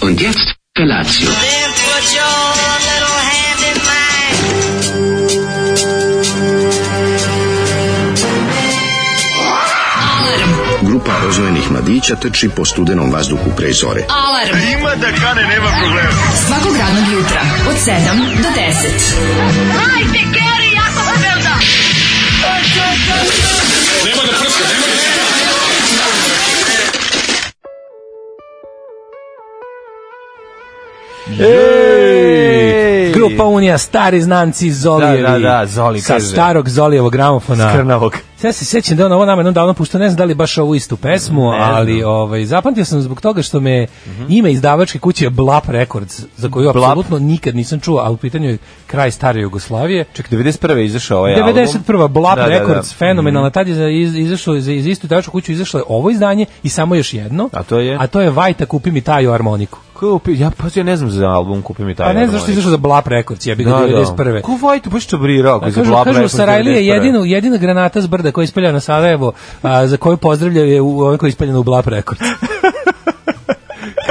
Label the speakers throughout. Speaker 1: Und jetzt Felatio.
Speaker 2: Then put your little hand in mine.
Speaker 3: Grupa rozvojenih mladića trči po studenom vazduhu pre zore.
Speaker 4: Alarm. Ima da kane, nema problema. Svakog radnog jutra, od 7 do 10.
Speaker 5: Ej!
Speaker 6: Grupa Unija, stari znanci Zolijevi.
Speaker 5: Da, da, da, Zoli,
Speaker 6: Sa
Speaker 5: kaže.
Speaker 6: starog Zolijevog gramofona.
Speaker 5: Krnavog.
Speaker 6: Ja se sjećam da on ovo nama jednom davno puštao, ne znam da li baš ovu istu pesmu,
Speaker 5: znam.
Speaker 6: ali ovaj, zapamtio sam zbog toga što me ime izdavačke kuće Blap Records, za koju
Speaker 5: Blap.
Speaker 6: apsolutno nikad nisam čuo, a u pitanju je kraj stare Jugoslavije.
Speaker 5: Ček, 91. je izašao ovaj album.
Speaker 6: 91. Blap
Speaker 5: Da, da, da.
Speaker 6: Records, fenomenalna, tad je za, iz, izašlo, za, iz istu izdavačku kuću izašlo je ovo izdanje i samo još jedno.
Speaker 5: A to je?
Speaker 6: A to je Vajta kupi mi taju harmoniku.
Speaker 5: Kupi, ja pa ja ne znam za album, kupi mi taj.
Speaker 6: Pa ne znam
Speaker 5: album.
Speaker 6: zašto je izašao za Blap Records, jebi ga
Speaker 5: Da, da.
Speaker 6: 91.
Speaker 5: Ko Vojtu baš čabrirao?
Speaker 6: A kažu, kažu Sarajlija je jedina, jedina granata s brda koja je ispaljena na Sarajevo, a, za koju pozdravljaju je u, ovaj koja je ispaljena u Blap Record.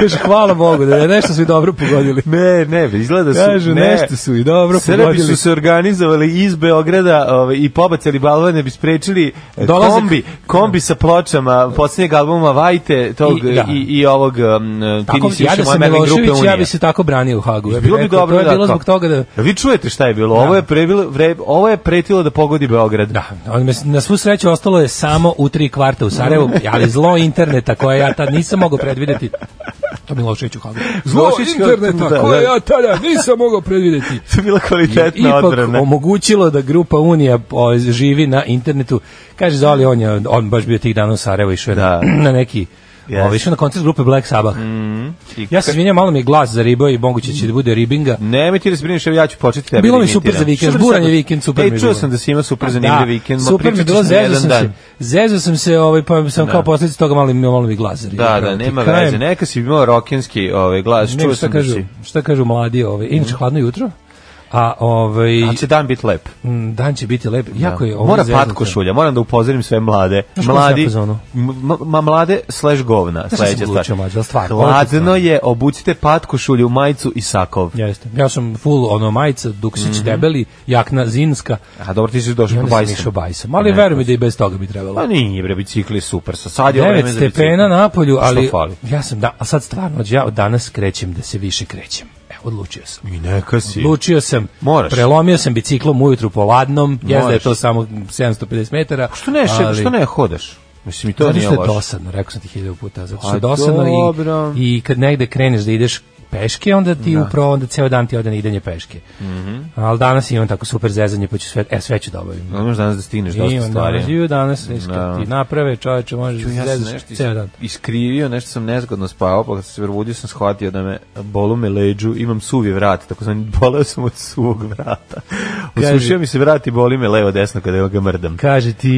Speaker 6: Kaže, hvala Bogu, da je nešto svi dobro pogodili.
Speaker 5: Ne, ne, izgleda su...
Speaker 6: Kažu,
Speaker 5: ne.
Speaker 6: nešto su i dobro
Speaker 5: Srbi
Speaker 6: pogodili.
Speaker 5: su se organizovali iz Beograda ovaj, i pobacali balvan da bi sprečili e,
Speaker 6: Dolazak-
Speaker 5: kombi, kombi sa pločama posljednjeg albuma Vajte tog,
Speaker 6: I-
Speaker 5: I,
Speaker 6: da.
Speaker 5: i, i ovog um, Ti
Speaker 6: Tako,
Speaker 5: nisi
Speaker 6: ja
Speaker 5: više
Speaker 6: da
Speaker 5: moja
Speaker 6: sam
Speaker 5: meni grupe
Speaker 6: Milošević,
Speaker 5: Unije.
Speaker 6: ja bi se tako branio u Hagu. Ja bih
Speaker 5: Bilo bi
Speaker 6: rekao,
Speaker 5: dobro
Speaker 6: to je
Speaker 5: da,
Speaker 6: bilo
Speaker 5: kao-
Speaker 6: zbog toga da...
Speaker 5: Vi čujete šta je bilo? Ovo je prebilo, vre, ovo je pretilo da pogodi Beograd.
Speaker 6: Da, on me- na svu sreću ostalo je samo u tri kvarta u Sarajevu, ali zlo interneta koje ja tad nisam mogao predvideti. To Milošević u Hagu. Zlo
Speaker 5: Milošević kao-
Speaker 6: interneta
Speaker 5: da,
Speaker 6: koje
Speaker 5: da.
Speaker 6: ja tada nisam mogao predvideti.
Speaker 5: To je bila
Speaker 6: je
Speaker 5: kvalitetna
Speaker 6: ipak
Speaker 5: odbrana.
Speaker 6: omogućilo da grupa Unija o, živi na internetu. Kaže Zoli, on je on baš bio tih dana u Sarajevu išao je na,
Speaker 5: Da. Mhm.
Speaker 6: na neki
Speaker 5: Yes.
Speaker 6: ovaj, išao na koncert grupe Black Sabbath.
Speaker 5: I
Speaker 6: Ja se izvinjam, malo mi je glas zaribao i moguće će da bude ribinga.
Speaker 5: Ne, mi ti da se brineš, evo ja ću početi tebe.
Speaker 6: Bilo
Speaker 5: da
Speaker 6: mi super
Speaker 5: imitiram.
Speaker 6: za vikend,
Speaker 5: Šta
Speaker 6: zburan
Speaker 5: sad-
Speaker 6: je vikend, super mi
Speaker 5: Ej,
Speaker 6: je
Speaker 5: čuo
Speaker 6: bilo.
Speaker 5: sam da si imao super zanimljiv
Speaker 6: Da,
Speaker 5: vikend, ma
Speaker 6: super mi je
Speaker 5: pričat
Speaker 6: bilo,
Speaker 5: ćeš na
Speaker 6: zezao
Speaker 5: jedan
Speaker 6: sam
Speaker 5: dan.
Speaker 6: se. Zezao sam se, ovaj, pa sam kao posljedica toga malo, mi- malo mi glas zaribao.
Speaker 5: Da, da,
Speaker 6: Pravo ti,
Speaker 5: nema
Speaker 6: krajem-
Speaker 5: veze. Neka si imao rokenski ovaj, glas,
Speaker 6: nego
Speaker 5: čuo
Speaker 6: šta
Speaker 5: sam da
Speaker 6: kažu,
Speaker 5: si.
Speaker 6: šta kažu mladi, ovaj, inače hladno jutro, a ovaj,
Speaker 5: A Da će dan biti lep.
Speaker 6: m, dan će biti lep, jako je ovo
Speaker 5: Da. Mora
Speaker 6: zeznuto.
Speaker 5: patko šulja, moram da upozorim sve mlade.
Speaker 6: Znaš ko se
Speaker 5: Mladi,
Speaker 6: jako zvao?
Speaker 5: m- m- ma mlade slash govna,
Speaker 6: se
Speaker 5: sledeća
Speaker 6: odlučio,
Speaker 5: stvar.
Speaker 6: mlađe, ali stvarno, odlučio
Speaker 5: Hladno
Speaker 6: stvarno.
Speaker 5: je, obucite patko šulju, majicu i sakov.
Speaker 6: Jeste. Ja sam full ono majica,
Speaker 5: Mhm.
Speaker 6: duksić debeli, jakna zinska.
Speaker 5: A dobro, ti si
Speaker 6: I
Speaker 5: došao po
Speaker 6: onda sam išao
Speaker 5: bajsu.
Speaker 6: bajsom. Ali
Speaker 5: Ne,
Speaker 6: veruj mi da i bez toga bi trebalo.
Speaker 5: Pa nije, bre, bicikli je super. Sa sad je ovo vreme
Speaker 6: 9
Speaker 5: za bicikli.
Speaker 6: stepena na polju,
Speaker 5: Što
Speaker 6: ali
Speaker 5: fali?
Speaker 6: ja sam da, a sad stvarno ja od danas krećem da se više krećem. Evo, odlučio sam.
Speaker 5: I neka si.
Speaker 6: Odlučio sam,
Speaker 5: Moraš.
Speaker 6: prelomio sam biciklom ujutru po ladnom, jezda je
Speaker 5: Moraš.
Speaker 6: to samo 750 metara.
Speaker 5: Što ne, še-
Speaker 6: ali-
Speaker 5: što ne hodaš? Mislim, i to
Speaker 6: Zato
Speaker 5: nije
Speaker 6: što je
Speaker 5: loše.
Speaker 6: dosadno, rekao sam ti hiljadu puta, zato što
Speaker 5: A
Speaker 6: je dosadno
Speaker 5: dobro. Da.
Speaker 6: i, i kad negde kreneš da ideš peške, onda ti upravo onda ceo dan ti ode na idenje peške.
Speaker 5: Mhm.
Speaker 6: Ali danas imam tako super zezanje, pa ću sve, e, sve ću da obavim.
Speaker 5: Ne možeš danas da stigneš dosta
Speaker 6: Imam danas,
Speaker 5: stvari. Da.
Speaker 6: ju danas, iskad ti naprave, čoveče, možeš da
Speaker 5: Ja sam
Speaker 6: zezaš
Speaker 5: nešto is-
Speaker 6: ceo dan.
Speaker 5: iskrivio, nešto sam nezgodno spavao, pa kad sam se probudio sam shvatio da me bolu me leđu, imam suvi vrat, tako sam boleo sam od suvog vrata.
Speaker 6: Kaži.
Speaker 5: Osušio mi se vrat i boli me levo desno kada ga mrdam.
Speaker 6: Kaže, ti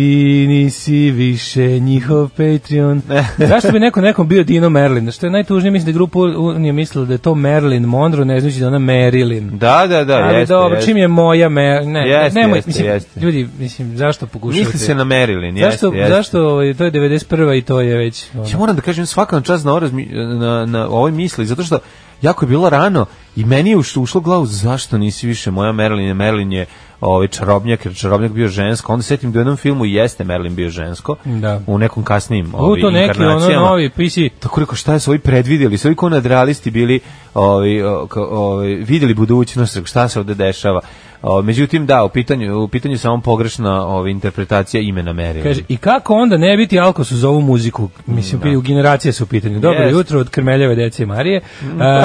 Speaker 6: nisi više njihov Patreon. Zašto bi neko nekom bio Dino Merlin? Što je najtužnije, mislim da je grupa Unija mislila da je to Merlin Monroe, ne znači da je ona Marilyn.
Speaker 5: Da, da, da,
Speaker 6: Ali
Speaker 5: jeste,
Speaker 6: dobro,
Speaker 5: jeste.
Speaker 6: čim je moja me, ne,
Speaker 5: Jeste,
Speaker 6: nemoj,
Speaker 5: jeste,
Speaker 6: mislim,
Speaker 5: jeste.
Speaker 6: ljudi, mislim, zašto pokušavate?
Speaker 5: Niste se namerili, jeste,
Speaker 6: zašto,
Speaker 5: jeste.
Speaker 6: zašto, ovaj, to je 91. i to je već, ono,
Speaker 5: Ja moram da kažem svaka vam čast na, ovo razmi- na, na ovoj misli, zato što jako je bilo rano i meni je ušlo, ušlo u glavu zašto nisi više moja Merlin, je- Merlin je ovaj čarobnjak, jer čarobnjak bio žensko. Onda setim da u jednom filmu jeste Merlin bio žensko,
Speaker 6: Da.
Speaker 5: u nekom kasnijim
Speaker 6: ovo
Speaker 5: ovaj,
Speaker 6: to neki, ono,
Speaker 5: inkarnacijama.
Speaker 6: novi, pisi,
Speaker 5: Tako rekao, šta su ovi predvidjeli, su ovi ko nadrealisti bili, ovi, o, ka- ovi, vidjeli budućnost, rekao, šta se ovde dešava. O, međutim, da, u pitanju, u pitanju je samo pogrešna ovi, interpretacija imena Merlin.
Speaker 6: kaže, i kako onda ne biti alkos uz ovu muziku, mislim, da. generacije su u pitanju, dobro
Speaker 5: Jeste. Mm.
Speaker 6: jutro od krmeljeve dece i Marije,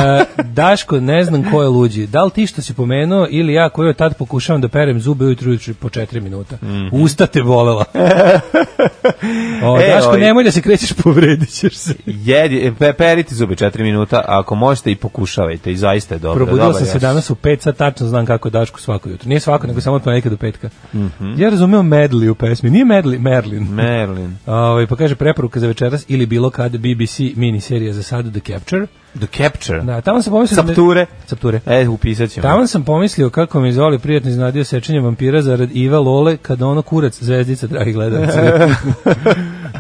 Speaker 6: E, Daško, ne znam ko je luđi, da li ti što si pomenuo ili ja koji od tad pokušavam da perem zube ujutru ujutru po četiri minuta, usta te bolela. o,
Speaker 5: Mhm. E,
Speaker 6: Daško,
Speaker 5: ovaj-
Speaker 6: nemoj da se krećeš, povredit ćeš se.
Speaker 5: Jedi, pe, perite zube 4 minuta, a ako možete i pokušavajte, i zaista je dobro.
Speaker 6: Probudio
Speaker 5: dobar
Speaker 6: sam se
Speaker 5: je.
Speaker 6: danas u 5, sad tačno znam kako je Daško svako jutro. Nije svako, nego samo od ponedjeljka do petka.
Speaker 5: Mhm.
Speaker 6: Ja razumeo Medley u pesmi, nije Medley, Merlin.
Speaker 5: Merlin.
Speaker 6: Ovaj, pa kaže preporuka za večeras ili bilo kad BBC miniserija za sad The Capture.
Speaker 5: The Capture.
Speaker 6: Da, tamo sam pomislio... da me-
Speaker 5: Sapture.
Speaker 6: Sapture.
Speaker 5: E, upisat ćemo.
Speaker 6: Tamo sam pomislio kako mi zvali prijatno iznenadio sečenje vampira zarad Iva Lole kada ono kurac zvezdica dragi gledalci.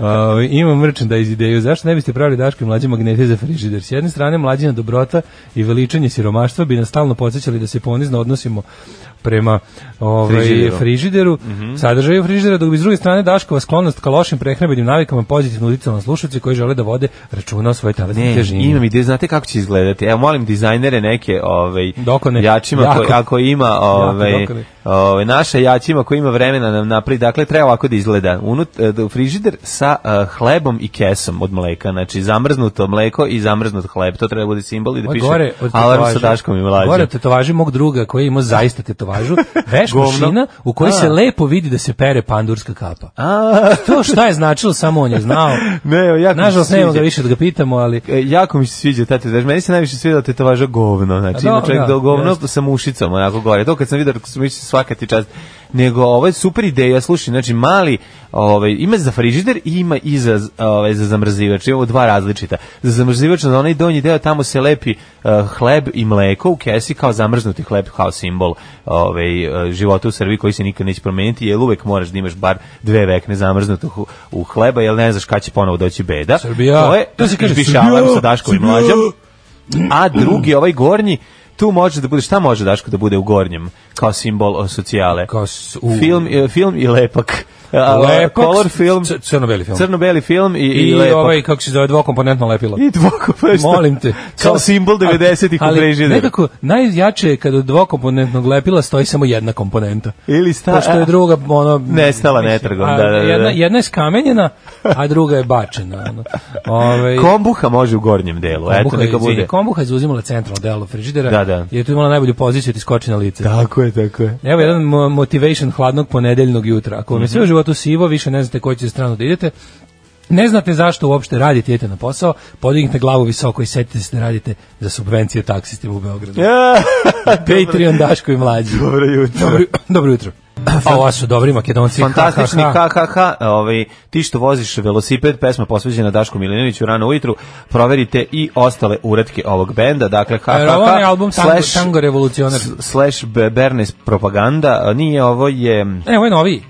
Speaker 6: Ovaj, imam merchandise ideju. Zašto ne biste pravili Daško i mlađe magnete za frižider? S jedne strane, mlađina dobrota i veličanje siromaštva bi nas stalno podsjećali da se ponizno odnosimo prema ovaj, frižideru,
Speaker 5: Frižideru. Mhm.
Speaker 6: sadržaju frižidera, dok bi s druge strane Daškova sklonost ka lošim prehrambenim navikama pozitivno uticala na slušalce koji žele da vode računa o svojoj telesnoj
Speaker 5: Ne,
Speaker 6: težini.
Speaker 5: imam ideje, znate kako će izgledati. Evo, molim dizajnere neke ovaj,
Speaker 6: Dokone.
Speaker 5: jačima,
Speaker 6: Jako.
Speaker 5: koji, ako ima ovaj,
Speaker 6: dokone.
Speaker 5: ovaj, naša jačima, koji ima vremena nam napravi, dakle, treba ovako da izgleda. Unut, eh, da- frižider sa eh, hlebom i kesom od mleka, znači zamrznuto mleko i zamrznut hleb, to treba da bude simbol i da
Speaker 6: Ovo je
Speaker 5: piše
Speaker 6: gore od
Speaker 5: alarm sa
Speaker 6: tetovaža.
Speaker 5: Daškom i
Speaker 6: Gore
Speaker 5: mlađe.
Speaker 6: od tetovaže mog druga koji je imao zaista tetovažu, veš
Speaker 5: Govno.
Speaker 6: mašina u kojoj se
Speaker 5: A.
Speaker 6: lepo vidi da se pere pandurska kapa.
Speaker 5: A,
Speaker 6: To šta je značilo, samo on je znao.
Speaker 5: ne, evo, jako mi se
Speaker 6: Nažalost, nemamo ga
Speaker 5: sviđa.
Speaker 6: više da ga pitamo, ali
Speaker 5: E, jako mi se sviđa ta tetovaža. Meni se najviše sviđa tetovaža govno. Znači,
Speaker 6: A,
Speaker 5: ima
Speaker 6: da,
Speaker 5: čovjek
Speaker 6: da,
Speaker 5: do govno
Speaker 6: jeste.
Speaker 5: sa mušicom, onako gore. To kad sam vidio, sam mislio svaka ti čast. Nego, ovo je super ideja, slušaj, znači, mali, ovaj, ima za frižider i ima i za, z- ovaj, za zamrzivač. I ovo dva različita. Za zamrzivač, na onaj donji deo, tamo se lepi eh, hleb i mleko u kesi kao zamrznuti hleb, kao simbol ovaj, eh, života u Srbiji koji se nikad neće promeniti, jer uvek moraš da imaš bar dve vekne zamrznutog u, u hleba, jer ne znaš kada će ponovo doći beda.
Speaker 6: Srbija.
Speaker 5: To je,
Speaker 6: To se kaže,
Speaker 5: izbišavam
Speaker 6: Srbija,
Speaker 5: sa Daškom i
Speaker 6: Srbija.
Speaker 5: mlađom. A drugi, ovaj gornji, tu može da bude, šta može Daško da bude u gornjem? Kao simbol o, socijale.
Speaker 6: Kao s- u-
Speaker 5: Film, e, film i lepak. A,
Speaker 6: lepak,
Speaker 5: Color film,
Speaker 6: c- crno-beli film.
Speaker 5: crno-beli film i, i,
Speaker 6: I,
Speaker 5: lepak.
Speaker 6: ovaj, kako se zove, dvokomponentno lepilo.
Speaker 5: I dvoko prešta.
Speaker 6: Molim te.
Speaker 5: Kao simbol 90-ih u
Speaker 6: Ali
Speaker 5: Brežideru.
Speaker 6: Nekako, najjače je kad od dvokomponentnog lepila stoji samo jedna komponenta.
Speaker 5: Ili sta...
Speaker 6: Pošto je druga, ono...
Speaker 5: Nestala netragom,
Speaker 6: a
Speaker 5: da, da, da.
Speaker 6: Jedna, jedna je skamenjena, a druga je bačena. Ono. Ove,
Speaker 5: Kombuha može u gornjem delu. Eto,
Speaker 6: Kombuha,
Speaker 5: neka
Speaker 6: je, izvini,
Speaker 5: bude.
Speaker 6: kombuha je zauzimala centralno delo frižidera,
Speaker 5: Da, da.
Speaker 6: jer tu je imala najbolju poziciju ti skoči na lice.
Speaker 5: Tako je, tako je.
Speaker 6: Evo jedan mo- motivation hladnog ponedeljnog jutra. Ako vam je sve u
Speaker 5: Mhm.
Speaker 6: životu sivo, više ne znate koju ćete stranu da idete, ne znate zašto uopšte radite, idete na posao, podignite glavu visoko i setite se da radite za subvencije taksistima u Beogradu. Patreon Daško i mlađi.
Speaker 5: Dobro jutro.
Speaker 6: Dobro, dobro jutro. A ovo su dobri makedonci.
Speaker 5: Fantastični
Speaker 6: ha, ha, ha.
Speaker 5: KKH, ovaj, ti što voziš velosiped, pesma posveđena Dašku Milinoviću rano ujutru, proverite i ostale uretke ovog benda, dakle
Speaker 6: Jer ovo je
Speaker 5: KKH,
Speaker 6: album Tango, Tango revolucionar.
Speaker 5: s- slash Be- Bernays propaganda, a nije ovo je,
Speaker 6: E, ovo je noviji.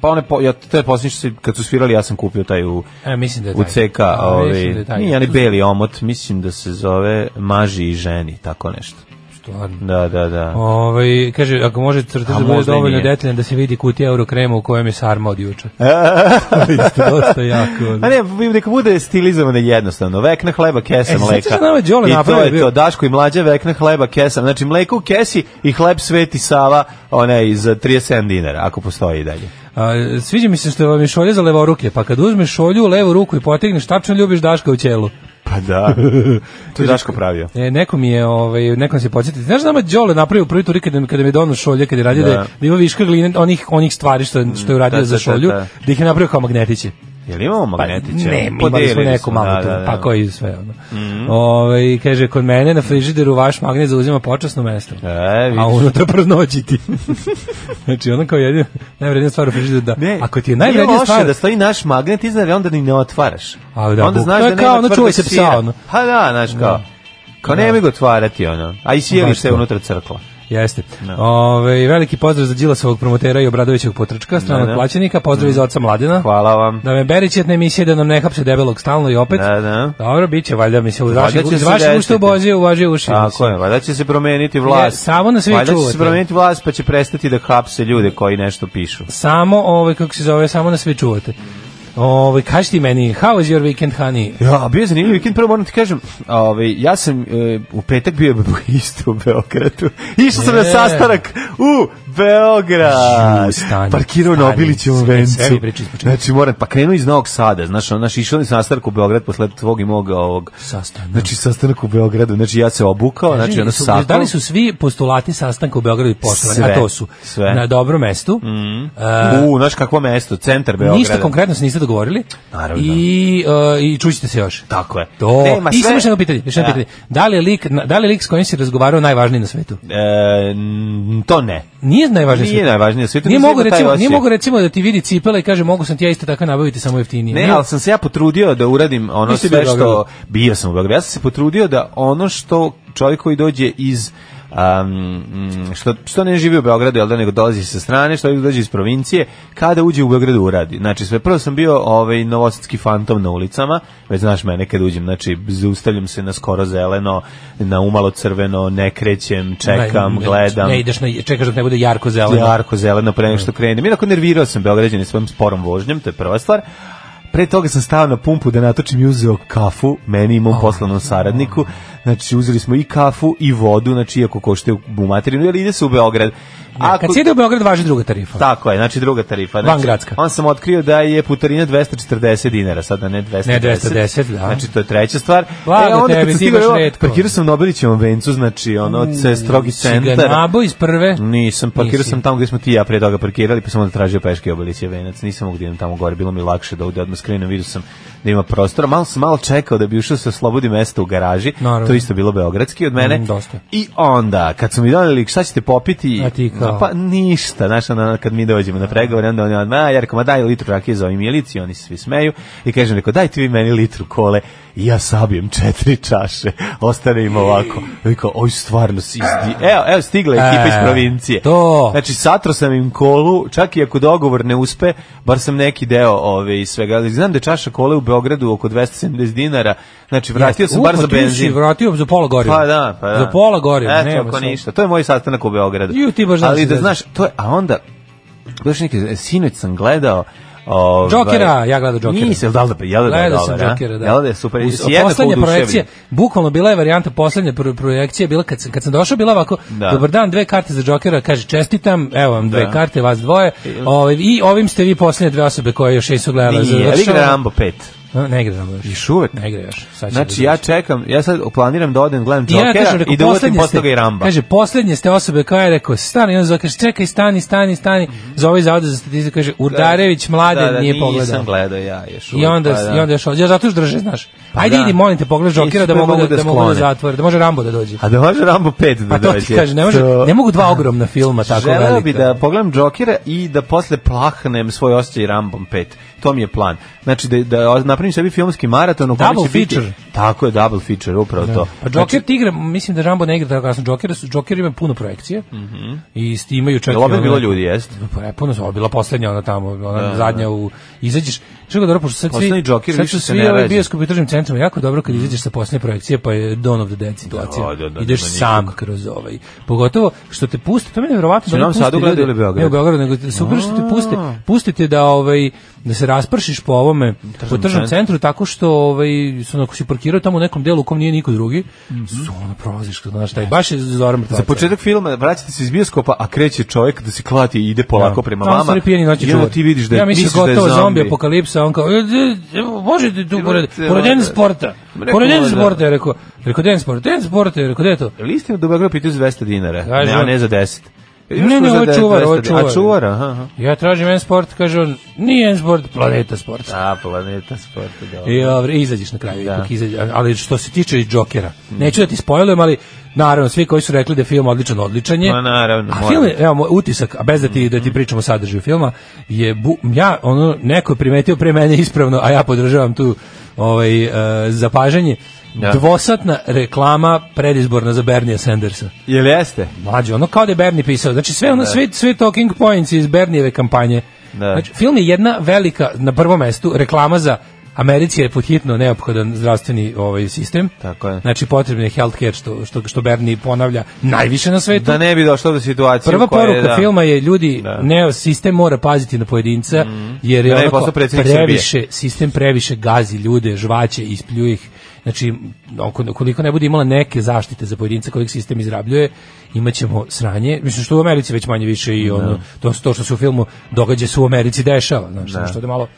Speaker 5: pa one, po, ja, to je posljednje što se- kad su svirali, ja sam kupio taj u,
Speaker 6: E, mislim da je
Speaker 5: u
Speaker 6: taj.
Speaker 5: CK,
Speaker 6: A, mislim da
Speaker 5: ovaj,
Speaker 6: je taj.
Speaker 5: nije onaj beli omot, mislim da se zove Maži i ženi, tako nešto.
Speaker 6: Stvarno.
Speaker 5: Da, da, da.
Speaker 6: Ovaj kaže ako može crtež
Speaker 5: A
Speaker 6: da bude
Speaker 5: možda i
Speaker 6: dovoljno
Speaker 5: nije.
Speaker 6: detaljan da se vidi kutija euro krema u kojem je sarma od juče. Isto dosta jako.
Speaker 5: A ne, neka bude stilizovano jednostavno. Vekna hleba, kesa
Speaker 6: E,
Speaker 5: mleka.
Speaker 6: sećaš na ovaj Đole
Speaker 5: I to
Speaker 6: napravio
Speaker 5: je
Speaker 6: bio?
Speaker 5: to, Daško i mlađe vekna hleba, kesa. Znači, mleko u kesi i hleb Sveti Sava, onaj, za 37 dinara, ako postoji i dalje.
Speaker 6: A, sviđa mi se što vam je šolja za levoruke, pa kad uzmeš šolju u levu ruku i potegneš, tačno ljubiš Daška u ćelu.
Speaker 5: Pa da. to je Daško pravio.
Speaker 6: E, neko mi je, ovaj, nekom se podsjetiti. Znaš da nama Đole napravio u prvi turi kada, kada mi je donio šolje, kada je radio da,
Speaker 5: Da.
Speaker 6: da, ima viška gline, onih, onih stvari što, što je uradio
Speaker 5: da,
Speaker 6: za
Speaker 5: da,
Speaker 6: šolju, da,
Speaker 5: da.
Speaker 6: ih je napravio kao magnetiće.
Speaker 5: Jel imamo magnetiće?
Speaker 6: Pa ne, imali smo
Speaker 5: Podelili
Speaker 6: neku
Speaker 5: smo,
Speaker 6: malu
Speaker 5: da,
Speaker 6: tu,
Speaker 5: da, Mhm. da.
Speaker 6: pa koji sve. Ono. Ovaj, kaže, kod mene na frižideru vaš magnet zauzima počasno mesto.
Speaker 5: E,
Speaker 6: A
Speaker 5: vidiš.
Speaker 6: unutra proznoćiti. znači, ono kao jedina, najvrednija stvar u frižideru da...
Speaker 5: Ne,
Speaker 6: ako ti je
Speaker 5: nije
Speaker 6: najvrednija
Speaker 5: loše
Speaker 6: stvar...
Speaker 5: da stoji naš magnet iznad, ali onda ni ne otvaraš.
Speaker 6: A, da,
Speaker 5: onda
Speaker 6: buk-
Speaker 5: znaš
Speaker 6: to
Speaker 5: da
Speaker 6: je kao
Speaker 5: nema
Speaker 6: ono,
Speaker 5: tvrdog
Speaker 6: čuvaj se psa,
Speaker 5: sira.
Speaker 6: ono.
Speaker 5: Ha da, znaš kao. Kao nemoj ga otvarati, ono. A i sjeliš
Speaker 6: Baš
Speaker 5: se
Speaker 6: to.
Speaker 5: unutra crkla.
Speaker 6: Jeste.
Speaker 5: Da.
Speaker 6: Ove, veliki pozdrav za Đilasovog promotera i Obradovićeg potrčka, stranog
Speaker 5: Da, da.
Speaker 6: plaćenika, pozdrav iz oca Mladena.
Speaker 5: Hvala vam.
Speaker 6: Da me berić jedna emisija da nam ne hapse debelog stalno i opet.
Speaker 5: Da, da.
Speaker 6: Dobro, bit će, valjda mi se u
Speaker 5: Valjda
Speaker 6: vaših,
Speaker 5: će
Speaker 6: iz
Speaker 5: se
Speaker 6: vaših usta
Speaker 5: desiti. Pa,
Speaker 6: ubozi, uvaži uši.
Speaker 5: Tako
Speaker 6: mislim.
Speaker 5: je, valjda će se promeniti vlast.
Speaker 6: Ne, samo nas vi
Speaker 5: Valjda će
Speaker 6: čuvate.
Speaker 5: se promeniti vlast pa će prestati da hapse ljude koji nešto pišu.
Speaker 6: Samo, ovaj, kako se zove, samo nas vi čuvate. Ovaj, kaži ti meni, how was your weekend, honey?
Speaker 5: Ja, bio je zanimljiv vikend, prvo moram ti kažem, ovaj, ja sam e, u petak bio isto u Beogradu. Išao sam na
Speaker 6: E.
Speaker 5: sastanak u
Speaker 6: Žu,
Speaker 5: Beograd.
Speaker 6: stani,
Speaker 5: Parkirao na
Speaker 6: stani,
Speaker 5: Obilićevom
Speaker 6: sve-
Speaker 5: vencu.
Speaker 6: sve mi priče ispočetka.
Speaker 5: Znači, moram, pa krenuo iz Novog Sada, znaš, ono, znaš, išao na sastanak u Beograd posle tvog i mog ovog.
Speaker 6: Sastanak.
Speaker 5: Znači, sastanak u Beogradu, znači ja se obukao, znači, ono,
Speaker 6: su,
Speaker 5: sakao.
Speaker 6: da li su svi postulati sastanka u Beogradu poštovani?
Speaker 5: Sve,
Speaker 6: A to su
Speaker 5: sve. Mm.
Speaker 6: na dobrom mestu, e,
Speaker 5: U, znaš kakvo mesto, centar Beograda.
Speaker 6: Ništa konkretno se niste dogovorili.
Speaker 5: Naravno.
Speaker 6: I, uh, i čućete se još.
Speaker 5: Tako je.
Speaker 6: To.
Speaker 5: Nema
Speaker 6: I
Speaker 5: sve-
Speaker 6: samo još jedno pitanje, još jedno
Speaker 5: Da.
Speaker 6: pitanje. Da li je lik, na- da li je lik s kojim si razgovarao najvažniji na svetu?
Speaker 5: E, n- to ne.
Speaker 6: Nije najvažniji na
Speaker 5: Nije
Speaker 6: svetu.
Speaker 5: najvažnije na svetu.
Speaker 6: Nije
Speaker 5: mislim
Speaker 6: mogu
Speaker 5: da taj
Speaker 6: recimo,
Speaker 5: osjećaj.
Speaker 6: nije mogu recimo da ti vidi cipela i kaže mogu sam ti ja isto tako nabaviti samo jeftinije.
Speaker 5: Ne,
Speaker 6: Nije-
Speaker 5: ali sam se ja potrudio da uradim ono
Speaker 6: Nisi bio
Speaker 5: sve
Speaker 6: u
Speaker 5: što
Speaker 6: Beogradu?
Speaker 5: bio sam u Beogradu. Ja sam se potrudio da ono što čovjek koji dođe iz um, što, što ne živi u Beogradu, jel da nego dolazi sa strane, što dođe iz provincije, kada uđe u Beogradu uradi. Znači, sve prvo sam bio ovaj novosadski fantom na ulicama, već znaš mene kad uđem, znači, zaustavljam se na skoro zeleno, na umalo crveno, ne krećem, čekam,
Speaker 6: Ne,
Speaker 5: gledam.
Speaker 6: Ne ideš, na, čekaš da ne bude jarko zeleno.
Speaker 5: Jarko zeleno pre nego što krenem. Inako nervirao sam Beograđane svojim sporom vožnjom, to je prva stvar. Pre toga sam stao na pumpu da natočim i uzeo kafu, meni i mom poslovnom saradniku. Znači, uzeli smo i kafu i vodu, znači, iako košte u materinu, jer ide se u Beograd.
Speaker 6: Kad si ide u Beograd, važi druga tarifa.
Speaker 5: Tako je, znači druga tarifa. Znači,
Speaker 6: Vangradska.
Speaker 5: On sam otkrio da je putarina 240 dinara, sada ne 210.
Speaker 6: Ne 210, da.
Speaker 5: Znači to je treća stvar. E,
Speaker 6: Blago
Speaker 5: onda
Speaker 6: tebi,
Speaker 5: kad sam
Speaker 6: ti
Speaker 5: stigao,
Speaker 6: imaš Mm,
Speaker 5: evo,
Speaker 6: retko.
Speaker 5: Parkirao sam na Obilićevom vencu, znači ono, se strogi centar. Mm,
Speaker 6: Ciganabo iz prve.
Speaker 5: Nisam, parkirao
Speaker 6: Nisi.
Speaker 5: sam tamo gdje smo ti i ja pre toga parkirali, pa sam onda tražio peške obelicije venac. Nisam mogu da idem tamo gore, bilo mi lakše da ovde odmah skrenem, vidio sam da ima prostora. Malo sam malo čekao da bi ušao sa slobodi mesta u garaži,
Speaker 6: Naravno.
Speaker 5: to je isto bilo beogradski od mene.
Speaker 6: Mm, dosta.
Speaker 5: I onda, kad su mi doneli, šta ćete popiti?
Speaker 6: A ti kao?
Speaker 5: Pa ništa, znaš, ono, kad mi dođemo na pregovor, onda oni odmah, "A, Jarko, ma daj litru rakije za ovim miliciji, oni se svi smeju. I kažem, rekao, dajte vi meni litru kole, i ja sabijem četiri čaše, ostane im ovako. I kao, oj, stvarno si izdi... Evo, evo, stigla je ekipa
Speaker 6: E,
Speaker 5: iz provincije.
Speaker 6: to.
Speaker 5: Znači, satro sam im kolu, čak i ako dogovor ne uspe, bar sam neki deo ove i svega. Ali znam da je čaša kole u Beogradu oko 270 dinara, znači, vratio sam
Speaker 6: Jeste.
Speaker 5: bar
Speaker 6: U,
Speaker 5: za
Speaker 6: pa ti si
Speaker 5: benzin.
Speaker 6: Vratio za pola goriva.
Speaker 5: Pa da, pa da.
Speaker 6: Za pola goriva,
Speaker 5: Eto,
Speaker 6: nema
Speaker 5: ako
Speaker 6: sad.
Speaker 5: ništa. To je moj sastanak u Beogradu.
Speaker 6: Ju, ti baš znaš
Speaker 5: Ali
Speaker 6: da
Speaker 5: da
Speaker 6: znaš.
Speaker 5: znaš, to je, a onda, baš neki, e, sinoć sam gledao, Ovaj,
Speaker 6: Jokera, ja gledao Jokera.
Speaker 5: Nisi, jel da li da, jel da je
Speaker 6: Gledao sam
Speaker 5: dobar, a?
Speaker 6: Jokera, da.
Speaker 5: Jel da je super,
Speaker 6: Uz-
Speaker 5: jesi jednako
Speaker 6: poslednja
Speaker 5: oduševljen?
Speaker 6: projekcija, bukvalno bila je varijanta poslednja pro, projekcija, bila kad, sam- kad sam došao, bila ovako,
Speaker 5: Da.
Speaker 6: dobar dan, dve karte za Jokera, kaže, čestitam, evo vam dve
Speaker 5: Da.
Speaker 6: karte, vas dvoje, ovaj, i ovim ste vi poslednje dve osobe koje još nisu gledale.
Speaker 5: Nije, jel igra Rambo 5?
Speaker 6: A, Ne igra Rambo još.
Speaker 5: Još uvek.
Speaker 6: Ne igra još. Sad će
Speaker 5: Znači,
Speaker 6: da
Speaker 5: ja
Speaker 6: dođe.
Speaker 5: čekam, ja sad planiram da odem, gledam
Speaker 6: I ja kažem,
Speaker 5: Jokera
Speaker 6: rekao,
Speaker 5: i da uvatim
Speaker 6: poslednje
Speaker 5: posle
Speaker 6: ste-
Speaker 5: toga i Ramba.
Speaker 6: Kaže, poslednje ste osobe koja je rekao, stani, i on zove, kaže, čekaj, stani, stani, stani, zove iz zavoda za statistiku, kaže, Urdarević, mladen,
Speaker 5: da, da,
Speaker 6: nije
Speaker 5: nisam
Speaker 6: pogledao.
Speaker 5: gledao ja još
Speaker 6: I
Speaker 5: uvek,
Speaker 6: onda,
Speaker 5: pa da.
Speaker 6: i onda još, ja zato još drže, znaš.
Speaker 5: Pa
Speaker 6: Ajde,
Speaker 5: da.
Speaker 6: idi, molim te, pogledaj Jokera da
Speaker 5: Isto
Speaker 6: mogu
Speaker 5: mogu
Speaker 6: da,
Speaker 5: da
Speaker 6: da mogu da
Speaker 5: sklone.
Speaker 6: zatvore, da može Rambo da dođe.
Speaker 5: A da može Rambo 5 da
Speaker 6: Pa
Speaker 5: dođe.
Speaker 6: to ti kaže, ne, može,
Speaker 5: To-
Speaker 6: ne mogu dva ogromna filma tako
Speaker 5: Želeo
Speaker 6: velika.
Speaker 5: bi da pogledam Jokera i da posle plahnem svoj osjećaj Rambom 5. To mi je plan. Znači da, da napravim sebi filmski maraton u kome
Speaker 6: Double
Speaker 5: će biti-
Speaker 6: feature.
Speaker 5: Tako je, double feature, upravo to. Znači,
Speaker 6: Pa Joker ti igra, mislim da Rambo ne igra tako kasno. Joker, su, Joker ima puno projekcije i s tim imaju čak...
Speaker 5: Mhm. Jel
Speaker 6: i
Speaker 5: opet
Speaker 6: ono-
Speaker 5: bilo ljudi, jest?
Speaker 6: Pa je puno, su, ovo je bila poslednja ona tamo, ona zadnja u... Izađeš, što je dobro, pošto sad svi,
Speaker 5: Da, Poslednji Joker
Speaker 6: sad
Speaker 5: više
Speaker 6: su
Speaker 5: se
Speaker 6: svi
Speaker 5: ne
Speaker 6: ovaj
Speaker 5: rađa.
Speaker 6: bioskop i tržnim centrom, jako dobro kad izađeš sa poslednje projekcije, pa je Dawn of the Dead situacija.
Speaker 5: Da, da, da,
Speaker 6: Ideš
Speaker 5: nema nikog.
Speaker 6: sam kroz ovaj. Pogotovo što te puste, to meni je verovatno
Speaker 5: Su
Speaker 6: da
Speaker 5: u Novom
Speaker 6: puste
Speaker 5: Sadu gledali
Speaker 6: ljude-
Speaker 5: ili Beogradu?
Speaker 6: Ne, u Beogradu, nego super što te puste, pustite da ovaj da se raspršiš po ovome po tržnom
Speaker 5: centru.
Speaker 6: centru tako što ovaj su onako si parkirao tamo u nekom delu u kom nije niko drugi. Su ono prolaziš kroz znaš taj baš je Zoran Mrtvac.
Speaker 5: Mhm. Za početak filma vraćate se iz bioskopa, a kreće čovjek da se klati i ide polako prema
Speaker 6: Da. Tamo
Speaker 5: vama.
Speaker 6: su oni pijeni noćni
Speaker 5: I onda
Speaker 6: čuvari.
Speaker 5: ti vidiš da je,
Speaker 6: ja mislim
Speaker 5: misliš da je
Speaker 6: gotovo
Speaker 5: zombi.
Speaker 6: apokalipsa, on kao, e, e, evo, možete tu pored,
Speaker 5: Imate,
Speaker 6: pored
Speaker 5: ono,
Speaker 6: den sporta,
Speaker 5: Rekao
Speaker 6: pored den
Speaker 5: mu da-
Speaker 6: sporta, je rekao, rekao den sporta, den sporta, je rekao, gde je to?
Speaker 5: Jel istina da u Beogradu pitaju za 200 dinara?
Speaker 6: Kaže
Speaker 5: ne, a
Speaker 6: on-
Speaker 5: ne za 10.
Speaker 6: Ne, ne, ovo je čuvar, ovo je čuvar.
Speaker 5: A čuvar, aha. aha.
Speaker 6: Ja tražim en sport, kaže on, nije en sport, planeta sporta.
Speaker 5: A, planeta sporta, dobro.
Speaker 6: I ovaj, izađeš na kraju,
Speaker 5: Da.
Speaker 6: ipak izađe- ali što se tiče i Jokera, neću da ti spojlujem, ali naravno svi koji su rekli da je film odličan, odličan je.
Speaker 5: Ma, naravno, Mhm.
Speaker 6: A
Speaker 5: mora
Speaker 6: film je,
Speaker 5: biti.
Speaker 6: evo moj utisak, a bez da ti da ti pričamo o sadržaju filma, je bu, ja ono neko je primetio pre mene ispravno, a ja podržavam tu ovaj e, zapažanje.
Speaker 5: Da.
Speaker 6: Dvosatna reklama predizborna za Bernija Sandersa.
Speaker 5: Jel jeste?
Speaker 6: Mlađe, ono kao da je Bernie pisao. Znači sve ono, sve, sve talking points iz Bernijeve kampanje.
Speaker 5: Da.
Speaker 6: Znači, film je jedna velika, na prvom mestu, reklama za Americi je podhitno neophodan zdravstveni ovaj sistem.
Speaker 5: Tako je.
Speaker 6: Znači potrebno je healthcare što što što Bernie ponavlja najviše na svetu.
Speaker 5: Da ne bi došlo do situacije
Speaker 6: Prva
Speaker 5: u kojoj je,
Speaker 6: poruka
Speaker 5: da.
Speaker 6: filma je ljudi,
Speaker 5: Da.
Speaker 6: ne, sistem mora paziti na pojedinca, jer
Speaker 5: Da
Speaker 6: je
Speaker 5: ne bi
Speaker 6: onako
Speaker 5: postao predsjednik
Speaker 6: previše, sistem previše gazi ljude, žvaće, ispljuje ih. Znači, oko- koliko ne bude imala neke zaštite za pojedinca kojeg sistem izrabljuje, imat ćemo sranje. Mislim, što u Americi već manje više
Speaker 5: Da.
Speaker 6: i ono, to, to što se u filmu događa se u Americi dešava. Znači, što da malo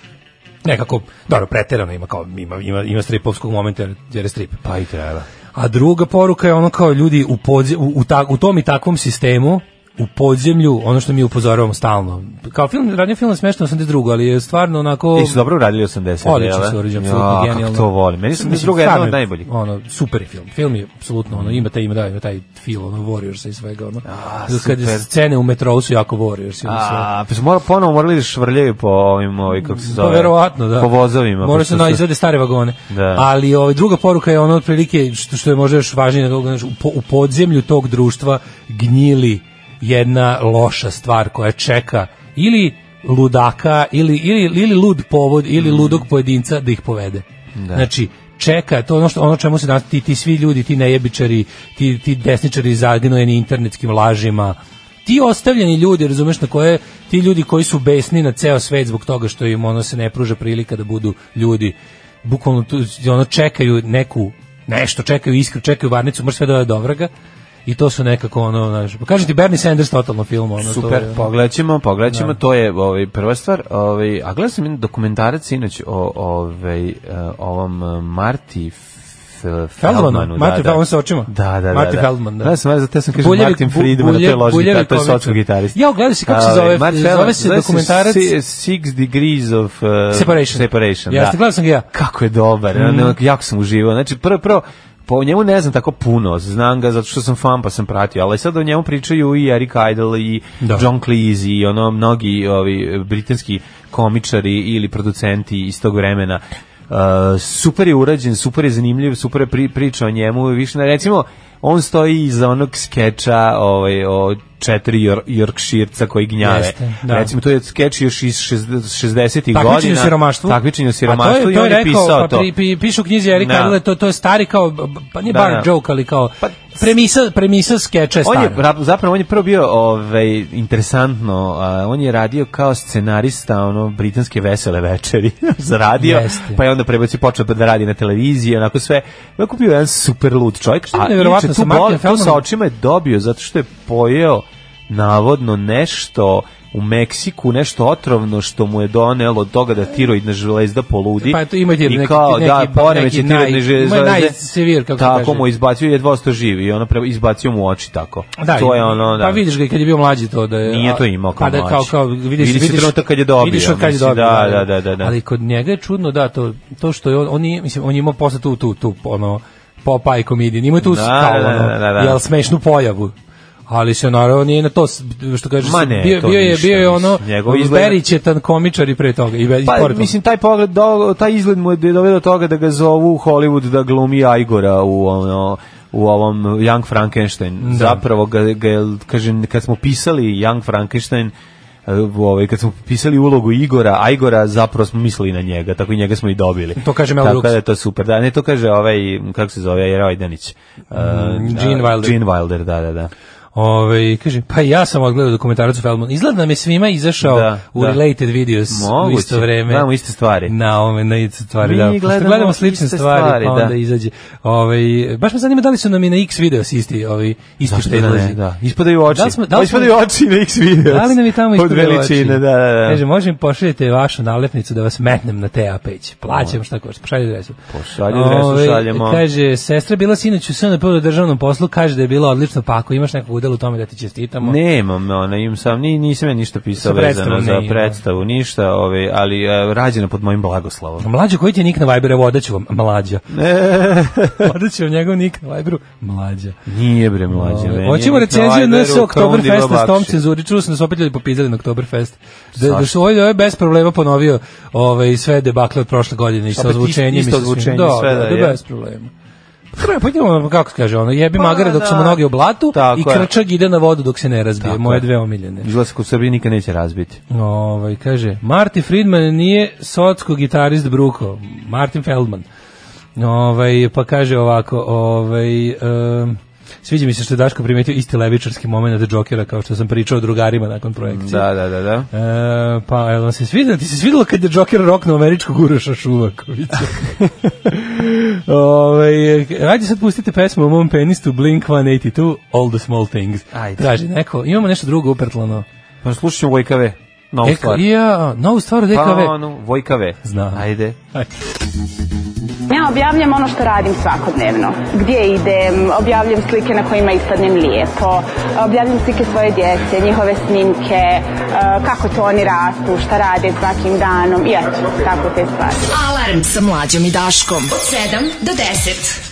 Speaker 6: nekako, dobro, preterano ima kao ima ima ima stripovskog momenta jer- jer je strip. Pa i treba. A druga poruka je ono kao ljudi u, podze- u, u, ta- u tom i takvom sistemu u podzemlju, ono što mi upozoravamo stalno. Kao film, radnje film je smešno 82. ali je stvarno onako...
Speaker 5: I su dobro uradili 80.
Speaker 6: Odlično se urađen, apsolutno
Speaker 5: ja,
Speaker 6: genijalno.
Speaker 5: kako to volim. Meni su
Speaker 6: Mislim,
Speaker 5: 82. jedan
Speaker 6: stvarno
Speaker 5: od najboljih.
Speaker 6: Ono, super je film. Film je apsolutno, ono, ima taj, ima, da, ima taj feel, ono, Warriorsa i svega, ono.
Speaker 5: A,
Speaker 6: Zato Kad
Speaker 5: super.
Speaker 6: je scene u metrou su jako Warriors. Ono, sve.
Speaker 5: A, pa su mora, ponovo morali da švrljaju po ovim, ovi, kako se zove,
Speaker 6: Pa verovatno, da.
Speaker 5: po vozovima.
Speaker 6: Mora
Speaker 5: pošto
Speaker 6: se
Speaker 5: su-
Speaker 6: na izvade stare vagone.
Speaker 5: Da.
Speaker 6: Ali ovaj druga poruka je ono otprilike što, što je možda još važnije, nego, znaš, u, po- u podzemlju tog društva gnjili jedna loša stvar koja čeka ili ludaka ili ili ili lud povod ili
Speaker 5: Mm.
Speaker 6: ludog pojedinca da ih povede. Znači čeka, to je ono, što, ono čemu se danas ti, ti svi ljudi, ti nejebičari, ti, ti desničari zagnojeni internetskim lažima, ti ostavljeni ljudi, razumeš na koje ti ljudi koji su besni na ceo svet zbog toga što im ono se ne pruža prilika da budu ljudi bukvalno tu ono čekaju neku nešto čekaju iskru, čekaju varnicu, mrš sve da dole do vraga i to su nekako ono, znaš, pa kažem ti Bernie Sanders totalno film, ono to
Speaker 5: Super,
Speaker 6: je, Da. ono.
Speaker 5: pogledaćemo, pogledaćemo, to je ovaj, prva stvar. Ovaj, a gledao sam jedan dokumentarac inače o ovaj, eh, ovom eh, Marti F- Feldmanu.
Speaker 6: Feldmanu, Martin Feldman sa očima.
Speaker 5: Da, da,
Speaker 6: Martin
Speaker 5: da.
Speaker 6: Feldman, da.
Speaker 5: Gledao sam, ja zato ja sam kažem
Speaker 6: Buljevi-
Speaker 5: Martin
Speaker 6: bu-
Speaker 5: Friedman, da to je
Speaker 6: Bulje-
Speaker 5: ložni,
Speaker 6: Buljevi
Speaker 5: gitar, to je
Speaker 6: Kovičević.
Speaker 5: sočko gitarist.
Speaker 6: Ja, gledao si kako se
Speaker 5: Ovaj,
Speaker 6: zove,
Speaker 5: Martin
Speaker 6: zove
Speaker 5: Feldman,
Speaker 6: se dokumentarac
Speaker 5: si- Six Degrees of eh,
Speaker 6: Separation.
Speaker 5: Separation,
Speaker 6: Jeste,
Speaker 5: da.
Speaker 6: gledao sam ga ja.
Speaker 5: Kako je dobar, mm. jako sam uživao. Znači, prvo, prvo, po njemu ne znam tako puno, znam ga zato što sam fan pa sam pratio, ali sad o njemu pričaju i Eric Idle i
Speaker 6: Da.
Speaker 5: John Cleese i ono mnogi ovi britanski komičari ili producenti iz tog vremena. Uh, super je urađen, super je zanimljiv, super je pri, priča o njemu, više ne, recimo on stoji iza onog skeča ovaj, o četiri Yor, Yorkshireca koji gnjave.
Speaker 6: Jeste, da.
Speaker 5: Recimo, to je skeč još iz 60-ih godina.
Speaker 6: Takmičenje u siromaštvu.
Speaker 5: Takmičenje u
Speaker 6: A
Speaker 5: siromaštvu
Speaker 6: to je,
Speaker 5: i
Speaker 6: to
Speaker 5: on
Speaker 6: je
Speaker 5: je
Speaker 6: rekao,
Speaker 5: pisao
Speaker 6: pa
Speaker 5: to.
Speaker 6: Pri, pri, pišu u knjizi Erika
Speaker 5: Da.
Speaker 6: Adler, to, to je stari kao, b- b- pa nije
Speaker 5: Da,
Speaker 6: bar
Speaker 5: da.
Speaker 6: joke, ali kao
Speaker 5: Pa-
Speaker 6: premisa, premisa skeča je
Speaker 5: On
Speaker 6: stara.
Speaker 5: je rap- zapravo on je prvo bio ovaj interesantno, a, on je radio kao scenarista ono britanske vesele večeri za radio,
Speaker 6: Jeste.
Speaker 5: pa je onda prebacio počeo da radi na televiziji, onako sve. Onako bio jedan super lud čovjek,
Speaker 6: je
Speaker 5: a
Speaker 6: nevjerovatno
Speaker 5: inače
Speaker 6: sa
Speaker 5: tu
Speaker 6: Martin
Speaker 5: bol, tu sa
Speaker 6: Feldmanom?
Speaker 5: očima je dobio zato što je pojeo navodno nešto u Meksiku, nešto otrovno što mu je donelo od toga da tiroidna železda poludi.
Speaker 6: Pa eto, ima
Speaker 5: I
Speaker 6: neki-
Speaker 5: kao,
Speaker 6: neki-
Speaker 5: da,
Speaker 6: neki
Speaker 5: poremeće
Speaker 6: naj-
Speaker 5: tiroidne
Speaker 6: ima
Speaker 5: železde.
Speaker 6: najsevir, kako se
Speaker 5: Tako
Speaker 6: kaže.
Speaker 5: mu izbacio, jedva ostao živi i ono pre, izbacio mu u oči tako.
Speaker 6: Da,
Speaker 5: to je ono, da.
Speaker 6: Pa vidiš ga i kad je bio mlađi to da je...
Speaker 5: Nije to imao kao
Speaker 6: pa da,
Speaker 5: mlađi.
Speaker 6: Kao, kao, vidiš,
Speaker 5: Vidi se
Speaker 6: vidiš,
Speaker 5: trenutak kad je dobio,
Speaker 6: Vidiš od kad je
Speaker 5: mislim,
Speaker 6: dobio.
Speaker 5: da, da, da, da.
Speaker 6: Ali kod njega je čudno, da, to, to što je on, on je, mislim, on je imao posle tu, tu, tu, ono, Popeye komedijan, imao je tu
Speaker 5: Da,
Speaker 6: kao,
Speaker 5: da,
Speaker 6: ono,
Speaker 5: da, da, da.
Speaker 6: jel smešnu pojavu. Ali se naravno nije na to s- što kaže
Speaker 5: Ma
Speaker 6: se-
Speaker 5: ne,
Speaker 6: bio,
Speaker 5: to
Speaker 6: bio je
Speaker 5: ništa,
Speaker 6: bio je
Speaker 5: mislim,
Speaker 6: ono
Speaker 5: njegov izgled-
Speaker 6: Berićetan komičar i pre toga i Berić
Speaker 5: Pa,
Speaker 6: pored toga.
Speaker 5: mislim, taj pogled, do, taj izgled mu je doveo do toga da ga zovu u Hollywood da glumi Ajgora u ono u ovom Young Frankenstein.
Speaker 6: Da.
Speaker 5: Zapravo, ga, ga, je, kažem, kad smo pisali Young Frankenstein, e, u ovaj, kad smo pisali ulogu Igora, Ajgora, zapravo smo mislili na njega, tako i njega smo i dobili.
Speaker 6: To kaže Mel
Speaker 5: Tako
Speaker 6: Brooks.
Speaker 5: da je to super. Da, ne, to kaže ovaj, kako se zove, Jera Ojdanić. Uh,
Speaker 6: Mm, Gene Wilder.
Speaker 5: Gene Wilder, da, da, da.
Speaker 6: Ove, kaže, pa ja sam odgledao dokumentarac o Feldmanu. Izgleda da nam je svima izašao
Speaker 5: Da,
Speaker 6: u
Speaker 5: da.
Speaker 6: related videos u
Speaker 5: Moguće.
Speaker 6: isto vreme. Da.
Speaker 5: Gledamo iste stvari.
Speaker 6: Na, ome, na iste stvari,
Speaker 5: Mi
Speaker 6: da. Pošto
Speaker 5: gledamo
Speaker 6: gledamo slične
Speaker 5: iste
Speaker 6: stvari,
Speaker 5: stvari,
Speaker 6: pa
Speaker 5: da.
Speaker 6: onda izađe. Ove, baš me zanima da li su nam i na X videos isti, ovi, isti
Speaker 5: Zašto da
Speaker 6: predlozi.
Speaker 5: ne? Da. Ispadaju oči.
Speaker 6: Da li smo- da li smo-
Speaker 5: ispadaju oči na X video.
Speaker 6: Da li nam i tamo
Speaker 5: Od
Speaker 6: ispod
Speaker 5: veličine, da, da, da.
Speaker 6: Kaže, možem pošaljete vašu nalepnicu da vas metnem na TA peć. Plaćam šta košta, pošalje adresu.
Speaker 5: Pošalji adresu,
Speaker 6: Ovaj,
Speaker 5: šaljemo.
Speaker 6: Kaže, sestra bila sinoć u SNP u državnom poslu, kaže da je bilo odlično, pa ako imaš nekog udela u tome da ti čestitamo.
Speaker 5: Nemam, ona, imam sam, ni, nisam ja ništa pisao
Speaker 6: Sa predstavom
Speaker 5: vezano
Speaker 6: ne
Speaker 5: za
Speaker 6: imam.
Speaker 5: predstavu, ništa, ove, ali e, rađena pod mojim blagoslovom.
Speaker 6: Mlađo, koji ti je nik na Viberu? Evo, odaću vam, mlađa. odaću vam njegov nik na Viberu, mlađa.
Speaker 5: Nije bre mlađe. meni je
Speaker 6: Hoćemo
Speaker 5: Nikolaj
Speaker 6: recenziju
Speaker 5: Beruk,
Speaker 6: NS Oktoberfest
Speaker 5: Tondi
Speaker 6: s tom
Speaker 5: Babakšić.
Speaker 6: cenzuri. Čuo sam da su opet ljudi popizali na Oktoberfest. Da, da su ovaj, ovaj bez problema ponovio ovaj, sve debakle od prošle godine i sa
Speaker 5: Opet isto-
Speaker 6: ozvučenjem. i
Speaker 5: isto
Speaker 6: sa svim.
Speaker 5: ozvučenje,
Speaker 6: da,
Speaker 5: sve
Speaker 6: da,
Speaker 5: da
Speaker 6: da,
Speaker 5: je.
Speaker 6: bez problema. Prvo, pa idemo, kako se kaže ono, jebi magare dok su mu
Speaker 5: da.
Speaker 6: noge u blatu
Speaker 5: Tako
Speaker 6: i
Speaker 5: je.
Speaker 6: krčag ide na vodu dok se ne razbije.
Speaker 5: Tako
Speaker 6: moje
Speaker 5: je.
Speaker 6: dve omiljene.
Speaker 5: Izgleda se u Srbiji nikad neće razbiti.
Speaker 6: Ovaj kaže Marty Friedman nije sotsko gitarist Bruko, Martin Feldman. Ovaj pa kaže ovako, ovaj em, sviđa mi se što je Daško primetio isti levičarski momenat Jokera kao što sam pričao drugarima nakon projekcije.
Speaker 5: Da, da, da, da.
Speaker 6: E, pa, jel vam se svidjelo? Ti se svidjelo kad je Joker roknuo američkog Uroša Šuvakovića? Ove, e, ajde sad pustite pesmu o mom penistu Blink-182, All the Small Things.
Speaker 5: Ajde.
Speaker 6: Traži neko. Imamo nešto drugo upertlano.
Speaker 5: Pa slušamo Vojkave. Novu
Speaker 6: Eka,
Speaker 5: stvar.
Speaker 6: E ja, novu stvar od EKV.
Speaker 5: Pa ono, Vojkave.
Speaker 6: Znam.
Speaker 5: Ajde.
Speaker 1: Ja objavljam ono što radim svakodnevno. Gdje idem, objavljam slike na kojima ispadnem lijepo, objavljam slike svoje djece, njihove snimke, e, kako to oni rastu, šta rade svakim danom i eto, tako te stvari.
Speaker 4: Alarm sa mlađom i Daškom. Od 7 do 10.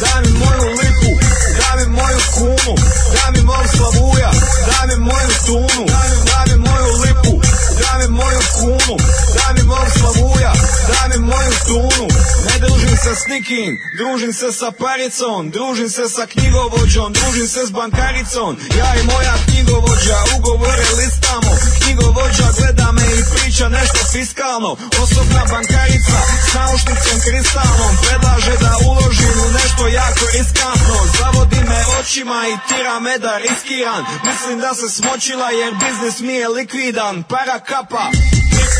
Speaker 7: Daj mi moju liku, daj mi moju kunu, daj mi mog slavuja, daj mi moju tunu, daj mi moju liku, daj mi moju kunu, daj mi mog slavuja, daj mi moju tunu. Ne družim se s nikim, družim se sa paricom, družim se sa knjigovođom, družim se s bankaricom. Ja i moja knjigovođa ugovore listamo, knjigovođa gleda me i priča nešto fiskalno. Osobna bankarica s naušnicom kristalnom predlaže da uložim u nešto jako riskantno. Zavodi me očima i tira me da riskiran. Mislim da se smočila jer biznis mi je likvidan. Para kapa, drip,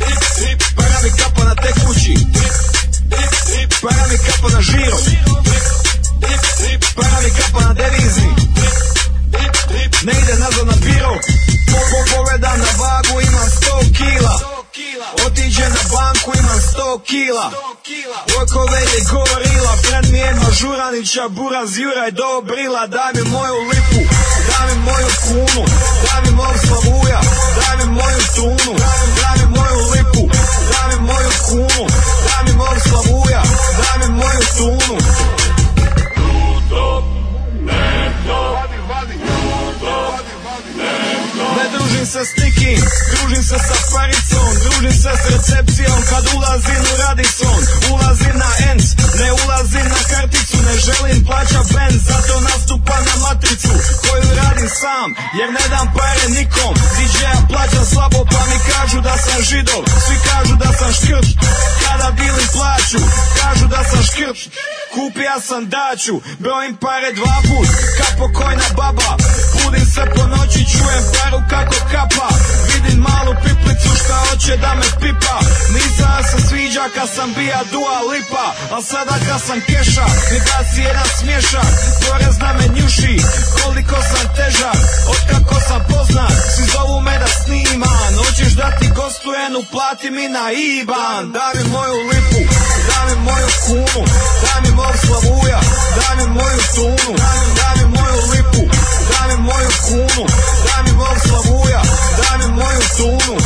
Speaker 7: drip, drip, para mi kapa na tekući. Drip, drip, drip, para mi kapa na žiro. Drip, drip, drip, para mi kapa na devizi. Drip, drip, drip, ne ide nazad na biro. Po, po, povedam na vagu imam 100 kila. Otiđe na banku, imam 100 kila Rokove je gorila, friend mi je mažuranića Buraz Juraj dobrila Daj mi moju lipu, daj mi moju kunu Daj mi mog slavuja, daj mi moju tunu Daj mi moju lipu, daj mi moju kunu Daj mi mog slavuja, daj mi moju tunu Ne družim se s nikim, družim se sa paricom, družim se s recepcijom kad ulazim u Radisson. Ulazim na ENC, ne ulazim na karticu, ne želim plaća benz, zato nastupam na matricu koju radim sam, jer ne dam pare nikom. DJ-a plaća slabo pa mi kažu da sam židov, svi kažu da sam škrč, kada bili plaću, kažu da sam škrč. Kupija sam daću, brojim pare dva put, ka pokojna baba, budim se po noći, čujem paru kako kapa Vidim malu piplicu šta hoće da me pipa Nisam ja se sviđa kad sam bija dua lipa A sada kad sam keša mi baci jedan smješak Porezna me njuši koliko sam težak Otkako sam poznat svi zovu me da sniman Hoćeš da ti gostujem uplati mi na iban Daj mi moju lipu, daj mi moju kunu Daj mi mog slavuja, daj mi moju tunu Daj mi moju lipu, daj mi moju kunu Daj mi mog slavuja, daj mi moju tunu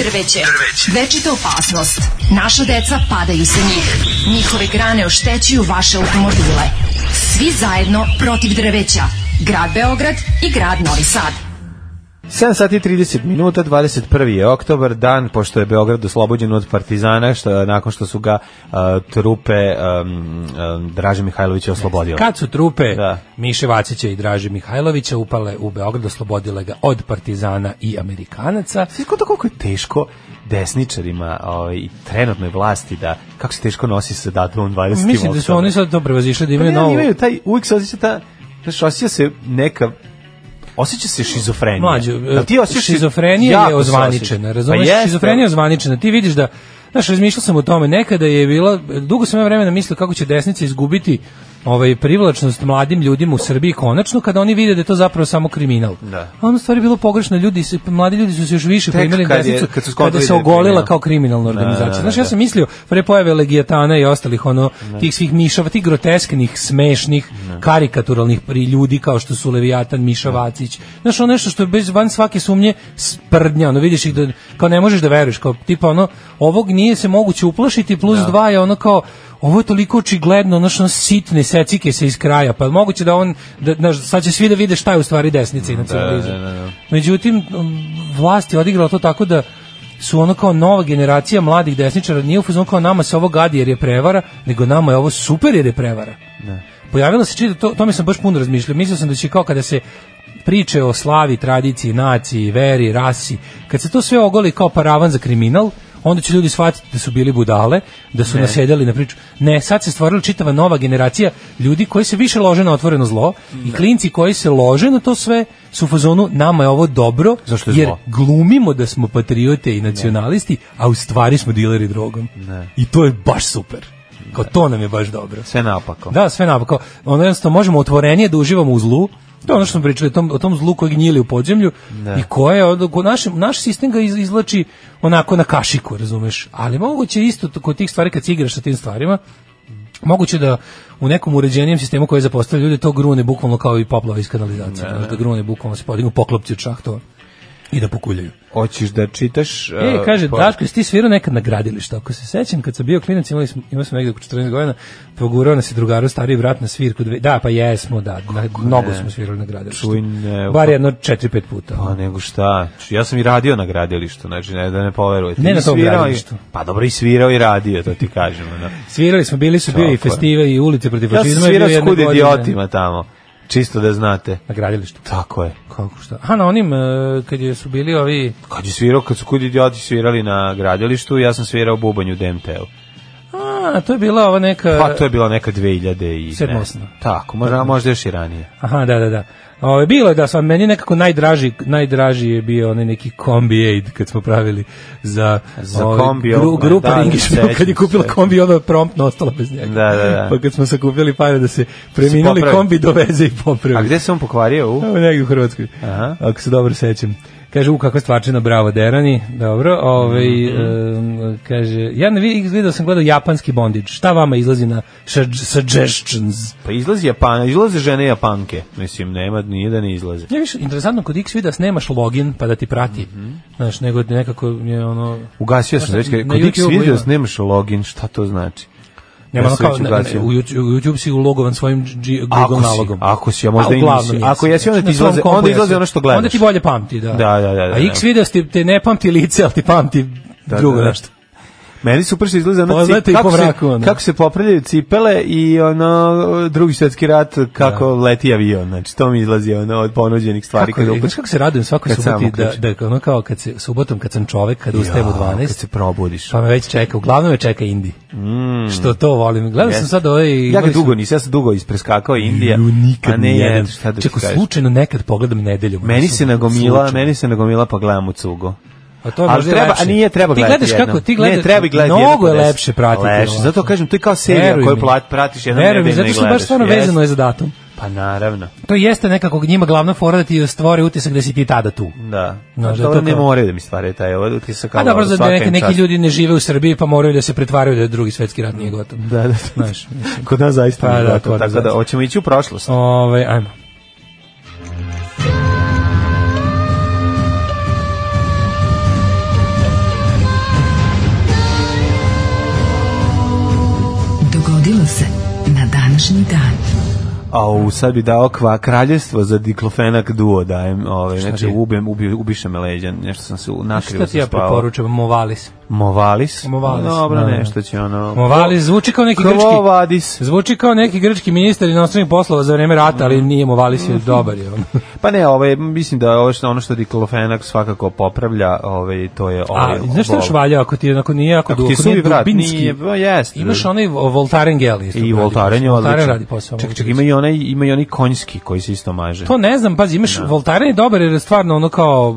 Speaker 4: Drveće. Večita opasnost. Naša deca padaju sa njih. Njihove grane oštećuju vaše automobile. Svi zajedno protiv drveća. Grad Beograd i grad Novi Sad.
Speaker 5: 7 sati i 30 minuta, 21. je oktobar, dan pošto je Beograd oslobođen od Partizana, što, nakon što su ga a, trupe um, um, Draže Mihajlovića oslobodile.
Speaker 6: Kad su trupe
Speaker 5: Da.
Speaker 6: Miše Vacića i Draže Mihajlovića upale u Beograd, oslobodile ga od partizana i Amerikanaca.
Speaker 5: Znaš koliko koliko je teško desničarima ovaj, i trenutnoj vlasti da kako se teško nosi sa datumom 20.
Speaker 6: Mislim da su
Speaker 5: oktobra.
Speaker 6: oni sad dobro vazišli da
Speaker 5: Pa ne,
Speaker 6: imaju
Speaker 5: oni
Speaker 6: novu...
Speaker 5: imaju taj, uvijek se osjeća ta, znaš, osjeća se neka Osjeća se šizofrenija.
Speaker 6: Mlađo, e,
Speaker 5: Da ti osjećaš-
Speaker 6: šizofrenija
Speaker 5: jako
Speaker 6: je
Speaker 5: se
Speaker 6: ozvaničena,
Speaker 5: osjeća. Pa
Speaker 6: razumeš?
Speaker 5: jeste.
Speaker 6: šizofrenija je ozvaničena. Ti vidiš da, znaš, razmišljao sam o tome, nekada je bila, dugo sam ja vremena mislio kako će desnica izgubiti ovaj privlačnost mladim ljudima u Srbiji konačno kada oni vide da je to zapravo samo kriminal.
Speaker 5: Da.
Speaker 6: A ono u stvari bilo pogrešno, ljudi se mladi ljudi su se još više
Speaker 5: Tek
Speaker 6: primili
Speaker 5: kad je-
Speaker 6: desnicu
Speaker 5: kad su
Speaker 6: kada
Speaker 5: skontali
Speaker 6: se
Speaker 5: da je
Speaker 6: ogolila
Speaker 5: kriminal.
Speaker 6: kao kriminalna organizacija.
Speaker 5: da,
Speaker 6: Znaš, ja
Speaker 5: da.
Speaker 6: sam mislio pre pojave Legijatana i ostalih ono tih svih mišava, tih grotesknih, smešnih, karikaturalnih pri ljudi kao što su Levijatan, Miša Vacić. Znaš, ono nešto što je bez van svake sumnje sprdnja, ono vidiš ih da kao ne možeš da veruješ, kao tipa ono ovog nije se moguće uplašiti plus
Speaker 5: Da.
Speaker 6: dva je ono kao ovo je toliko očigledno, ono što ono sitne secike se iz kraja, pa moguće da on, da, znaš, sad će svi da vide šta je u stvari desnica i
Speaker 5: Da,
Speaker 6: nacionalizam. Međutim, um, vlast je odigrala to tako da su ono kao nova generacija mladih desničara, nije u fazonu kao nama se ovo gadi jer je prevara, nego nama je ovo super jer je prevara. Ne. Pojavila se čita, to, tome sam baš puno razmišljao, mislio sam da će da kao kada se priče o slavi, tradiciji, naciji, veri, rasi, kad se to sve ogoli kao paravan za kriminal, onda će ljudi shvatiti da su bili budale, da su nasjedali na priču. Ne, sad se stvorila čitava nova generacija ljudi koji se više lože na otvoreno zlo
Speaker 5: Da.
Speaker 6: i klinci koji se lože na to sve su u fazonu nama je ovo dobro
Speaker 5: Zašto je
Speaker 6: jer
Speaker 5: zlo?
Speaker 6: glumimo da smo patriote i nacionalisti, a u stvari smo dileri drogom. I to je baš super. Kao to nam je baš dobro.
Speaker 5: Sve napako.
Speaker 6: Da, sve napako. Ono jednostavno možemo otvorenije da uživamo u zlu. To je ono što smo pričali, o tom, o tom zlu koji gnjili u podzemlju i koje, od- ko- naš, naš sistem ga iz- izvlači onako na kašiku, razumeš? Ali moguće isto to- kod tih stvari kad se igraš sa tim stvarima, moguće da u nekom uređenijem sistemu koji zapostavlja ljude to grune bukvalno kao i poplava iz kanalizacije. znaš, Da grune bukvalno se podignu poklopci od šahtova i da pokuljaju.
Speaker 5: Hoćeš da čitaš...
Speaker 6: E,
Speaker 5: uh,
Speaker 6: kaže,
Speaker 5: po-
Speaker 6: Daško, jesi ti svirao nekad na gradilištu? Ako se sećam, kad sam bio klinac, imali smo, imao sam negde oko 14 godina, pogurao nas je drugaru, stariji brat na svirku. Dve, da, pa jesmo, da, na, mnogo smo svirali na gradilištu.
Speaker 5: Čuj, ne,
Speaker 6: Bar
Speaker 5: pa-
Speaker 6: jedno 4-5 puta.
Speaker 5: Pa nego šta? Znači, Ja sam i radio na gradilištu, znači ne da ne poverujete.
Speaker 6: Ne
Speaker 5: I
Speaker 6: na tom
Speaker 5: svirao i-
Speaker 6: gradilištu.
Speaker 5: Pa dobro i svirao i radio, to ti da. kažem. ono.
Speaker 6: Svirali smo, bili su, bio
Speaker 5: Tako
Speaker 6: i
Speaker 5: je.
Speaker 6: festive i ulice protiv
Speaker 5: Ja sam
Speaker 6: fašizma, je
Speaker 5: svirao
Speaker 6: bio
Speaker 5: s
Speaker 6: jedne
Speaker 5: kud
Speaker 6: godine
Speaker 5: idiotima tamo. Čisto da znate.
Speaker 6: Na gradilištu.
Speaker 5: Tako je.
Speaker 6: Kako šta? A na onim, e, kad je su bili ovi...
Speaker 5: Kad je svirao, kad su kud idioti svirali na gradilištu, ja sam svirao bubanju DMT-u.
Speaker 6: A, to je bila ova neka...
Speaker 5: Pa to je bila neka 2000 i...
Speaker 6: Sedma,
Speaker 5: ne
Speaker 6: osma.
Speaker 5: znam. Tako, možda, možda još i ranije.
Speaker 6: Aha, da, da, da. Ove, bilo je da sam, meni je nekako najdraži, najdraži je bio onaj neki kombi aid kad smo pravili za,
Speaker 5: Za
Speaker 6: ove,
Speaker 5: kombi
Speaker 6: gru,
Speaker 5: oblan,
Speaker 6: grupa
Speaker 5: da,
Speaker 6: Ringić,
Speaker 5: sećam
Speaker 6: kad je kupila
Speaker 5: se.
Speaker 6: kombi onda je promptno ostala bez njega.
Speaker 5: Da, da, da.
Speaker 6: Pa kad smo sakupljali pare da se preminuli
Speaker 5: popravi.
Speaker 6: kombi doveze i popravi.
Speaker 5: A gde se on pokvario? U?
Speaker 6: Evo negdje u Hrvatskoj.
Speaker 5: Aha.
Speaker 6: Ako se dobro sećam. Kaže, u kakva stvarčina, bravo, derani. Dobro, ovaj,
Speaker 5: Mhm.
Speaker 6: em, kaže, ja ne vidim, gledao sam gledao japanski bondage. Šta vama izlazi na sug- suggestions?
Speaker 5: Pa izlazi Japana, izlaze žene Japanke. Mislim, nema, nije da ne izlaze.
Speaker 6: Ja više interesantno kod X vidas nemaš login pa da ti prati.
Speaker 5: Mhm.
Speaker 6: Znaš, nego nekako je ono
Speaker 5: Ugasio sam,
Speaker 6: Znaš,
Speaker 5: već, kad-
Speaker 6: na
Speaker 5: kod X
Speaker 6: YouTubeu
Speaker 5: video
Speaker 6: ima.
Speaker 5: nemaš login, šta to znači?
Speaker 6: nema
Speaker 5: Ja
Speaker 6: ono
Speaker 5: sam
Speaker 6: kao
Speaker 5: već
Speaker 6: ne,
Speaker 5: ugasio.
Speaker 6: ne, u YouTube, u YouTube si ulogovan svojim G- Google
Speaker 5: Ako si,
Speaker 6: nalogom.
Speaker 5: ako si, a možda i
Speaker 6: uglavnom
Speaker 5: nisi. Ako jesi, onda
Speaker 6: Znači,
Speaker 5: ti
Speaker 6: na svom
Speaker 5: izlaze-
Speaker 6: kompu
Speaker 5: onda izlaze
Speaker 6: jesi.
Speaker 5: ono što gledaš.
Speaker 6: Onda ti bolje pamti, da.
Speaker 5: Da, da, da, da,
Speaker 6: A X
Speaker 5: da.
Speaker 6: vidas ti te ne pamti lice, ali ti pamti
Speaker 5: Da,
Speaker 6: drugo
Speaker 5: da, da.
Speaker 6: nešto.
Speaker 5: Meni super što izlaze ono
Speaker 6: Poznate i
Speaker 5: cip-
Speaker 6: po
Speaker 5: kako,
Speaker 6: mraku, ono.
Speaker 5: se, kako se popravljaju cipele i ono drugi svetski rat kako leti avion. Znači to mi izlazi ono od ponuđenih stvari
Speaker 6: Da. Kako,
Speaker 5: kad
Speaker 6: je, znaš
Speaker 5: uključim.
Speaker 6: kako se radujem svakoj
Speaker 5: Pa, Kad sam
Speaker 6: suboti da,
Speaker 5: uključim.
Speaker 6: da ono kao kad se subotom kad sam čovek kad ustajem u
Speaker 5: Ja,
Speaker 6: 12
Speaker 5: kad se probudiš.
Speaker 6: pa me već čeka uglavnom me čeka Indi što to volim gledao sam
Speaker 5: Mm. Jeste.
Speaker 6: sad ovaj
Speaker 5: Ja
Speaker 6: imali
Speaker 5: ga
Speaker 6: su-
Speaker 5: dugo nisam, ja sam dugo ispreskakao Indija.
Speaker 6: Ju, nikad
Speaker 5: a ne
Speaker 6: nijedan.
Speaker 5: jedan, šta da ti
Speaker 6: Čekaj,
Speaker 5: kažem.
Speaker 6: slučajno nekad pogledam nedelju.
Speaker 5: Meni se
Speaker 6: Slučajno.
Speaker 5: nagomila, meni se nagomila pa gledam u cugo.
Speaker 6: A to je
Speaker 5: Ali
Speaker 6: možda i
Speaker 5: treba,
Speaker 6: znači lepše.
Speaker 5: a nije treba
Speaker 6: ti
Speaker 5: gledati
Speaker 6: gledaš
Speaker 5: jednom.
Speaker 6: kako ti gledaš.
Speaker 5: Ne, treba i gledati
Speaker 6: Mnogo je
Speaker 5: jednom po deset.
Speaker 6: lepše pratiti.
Speaker 5: Lepše,
Speaker 6: ovako.
Speaker 5: zato kažem, to je kao serija
Speaker 6: Veruj
Speaker 5: koju
Speaker 6: mi.
Speaker 5: plat- pratiš jednom
Speaker 6: Veruj mi,
Speaker 5: nedeljno i
Speaker 6: zato što baš
Speaker 5: gledaš,
Speaker 6: stvarno
Speaker 5: jest.
Speaker 6: vezano je za datum.
Speaker 5: Pa naravno.
Speaker 6: To jeste nekako njima glavna fora da ti stvori utisak da si ti tada tu.
Speaker 5: Da.
Speaker 6: Znaš, da je
Speaker 5: to,
Speaker 6: to
Speaker 5: ne
Speaker 6: kao-
Speaker 5: moraju da mi stvaraju taj ovaj utisak.
Speaker 6: A
Speaker 5: ali
Speaker 6: dobro,
Speaker 5: ono,
Speaker 6: da
Speaker 5: svaka
Speaker 6: neki,
Speaker 5: im
Speaker 6: neki
Speaker 5: čast.
Speaker 6: ljudi ne žive u Srbiji pa moraju da se pretvaraju da je drugi svetski rat nije gotov.
Speaker 5: Da, da, da.
Speaker 6: Znaš, mislim.
Speaker 5: Kod nas zaista
Speaker 6: Pa
Speaker 5: nije
Speaker 6: da,
Speaker 5: gotovo,
Speaker 6: kod nas
Speaker 5: tako da
Speaker 6: zaista.
Speaker 5: hoćemo ići u prošlost.
Speaker 6: Ove, Ovaj, ajmo.
Speaker 4: Dogodilo se na današnji dan.
Speaker 5: A u sad bi dao kva kraljevstvo za diklofenak duo dajem, ovaj znači
Speaker 6: ti?
Speaker 5: ubem ubi, ubiše me leđa, nešto sam se u- nakrio
Speaker 6: Šta ti
Speaker 5: sam
Speaker 6: ja
Speaker 5: spavao.
Speaker 6: preporučam? Movalis.
Speaker 5: Movalis.
Speaker 6: Movalis,
Speaker 5: Dobro,
Speaker 6: da, da.
Speaker 5: nešto će ono.
Speaker 6: Movalis zvuči kao neki grčki...
Speaker 5: Kovadis.
Speaker 6: Zvuči kao neki grčki ministar inostranih poslova za vreme rata, ali nije Movalis
Speaker 5: Mhm.
Speaker 6: je dobar je on.
Speaker 5: Pa ne, ovaj mislim da ovo što ono što diklofenak svakako popravlja, ovaj to je ovaj.
Speaker 6: A, znaš što
Speaker 5: bol.
Speaker 6: još valja ako ti je onako nije jako
Speaker 5: Ako
Speaker 6: dugo,
Speaker 5: ti je
Speaker 6: ako nije
Speaker 5: suvi vrat,
Speaker 6: dubinski?
Speaker 5: nije, pa jeste.
Speaker 6: Imaš onaj Voltaren gel isto.
Speaker 5: i
Speaker 6: radi
Speaker 5: voltaren je
Speaker 6: posao. Voltaren
Speaker 5: odličan.
Speaker 6: radi posao. da
Speaker 5: Čekaj, čekaj, ima i onaj, ima i onaj konjski koji se isto maže.
Speaker 6: To ne znam, pazi,
Speaker 5: Da.
Speaker 6: imaš Voltaren je dobar jer je stvarno ono kao,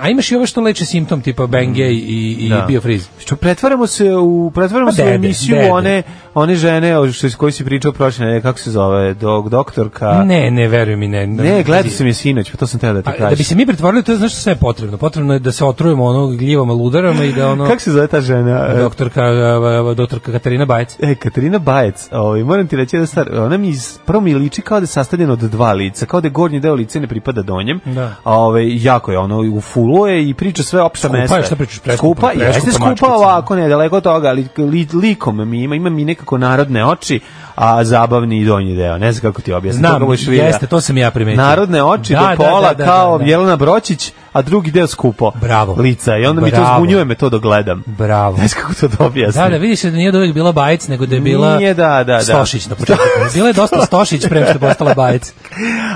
Speaker 6: a imaš i ove što leče simptom tipa Bengay i, i
Speaker 5: Da.
Speaker 6: Biofreeze.
Speaker 5: Što pretvaramo se u pretvaramo
Speaker 6: Pa
Speaker 5: se u
Speaker 6: dede,
Speaker 5: emisiju
Speaker 6: dede.
Speaker 5: one one žene o što iz koji si pričao prošle nedelje kako se zove dok doktorka
Speaker 6: Ne, ne, veruj mi, ne.
Speaker 5: Da. ne gledao sam je sinoć pa to sam teo da ti
Speaker 6: A,
Speaker 5: kažem
Speaker 6: Da bi se mi pretvorili, to je znaš što sve je potrebno. Potrebno je da se otrujemo onog gljivama, ludarama i da ono...
Speaker 5: kako se zove ta žena E,
Speaker 6: Doktorka, a, a, doktorka Katarina Bajec.
Speaker 5: E, Katarina Bajec, ovaj, moram ti reći da stvar, ona mi iz, prvo mi liči kao da je sastavljena od dva lica, kao da je gornji deo lice ne pripada donjem,
Speaker 6: Da.
Speaker 5: a ovaj, jako je, ono, u fulu je i priča sve opšta
Speaker 6: Skupa je,
Speaker 5: mesta.
Speaker 6: šta pričaš, preskupa,
Speaker 5: Skupa,
Speaker 6: preskupa
Speaker 5: jeste skupa
Speaker 6: mačkica.
Speaker 5: ovako, ne, daleko od toga, ali li, likom mi ima, ima mi nekako narodne oči, a zabavni i donji deo, ne znam kako ti objasnim.
Speaker 6: Znam,
Speaker 5: toga budeš vidjela.
Speaker 6: jeste, to sam ja primetio.
Speaker 5: Narodne oči
Speaker 6: Da,
Speaker 5: do pola,
Speaker 6: da, da, da,
Speaker 5: kao
Speaker 6: da, da.
Speaker 5: Jelena Bročić, a drugi deo skupo
Speaker 6: Bravo.
Speaker 5: lica. I onda mi to
Speaker 6: Bravo.
Speaker 5: zbunjuje me to dok gledam.
Speaker 6: Bravo.
Speaker 5: Znaš kako to da objasnim?
Speaker 6: Da, da, vidiš da nije od uvek bila Bajec, nego da je bila
Speaker 5: Nije, da, da, da.
Speaker 6: Stošić na početku. Bila je dosta Stošić pre što je postala Bajec.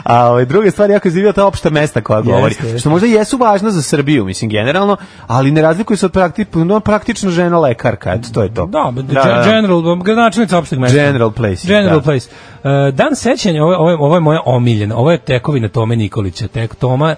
Speaker 5: A ovaj druga stvar jako izvio ta opšta mesta koja govori.
Speaker 6: jeste.
Speaker 5: Što možda jesu važna za Srbiju, mislim generalno, ali ne razlikuju se od praktično, no, praktično žena lekarka, eto to je to.
Speaker 6: Da, da, general, gradonačelnica opšteg mesta.
Speaker 5: General Place,
Speaker 6: General
Speaker 5: da.
Speaker 6: Place. E, dan sećanja, ovo, je- ovo, je- ovo je moja omiljena, ovo je tekovina Tome Nikolića, tek Toma,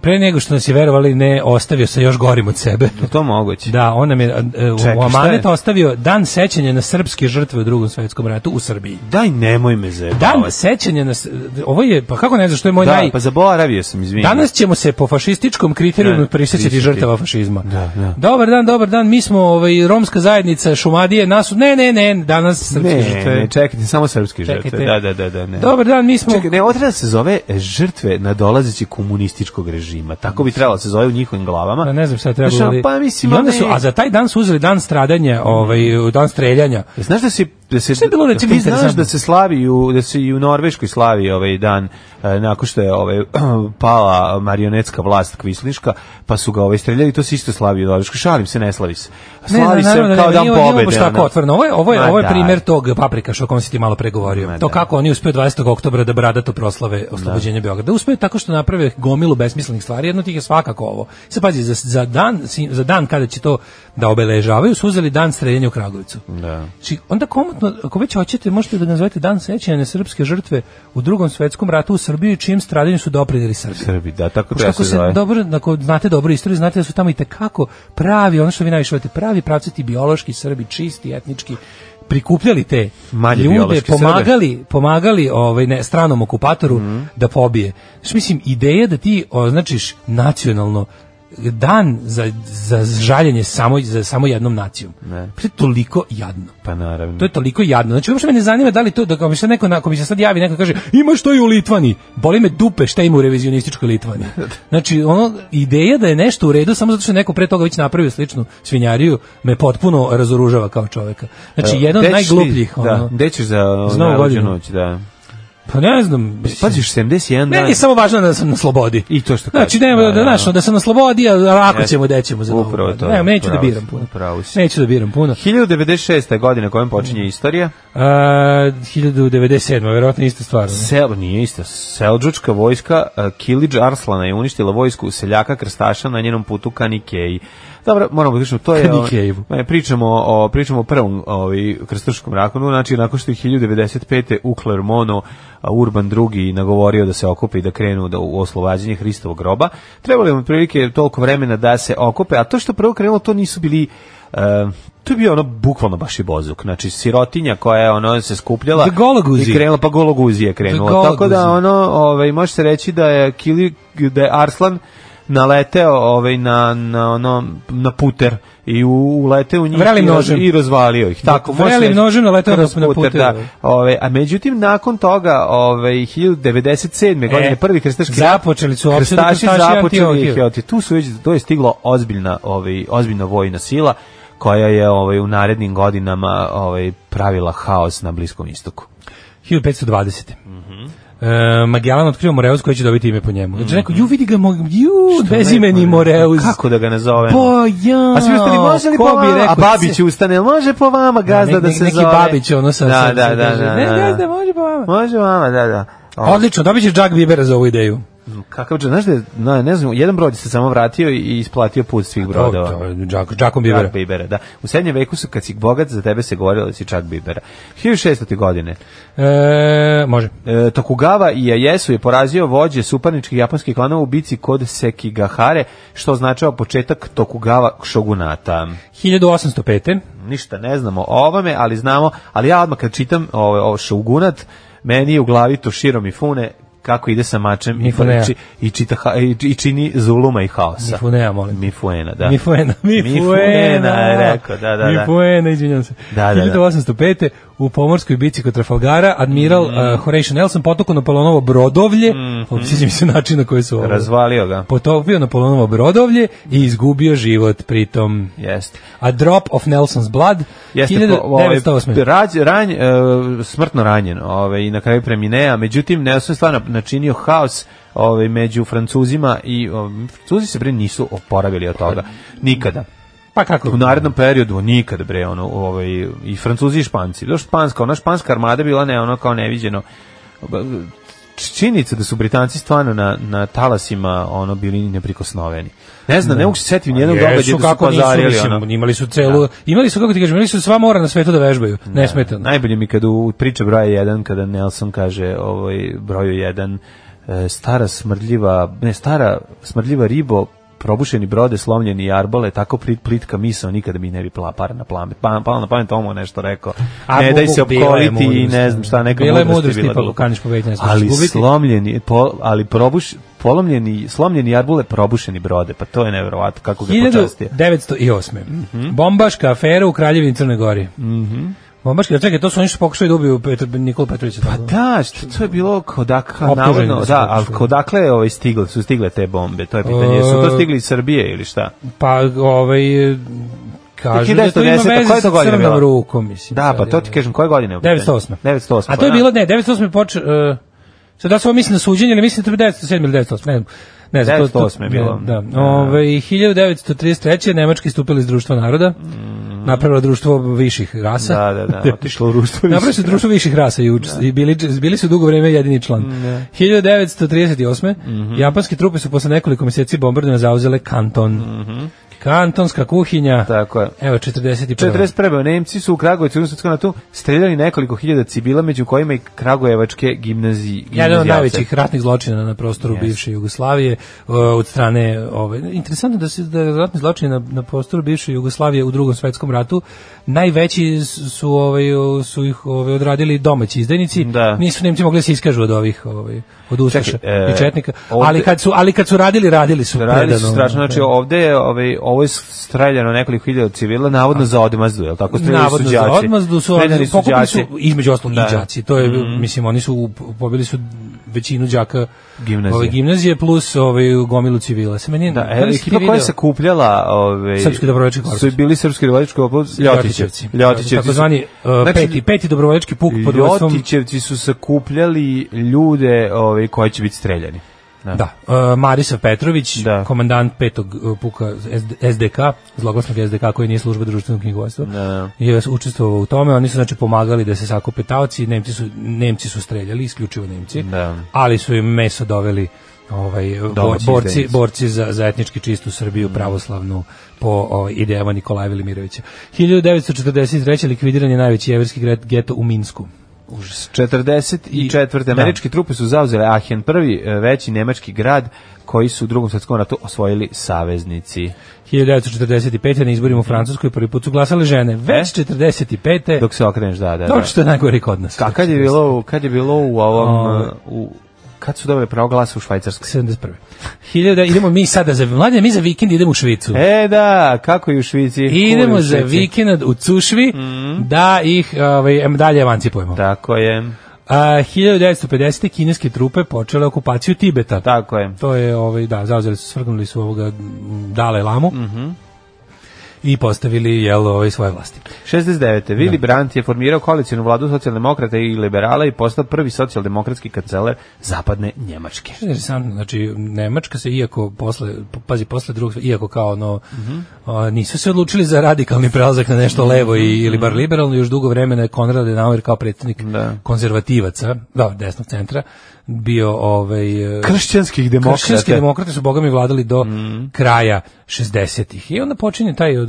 Speaker 6: pre nego što nas je verovali ne ostavio sa još gorim od sebe.
Speaker 5: Je to moguće.
Speaker 6: Da, on nam je e,
Speaker 5: Čekaj,
Speaker 6: u amanet
Speaker 5: šta je?
Speaker 6: ostavio dan sećanja na srpske žrtve u drugom svetskom ratu u Srbiji.
Speaker 5: Daj nemoj me zajebavati.
Speaker 6: Dan sećanja Da, na... s- Ovo je, pa kako ne znaš, što je moj
Speaker 5: Da,
Speaker 6: naj...
Speaker 5: pa zaboravio sam, izvini.
Speaker 6: Danas ćemo se po fašističkom kriterijumu
Speaker 5: Da,
Speaker 6: prisjećati
Speaker 5: prisjećati.
Speaker 6: žrtava fašizma.
Speaker 5: Da, da.
Speaker 6: Dobar dan, dobar dan, mi smo ovaj, romska zajednica Šumadije, nas su... Ne, ne, ne, danas srpske
Speaker 5: ne,
Speaker 6: žrtve.
Speaker 5: ne, čekajte, samo srpske
Speaker 6: Čekajte.
Speaker 5: žrtve. Da, da, da, da, ne.
Speaker 6: Dobar dan, mi smo...
Speaker 5: Čekaj, ne, ovo treba da se zove e, žrtve nadolazeći komunističkog režima. Tako bi trebalo da se zove u njihovim glavama.
Speaker 6: Da, ne znam šta je trebalo.
Speaker 5: Znaš, ono,
Speaker 6: ali-
Speaker 5: Pa mislim,
Speaker 6: I onda
Speaker 5: ne-
Speaker 6: su, a za taj dan su uzeli dan stradanja, ovaj, dan streljanja.
Speaker 5: Znaš da se da se
Speaker 6: Šta je bilo recimo
Speaker 5: ti znaš
Speaker 6: interesantno?
Speaker 5: da se slavi i u da se i u Norveškoj slavi ovaj dan e, nakon što je ovaj pala marionetska vlast kvisliška, pa su ga ovaj streljali, to se isto slavi u Norveškoj. Šalim se, ne slavi se. Slavi se
Speaker 6: naravno,
Speaker 5: kao
Speaker 6: ne,
Speaker 5: dan
Speaker 6: nije- nije baš
Speaker 5: pobede.
Speaker 6: tako
Speaker 5: ono.
Speaker 6: otvoreno. Ovo je, ovo je,
Speaker 5: Ma
Speaker 6: ovo je
Speaker 5: da.
Speaker 6: primer tog paprika što o kom si ti malo pregovorio.
Speaker 5: Ma
Speaker 6: to
Speaker 5: da.
Speaker 6: kako oni uspeju 20. oktobra da bradato proslave oslobođenje Beograda. Uspeju tako što naprave gomilu besmislenih stvari, jedno od tih je svakako ovo. Sad pazi, za, za, dan, si- za dan kada će to da obeležavaju, su uzeli dan streljenja u Kragovicu.
Speaker 5: Da.
Speaker 6: Znači, onda komotno, ako već hoćete, možete da ga nazovete dan sećanja na srpske žrtve u drugom svetskom ratu u Srbiji, čijem stradanju su doprinili Srbi.
Speaker 5: Srbi, da, tako
Speaker 6: Pošto
Speaker 5: treba
Speaker 6: ako
Speaker 5: se
Speaker 6: se
Speaker 5: zove.
Speaker 6: dobro, ako znate dobro istoriju, znate da su tamo i tekako pravi, ono što vi najviše volite, pravi pravcati biološki Srbi, čisti, etnički, prikupljali te
Speaker 5: Manje
Speaker 6: ljude,
Speaker 5: biološki Srbe.
Speaker 6: pomagali, pomagali ovaj, ne, stranom okupatoru
Speaker 5: Mhm.
Speaker 6: da pobije. Znaš, mislim, ideja da ti označiš nacionalno dan za, za žaljenje samo, za samo jednom nacijom.
Speaker 5: Ne.
Speaker 6: To je toliko jadno.
Speaker 5: Pa naravno.
Speaker 6: To je toliko jadno. Znači, uopšte me ne zanima da li to, da ako mi se neko, ako mi se sad javi neko i kaže, ima što i u Litvani. Boli me dupe šta ima u revizionističkoj Litvani. Znači, ono, ideja da je nešto u redu samo zato što je neko pre toga već napravio sličnu svinjariju, me potpuno razoružava kao čoveka. Znači,
Speaker 5: E,
Speaker 6: jedan
Speaker 5: gde
Speaker 6: od
Speaker 5: ćeš
Speaker 6: najglupljih.
Speaker 5: ti- Da,
Speaker 6: ono.
Speaker 5: gde ćeš za
Speaker 6: Za Novu
Speaker 5: narodnu
Speaker 6: godinu.
Speaker 5: noć, da.
Speaker 6: Pa ne znam.
Speaker 5: Paziš 71 dan.
Speaker 6: Meni je samo važno da sam na slobodi.
Speaker 5: I to što
Speaker 6: Znači,
Speaker 5: kažeš,
Speaker 6: nema da,
Speaker 5: da,
Speaker 6: da,
Speaker 5: da.
Speaker 6: znaš, da sam na slobodi, a lako
Speaker 5: Jeste.
Speaker 6: ćemo, dećemo za novu
Speaker 5: Upravo
Speaker 6: godinu.
Speaker 5: to,
Speaker 6: Ne, neću da
Speaker 5: upravo si,
Speaker 6: biram puno.
Speaker 5: upravo si.
Speaker 6: Neću da biram puno.
Speaker 5: 1096. godine kojom počinje istorija.
Speaker 6: Uh, 1097. verovatno ista stvar. ne?
Speaker 5: Sel, nije isto. Selđučka vojska eh, Kilidž Arslana je uništila vojsku seljaka krstaša na njenom putu ka Nikeji. Dobro, moramo da pričamo, to je...
Speaker 6: Ka Nikejevu.
Speaker 5: Ne, pričamo, o, pričamo o prvom ovaj, krstaškom rakonu, znači nakon što je 1095. u Clermontu a, Urban II. nagovorio da se okupe i da krenu da u oslobađanje Hristovog groba. Trebalo je mu prilike toliko vremena da se okupe, a to što je prvo krenulo, to nisu bili... eh, to je bio ono bukvalno baš i bozuk. Znači, sirotinja koja je ono se skupljala
Speaker 6: The Gologuzi.
Speaker 5: i krenula, pa Gologuzi je krenulo.
Speaker 6: Gologuzi.
Speaker 5: Tako da ono, ovaj može se reći da je Kili da je Arslan naleteo ovaj na na ono na puter i u, uleteo u njih
Speaker 6: Vrelim
Speaker 5: i, raz-
Speaker 6: nožem.
Speaker 5: i razvalio ih. Tako može se
Speaker 6: Vrelim
Speaker 5: reći.
Speaker 6: nožem naleteo
Speaker 5: Kako
Speaker 6: na- na puter,
Speaker 5: Da.
Speaker 6: ovaj.
Speaker 5: Ovaj a međutim nakon toga ovaj 1097. godine prvi krstaški rat,
Speaker 6: E, započeli su opsadu
Speaker 5: krstaši
Speaker 6: krstaši i
Speaker 5: započeli
Speaker 6: Antiohiju.
Speaker 5: ih je Eto, tu su već to je stiglo ozbiljna ovaj ozbiljna vojna sila koja je ovaj u narednim godinama ovaj pravila haos na bliskom istoku.
Speaker 6: 1520.
Speaker 5: Mhm.
Speaker 6: E, Magellan otkrio Moreus koji će dobiti ime po njemu. Znači
Speaker 5: Mhm.
Speaker 6: neko, ju vidi ga, mo, ju, bezimeni
Speaker 5: lepo,
Speaker 6: Moreus.
Speaker 5: Kako da ga nazovemo?
Speaker 6: Pa ja,
Speaker 5: A svi ostali može li po
Speaker 6: ko bi
Speaker 5: vama?
Speaker 6: rekao
Speaker 5: A
Speaker 6: da
Speaker 5: Babić
Speaker 6: se-
Speaker 5: ustane, jel može po vama gazda
Speaker 6: nek-
Speaker 5: da
Speaker 6: nek-
Speaker 5: se
Speaker 6: neki
Speaker 5: zove?
Speaker 6: Babić, ono, sa-
Speaker 5: da,
Speaker 6: sa-
Speaker 5: da,
Speaker 6: sa-
Speaker 5: da, da,
Speaker 6: kaže,
Speaker 5: da,
Speaker 6: "Ne,
Speaker 5: da.
Speaker 6: gazda, može po vama."
Speaker 5: Može vama, da, da. O,
Speaker 6: Odlično, dobit će Jack Bibera za ovu ideju.
Speaker 5: Kakav, džak, znaš da, je- na, ne znam, jedan brod se samo vratio i isplatio put svih brodova.
Speaker 6: To, to, Jack, Jackom Bibera.
Speaker 5: Čak Bibera, da. U srednjem veku su, kad si bogat, za tebe se govorilo da si Čak Bibera. 1600. godine.
Speaker 6: E, može.
Speaker 5: E, Tokugawa i Ieyasu je porazio vođe suparničkih japanskih klanova u bici kod Sekigahare, što označava početak Tokugawa šogunata.
Speaker 6: 1805.
Speaker 5: ništa ne znamo o ovome, ali znamo, ali ja odmah kad čitam ovo, ovo šugunat, meni je u glavi to širom i fune kako ide sa mačem i,
Speaker 6: Mifunea.
Speaker 5: či- i, čita, ha- i, i čini zuluma i haosa.
Speaker 6: Mifunea, molim.
Speaker 5: Mifuena, da.
Speaker 6: Mifuena, Mifuena,
Speaker 5: je rekao, da, da, da.
Speaker 6: Mifuena, izvinjam se.
Speaker 5: Da, da, da.
Speaker 6: 1805. u pomorskoj bici kod Trafalgara, admiral
Speaker 5: Mm.
Speaker 6: uh, Horatio Nelson potukao Napoleonovo brodovlje, mm
Speaker 5: Mhm.
Speaker 6: mi se način na koji su ovo.
Speaker 5: Razvalio ga.
Speaker 6: potopio Napoleonovo brodovlje i izgubio život pritom.
Speaker 5: Jeste.
Speaker 6: A Drop of Nelson's Blood,
Speaker 5: Jeste, po- ovaj,
Speaker 6: 1908.
Speaker 5: rađ, ranj, e, smrtno ranjen ovaj, i na kraju premine, a međutim Nelson je stvarno načinio haos ovaj, među Francuzima i ovaj, Francuzi se bre nisu oporavili od toga. Nikada.
Speaker 6: Pa kako?
Speaker 5: U narednom periodu nikad bre ono ovaj i Francuzi i Španci. Do španska, ona španska armada bila ne ono kao neviđeno činjenica da su Britanci stvarno na, na talasima ono bili neprikosnoveni. Ne znam, ne, mogu se setiti nijednog događaja da su
Speaker 6: Da. Pa kako nisu,
Speaker 5: pozarili.
Speaker 6: mislim,
Speaker 5: ono. Da.
Speaker 6: imali su celu, imali su, kako ti kažem, imali su sva mora na svetu da vežbaju, nesmetano.
Speaker 5: Najbolje mi kad u priče broja 1 kada Nelson kaže ovaj broju 1 e, stara smrdljiva, ne stara smrdljiva ribo probušeni brode, slomljeni jarbole, tako plit, plitka misao, nikada mi ne bi pala par na plamet. Pa, pala na pamet, omo nešto rekao.
Speaker 6: A,
Speaker 5: ne daj
Speaker 6: bu-
Speaker 5: se
Speaker 6: bu- bila je
Speaker 5: opkoliti i
Speaker 6: mudrost. da.
Speaker 5: ne znam šta, neka
Speaker 6: Bila je
Speaker 5: mudrost
Speaker 6: mudrost,
Speaker 5: bila
Speaker 6: tipa,
Speaker 5: duboka.
Speaker 6: kaniš pobediti, ne smiješ
Speaker 5: Ali
Speaker 6: izgubiti.
Speaker 5: slomljeni, po, ali probuš, polomljeni, slomljeni jarbole, probušeni brode, pa to je neverovatno kako ga je počastio.
Speaker 6: 1908.
Speaker 5: Mhm.
Speaker 6: Bombaška afera u Kraljevini Crne Gori. Bombaška, čekaj, to su oni što pokušali da ubiju Petr, Nikola Petrovića. Pa
Speaker 5: Da, što to je bilo kod dakle,
Speaker 6: Optuženi
Speaker 5: navodno,
Speaker 6: da su
Speaker 5: da, ali
Speaker 6: optuženi.
Speaker 5: kod dakle je ovaj stigle, su stigle te bombe, to je pitanje, su
Speaker 6: E.
Speaker 5: to stigli iz Srbije ili šta?
Speaker 6: Pa, ovaj, kažu da to ima
Speaker 5: 1910, pa koja
Speaker 6: veze
Speaker 5: je to
Speaker 6: sa
Speaker 5: godina
Speaker 6: crnom
Speaker 5: bila?
Speaker 6: rukom, mislim.
Speaker 5: Da, pa
Speaker 6: sad
Speaker 5: to
Speaker 6: je-
Speaker 5: ti kažem, koje godine? je u pitanju?
Speaker 6: 908.
Speaker 5: 908.
Speaker 6: A to je
Speaker 5: pa,
Speaker 6: bilo, ne, 908 je počeo... Uh, sad da se ovo mislim na suđenje, ili mislim da je 907 ili 908, ne znam. Ne znam, to- to-
Speaker 5: 908 je bilo.
Speaker 6: Da,
Speaker 5: Da.
Speaker 6: da. Ove, 1933. Nemački istupili iz društva naroda, napravilo društvo viših rasa.
Speaker 5: Mhm. Da, da, da, otišlo u ruštvo.
Speaker 6: Napravili su društvo viših rasa i, uč- i bili, bili su dugo vreme jedini član. 1938. Japanske trupe su posle nekoliko meseci bombardovanja zauzele Kanton. Kantonska kuhinja.
Speaker 5: Tako je.
Speaker 6: Evo 41.
Speaker 5: 41. Nemci su u Kragujevcu u Srpskom ratu streljali nekoliko hiljada civila, među kojima i Kragujevačke gimnazije.
Speaker 6: Jedan od
Speaker 5: gimnazijalce.
Speaker 6: najvećih ratnih zločina na prostoru bivše Jugoslavije uh, od strane ove interesantno da se da ratni zločini na, na prostoru bivše Jugoslavije u Drugom svetskom ratu najveći s- su ovaj o, su ih ovaj odradili domaći izdajnici
Speaker 5: Da.
Speaker 6: nisu Nemci mogli da se iskažu od ovih ovaj od ustaša
Speaker 5: Čekaj, e,
Speaker 6: i četnika
Speaker 5: ovde-
Speaker 6: ali kad su ali kad su radili radili su
Speaker 5: Radili su
Speaker 6: predano. da.
Speaker 5: strašno, znači ovde je ovaj, ovo je streljano nekoliko hiljada civila, navodno za odmazdu, je li tako? Streljali
Speaker 6: navodno
Speaker 5: su đaci.
Speaker 6: za odmazdu su
Speaker 5: Streljani
Speaker 6: oni pokupili su
Speaker 5: đaci.
Speaker 6: između ostalog
Speaker 5: Da.
Speaker 6: i đaci Mhm. to je mislim oni su u- pobili su većinu đaka
Speaker 5: Gimnazije.
Speaker 6: ove gimnazije plus ovaj gomilu civila se meni
Speaker 5: Da,
Speaker 6: da
Speaker 5: e,
Speaker 6: li si ti
Speaker 5: ekipa koja
Speaker 6: video?
Speaker 5: se kupljala, ovaj
Speaker 6: Srpski dobrovoljački korpus.
Speaker 5: Su bili srpski dobrovoljački korpus Ljotićevci.
Speaker 6: Ljotićevci Da, takozvani uh,
Speaker 5: Znači,
Speaker 6: peti peti dobrovoljački puk pod vodstvom
Speaker 5: Ljotićevci su sakupljali ljude, ovaj koji će biti streljani.
Speaker 6: Da, uh, Marisav Petrović,
Speaker 5: Da.
Speaker 6: komandant petog uh, puka SD- SDK, zloglasnog SDK koji nije služba društvenog knjigovodstva,
Speaker 5: da.
Speaker 6: je učestvovao u tome, oni su znači pomagali da se sakupe taoci, Nemci su, Nemci su streljali, isključivo Nemci,
Speaker 5: Da.
Speaker 6: ali su im meso doveli ovaj, bo-
Speaker 5: Domaći
Speaker 6: borci,
Speaker 5: izdajnici.
Speaker 6: borci za, za etnički čistu
Speaker 5: Mm.
Speaker 6: Srbiju, pravoslavnu, po ovaj, idejama Nikolaja Velimirovića. 1943. likvidiran je najveći jeverski gret- geto u Minsku.
Speaker 5: Užas. 44.
Speaker 6: Da.
Speaker 5: američke trupe su zauzele Aachen, prvi e, veći nemački grad koji su u drugom svetskom ratu osvojili saveznici.
Speaker 6: 1945. na izborima u Francuskoj prvi put su glasale žene. Već 45.
Speaker 5: E? Dok se okreneš, da, da, da.
Speaker 6: Dobro što je najgori kod nas.
Speaker 5: Ka- kad je bilo, u- kad je bilo u ovom,
Speaker 6: O.
Speaker 5: e, u, kad su dobili pravo glasa u Švajcarskoj?
Speaker 6: 71. 1000, idemo mi sada za mladen, mi za vikend idemo u Švicu.
Speaker 5: E da, kako je u Mm-hmm. Švici? Kako je
Speaker 6: idemo
Speaker 5: u
Speaker 6: za
Speaker 5: Švici?
Speaker 6: vikend u Cušvi da ih ovaj, em, dalje emancipujemo.
Speaker 5: Tako je,
Speaker 6: A, 1950. kineske trupe počele okupaciju Tibeta.
Speaker 5: tako je.
Speaker 6: To je, ovaj, da, zauzeli su, svrgnuli su ovoga mm, Dalaj Lamu
Speaker 5: Mm-hmm.
Speaker 6: i postavili jel, ovaj, svoje vlasti.
Speaker 5: 69. Willy
Speaker 6: Da.
Speaker 5: Brandt je formirao koalicijnu vladu socijaldemokrata i liberala i postao prvi socijaldemokratski kancelar zapadne Njemačke.
Speaker 6: Interesantno, znači Nemačka se iako posle pazi posle drugog sve- iako kao ono a, nisu se odlučili za radikalni prelazak na nešto levo i, ili bar liberalno još dugo vremena je Konrad Adenauer kao predsjednik konzervativaca, da, desnog centra bio ovaj e,
Speaker 5: Kršćanskih demokrata.
Speaker 6: Kršćanski demokrati su bogami vladali do kraja 60-ih. I onda počinje taj od,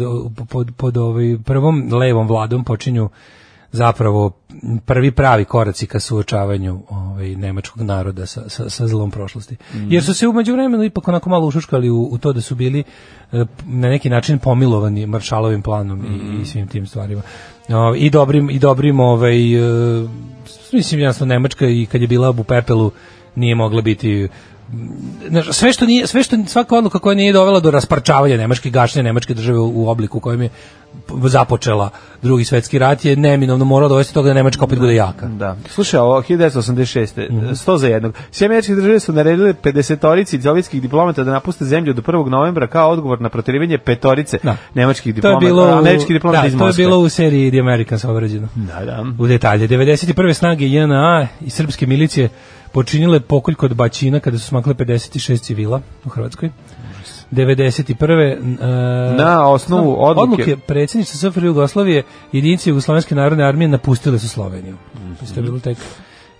Speaker 6: pod, pod ovaj prvom levom vladom počinju zapravo prvi pravi koraci ka suočavanju ovaj nemačkog naroda sa, sa, sa zlom prošlosti. Jer su se u međuvremenu ipak onako malo ušuškali u, u to da su bili eh, na neki način pomilovani maršalovim planom i, i svim tim stvarima. O, I dobrim i dobrim ovaj eh, mislim jasno Nemačka i kad je bila u pepelu nije mogla biti znaš, sve što nije sve što svaka odluka koja nije dovela do rasparčavanja nemačke gašenja nemačke države u, u obliku u kojem je započela drugi svetski rat je neminovno morala dovesti do toga da Nemačka opet bude jaka.
Speaker 5: Da. Slušaj, ovo 1986.
Speaker 6: Mhm.
Speaker 5: 100 za jednog. Sve američke države su naredile 50-orici sovjetskih diplomata da napuste zemlju do 1. novembra kao odgovor na proterivanje petorice
Speaker 6: Da.
Speaker 5: nemačkih
Speaker 6: To je
Speaker 5: diplomata,
Speaker 6: bilo, u-
Speaker 5: američkih diplomata
Speaker 6: da,
Speaker 5: iz
Speaker 6: to je
Speaker 5: Moskve.
Speaker 6: bilo u seriji The Americans obrađeno.
Speaker 5: Da, da.
Speaker 6: U detalje, 91. snage JNA i srpske milicije počinile pokolj kod Baćina kada su smakle 56 civila u Hrvatskoj. 91. e,
Speaker 5: Na osnovu odluke-
Speaker 6: odluke predsjedništva SFRJ Jugoslavije jedinice Jugoslovenske narodne armije napustile su Sloveniju.
Speaker 5: Mhm.
Speaker 6: Mislim da je bilo tek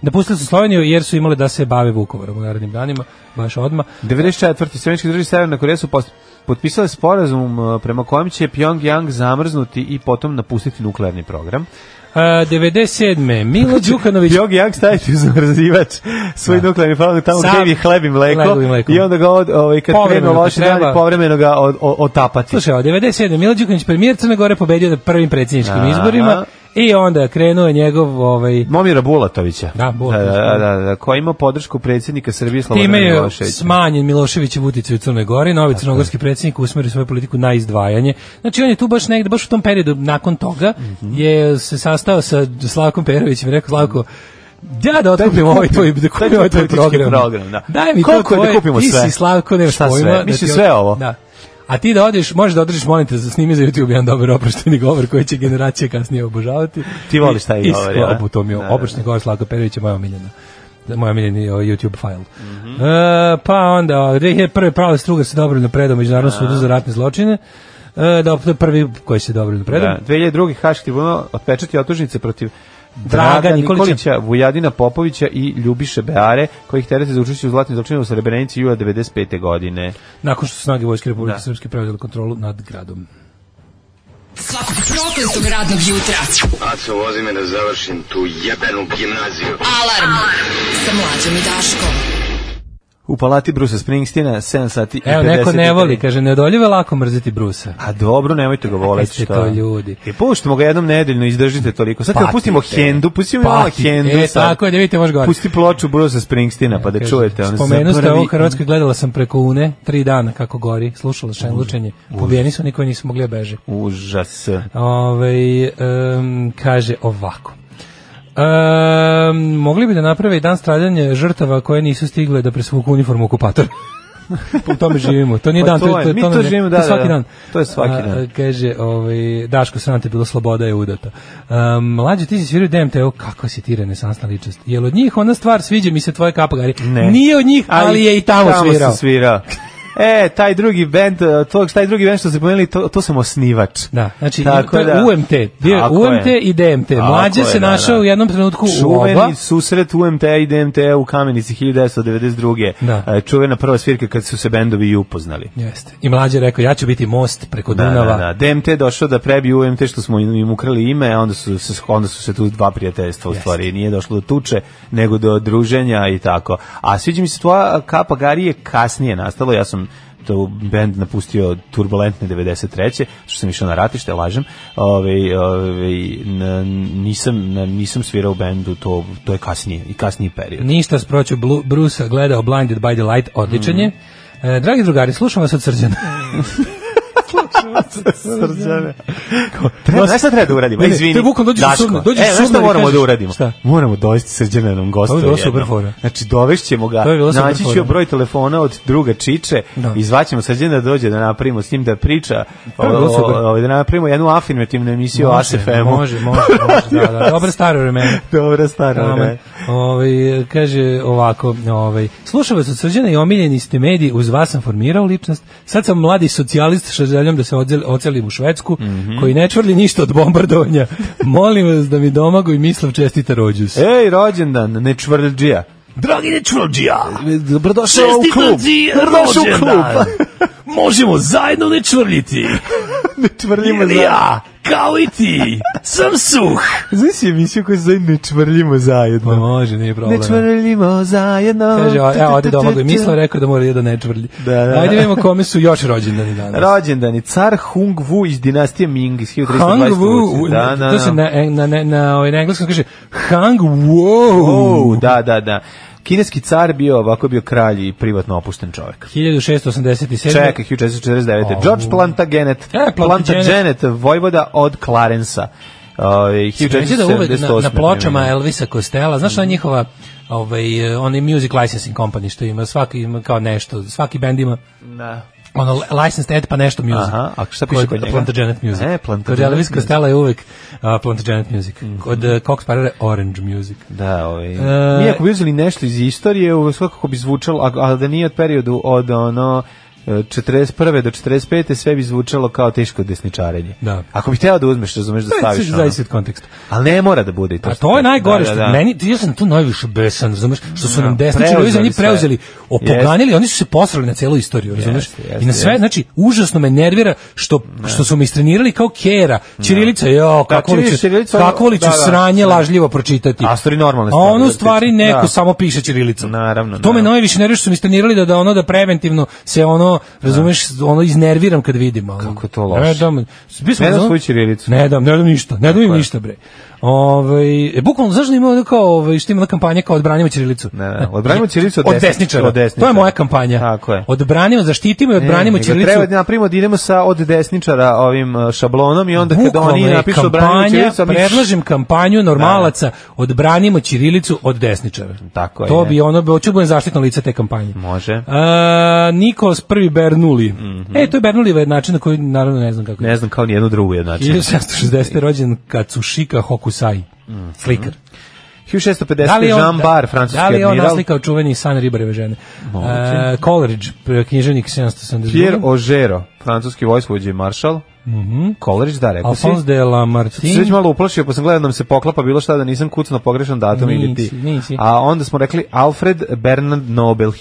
Speaker 6: Napustili su Sloveniju jer su imali da se bave Vukovarom u narednim danima, baš odmah.
Speaker 5: 94. Sjemeničke države i Severna Koreja su post- potpisale sporazum uh, prema kojem će Pyongyang zamrznuti i potom napustiti nuklearni program.
Speaker 6: A, 97. E, Milo Đukanović
Speaker 5: Pyongyang staviti u zamrzivač svoj nuklearni program tamo
Speaker 6: Da. Sam-
Speaker 5: gdje je hleb i mleko,
Speaker 6: Hlebu i mleko.
Speaker 5: i onda ga od, ovaj, kad
Speaker 6: Povremeno
Speaker 5: krenu
Speaker 6: ga
Speaker 5: loši
Speaker 6: treba.
Speaker 5: dani povremeno ga od, o- otapati.
Speaker 6: Slušaj, ovo, 97. Milo Đukanović premijer Crne Gore pobedio na prvim predsjedničkim
Speaker 5: Aha.
Speaker 6: izborima i onda krenuo je njegov ovaj
Speaker 5: Momira Bulatovića.
Speaker 6: Da, Bulatović,
Speaker 5: Da, da,
Speaker 6: da.
Speaker 5: da, da, koji ima podršku predsjednika Srbije Slobodana
Speaker 6: Time je
Speaker 5: Miloševića.
Speaker 6: smanjen Miloševićev uticaj u Crnoj Gori, novi crnogorski predsjednik usmerio svoju politiku na izdvajanje. Znači on je tu baš negde, baš u tom periodu nakon toga
Speaker 5: Mhm.
Speaker 6: je se sastao sa Slavkom Perovićem i rekao Slavko, ja da otkupim ovaj tvoj, da
Speaker 5: daj mi
Speaker 6: kupim ovaj tvoj
Speaker 5: politički
Speaker 6: program.
Speaker 5: program, da.
Speaker 6: Daj mi
Speaker 5: Koliko
Speaker 6: to
Speaker 5: je da
Speaker 6: tvoje,
Speaker 5: kupimo
Speaker 6: ti
Speaker 5: sve?
Speaker 6: si Slavko, nemaš
Speaker 5: Šta sve?
Speaker 6: pojma. da
Speaker 5: Mislim,
Speaker 6: ti-
Speaker 5: sve ovo?
Speaker 6: Da. A ti da odeš, možeš da održiš, molim te, snimi za YouTube jedan dobar oprošteni govor koji će generacije kasnije obožavati.
Speaker 5: Ti voliš taj
Speaker 6: I-
Speaker 5: govor,
Speaker 6: i
Speaker 5: jel da?
Speaker 6: sklopu to mi je
Speaker 5: Da, da,
Speaker 6: oprošteni govor Slavka Perovića, moja omiljena moj omiljeni ovaj, YouTube file.
Speaker 5: Mhm.
Speaker 6: E, pa onda, 2001. pravo strugar se dobro napredao Međunarodnom sudu
Speaker 5: Da.
Speaker 6: za ratne zločine. E, da, to je prvi koji se dobro napredao.
Speaker 5: Da, 2002. Haški tribunal otpečati otužnice protiv
Speaker 6: Draga
Speaker 5: Draga
Speaker 6: Nikolića.
Speaker 5: Nikolića, Vujadina Popovića i Ljubiše Beare, kojih terete za učešće u zlatnim zločinima u Srebrenici jula 95. godine.
Speaker 6: Nakon što su snage Vojske Republike
Speaker 5: Da.
Speaker 6: Srpske preuzele kontrolu nad gradom.
Speaker 4: Svakog prokletog radnog jutra.
Speaker 8: Aco, vozi me da završim tu jebenu gimnaziju.
Speaker 4: Alarm. Sa mlađom i Daškom.
Speaker 5: U palati Brusa Springsteena 7 sati i 50.
Speaker 6: Evo, neko ne voli, kaže, ne odoljive lako mrziti Brusa.
Speaker 5: A dobro, nemojte ga voleti.
Speaker 6: Jeste
Speaker 5: šta?
Speaker 6: to ljudi.
Speaker 5: I puštimo ga jednom nedeljno, izdržite toliko. Sad kad
Speaker 6: Patite.
Speaker 5: pustimo Hendu, pustimo malo
Speaker 6: Patite.
Speaker 5: Hendu.
Speaker 6: E,
Speaker 5: sad.
Speaker 6: tako je, da vidite, može gore.
Speaker 5: Pusti ploču Brusa Springsteena, pa da
Speaker 6: Kaže,
Speaker 5: čujete. ono,
Speaker 6: Spomenu ste
Speaker 5: zaboravi-
Speaker 6: ovo u Hrvatskoj, gledala sam preko une, tri dana kako gori, slušala šenlučenje, pobijeni su, niko nisu mogli da beže.
Speaker 5: Užas.
Speaker 6: Ove, kaže ovako. Em, mogli bi da naprave i dan stradanja žrtava koje nisu stigle da presvuku uniformu okupatora. U tome živimo. To nije
Speaker 5: Pa
Speaker 6: dan,
Speaker 5: to
Speaker 6: to,
Speaker 5: je,
Speaker 6: to,
Speaker 5: mi
Speaker 6: to,
Speaker 5: to
Speaker 6: nam je-
Speaker 5: živimo, da,
Speaker 6: to
Speaker 5: da,
Speaker 6: je svaki
Speaker 5: da.
Speaker 6: dan.
Speaker 5: To je svaki dan.
Speaker 6: A, kaže, ovaj, Daško, sram te bilo, sloboda je udata. Um, mlađe, ti si svirio DMT, evo kako si ti renesansna ličnost. Jel od njih ona stvar sviđa mi se tvoje kapagari?
Speaker 5: Ne.
Speaker 6: Nije od njih, ali, je i tamo,
Speaker 5: tamo
Speaker 6: svirao.
Speaker 5: sam svirao. E, taj drugi bend, eh, to, taj drugi bend što ste pomenuli, to, to sam osnivač.
Speaker 6: Da, znači
Speaker 5: Tako
Speaker 6: to je
Speaker 5: da.
Speaker 6: UMT, bio je
Speaker 5: Tako
Speaker 6: UMT
Speaker 5: je.
Speaker 6: i DMT.
Speaker 5: Tako
Speaker 6: Mlađe
Speaker 5: je,
Speaker 6: se
Speaker 5: da,
Speaker 6: našao
Speaker 5: da.
Speaker 6: u jednom trenutku u oba.
Speaker 5: Čuveni susret UMT i DMT u Kamenici 1992.
Speaker 6: Da.
Speaker 5: Eh, Čuvena prva svirka kad su se bendovi i upoznali.
Speaker 6: Jeste. I mlađe je rekao, ja ću biti most preko
Speaker 5: Da,
Speaker 6: Dunava.
Speaker 5: da, da. DMT je došao da prebije UMT što smo im ukrali ime, a onda su, se, onda su se tu dva prijateljstva u stvari. Nije došlo do tuče, nego do druženja i tako. A sviđa mi se tvoja kapa Gari je kasnije nastalo, ja sam to bend napustio turbulentne 93. što sam išao na ratište, lažem. Ove, ove, n- nisam, n- nisam svirao u bendu, to, to je kasnije, i kasniji period.
Speaker 6: Ništa sproću Blu- Brusa, gledao Blinded by the Light, odličan je.
Speaker 5: Mm.
Speaker 6: E, dragi drugari, slušam vas od srđana.
Speaker 5: srđane. Treba, znaš šta treba da uradimo?
Speaker 6: Ne, ne,
Speaker 5: Izvini.
Speaker 6: to je bukvalno dođeš
Speaker 5: Daško.
Speaker 6: sumnar, dođeš
Speaker 5: E, znaš šta
Speaker 6: sumnar i
Speaker 5: moramo da
Speaker 6: kažeš,
Speaker 5: uradimo?
Speaker 6: šta?
Speaker 5: Moramo dovesti srđana nam gostu.
Speaker 6: Ovo je bila super fora.
Speaker 5: Znači, dovešćemo ga,
Speaker 6: To je bila super
Speaker 5: naći ću
Speaker 6: fora.
Speaker 5: broj telefona od druga Čiče
Speaker 6: Da.
Speaker 5: i zvaćemo srđana da dođe da napravimo s njim da priča, o,
Speaker 6: To je bilo
Speaker 5: o-
Speaker 6: super.
Speaker 5: o- da napravimo jednu afirmativnu emisiju o ASFM-u.
Speaker 6: može, može, može, da, da. Dobre stare vremena.
Speaker 5: Dobra stara,
Speaker 6: Amen.
Speaker 5: ne.
Speaker 6: Ovaj, kaže ovako, ovaj, slušam vas od srđana i omiljeni ste mediji, uz vas sam formirao ličnost, sad sam mladi socijalist što željam da se odzel- ocelim u Švedsku,
Speaker 5: Mhm.
Speaker 6: koji ne čvrli ništa od bombardovanja. Molim vas da mi domagu i mislav čestita rođus.
Speaker 5: Ej, rođendan, nečvrlđija. Dragi nečvrlđija. Dobrodošao u klub. Dobrodošao u klub.
Speaker 6: Možemo zajedno ne čvrljiti.
Speaker 5: Nečvrljimo zajedno.
Speaker 6: ja, kao i ti, sam suh.
Speaker 5: Znaš si emisiju koju se zove Nečvrljimo zajedno?
Speaker 6: Pa može, nije problem.
Speaker 5: Ne čvrljimo zajedno.
Speaker 6: Kaže, evo, ovde domago i mislav, rekao da mora jedan ne čvrlji.
Speaker 5: Da, da, da.
Speaker 6: Ajde vidimo kome su još rođendani danas.
Speaker 5: Rođendani, car Hung Wu iz dinastije Ming iz 1320.
Speaker 6: Hang Wu,
Speaker 5: da, da,
Speaker 6: to se e,
Speaker 5: da.
Speaker 6: na, na, na, na, ovaj, na engleskom kaže Hang Wow.
Speaker 5: Wu, da, da, da. Kineski car bio ovako bio kralj i privatno opušten čovjek.
Speaker 6: 1687.
Speaker 5: Čekaj, 1449.
Speaker 6: Au.
Speaker 5: George Plantagenet.
Speaker 6: E, Plantagenet.
Speaker 5: Plantagenet, vojvoda od Clarensa. Uh,
Speaker 6: Sveći da uvek na,
Speaker 5: 1478.
Speaker 6: na pločama Elvisa Costello, znaš ona
Speaker 5: Mhm.
Speaker 6: njihova ovaj, eh, onaj music licensing company što ima, svaki ima kao nešto, svaki bend ima
Speaker 5: Da.
Speaker 6: ono licensed ad pa nešto music.
Speaker 5: Aha, a šta piše kod njega?
Speaker 6: Plantagenet music.
Speaker 5: E,
Speaker 6: Kod
Speaker 5: Plantagenet
Speaker 6: Elvis
Speaker 5: music. Mhm.
Speaker 6: Costello je uvek a, Plantagenet music. Kod eh, Cox Parera Orange music.
Speaker 5: Da, ovaj.
Speaker 6: E,
Speaker 5: Mi ako bi uzeli nešto iz istorije, ovo svakako bi zvučalo, a, a da nije od periodu od ono e, 41. do 45. sve bi zvučalo kao teško desničarenje.
Speaker 6: Da.
Speaker 5: Ako bi hteo da uzmeš, razumeš da
Speaker 6: Sve
Speaker 5: staviš
Speaker 6: se
Speaker 5: ono.
Speaker 6: zavisi od konteksta.
Speaker 5: Ali ne mora da bude i to.
Speaker 6: Pa
Speaker 5: što-
Speaker 6: to je najgore
Speaker 5: Da,
Speaker 6: što
Speaker 5: da, da.
Speaker 6: meni ja sam tu najviše besan, razumeš, što su nam
Speaker 5: Da,
Speaker 6: desničari
Speaker 5: preuzeli
Speaker 6: ovi zemlji
Speaker 5: sve.
Speaker 6: preuzeli, opoganili, oni su se posrali na celu istoriju, razumeš?
Speaker 5: Jeste, jeste,
Speaker 6: I na sve,
Speaker 5: jeste.
Speaker 6: znači užasno me nervira što što su me istrenirali kao kera. Ćirilica, jo, kako li
Speaker 5: Da. ćirilica,
Speaker 6: ću,
Speaker 5: ćirilica,
Speaker 6: kako li ću
Speaker 5: da, da,
Speaker 6: sranje
Speaker 5: da.
Speaker 6: lažljivo pročitati.
Speaker 5: A stvari normalne
Speaker 6: A
Speaker 5: stvari,
Speaker 6: ono
Speaker 5: da,
Speaker 6: stvari
Speaker 5: da.
Speaker 6: neko samo piše ćirilicom.
Speaker 5: Naravno,
Speaker 6: To me
Speaker 5: naravno.
Speaker 6: najviše nervira što su mi istrenirali da da ono da preventivno se ono, razumeš, ono iznerviram kad vidim, ono.
Speaker 5: Da.
Speaker 6: E, da,
Speaker 5: Kako je to loše.
Speaker 6: Ne dam, Bio sam
Speaker 5: Ne dam
Speaker 6: ono-
Speaker 5: svoju ćirilicu.
Speaker 6: Ne dam, ne dam ništa, ne dam im ništa bre. Ovaj e, bukvalno zašto ima ono kao ovaj što ima ona kampanja kao odbranimo ćirilicu.
Speaker 5: Ne, ne, odbranimo ćirilicu od
Speaker 6: od
Speaker 5: desničara.
Speaker 6: desničara.
Speaker 5: Od desničara.
Speaker 6: To je moja kampanja.
Speaker 5: Tako je.
Speaker 6: Odbranimo, zaštitimo i odbranimo
Speaker 5: Ne, nego
Speaker 6: ćirilicu.
Speaker 5: Treba da napravimo da idemo sa od desničara ovim e, šablonom i onda kad oni
Speaker 6: je
Speaker 5: napišu odbranimo
Speaker 6: kampanja,
Speaker 5: ćirilicu, a mi Da,
Speaker 6: predlažem kampanju normalaca, odbranimo ćirilicu od desničara.
Speaker 5: Tako je,
Speaker 6: To
Speaker 5: ne.
Speaker 6: bi ono, hoću da budem zaštitno lice te kampanje.
Speaker 5: Može.
Speaker 6: A, Nikos prvi Bernuli. E, to je Bernulijeva jednačina koju naravno ne znam kako
Speaker 5: Mhm. Ne znam kao ni jednu drugu jednačinu.
Speaker 6: 1760. rođen Katsushika Hokusai, slikar.
Speaker 5: 1650.
Speaker 6: Da li je on-
Speaker 5: Jean Bar, Mm-hmm. francuski
Speaker 6: Da li je on
Speaker 5: admiral.
Speaker 6: naslikao čuveni san ribareve žene?
Speaker 5: Moguće.
Speaker 6: E, Coleridge, pre- književnik 772.
Speaker 5: Pierre Ožero, francuski vojskovođe i maršal. Mhm. Coleridge, da, rekao si.
Speaker 6: Alphonse de
Speaker 5: Sam se već
Speaker 6: Lamartine.
Speaker 5: malo uplašio, pa sam gledao da nam se poklapa bilo šta da nisam kucno pogrešan datum ili ti.
Speaker 6: Nisi, nisi.
Speaker 5: A onda smo rekli Alfred Bernard Nobel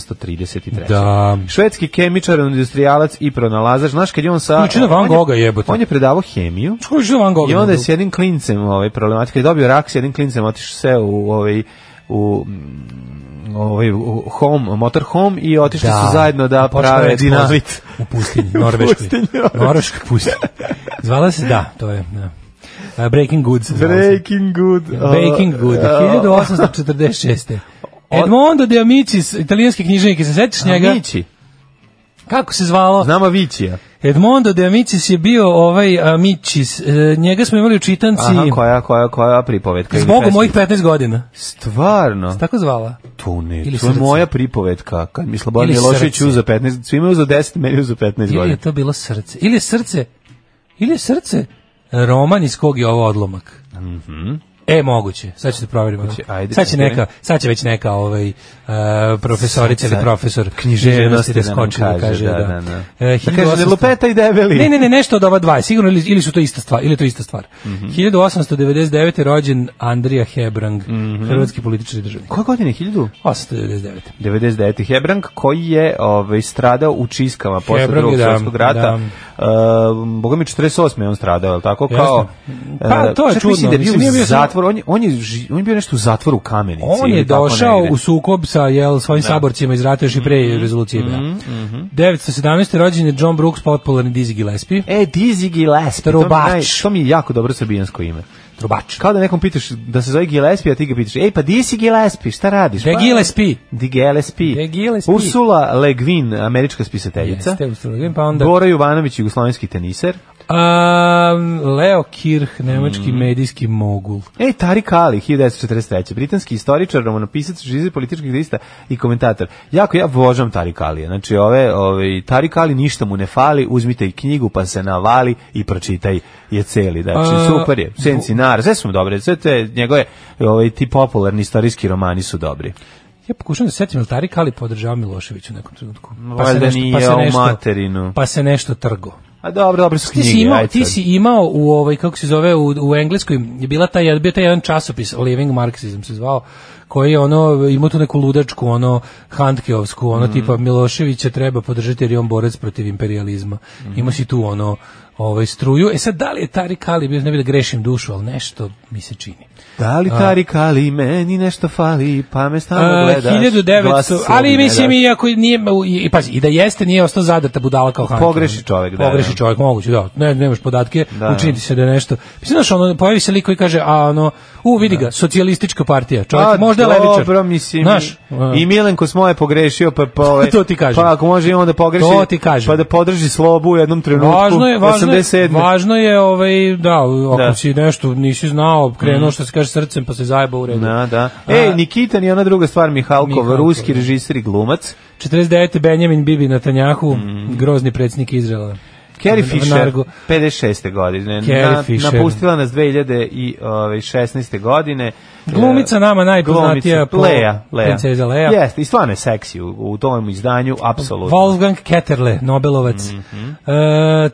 Speaker 5: 1833.
Speaker 6: Da.
Speaker 5: Švedski kemičar, industrijalac i pronalazač. Znaš kad je on sa
Speaker 6: Liči na Van
Speaker 5: on je-
Speaker 6: Gogha, jebote.
Speaker 5: On je predavao hemiju.
Speaker 6: Ko je Van Gogh?
Speaker 5: I onda je s jednim klincem ovaj problematika je dobio rak s jednim klincem otišao se u ovaj u mm, ovaj u home motor home i otišli su zajedno da
Speaker 6: Počela je
Speaker 5: prave
Speaker 6: eksplozija
Speaker 5: dinamit.
Speaker 6: U pustinji, Norveškoj.
Speaker 5: pustinji, Norveškoj.
Speaker 6: Norveška pustinja. Zvala se, da, to je. Da. E, Breaking Goods. zvala se.
Speaker 5: Breaking good. uh,
Speaker 6: Baking Good,
Speaker 5: uh,
Speaker 6: 1846. Edmondo de Amicis, italijanski književnik, se sećaš njega?
Speaker 5: Amici.
Speaker 6: Kako se zvalo?
Speaker 5: Znamo Vicija.
Speaker 6: Edmondo de Amicis je bio ovaj Amicis. E, Njega smo imali u čitanci
Speaker 5: Aha, koja, koja, koja pripovetka. ili
Speaker 6: zbog
Speaker 5: pesma?
Speaker 6: mojih 15 godina.
Speaker 5: Stvarno?
Speaker 6: Tako zvala.
Speaker 5: To ne,
Speaker 6: Ili
Speaker 5: to je
Speaker 6: srce.
Speaker 5: moja pripovetka. Kad mi Slobodan
Speaker 6: Ili
Speaker 5: Milošević
Speaker 6: srce.
Speaker 5: uza 15, svima je uza 10, meni je uza 15
Speaker 6: Ili je
Speaker 5: godina.
Speaker 6: to bilo srce. Ili je srce. Ili je srce roman iz kog je ovo odlomak. E, moguće. Sad ću da proverimo.
Speaker 5: Mhm. ajde,
Speaker 6: sad, će
Speaker 5: čekaj.
Speaker 6: neka, sad će već neka ovaj, e, profesorica ili
Speaker 5: Sad-
Speaker 6: profesor
Speaker 5: književnosti
Speaker 6: da
Speaker 5: da nam
Speaker 6: skoči da
Speaker 5: kaže,
Speaker 6: kaže.
Speaker 5: da,
Speaker 6: Da,
Speaker 5: da, da.
Speaker 6: E,
Speaker 5: Da kaže,
Speaker 6: 1800
Speaker 5: ne lupeta i debeli.
Speaker 6: Ne, ne, ne, nešto od ova dva, je sigurno ili, ili su to ista stvar, ili je to ista stvar.
Speaker 5: Mhm.
Speaker 6: 1899. je rođen Andrija Hebrang,
Speaker 5: Mhm.
Speaker 6: hrvatski političar i državnik.
Speaker 5: Koje godine? 1000?
Speaker 6: 899.
Speaker 5: 99. Hebrang koji je ovaj stradao u Čiskama posle
Speaker 6: Hebrang,
Speaker 5: Drugog
Speaker 6: da,
Speaker 5: svjetskog rata. Uh, Boga mi 48. je on stradao, je li tako? Kao
Speaker 6: Jasno. Pa,
Speaker 5: e,
Speaker 6: to je
Speaker 5: čak mislim
Speaker 6: čudno,
Speaker 5: Da je bio
Speaker 6: mislim, nije bio
Speaker 5: u zatvoru, on je, on je ži- on je bio nešto u zatvoru u Kamenici.
Speaker 6: On je
Speaker 5: ili tako
Speaker 6: došao
Speaker 5: negde. Da. Mhm.
Speaker 6: u sukob sa jel, svojim saborcima iz rata još i pre rezolucije. Mm 917. rođen je John Brooks, popularni Dizzy Gillespie.
Speaker 5: E, Dizzy Gillespie. to mi je
Speaker 6: Trubač.
Speaker 5: naj- To mi je jako dobro srbijansko ime.
Speaker 6: Trubač.
Speaker 5: Kao da nekom pitaš da se zove Gillespie, a ti ga pitaš, ej, pa di si Gillespie, šta radiš?
Speaker 6: De
Speaker 5: Pa,
Speaker 6: E, Gillespie.
Speaker 5: Di Gillespie.
Speaker 6: De Gillespie.
Speaker 5: Ursula Le Guin, američka spisateljica.
Speaker 6: Jeste, Australijan, pa onda...
Speaker 5: Bora Jovanović, jugoslovenski teniser.
Speaker 6: Am, Leo Kirch, nemački
Speaker 5: Mhm.
Speaker 6: medijski mogul.
Speaker 5: E, Tarik Ali, 1943. Britanski istoričar, romanopisac, žizi političkih lista i komentator. Jako ja vožam Tarik Alija. Znači, ove, ove, Tarik Ali ništa mu ne fali, uzmite i knjigu pa se navali i pročitaj je celi. Znači,
Speaker 6: A,
Speaker 5: super je. Sensinar, sve su mu dobre. Sve te njegove, ove, ti popularni istorijski romani su dobri.
Speaker 6: Ja pokušam da se setim, ali Tarik Ali podržava Milošević u nekom trenutku.
Speaker 5: Valjda nije, o materinu.
Speaker 6: Pa se nešto trgo.
Speaker 5: A dobro, dobro su
Speaker 6: Ti
Speaker 5: knjige.
Speaker 6: si, imao,
Speaker 5: ajde
Speaker 6: ti
Speaker 5: sad.
Speaker 6: si imao u ovaj kako se zove u, u engleskoj je bila taj bio taj jedan časopis Living Marxism se zvao koji je ono imao tu neku ludačku ono
Speaker 5: Mhm. Mhm.
Speaker 6: Handkeovsku ono tipa Miloševića treba podržati jer je on borac protiv imperializma. Ima si tu ono ovaj, struju. E sad, da li je Tarik Ali bio, ne bi da grešim dušu, ali nešto mi se čini.
Speaker 5: Da li tarik, ali meni nešto fali, pa me stalno
Speaker 6: A,
Speaker 5: gledaš.
Speaker 6: 1900,
Speaker 5: glas sebi
Speaker 6: ali
Speaker 5: ne
Speaker 6: mislim
Speaker 5: daš.
Speaker 6: i ako nije, i, pazi, i da jeste, nije ostao zadata budala kao Hanke.
Speaker 5: Pogreši čovek, da,
Speaker 6: Pogreši
Speaker 5: da.
Speaker 6: čovjek, moguće, da, ne, nemaš podatke,
Speaker 5: Da.
Speaker 6: učiniti se da je nešto. Mislim, znaš, ono, pojavi se lik koji kaže, a ono, u, vidi ga, socijalistička partija, čovjek,
Speaker 5: Da. Pa,
Speaker 6: možda je levičar.
Speaker 5: Dobro, mislim.
Speaker 6: Znaš, ono,
Speaker 5: i, i Milenko smo je pogrešio, pa, pa, ovaj,
Speaker 6: To ti kažem.
Speaker 5: Pa ako može i on da pogreši,
Speaker 6: To ti kažem.
Speaker 5: pa da podrži slobu u jednom trenutku.
Speaker 6: Važno je, važno je,
Speaker 5: 87.
Speaker 6: važno je ovaj, da, ako
Speaker 5: Da. Mhm.
Speaker 6: si nešto nisi znao, krenuo što se kaže srcem pa se zajebao u redu.
Speaker 5: Da, da.
Speaker 6: A-
Speaker 5: Ej, Nikitan i ona druga stvar, Mihalkov,
Speaker 6: Mihalkov,
Speaker 5: ruski
Speaker 6: da.
Speaker 5: režiser i glumac.
Speaker 6: 49. Benjamin Bibi Netanjahu,
Speaker 5: Mhm.
Speaker 6: grozni predsjednik Izraela.
Speaker 5: Carrie
Speaker 6: Na-
Speaker 5: Fisher,
Speaker 6: Nargo.
Speaker 5: 56. godine.
Speaker 6: Carrie Fisher.
Speaker 5: Napustila nas 2016. ovaj, godine.
Speaker 6: Glumica
Speaker 5: E,
Speaker 6: nama najpoznatija
Speaker 5: glumica,
Speaker 6: po-
Speaker 5: Lea, Lea.
Speaker 6: princeza Lea.
Speaker 5: Jeste, i stvarno je seksi u, u tom izdanju, apsolutno.
Speaker 6: Wolfgang Ketterle, Nobelovac.
Speaker 5: Mhm.
Speaker 6: E,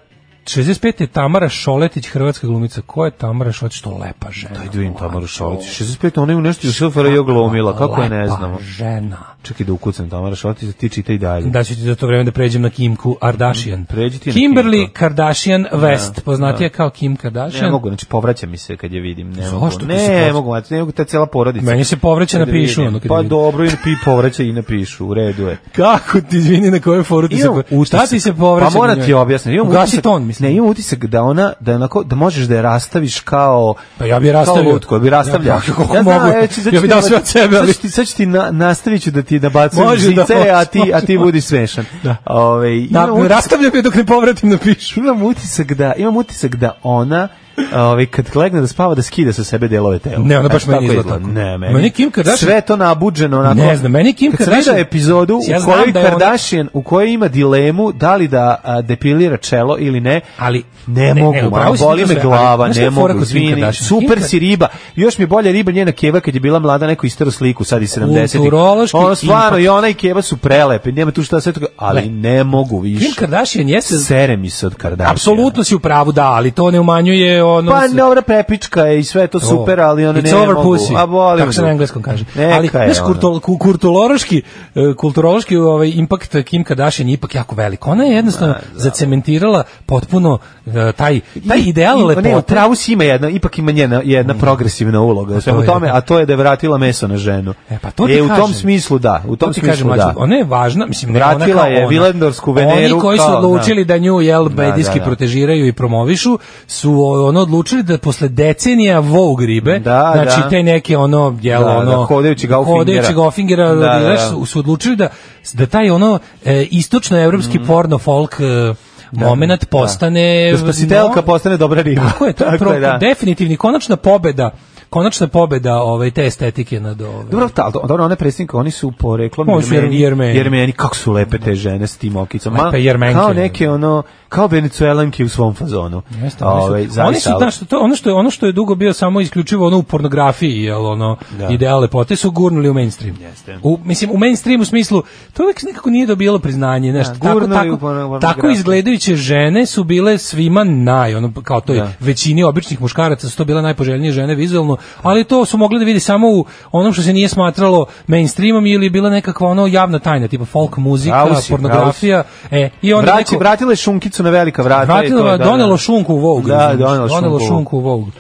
Speaker 6: 65. je Tamara Šoletić, hrvatska glumica. Ko je Tamara Šoletić? Što lepa žena.
Speaker 5: Ajde vidim Tamaru Šoltić. 65. ona je u nešto Jusufara i glumila, kako je ne
Speaker 6: Lepa
Speaker 5: znamo.
Speaker 6: žena.
Speaker 5: Čekaj da ukucam Tamara Šoltić, ti čitaj dalje.
Speaker 6: Da ću ti za to vreme da pređem na Kimku Kardashian.
Speaker 5: Mm, Pređi ti na
Speaker 6: Kimberly
Speaker 5: Kimku. Da,
Speaker 6: Kardashian West, poznatija kao Kim Kardashian.
Speaker 5: Ne mogu, znači povraća mi se kad je vidim, ne mogu.
Speaker 6: Zašto ti se
Speaker 5: Ne,
Speaker 6: povraća?
Speaker 5: mogu, znači, ne mogu ta cela porodica.
Speaker 6: Meni se povraća
Speaker 5: Kad
Speaker 6: na pišu,
Speaker 5: vidim.
Speaker 6: ono, kad
Speaker 5: Pa
Speaker 6: vidim.
Speaker 5: dobro, i pi povraća i napišu, u redu je.
Speaker 6: Kako ti izvini na koju foru ti se
Speaker 5: Imam
Speaker 6: po- Šta ti se povraća?
Speaker 5: Pa mora
Speaker 6: na
Speaker 5: ti
Speaker 6: njoj?
Speaker 5: objasniti. Imam
Speaker 6: Ugasi
Speaker 5: utisak-
Speaker 6: ton, mislim.
Speaker 5: Ne, imam utisak da ona da je onako da možeš da je rastaviš kao
Speaker 6: Pa ja bi je rastavio.
Speaker 5: Kao lutko, ja bi rastavljao.
Speaker 6: Ja, kako
Speaker 5: znam,
Speaker 6: mogu?
Speaker 5: evo znači, ću- sad
Speaker 6: Ja bi
Speaker 5: ću
Speaker 6: dao
Speaker 5: ti-
Speaker 6: sve od sebe, ali-
Speaker 5: sad ću ti- znači, Sad ću ti na, nastavit ću da ti nabacujem
Speaker 6: Može da
Speaker 5: žice,
Speaker 6: može,
Speaker 5: a ti, a ti
Speaker 6: može.
Speaker 5: budi smešan.
Speaker 6: Da.
Speaker 5: Ove, imam
Speaker 6: Da,
Speaker 5: utisak-
Speaker 6: rastavljam je dok ne povratim na pišu.
Speaker 5: imam utisak da imam utisak da ona ovaj kad legne da spava da skida sa sebe delove tela.
Speaker 6: Ne, ona baš
Speaker 5: Eto,
Speaker 6: meni izgleda tako.
Speaker 5: Ne, meni.
Speaker 6: Meni Kim Kardashian-
Speaker 5: sve to nabuđeno onako.
Speaker 6: Ne znam, meni Kim
Speaker 5: Kad sam
Speaker 6: Kardashian-
Speaker 5: vidio epizodu
Speaker 6: Ja
Speaker 5: u
Speaker 6: znam
Speaker 5: kojoj
Speaker 6: da je ona-
Speaker 5: Kardashian u kojoj ima dilemu da li da a, depilira čelo ili ne.
Speaker 6: Ali-
Speaker 5: ne,
Speaker 6: ne,
Speaker 5: mogu,
Speaker 6: ne,
Speaker 5: ne,
Speaker 6: upravo si
Speaker 5: boli
Speaker 6: to
Speaker 5: me
Speaker 6: sve, ali
Speaker 5: glava,
Speaker 6: znaš šta
Speaker 5: ne
Speaker 6: je fora
Speaker 5: mogu,
Speaker 6: kod Kim
Speaker 5: izvini.
Speaker 6: Kardashian?
Speaker 5: Super
Speaker 6: Kim
Speaker 5: si riba. Još mi je bolje riba njena Keva kad je bila mlada neku istaru sliku sad i 70.
Speaker 6: Kulturološki
Speaker 5: Ono stvarno
Speaker 6: impact.
Speaker 5: i ona i Keva su prelepe, nema tu šta sve toga, ali
Speaker 6: Le.
Speaker 5: ne mogu više.
Speaker 6: Kim Kardashian jeste...
Speaker 5: Sere mi se od Kardashiana.
Speaker 6: Apsolutno si u pravu, da, ali to ne umanjuje ono...
Speaker 5: Pa
Speaker 6: s-
Speaker 5: dobra prepička je i sve je to super, ali ona
Speaker 6: It's
Speaker 5: ne
Speaker 6: over
Speaker 5: mogu.
Speaker 6: pussy.
Speaker 5: A volim.
Speaker 6: Tako se
Speaker 5: ga.
Speaker 6: na engleskom kaže.
Speaker 5: Neka
Speaker 6: ali,
Speaker 5: je
Speaker 6: znaš,
Speaker 5: ona.
Speaker 6: kurtol, ku- kulturološki, e, kulturološki ovaj, impakt Kim Kardashian je ipak jako velik. Ona je jednostavno
Speaker 5: da.
Speaker 6: zacementirala potpuno e, taj, taj ideal
Speaker 5: I- Ne, u
Speaker 6: lepote.
Speaker 5: travu si ima jedna, ipak ima njena jedna progresivna uloga u svemu
Speaker 6: Mm. je,
Speaker 5: tome,
Speaker 6: da.
Speaker 5: a to je da je vratila meso na ženu.
Speaker 6: E, pa to ti
Speaker 5: u tom
Speaker 6: kažem.
Speaker 5: smislu da, u tom
Speaker 6: To ti kažem,
Speaker 5: smislu
Speaker 6: mlađo,
Speaker 5: da.
Speaker 6: ona je važna, mislim, ne ona
Speaker 5: Vratila
Speaker 6: kao
Speaker 5: je
Speaker 6: ona.
Speaker 5: Vilendorsku Veneru
Speaker 6: Oni koji su
Speaker 5: kao, da.
Speaker 6: odlučili da nju jel
Speaker 5: Da, da,
Speaker 6: medijski
Speaker 5: da.
Speaker 6: protežiraju i promovišu, su o, ono odlučili da posle decenija Vogue ribe,
Speaker 5: Da,
Speaker 6: znači
Speaker 5: da.
Speaker 6: te neke ono jel
Speaker 5: Da, da,
Speaker 6: ono
Speaker 5: hodajući Gaufingera.
Speaker 6: hodajući Gaufingera,
Speaker 5: Da, da,
Speaker 6: znaš,
Speaker 5: da.
Speaker 6: su, su odlučili da da taj ono e, istočnoevropski porno folk e, moment postane
Speaker 5: Mm. Da spasitelka
Speaker 6: no-
Speaker 5: postane dobra riba.
Speaker 6: tako je, to je pro-
Speaker 5: da.
Speaker 6: definitivni konačna pobeda konačna pobeda ovaj, te estetike nad ovaj,
Speaker 5: Dobro, ta, al- dobro, one predsjednika, oni su poreklom
Speaker 6: Oni su
Speaker 5: Jermeni,
Speaker 6: Jermeni.
Speaker 5: Jermeni, kako su lepe te žene s tim okicom. Ma,
Speaker 6: Lepe Jermenke.
Speaker 5: Kao neke, ono, kao Venecuelanke u svom fazonu.
Speaker 6: Jeste, oni su-
Speaker 5: Ovaj,
Speaker 6: oni su
Speaker 5: zaista,
Speaker 6: znaš, to ono što je ono što je dugo bio samo isključivo ono u pornografiji, jel ono
Speaker 5: Da.
Speaker 6: ideal lepote su gurnuli u mainstream.
Speaker 5: Jeste.
Speaker 6: U mislim u mainstream u smislu to uvek nekako nije dobijalo priznanje, nešto
Speaker 5: Da,
Speaker 6: tako
Speaker 5: gurnuli u
Speaker 6: tako,
Speaker 5: pornografiju.
Speaker 6: tako izgledajuće žene su bile svima naj ono kao to je
Speaker 5: Da.
Speaker 6: većini običnih muškaraca su to bile najpoželjnije žene vizuelno, ali to su mogli da vidi samo u onom što se nije smatralo mainstreamom ili je bila nekakva ono javna tajna tipa folk muzika,
Speaker 5: Pravo si,
Speaker 6: pornografija, e i onda
Speaker 5: Vraći,
Speaker 6: neko-
Speaker 5: vratila je šunkicu na velika vrata. i
Speaker 6: Vratilo
Speaker 5: to,
Speaker 6: je,
Speaker 5: da,
Speaker 6: donelo
Speaker 5: da.
Speaker 6: šunku u Vogue.
Speaker 5: Da,
Speaker 6: razumiješ,
Speaker 5: donelo šunku u
Speaker 6: šunku u Vogue.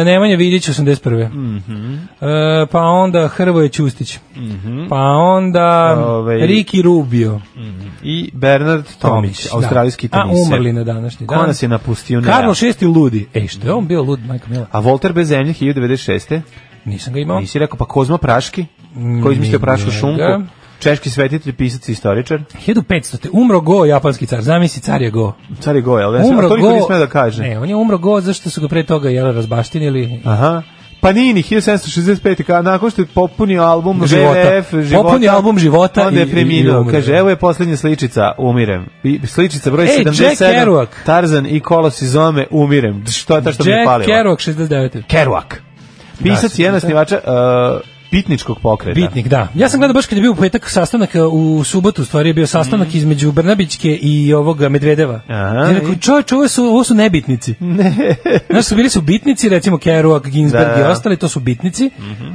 Speaker 6: E, Nemanja Vidić, 81. Mm
Speaker 5: Mhm.
Speaker 6: e, pa onda Hrvoje Ćustić. Pa onda
Speaker 5: Ovaj-
Speaker 6: Riki Rubio.
Speaker 5: I Bernard Tomić,
Speaker 6: da.
Speaker 5: australijski teniser.
Speaker 6: A umrli na današnji dan.
Speaker 5: Ko nas je napustio? Ne.
Speaker 6: Karlo VI ludi. Ej, što je on bio lud, majko mila?
Speaker 5: A Volter bez zemlje 1096.
Speaker 6: Nisam ga imao.
Speaker 5: Nisi rekao, pa Kozma Praški, koji je izmislio prašku
Speaker 6: njega.
Speaker 5: šunku. Češki svetitelj, pisac i istoričar.
Speaker 6: 1500. te, Umro Go, japanski car. Zamisli, car je Go.
Speaker 5: Car je Gojel, ne
Speaker 6: Umro
Speaker 5: znam, to niko
Speaker 6: Go-
Speaker 5: nije smeo da kaže.
Speaker 6: Ne, on je umro Go, zašto su ga pre toga jel, razbaštinili
Speaker 5: Aha. Pa Panini 1765. Kada nakon što je popunio album
Speaker 6: Života.
Speaker 5: VVF života.
Speaker 6: Popunio album života
Speaker 5: Onda je
Speaker 6: i- i
Speaker 5: preminuo.
Speaker 6: umre.
Speaker 5: Kaže, evo je posljednja sličica, umirem. I sličica broj
Speaker 6: Ej, Jack
Speaker 5: 77.
Speaker 6: Kerouac.
Speaker 5: Tarzan i kolos iz Ome, umirem. Što je ta što mi je
Speaker 6: Jack
Speaker 5: palila?
Speaker 6: Kerouac, 69.
Speaker 5: Kerouac. Pisac i jedan snivača, uh, bitničkog pokreta.
Speaker 6: Bitnik, da. Ja sam gledao baš kad je bio u petak sastanak, e, u subotu u stvari je bio sastanak između Brnabićke i ovoga Medvedeva.
Speaker 5: Mhm. Aha.
Speaker 6: I rekao, čovječ, ovo su, ovo su nebitnici. Ne. Znaš, su bili su bitnici, recimo Kerouac, Ginsberg
Speaker 5: Da, Mhm. da.
Speaker 6: i ostali, to su bitnici,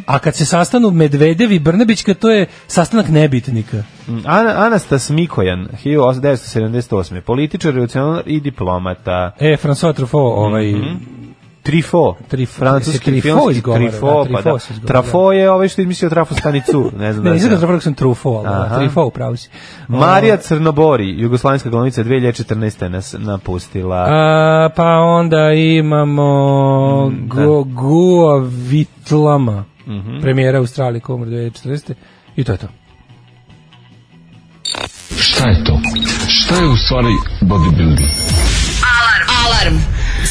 Speaker 6: a kad se sastanu Medvedev i Brnabićka, to je sastanak nebitnika.
Speaker 5: Mm, Ana, Anastas Mikojan, 1978. Političar, revolucionar i diplomata.
Speaker 6: E, François Truffaut, ovaj...
Speaker 5: Mhm. Trifo.
Speaker 6: Trifo.
Speaker 5: Francuski
Speaker 6: Se Trifo
Speaker 5: filmski
Speaker 6: izgovara,
Speaker 5: Trifo,
Speaker 6: da,
Speaker 5: pa
Speaker 6: Trifo
Speaker 5: da.
Speaker 6: se izgovara.
Speaker 5: Trafo je ovaj što je izmislio trafostanicu. Ne znam
Speaker 6: Ne,
Speaker 5: da
Speaker 6: nisam
Speaker 5: se-
Speaker 6: ga Truffaut, sam Truffaut, ali da,
Speaker 5: Aha.
Speaker 6: Truffaut, upravo si.
Speaker 5: Marija Crnobori, jugoslovenska glavnica 2014. nas napustila.
Speaker 6: A, pa onda imamo
Speaker 5: Mm, da.
Speaker 6: Go, Gua Vitlama,
Speaker 5: Mhm.
Speaker 6: premijera Australije, komor 2014. I to je to.
Speaker 9: Šta je to? Šta je u stvari bodybuilding?
Speaker 4: Alarm. Alarm.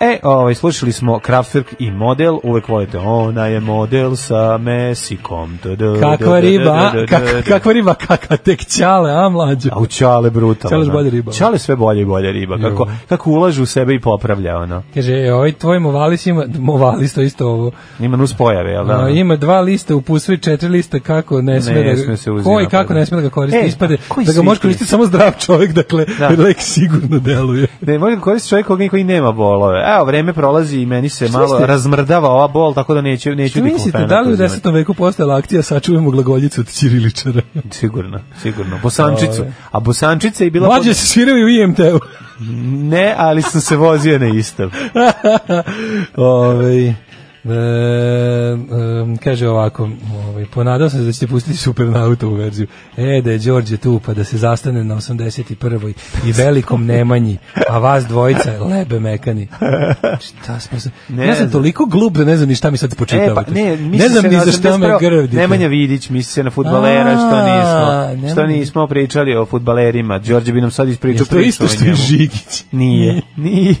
Speaker 5: E, ovaj, slušali smo Kraftwerk i model, uvek volite, ona je model sa Mesikom. Da, da,
Speaker 6: Kakva
Speaker 5: da, da,
Speaker 6: riba,
Speaker 5: da, da, da, da.
Speaker 6: kak, kakva riba, kakva tek ćale, a mlađo.
Speaker 5: A u Čale brutalno.
Speaker 6: Čale još bolje riba.
Speaker 5: Čale sve bolje i bolje riba. Kako, kako ulaže u sebe i popravlja, ono.
Speaker 6: Kaže, ovaj tvoj movalis ima, movalis to je isto ovo,
Speaker 5: Ima nus pojave, jel da?
Speaker 6: A, ima dva lista u pusvi, četiri lista kako ne sme, da,
Speaker 5: sme se uzima,
Speaker 6: ko i kako
Speaker 5: pa da.
Speaker 6: ne sme da ga koristi,
Speaker 5: E,
Speaker 6: ispade
Speaker 5: koji
Speaker 6: da ga
Speaker 5: svi
Speaker 6: može
Speaker 5: ti?
Speaker 6: koristiti samo zdrav čovjek, dakle,
Speaker 5: Da.
Speaker 6: lek sigurno deluje.
Speaker 5: Ne, može da koristi čovjek koga koji nema bolove. Evo, vreme prolazi i meni se malo
Speaker 6: mislite?
Speaker 5: razmrdava ova bol, tako da neću, neću
Speaker 6: Što mislite,
Speaker 5: diklofenak
Speaker 6: da li u
Speaker 5: uzimati.
Speaker 6: 10. veku postojala akcija sačuvajmo glagoljicu od Ćiriličara?
Speaker 5: Sigurno, sigurno. Bosančicu.
Speaker 6: Ove.
Speaker 5: A Bosančica je bila... pod-
Speaker 6: Mlađe se sviraju u IMT-u.
Speaker 5: Ne, ali sam se vozio na istom.
Speaker 6: Ovaj, e, e, kaže ovako, ovaj, ponadao sam se da ćete pustiti super nautovu verziju. E, da je Đorđe tu, pa da se zastane na 81. i velikom Nemanji, a vas dvojica lebe mekani. Šta smo se...
Speaker 5: Ne
Speaker 6: ja sam
Speaker 5: znam.
Speaker 6: toliko glup da ne znam ni šta mi sad
Speaker 5: E,
Speaker 6: počitavate.
Speaker 5: pa, ne, misli
Speaker 6: ne znam
Speaker 5: se
Speaker 6: ni
Speaker 5: na
Speaker 6: za šta me
Speaker 5: 81.
Speaker 6: grvdite.
Speaker 5: Nemanja Vidić, misli se na futbalera, što
Speaker 6: A,
Speaker 5: nismo,
Speaker 6: Nemanja.
Speaker 5: što nismo pričali o futbalerima. Đorđe bi nam sad ispričao
Speaker 6: Jel to je
Speaker 5: priču
Speaker 6: isto
Speaker 5: o
Speaker 6: što je
Speaker 5: njemu.
Speaker 6: Žigić?
Speaker 5: Nije, nije.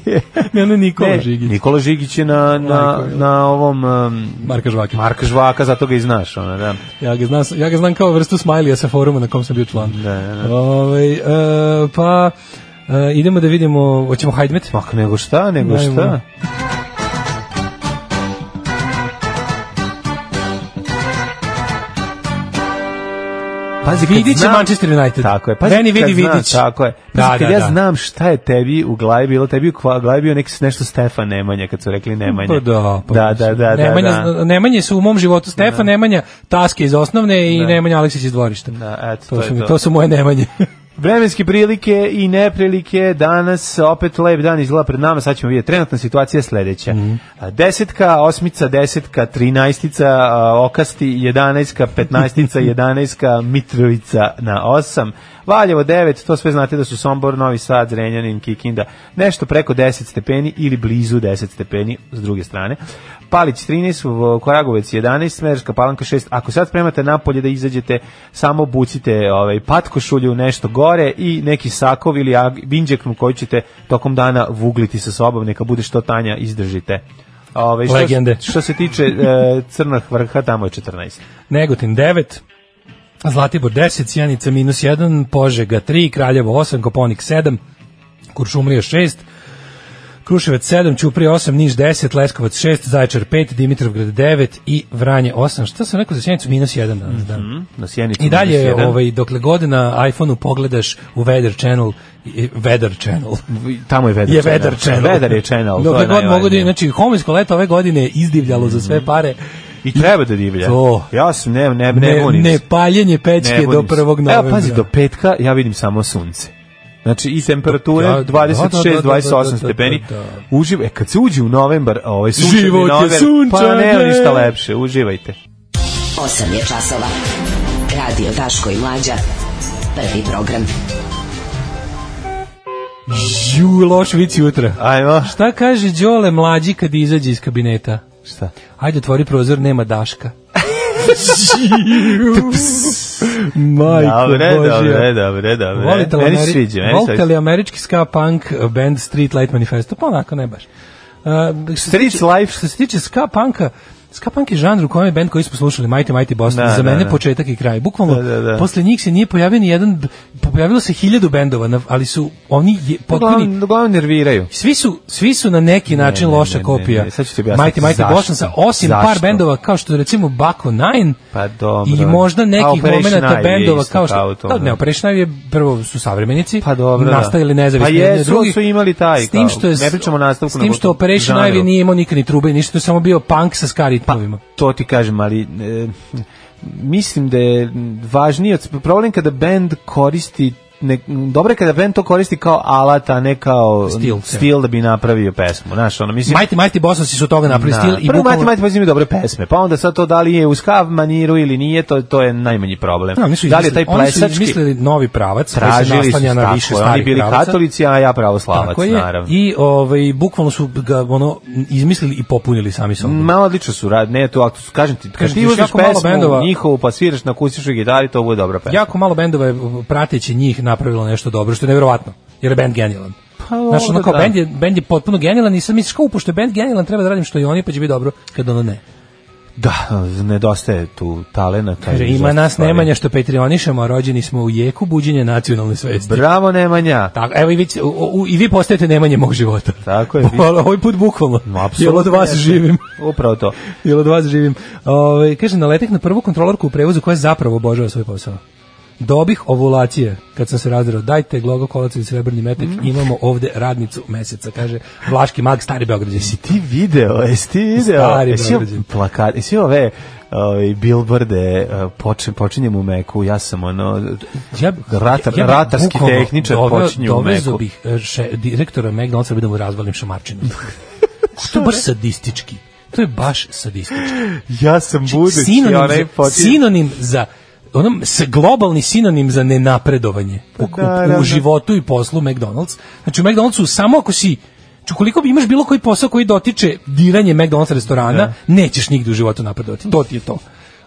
Speaker 6: Ne, ono je Nikola
Speaker 5: Ne,
Speaker 6: Žigić.
Speaker 5: Nikola Žigić je na, na,
Speaker 6: Majko, jel?
Speaker 5: na ovom... Um,
Speaker 6: Marka Žvaka.
Speaker 5: Marka Žvaka, zato ga i znaš, ona, da.
Speaker 6: Ja ga znam, ja ga znam kao vrstu smajlija sa foruma na kom sam bio član.
Speaker 5: Da, da, da.
Speaker 6: Ovaj, e, pa e, idemo da vidimo, hoćemo Hajdmet?
Speaker 5: Mak, nego šta, nego
Speaker 6: Ajmo.
Speaker 5: šta. Pazi, kad
Speaker 6: Vidić je
Speaker 5: znam-
Speaker 6: Manchester United.
Speaker 5: Tako je.
Speaker 6: Veni
Speaker 5: kad
Speaker 6: vidi
Speaker 5: znam,
Speaker 6: Vidić.
Speaker 5: Tako je. Pazi,
Speaker 6: Da,
Speaker 5: kad
Speaker 6: da,
Speaker 5: ja
Speaker 6: da.
Speaker 5: znam šta je tebi u glavi bilo, tebi u kva- glavi bio neki nešto Stefan Nemanja, kad su rekli Nemanja.
Speaker 6: Pa da, pa
Speaker 5: da, da, da, da,
Speaker 6: Nemanja,
Speaker 5: da.
Speaker 6: Nemanje su u mom životu Stefan Nemanja, Taske iz osnovne i Nemanja Aleksić iz dvorišta.
Speaker 5: Da, eto, Da.
Speaker 6: to,
Speaker 5: to je
Speaker 6: su mi,
Speaker 5: to.
Speaker 6: to su moje Nemanje.
Speaker 5: Vremenske prilike i neprilike danas opet lep dan izgleda pred nama, sad ćemo vidjeti. Trenutna situacija je sledeća. A, Desetka, osmica, desetka, trinaestica, a, okasti, jedanaestka, petnaestica, jedanaestka, Mitrovica na osam. Valjevo 9, to sve znate da su Sombor, Novi Sad, Zrenjanin, Kikinda, nešto preko 10 stepeni ili blizu 10 stepeni s druge strane. Palić 13, Vo- Koragovec 11, Smederska Palanka 6. Ako sad spremate napolje da izađete, samo bucite ovaj, patkošulju nešto gore i neki sakov ili ag- vinđeknu koji ćete tokom dana vugliti sa sobom, neka bude što tanja, izdržite. Ove, što,
Speaker 6: Legende.
Speaker 5: Što se tiče e, crnog vrha, tamo je 14.
Speaker 6: Negotin 9, Zlatibor 10, Sjenica minus 1, Požega 3, Kraljevo 8, Koponik 7, Kuršumlija 6, Kruševac 7, Ćuprija 8, Niš 10, Leskovac 6, Zaječar 5, Dimitrovgrad 9 i Vranje 8. Šta sam rekao za Sjenicu? Minus 1 danas, da.
Speaker 5: Na Sjenici Mhm,
Speaker 6: I
Speaker 5: minus
Speaker 6: dalje,
Speaker 5: jedan.
Speaker 6: ovaj, dokle god na iPhone-u pogledaš u Weather Channel, i- Weather Channel,
Speaker 5: tamo je Vedar
Speaker 6: je Weather Channel.
Speaker 5: Vedar je channel. to
Speaker 6: Dokle
Speaker 5: je Mhm.
Speaker 6: god mogu da,
Speaker 5: najvažnije.
Speaker 6: znači, homosko leto ove godine je izdivljalo za sve pare.
Speaker 5: I treba da divlja.
Speaker 6: To.
Speaker 5: Ja sam, ne, ne, ne,
Speaker 6: Ne,
Speaker 5: bunim
Speaker 6: ne
Speaker 5: se.
Speaker 6: paljenje pećke
Speaker 5: Ne
Speaker 6: do
Speaker 5: budim se.
Speaker 6: 1. novembra.
Speaker 5: Evo, pazi, do petka ja vidim samo sunce. Znači, i temperature
Speaker 6: Da, da, da,
Speaker 5: 26,
Speaker 6: da, da,
Speaker 5: 28
Speaker 6: da,
Speaker 5: stepeni.
Speaker 6: da, da.
Speaker 5: Uživ, e, kad se uđe u novembar, ovaj sunčani
Speaker 6: Život je
Speaker 5: novembar, pa
Speaker 6: sunčan,
Speaker 5: nema
Speaker 6: je.
Speaker 5: ništa lepše, uživajte.
Speaker 10: 8 je časova. Radio Daško i Mlađa. Prvi program.
Speaker 6: Ju, loš vic jutra.
Speaker 5: Ajmo.
Speaker 6: Šta kaže Đole mlađi kad izađe iz kabineta?
Speaker 5: Šta?
Speaker 6: Ajde, otvori prozor, nema Daška. Majko
Speaker 5: Dobre,
Speaker 6: Božja.
Speaker 5: dobre, dobre, dobre.
Speaker 6: Volite li,
Speaker 5: meni se
Speaker 6: Ameri-
Speaker 5: sviđa, meni se
Speaker 6: volite
Speaker 5: sviđa.
Speaker 6: li američki ska punk band Street Light Manifesto? Pa onako, ne baš. Uh, što se
Speaker 5: Street
Speaker 6: tiče-
Speaker 5: Life.
Speaker 6: Što se tiče ska punka, Ska punk je žanr u kojem je bend koji smo slušali Mighty Mighty Boston
Speaker 5: Da,
Speaker 6: za
Speaker 5: da,
Speaker 6: mene
Speaker 5: da.
Speaker 6: početak i kraj. Bukvalno
Speaker 5: Da, da, da.
Speaker 6: posle njih se nije pojavio ni jedan pojavilo se hiljadu bendova, na- ali su oni je,
Speaker 5: Pa
Speaker 6: potpuni
Speaker 5: Uglavnom, uglavnom nerviraju.
Speaker 6: svi su svi su na neki način
Speaker 5: ne, ne,
Speaker 6: loša
Speaker 5: ne,
Speaker 6: kopija.
Speaker 5: ne, sad ću ti objasniti
Speaker 6: Mighty Mighty
Speaker 5: zašto.
Speaker 6: Bostonsa osim par
Speaker 5: Zašto?
Speaker 6: bendova kao što je recimo Bako 9
Speaker 5: Pa dobro.
Speaker 6: i možda
Speaker 5: A
Speaker 6: nekih
Speaker 5: Operation
Speaker 6: momenata
Speaker 5: Ivy je
Speaker 6: bendova
Speaker 5: isto
Speaker 6: kao što
Speaker 5: kao to,
Speaker 6: kao, ne
Speaker 5: da.
Speaker 6: Operation Ivy je prvo su savremenici
Speaker 5: Pa dobro, da.
Speaker 6: nastajali nezavisni
Speaker 5: Pa
Speaker 6: jedni od
Speaker 5: jesu,
Speaker 6: drugih.
Speaker 5: su imali taj,
Speaker 6: s tim
Speaker 5: kao,
Speaker 6: što je
Speaker 5: ne pričamo o nastavku,
Speaker 6: s tim
Speaker 5: nego
Speaker 6: što
Speaker 5: o
Speaker 6: Operation
Speaker 5: žanru. Pa-
Speaker 6: Ivy nije imao nikad ni trube ništa to je samo bio punk sa ska ritmovima
Speaker 5: To ti kažem, ali e, mislim da je važnije od- problem kada bend koristi ne, dobro je kada bend to koristi kao alat, a ne kao
Speaker 6: Stil, da.
Speaker 5: stil da bi napravio pesmu. Znaš, ono, mislim, da.
Speaker 6: Mighty Mighty Bostonsi su toga napravili stil i
Speaker 5: Prvo
Speaker 6: bukvalno-
Speaker 5: Mati Mati Mati imaju dobre pesme, pa onda sad to da li je u skav maniru ili nije, to, to je najmanji problem.
Speaker 6: Da, oni su
Speaker 5: da li je taj
Speaker 6: izmislili- Oni su
Speaker 5: plesački,
Speaker 6: izmislili novi pravac, koji se
Speaker 5: tražili su
Speaker 6: naslanja na
Speaker 5: tako,
Speaker 6: više
Speaker 5: oni
Speaker 6: starih
Speaker 5: bili
Speaker 6: pravaca.
Speaker 5: katolici, a ja pravoslavac,
Speaker 6: Tako je.
Speaker 5: naravno.
Speaker 6: I ovaj bukvalno su ga ono izmislili i popunili sami sobom.
Speaker 5: Ma odlično su rad, ne to, ako su, kažem ti, kad
Speaker 6: Kažem ti,
Speaker 5: ti
Speaker 6: još
Speaker 5: uzmeš
Speaker 6: jako malo
Speaker 5: pesmu
Speaker 6: bendova-
Speaker 5: njihovu, pa sviraš na kusišu gitari, to bude dobra pesma.
Speaker 6: Jako malo bendova je prateći njih napravilo nešto dobro, što je nevjerovatno, jer je bend genijalan.
Speaker 5: Pa,
Speaker 6: Znaš, ono
Speaker 5: onda
Speaker 6: kao,
Speaker 5: da.
Speaker 6: bend je, bend je potpuno genijalan i sad misliš kao, pošto je bend genijalan, treba da radim što i oni, pa će biti dobro, kad ono ne.
Speaker 5: Pa, Da, nedostaje tu talenata.
Speaker 6: Kaže,
Speaker 5: i
Speaker 6: ima
Speaker 5: dosta
Speaker 6: nas
Speaker 5: stvari.
Speaker 6: Nemanja što petrionišemo, a rođeni smo u jeku buđenja nacionalne svesti.
Speaker 5: Bravo Nemanja.
Speaker 6: Tako, evo i vi, u- u- i vi postajete Nemanje mog života.
Speaker 5: Tako je, vi-
Speaker 6: Bukvalno, ovaj put bukvalno.
Speaker 5: No,
Speaker 6: Jel
Speaker 5: apsolutno
Speaker 6: od vas
Speaker 5: jeste.
Speaker 6: živim.
Speaker 5: Upravo to.
Speaker 6: Jel od vas živim. Ove, kaže, naletih na prvu kontrolorku u prevozu koja zapravo obožava svoj posao. Dobih ovulacije, kad sam se razdrao, dajte glogo kolac i srebrni metak,
Speaker 5: Mhm.
Speaker 6: imamo ovde radnicu meseca, kaže Vlaški mag, stari Beograđe si ti.
Speaker 5: Ti video, jesi ti video?
Speaker 6: Stari
Speaker 5: jesi
Speaker 6: Beograđan.
Speaker 5: plakat, jesi ove ovaj bilborde počin, počinjem u meku, ja sam ono
Speaker 6: Ja,
Speaker 5: ratar,
Speaker 6: ja bih
Speaker 5: ratarski
Speaker 6: bukvalno
Speaker 5: tehničar
Speaker 6: doveo-
Speaker 5: počinje u
Speaker 6: Dovezo
Speaker 5: meku.
Speaker 6: bih e, še, direktora McDonald'sa da mu razvalim šamarčinu. to je baš sadistički. To je baš sadistički.
Speaker 5: Ja sam budući
Speaker 6: sinonim,
Speaker 5: onaj
Speaker 6: za,
Speaker 5: počinje.
Speaker 6: sinonim za onom s globalni sinonim za nenapredovanje u,
Speaker 5: Pa da,
Speaker 6: u, u
Speaker 5: da.
Speaker 6: životu i poslu McDonald's. Znači u McDonald'su samo ako si Znači, koliko bi imaš bilo koji posao koji dotiče diranje McDonald's
Speaker 5: Da.
Speaker 6: restorana, nećeš nigde u životu napredovati. To ti je to.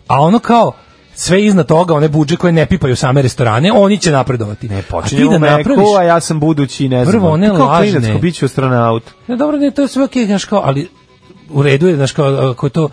Speaker 6: A ono kao, sve iznad toga, one budže koje ne pipaju same restorane, oni će napredovati.
Speaker 5: Ne,
Speaker 6: A
Speaker 5: počinjem
Speaker 6: ti da
Speaker 5: u meku,
Speaker 6: napraviš-
Speaker 5: a ja sam budući, ne znam.
Speaker 6: Prvo, one
Speaker 5: Ti kao
Speaker 6: lažne.
Speaker 5: klinac, Kao bit ću astronaut.
Speaker 6: Ne, dobro, ne, to je sve okej, znaš kao, ali u redu je, znaš kao, ako je to,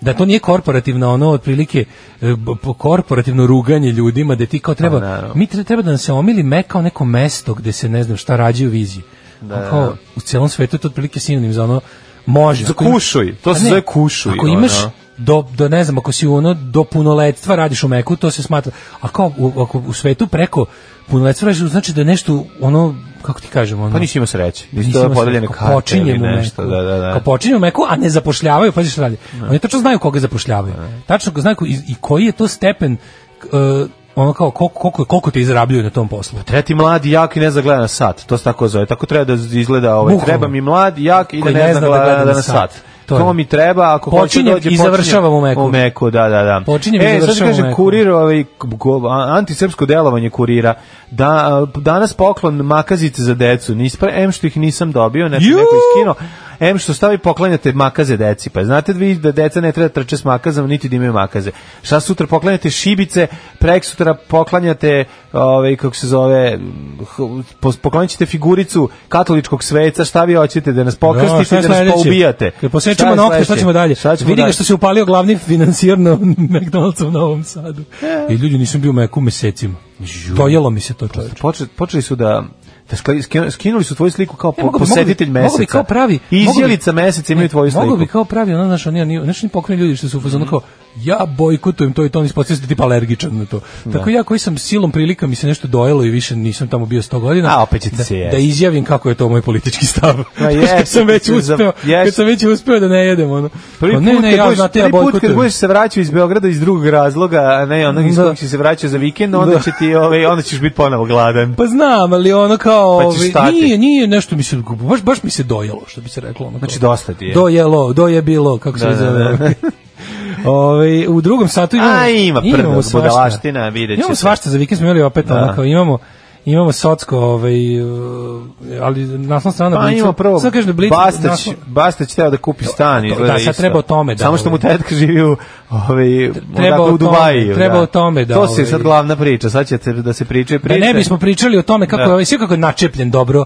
Speaker 6: da to nije korporativno ono otprilike e, b- b- korporativno ruganje ljudima da ti kao treba
Speaker 5: Pa, naravno.
Speaker 6: mi tre- treba da nam se omili Mek kao neko mesto gde se ne znam šta rađaju vizije da, kao u celom svetu je to otprilike sinonim za ono može
Speaker 5: Za
Speaker 6: ako im-
Speaker 5: kušuj, to
Speaker 6: Pa
Speaker 5: se
Speaker 6: ne,
Speaker 5: zove kušuj,
Speaker 6: ako imaš
Speaker 5: ono.
Speaker 6: do, do ne znam, ako si ono do punoletstva radiš u Meku, to se smatra. A kao u, ako u svetu preko punoletstva radiš, znači da je nešto ono kako ti kažem, ono
Speaker 5: Pa nisi imao sreće. Nisi
Speaker 6: Mislim,
Speaker 5: to
Speaker 6: ono,
Speaker 5: podeljene
Speaker 6: kao
Speaker 5: karte ili
Speaker 6: počinjem u
Speaker 5: nešto.
Speaker 6: Meku.
Speaker 5: Da, da, da.
Speaker 6: Kao počinjem u meku, a ne zapošljavaju, pa šta radi. Oni tačno znaju koga zapošljavaju.
Speaker 5: Da.
Speaker 6: Tačno ko- znaju ko- i, i koji je to stepen k- e, ono kao koliko, koliko, koliko te izrabljuju na tom poslu.
Speaker 5: Treba ti mladi, jak i ne zna gleda na sat. To se tako zove. Tako treba da izgleda ovaj.
Speaker 6: Bukvalno.
Speaker 5: Treba mi mlad, jak i da
Speaker 6: Koji
Speaker 5: ne, zna gleda, da na sat. To,
Speaker 6: je.
Speaker 5: mi treba ako hoće da
Speaker 6: Počinjem
Speaker 5: dođe
Speaker 6: i završavam u Meku.
Speaker 5: U meku, da, da, da.
Speaker 6: Počinjem i
Speaker 5: e, sad
Speaker 6: završavam u
Speaker 5: kaže
Speaker 6: Meku.
Speaker 5: kurir, ovaj go- a- antisrpsko delovanje kurira. Da danas poklon makazice za decu. Nispre em što ih nisam dobio, znači
Speaker 6: Ju!
Speaker 5: neko iskinuo. Em što stavi poklanjate makaze deci, pa znate vi da deca ne treba da trče s makazama, niti da imaju makaze. Šta sutra poklanjate šibice, preksutra poklanjate, ovaj kako se zove, h- pos- poklanjaćete figuricu katoličkog sveca, šta vi hoćete da nas
Speaker 6: Da, šta
Speaker 5: pokrsnite,
Speaker 6: je
Speaker 5: da nas
Speaker 6: sledeće?
Speaker 5: poubijate.
Speaker 6: Kad
Speaker 5: Šta
Speaker 6: posečemo
Speaker 5: je
Speaker 6: na okte, šta
Speaker 5: sledeće?
Speaker 6: ćemo dalje?
Speaker 5: Šta ćemo
Speaker 6: Vidi ga
Speaker 5: dalje?
Speaker 6: što se upalio glavni financijer na McDonald'su u Novom Sadu.
Speaker 5: E.
Speaker 6: I ljudi nisam bio u meku mesecima. Dojelo mi se to čoveče.
Speaker 5: Počeli, počeli su da da skli- skinu- skinuli su tvoju sliku kao
Speaker 6: E,
Speaker 5: po,
Speaker 6: mogu bi-
Speaker 5: posetitelj
Speaker 6: mogu bi-
Speaker 5: meseca.
Speaker 6: mogu bi kao pravi- mogu bi-
Speaker 5: Izjelica meseca imaju
Speaker 6: Ne,
Speaker 5: tvoju sliku. Mhm.
Speaker 6: Mogu bi kao pravi, ono, znaš, oni, oni, znaš, oni pokrenju ljudi što su u fazonu kao, ja bojkotujem to i to, oni spocijaju se tipa alergičan na to.
Speaker 5: Da.
Speaker 6: Tako ja koji sam silom prilika mi se nešto dojelo i više nisam tamo bio 100 godina,
Speaker 5: A, opet ćete
Speaker 6: da,
Speaker 5: se jesti.
Speaker 6: da izjavim kako je to moj politički stav.
Speaker 5: Ma jeste,
Speaker 6: kad sam već
Speaker 5: ćete za-
Speaker 6: uspeo, kad
Speaker 5: jeste.
Speaker 6: sam već uspeo da ne jedem, ono.
Speaker 5: Prvi
Speaker 6: Pa
Speaker 5: put,
Speaker 6: ne, ne,
Speaker 5: kad
Speaker 6: ja,
Speaker 5: budeš,
Speaker 6: znate, ja
Speaker 5: prvi put kad
Speaker 6: bojkotujem.
Speaker 5: budeš se vraćao iz Beograda iz drugog razloga, a ne onog iz
Speaker 6: Da.
Speaker 5: kojeg si se vraćao za vikend, onda, će ti, ovaj, onda ćeš biti ponovo gladan.
Speaker 6: Pa znam, ali ono kao,
Speaker 5: Pa ćeš
Speaker 6: ovi,
Speaker 5: stati.
Speaker 6: nije, nije nešto mi se, baš, baš mi se dojelo, što bi se reklo. Ono
Speaker 5: Znači,
Speaker 6: kao.
Speaker 5: dosta ti je.
Speaker 6: Dojelo, dojebilo, kako se
Speaker 5: Da, da,
Speaker 6: zove.
Speaker 5: da.
Speaker 6: Ove, u drugom satu imamo,
Speaker 5: A, ima
Speaker 6: imamo
Speaker 5: prdog,
Speaker 6: svašta.
Speaker 5: budalaština, vidjet će
Speaker 6: Imamo
Speaker 5: se.
Speaker 6: svašta, za vikend smo imali opet
Speaker 5: Da.
Speaker 6: onako, imamo imamo socsko, ovaj, e, ali naslovna strana
Speaker 5: Pa
Speaker 6: Blicu.
Speaker 5: ima prvo,
Speaker 6: Sad kažeš da Blic,
Speaker 5: Bastać,
Speaker 6: naslov-
Speaker 5: Bastać teo da kupi stan. izgleda
Speaker 6: da, sad
Speaker 5: isto.
Speaker 6: treba o tome da,
Speaker 5: Samo što mu
Speaker 6: ovaj.
Speaker 5: tetka živi u, ovaj, odakle,
Speaker 6: treba o tome,
Speaker 5: u Dubaju.
Speaker 6: treba o tome da,
Speaker 5: To se
Speaker 6: ovaj,
Speaker 5: sad glavna priča, sad će te- da se priče priče.
Speaker 6: Da ne bismo pričali o tome
Speaker 5: Da.
Speaker 6: kako je ovaj sve kako je načepljen dobro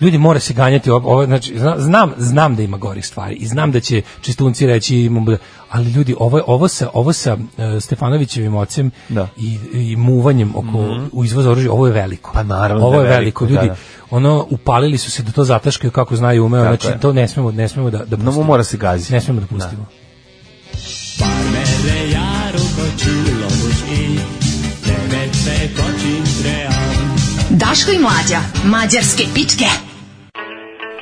Speaker 6: ljudi mora se ganjati ovo, ovo znači zna- znam znam da ima gorih stvari i znam da će čistunci reći imamo da- ali ljudi ovo ovo sa ovo sa e, Stefanovićevim ocem
Speaker 5: Da. Mhm.
Speaker 6: i, i muvanjem oko u izvozu oružja ovo je veliko
Speaker 5: Pa naravno
Speaker 6: ovo
Speaker 5: da
Speaker 6: je
Speaker 5: je
Speaker 6: veliko,
Speaker 5: veliko,
Speaker 6: ljudi
Speaker 5: da,
Speaker 6: ono upalili su se da to zataškaju kako znaju umeo
Speaker 5: Tako
Speaker 6: znači
Speaker 5: je.
Speaker 6: to ne smemo ne smemo da da
Speaker 5: No,
Speaker 6: pustimo.
Speaker 5: mora se gaziti.
Speaker 6: ne smemo da pustimo
Speaker 4: Daško i Mlađa, mađarske pičke.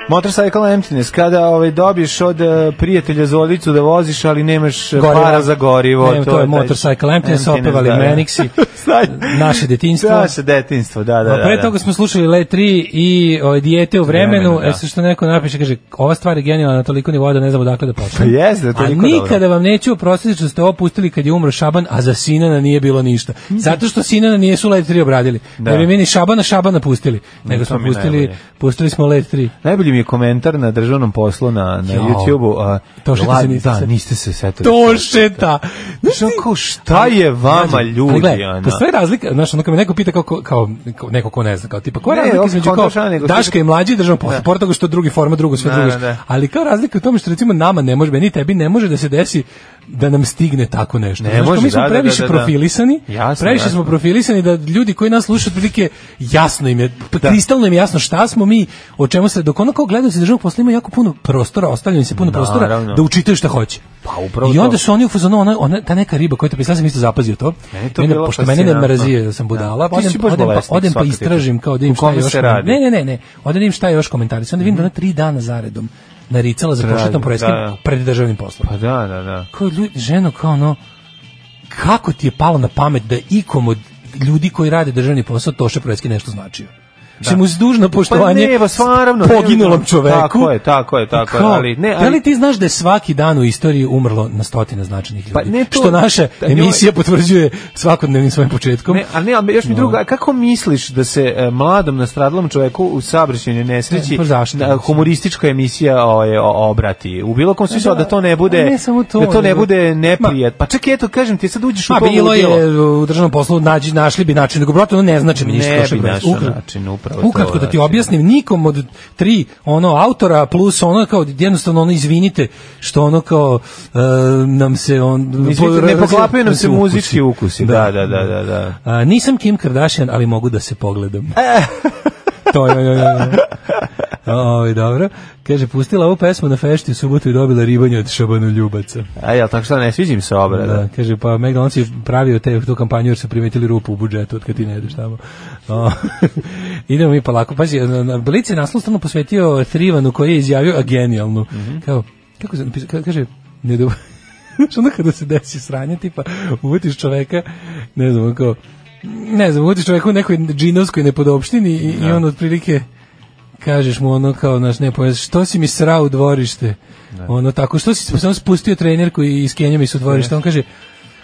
Speaker 5: Motorcycle emptiness, kada ovaj, dobiješ od eh, prijatelja zolicu da voziš, ali nemaš eh,
Speaker 6: Goriva.
Speaker 5: para za gorivo.
Speaker 6: Ne, to je
Speaker 5: taj
Speaker 6: Motorcycle emptiness, opevali
Speaker 5: da, da.
Speaker 6: Menixi,
Speaker 5: Stari-
Speaker 6: naše detinjstvo.
Speaker 5: Naše detinjstvo, da, da.
Speaker 6: A pre
Speaker 5: da,
Speaker 6: toga smo slušali Le 3 i ovaj, dijete u vremenu,
Speaker 5: Vremenu, da.
Speaker 6: e, sad što neko napiše, kaže, ova stvar je genijalna na toliko nivoa da ne znamo dakle da počne.
Speaker 5: Pa jeste,
Speaker 6: A
Speaker 5: toliko dobro.
Speaker 6: nikada vam neću oprostiti što ste ovo pustili kad je umro Šaban, a za Sinana nije bilo ništa. Zato što Sinana nije su Let 3 obradili. Da.
Speaker 5: Mhm. Da.
Speaker 6: Ne bi mi ni Šabana Šabana pustili. Nego
Speaker 5: to
Speaker 6: smo
Speaker 5: mi
Speaker 6: pustili,
Speaker 5: najbolje.
Speaker 6: pustili smo Let 3.
Speaker 5: Najbolji mi je komentar na državnom poslu na, na
Speaker 6: Jao.
Speaker 5: YouTube-u. a,
Speaker 6: To što
Speaker 5: la-
Speaker 6: se niste
Speaker 5: da,
Speaker 6: setili.
Speaker 5: niste se setili.
Speaker 6: To šeta! Znaš
Speaker 5: Što
Speaker 6: ti-
Speaker 5: kao, šta je vama
Speaker 6: Ali
Speaker 5: ljudi,
Speaker 6: gledaj,
Speaker 5: ana?
Speaker 6: Postoji razlika, znaš, ono kad me neko pita kao, ko- kao, kao neko ko ne zna, kao tipa, koja je
Speaker 5: Ne,
Speaker 6: razlika
Speaker 5: opet
Speaker 6: između kao
Speaker 5: kontrašana, nego što-
Speaker 6: Daška i mlađi i državno posao,
Speaker 5: Da.
Speaker 6: pored toga što drugi forma, drugo sve
Speaker 5: Da,
Speaker 6: drugo.
Speaker 5: da, da.
Speaker 6: Ali kao razlika je u tome što recimo nama ne može, meni i tebi ne može da se desi da nam stigne tako nešto.
Speaker 5: Ne
Speaker 6: Znaš, kao
Speaker 5: može,
Speaker 6: mi smo
Speaker 5: da, da,
Speaker 6: previše
Speaker 5: da, da.
Speaker 6: profilisani,
Speaker 5: Jasno,
Speaker 6: previše
Speaker 5: jasno.
Speaker 6: smo profilisani da ljudi koji nas slušaju otprilike jasno im je, pa
Speaker 5: Da.
Speaker 6: kristalno im je jasno šta smo mi, o čemu se, dok ono kao gledalci državnog posla ima jako puno prostora, ostavlja im se puno prostora
Speaker 5: Naravno.
Speaker 6: da učitaju šta hoće.
Speaker 5: Pa upravo
Speaker 6: I onda
Speaker 5: to.
Speaker 6: su oni u fazonu, ona, ona, ta neka riba koja te pisala, sam isto zapazio to.
Speaker 5: Meni je to
Speaker 6: Mene,
Speaker 5: bilo
Speaker 6: pošto mene ne
Speaker 5: fascinantno.
Speaker 6: mrazije da sam
Speaker 5: Da.
Speaker 6: budala, pa
Speaker 5: Ti si
Speaker 6: odem,
Speaker 5: baš
Speaker 6: odem, pa,
Speaker 5: bolesnik,
Speaker 6: odem pa
Speaker 5: svaka ti.
Speaker 6: istražim kao da im
Speaker 5: O
Speaker 6: šta je
Speaker 5: kome
Speaker 6: još.
Speaker 5: se radi? Mhm.
Speaker 6: Ne, ne, ne, ne. Odem im šta je još komentari. Onda vidim da ona tri dana zaredom naricala za
Speaker 5: Traži,
Speaker 6: pošetom poreskim
Speaker 5: da, da.
Speaker 6: pred državnim poslom.
Speaker 5: Pa da, da, da.
Speaker 6: Kao ljudi, ženo, kao ono, kako ti je palo na pamet da ikom od ljudi koji rade državni posao Toša Projeski nešto značio? Da. Čemu uz dužno poštovanje
Speaker 5: Pa ne, ba, stvarno, ne,
Speaker 6: poginulom
Speaker 5: ne,
Speaker 6: čoveku.
Speaker 5: tako je, tako je, tako je,
Speaker 6: Kao,
Speaker 5: ali- ne,
Speaker 6: Da li
Speaker 5: ali-
Speaker 6: ti znaš da je svaki dan u istoriji umrlo na stotine značajnih ljudi?
Speaker 5: Pa ne to-
Speaker 6: što naša
Speaker 5: da, njoj-
Speaker 6: emisija potvrđuje svakodnevnim svojim početkom.
Speaker 5: Ne, ali ne, ali još mi
Speaker 6: No.
Speaker 5: druga, kako misliš da se e, mladom nastradalom čoveku u saobraćajnoj nesreći
Speaker 6: Ne, pa zašto?
Speaker 5: da, humoristička emisija o, je, o, obrati? U bilo kom smislu a da to ne bude
Speaker 6: a ne samo to,
Speaker 5: da to ne
Speaker 6: nego-
Speaker 5: bude neprijat. Pa čekaj, eto kažem ti, sad uđeš u
Speaker 6: Ma
Speaker 5: to
Speaker 6: bilo
Speaker 5: ludilo.
Speaker 6: je u državnom poslu nađi našli bi način, nego brate ono ne znači mi ništa.
Speaker 5: Ne
Speaker 6: Toša
Speaker 5: bi
Speaker 6: Projeski.
Speaker 5: našao
Speaker 6: Ukra-
Speaker 5: način, upravo to,
Speaker 6: Ukratko da ti
Speaker 5: znači.
Speaker 6: objasnim, nikom od tri ono autora plus ono kao jednostavno ono izvinite što ono kao e, nam se on
Speaker 5: Izvinite,
Speaker 6: po-
Speaker 5: ne poklapaju nam se
Speaker 6: ukusi.
Speaker 5: muzički ukusi. Da, da, da, da, da.
Speaker 6: A, nisam Kim Kardashian, ali mogu da se pogledam.
Speaker 5: E.
Speaker 6: to je, je, je, je. Oj, dobro. Kaže, pustila ovu pesmu na fešti u subotu i dobila ribanje od Šabanu Ljubaca.
Speaker 5: A E, jel tako šta ne sviđim se obrada?
Speaker 6: Da, kaže, pa McDonald's je pravio te, tu kampanju jer su primetili rupu u budžetu od kad ti ne jedeš tamo. O, idemo mi polako. Pazi, na- na- Blic je naslov strano posvetio Trivanu koji je izjavio, a genijalnu. Kao, kako se napisao, Ka- kaže, ne dobro. Znaš, onda kada se desi sranje, tipa, uvetiš čoveka, ne znam, on kao, ne znam, uvetiš čoveka u nekoj džinovskoj nepodopštini i, i on otprilike kažeš mu ono kao naš ne pojma, što si mi srao u dvorište?
Speaker 5: Da.
Speaker 6: Ono tako, što si samo spustio trenerku i iz Kenja mi su u dvorište? On kaže,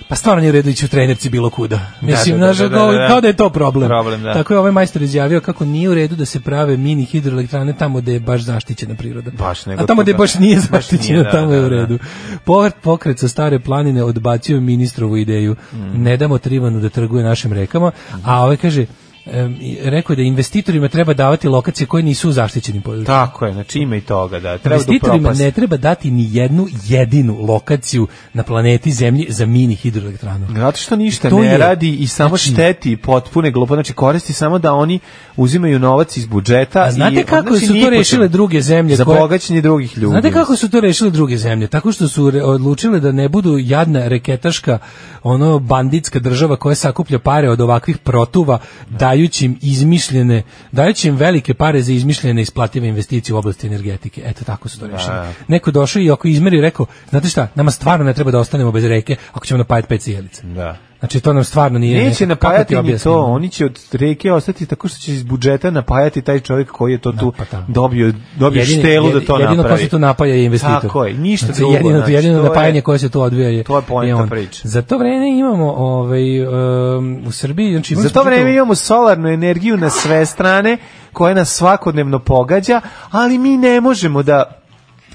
Speaker 6: pa stvarno nije u redu ići u trenerci bilo kuda. Mislim,
Speaker 5: da, da,
Speaker 6: znaš,
Speaker 5: da, da,
Speaker 6: kao-
Speaker 5: da.
Speaker 6: kao da je to problem.
Speaker 5: Problem, da.
Speaker 6: Tako je ovaj majstor izjavio kako nije u redu da se prave mini hidroelektrane tamo gde je baš zaštićena priroda.
Speaker 5: Baš, nego
Speaker 6: A tamo gde
Speaker 5: tu, da.
Speaker 6: baš nije
Speaker 5: Baš nije,
Speaker 6: zaštićena,
Speaker 5: da,
Speaker 6: tamo je
Speaker 5: da,
Speaker 6: u
Speaker 5: da.
Speaker 6: redu. Povrat pokret sa stare planine odbacio je ministrovu ideju.
Speaker 5: Mm.
Speaker 6: Ne damo Trivanu da trguje našim rekama, a ovaj kaže em, i- rekao je da investitorima treba davati lokacije koje nisu u zaštićenim područjima.
Speaker 5: Tako je, znači ima i toga, da. Treba da
Speaker 6: Investitorima
Speaker 5: propast.
Speaker 6: ne treba dati ni jednu jedinu lokaciju na planeti Zemlji za mini hidroelektranu.
Speaker 5: Zato što ništa
Speaker 6: To
Speaker 5: ne
Speaker 6: je-
Speaker 5: radi i samo
Speaker 6: znači-
Speaker 5: šteti potpune glupo, znači koristi samo da oni uzimaju novac iz budžeta.
Speaker 6: A znate
Speaker 5: i,
Speaker 6: kako
Speaker 5: znači,
Speaker 6: su to
Speaker 5: nije potrebno.
Speaker 6: rešile druge zemlje
Speaker 5: Za
Speaker 6: koje-
Speaker 5: bogaćenje drugih ljudi.
Speaker 6: Znate kako su to rešile druge zemlje? Tako što su re- odlučile da ne budu jadna reketaška, ono banditska država koja sakuplja pare od ovakvih protuva, dajući im izmišljene, dajući im velike pare za izmišljene isplative investicije u oblasti energetike. Eto tako su to
Speaker 5: Da.
Speaker 6: rešili. Neko došao i ako izmeri i rekao, znate šta, nama stvarno ne treba da ostanemo bez reke ako ćemo napajati pet sijelica.
Speaker 5: Da.
Speaker 6: Znači to nam stvarno nije
Speaker 5: Neće
Speaker 6: neko- kako ti
Speaker 5: napajati ni
Speaker 6: objasnim?
Speaker 5: to, oni će od reke ostati tako što će iz budžeta napajati taj čovjek koji je to tu
Speaker 6: pa da.
Speaker 5: dobio, dobio
Speaker 6: Jedini-
Speaker 5: štelu da
Speaker 6: jedi-
Speaker 5: to
Speaker 6: jedino ko
Speaker 5: napravi.
Speaker 6: se tu napaja je investitor.
Speaker 5: Tako je, ništa
Speaker 6: znači,
Speaker 5: drugo,
Speaker 6: Jedino,
Speaker 5: znači,
Speaker 6: jedino
Speaker 5: to je-
Speaker 6: napajanje koje se tu odvija je,
Speaker 5: to je poenta
Speaker 6: on.
Speaker 5: priče.
Speaker 6: Za to vreme imamo ovaj, um, u Srbiji... Znači, imali
Speaker 5: Za
Speaker 6: smo
Speaker 5: to vreme
Speaker 6: čitavu-
Speaker 5: imamo solarnu energiju na sve strane koja nas svakodnevno pogađa, ali mi ne možemo da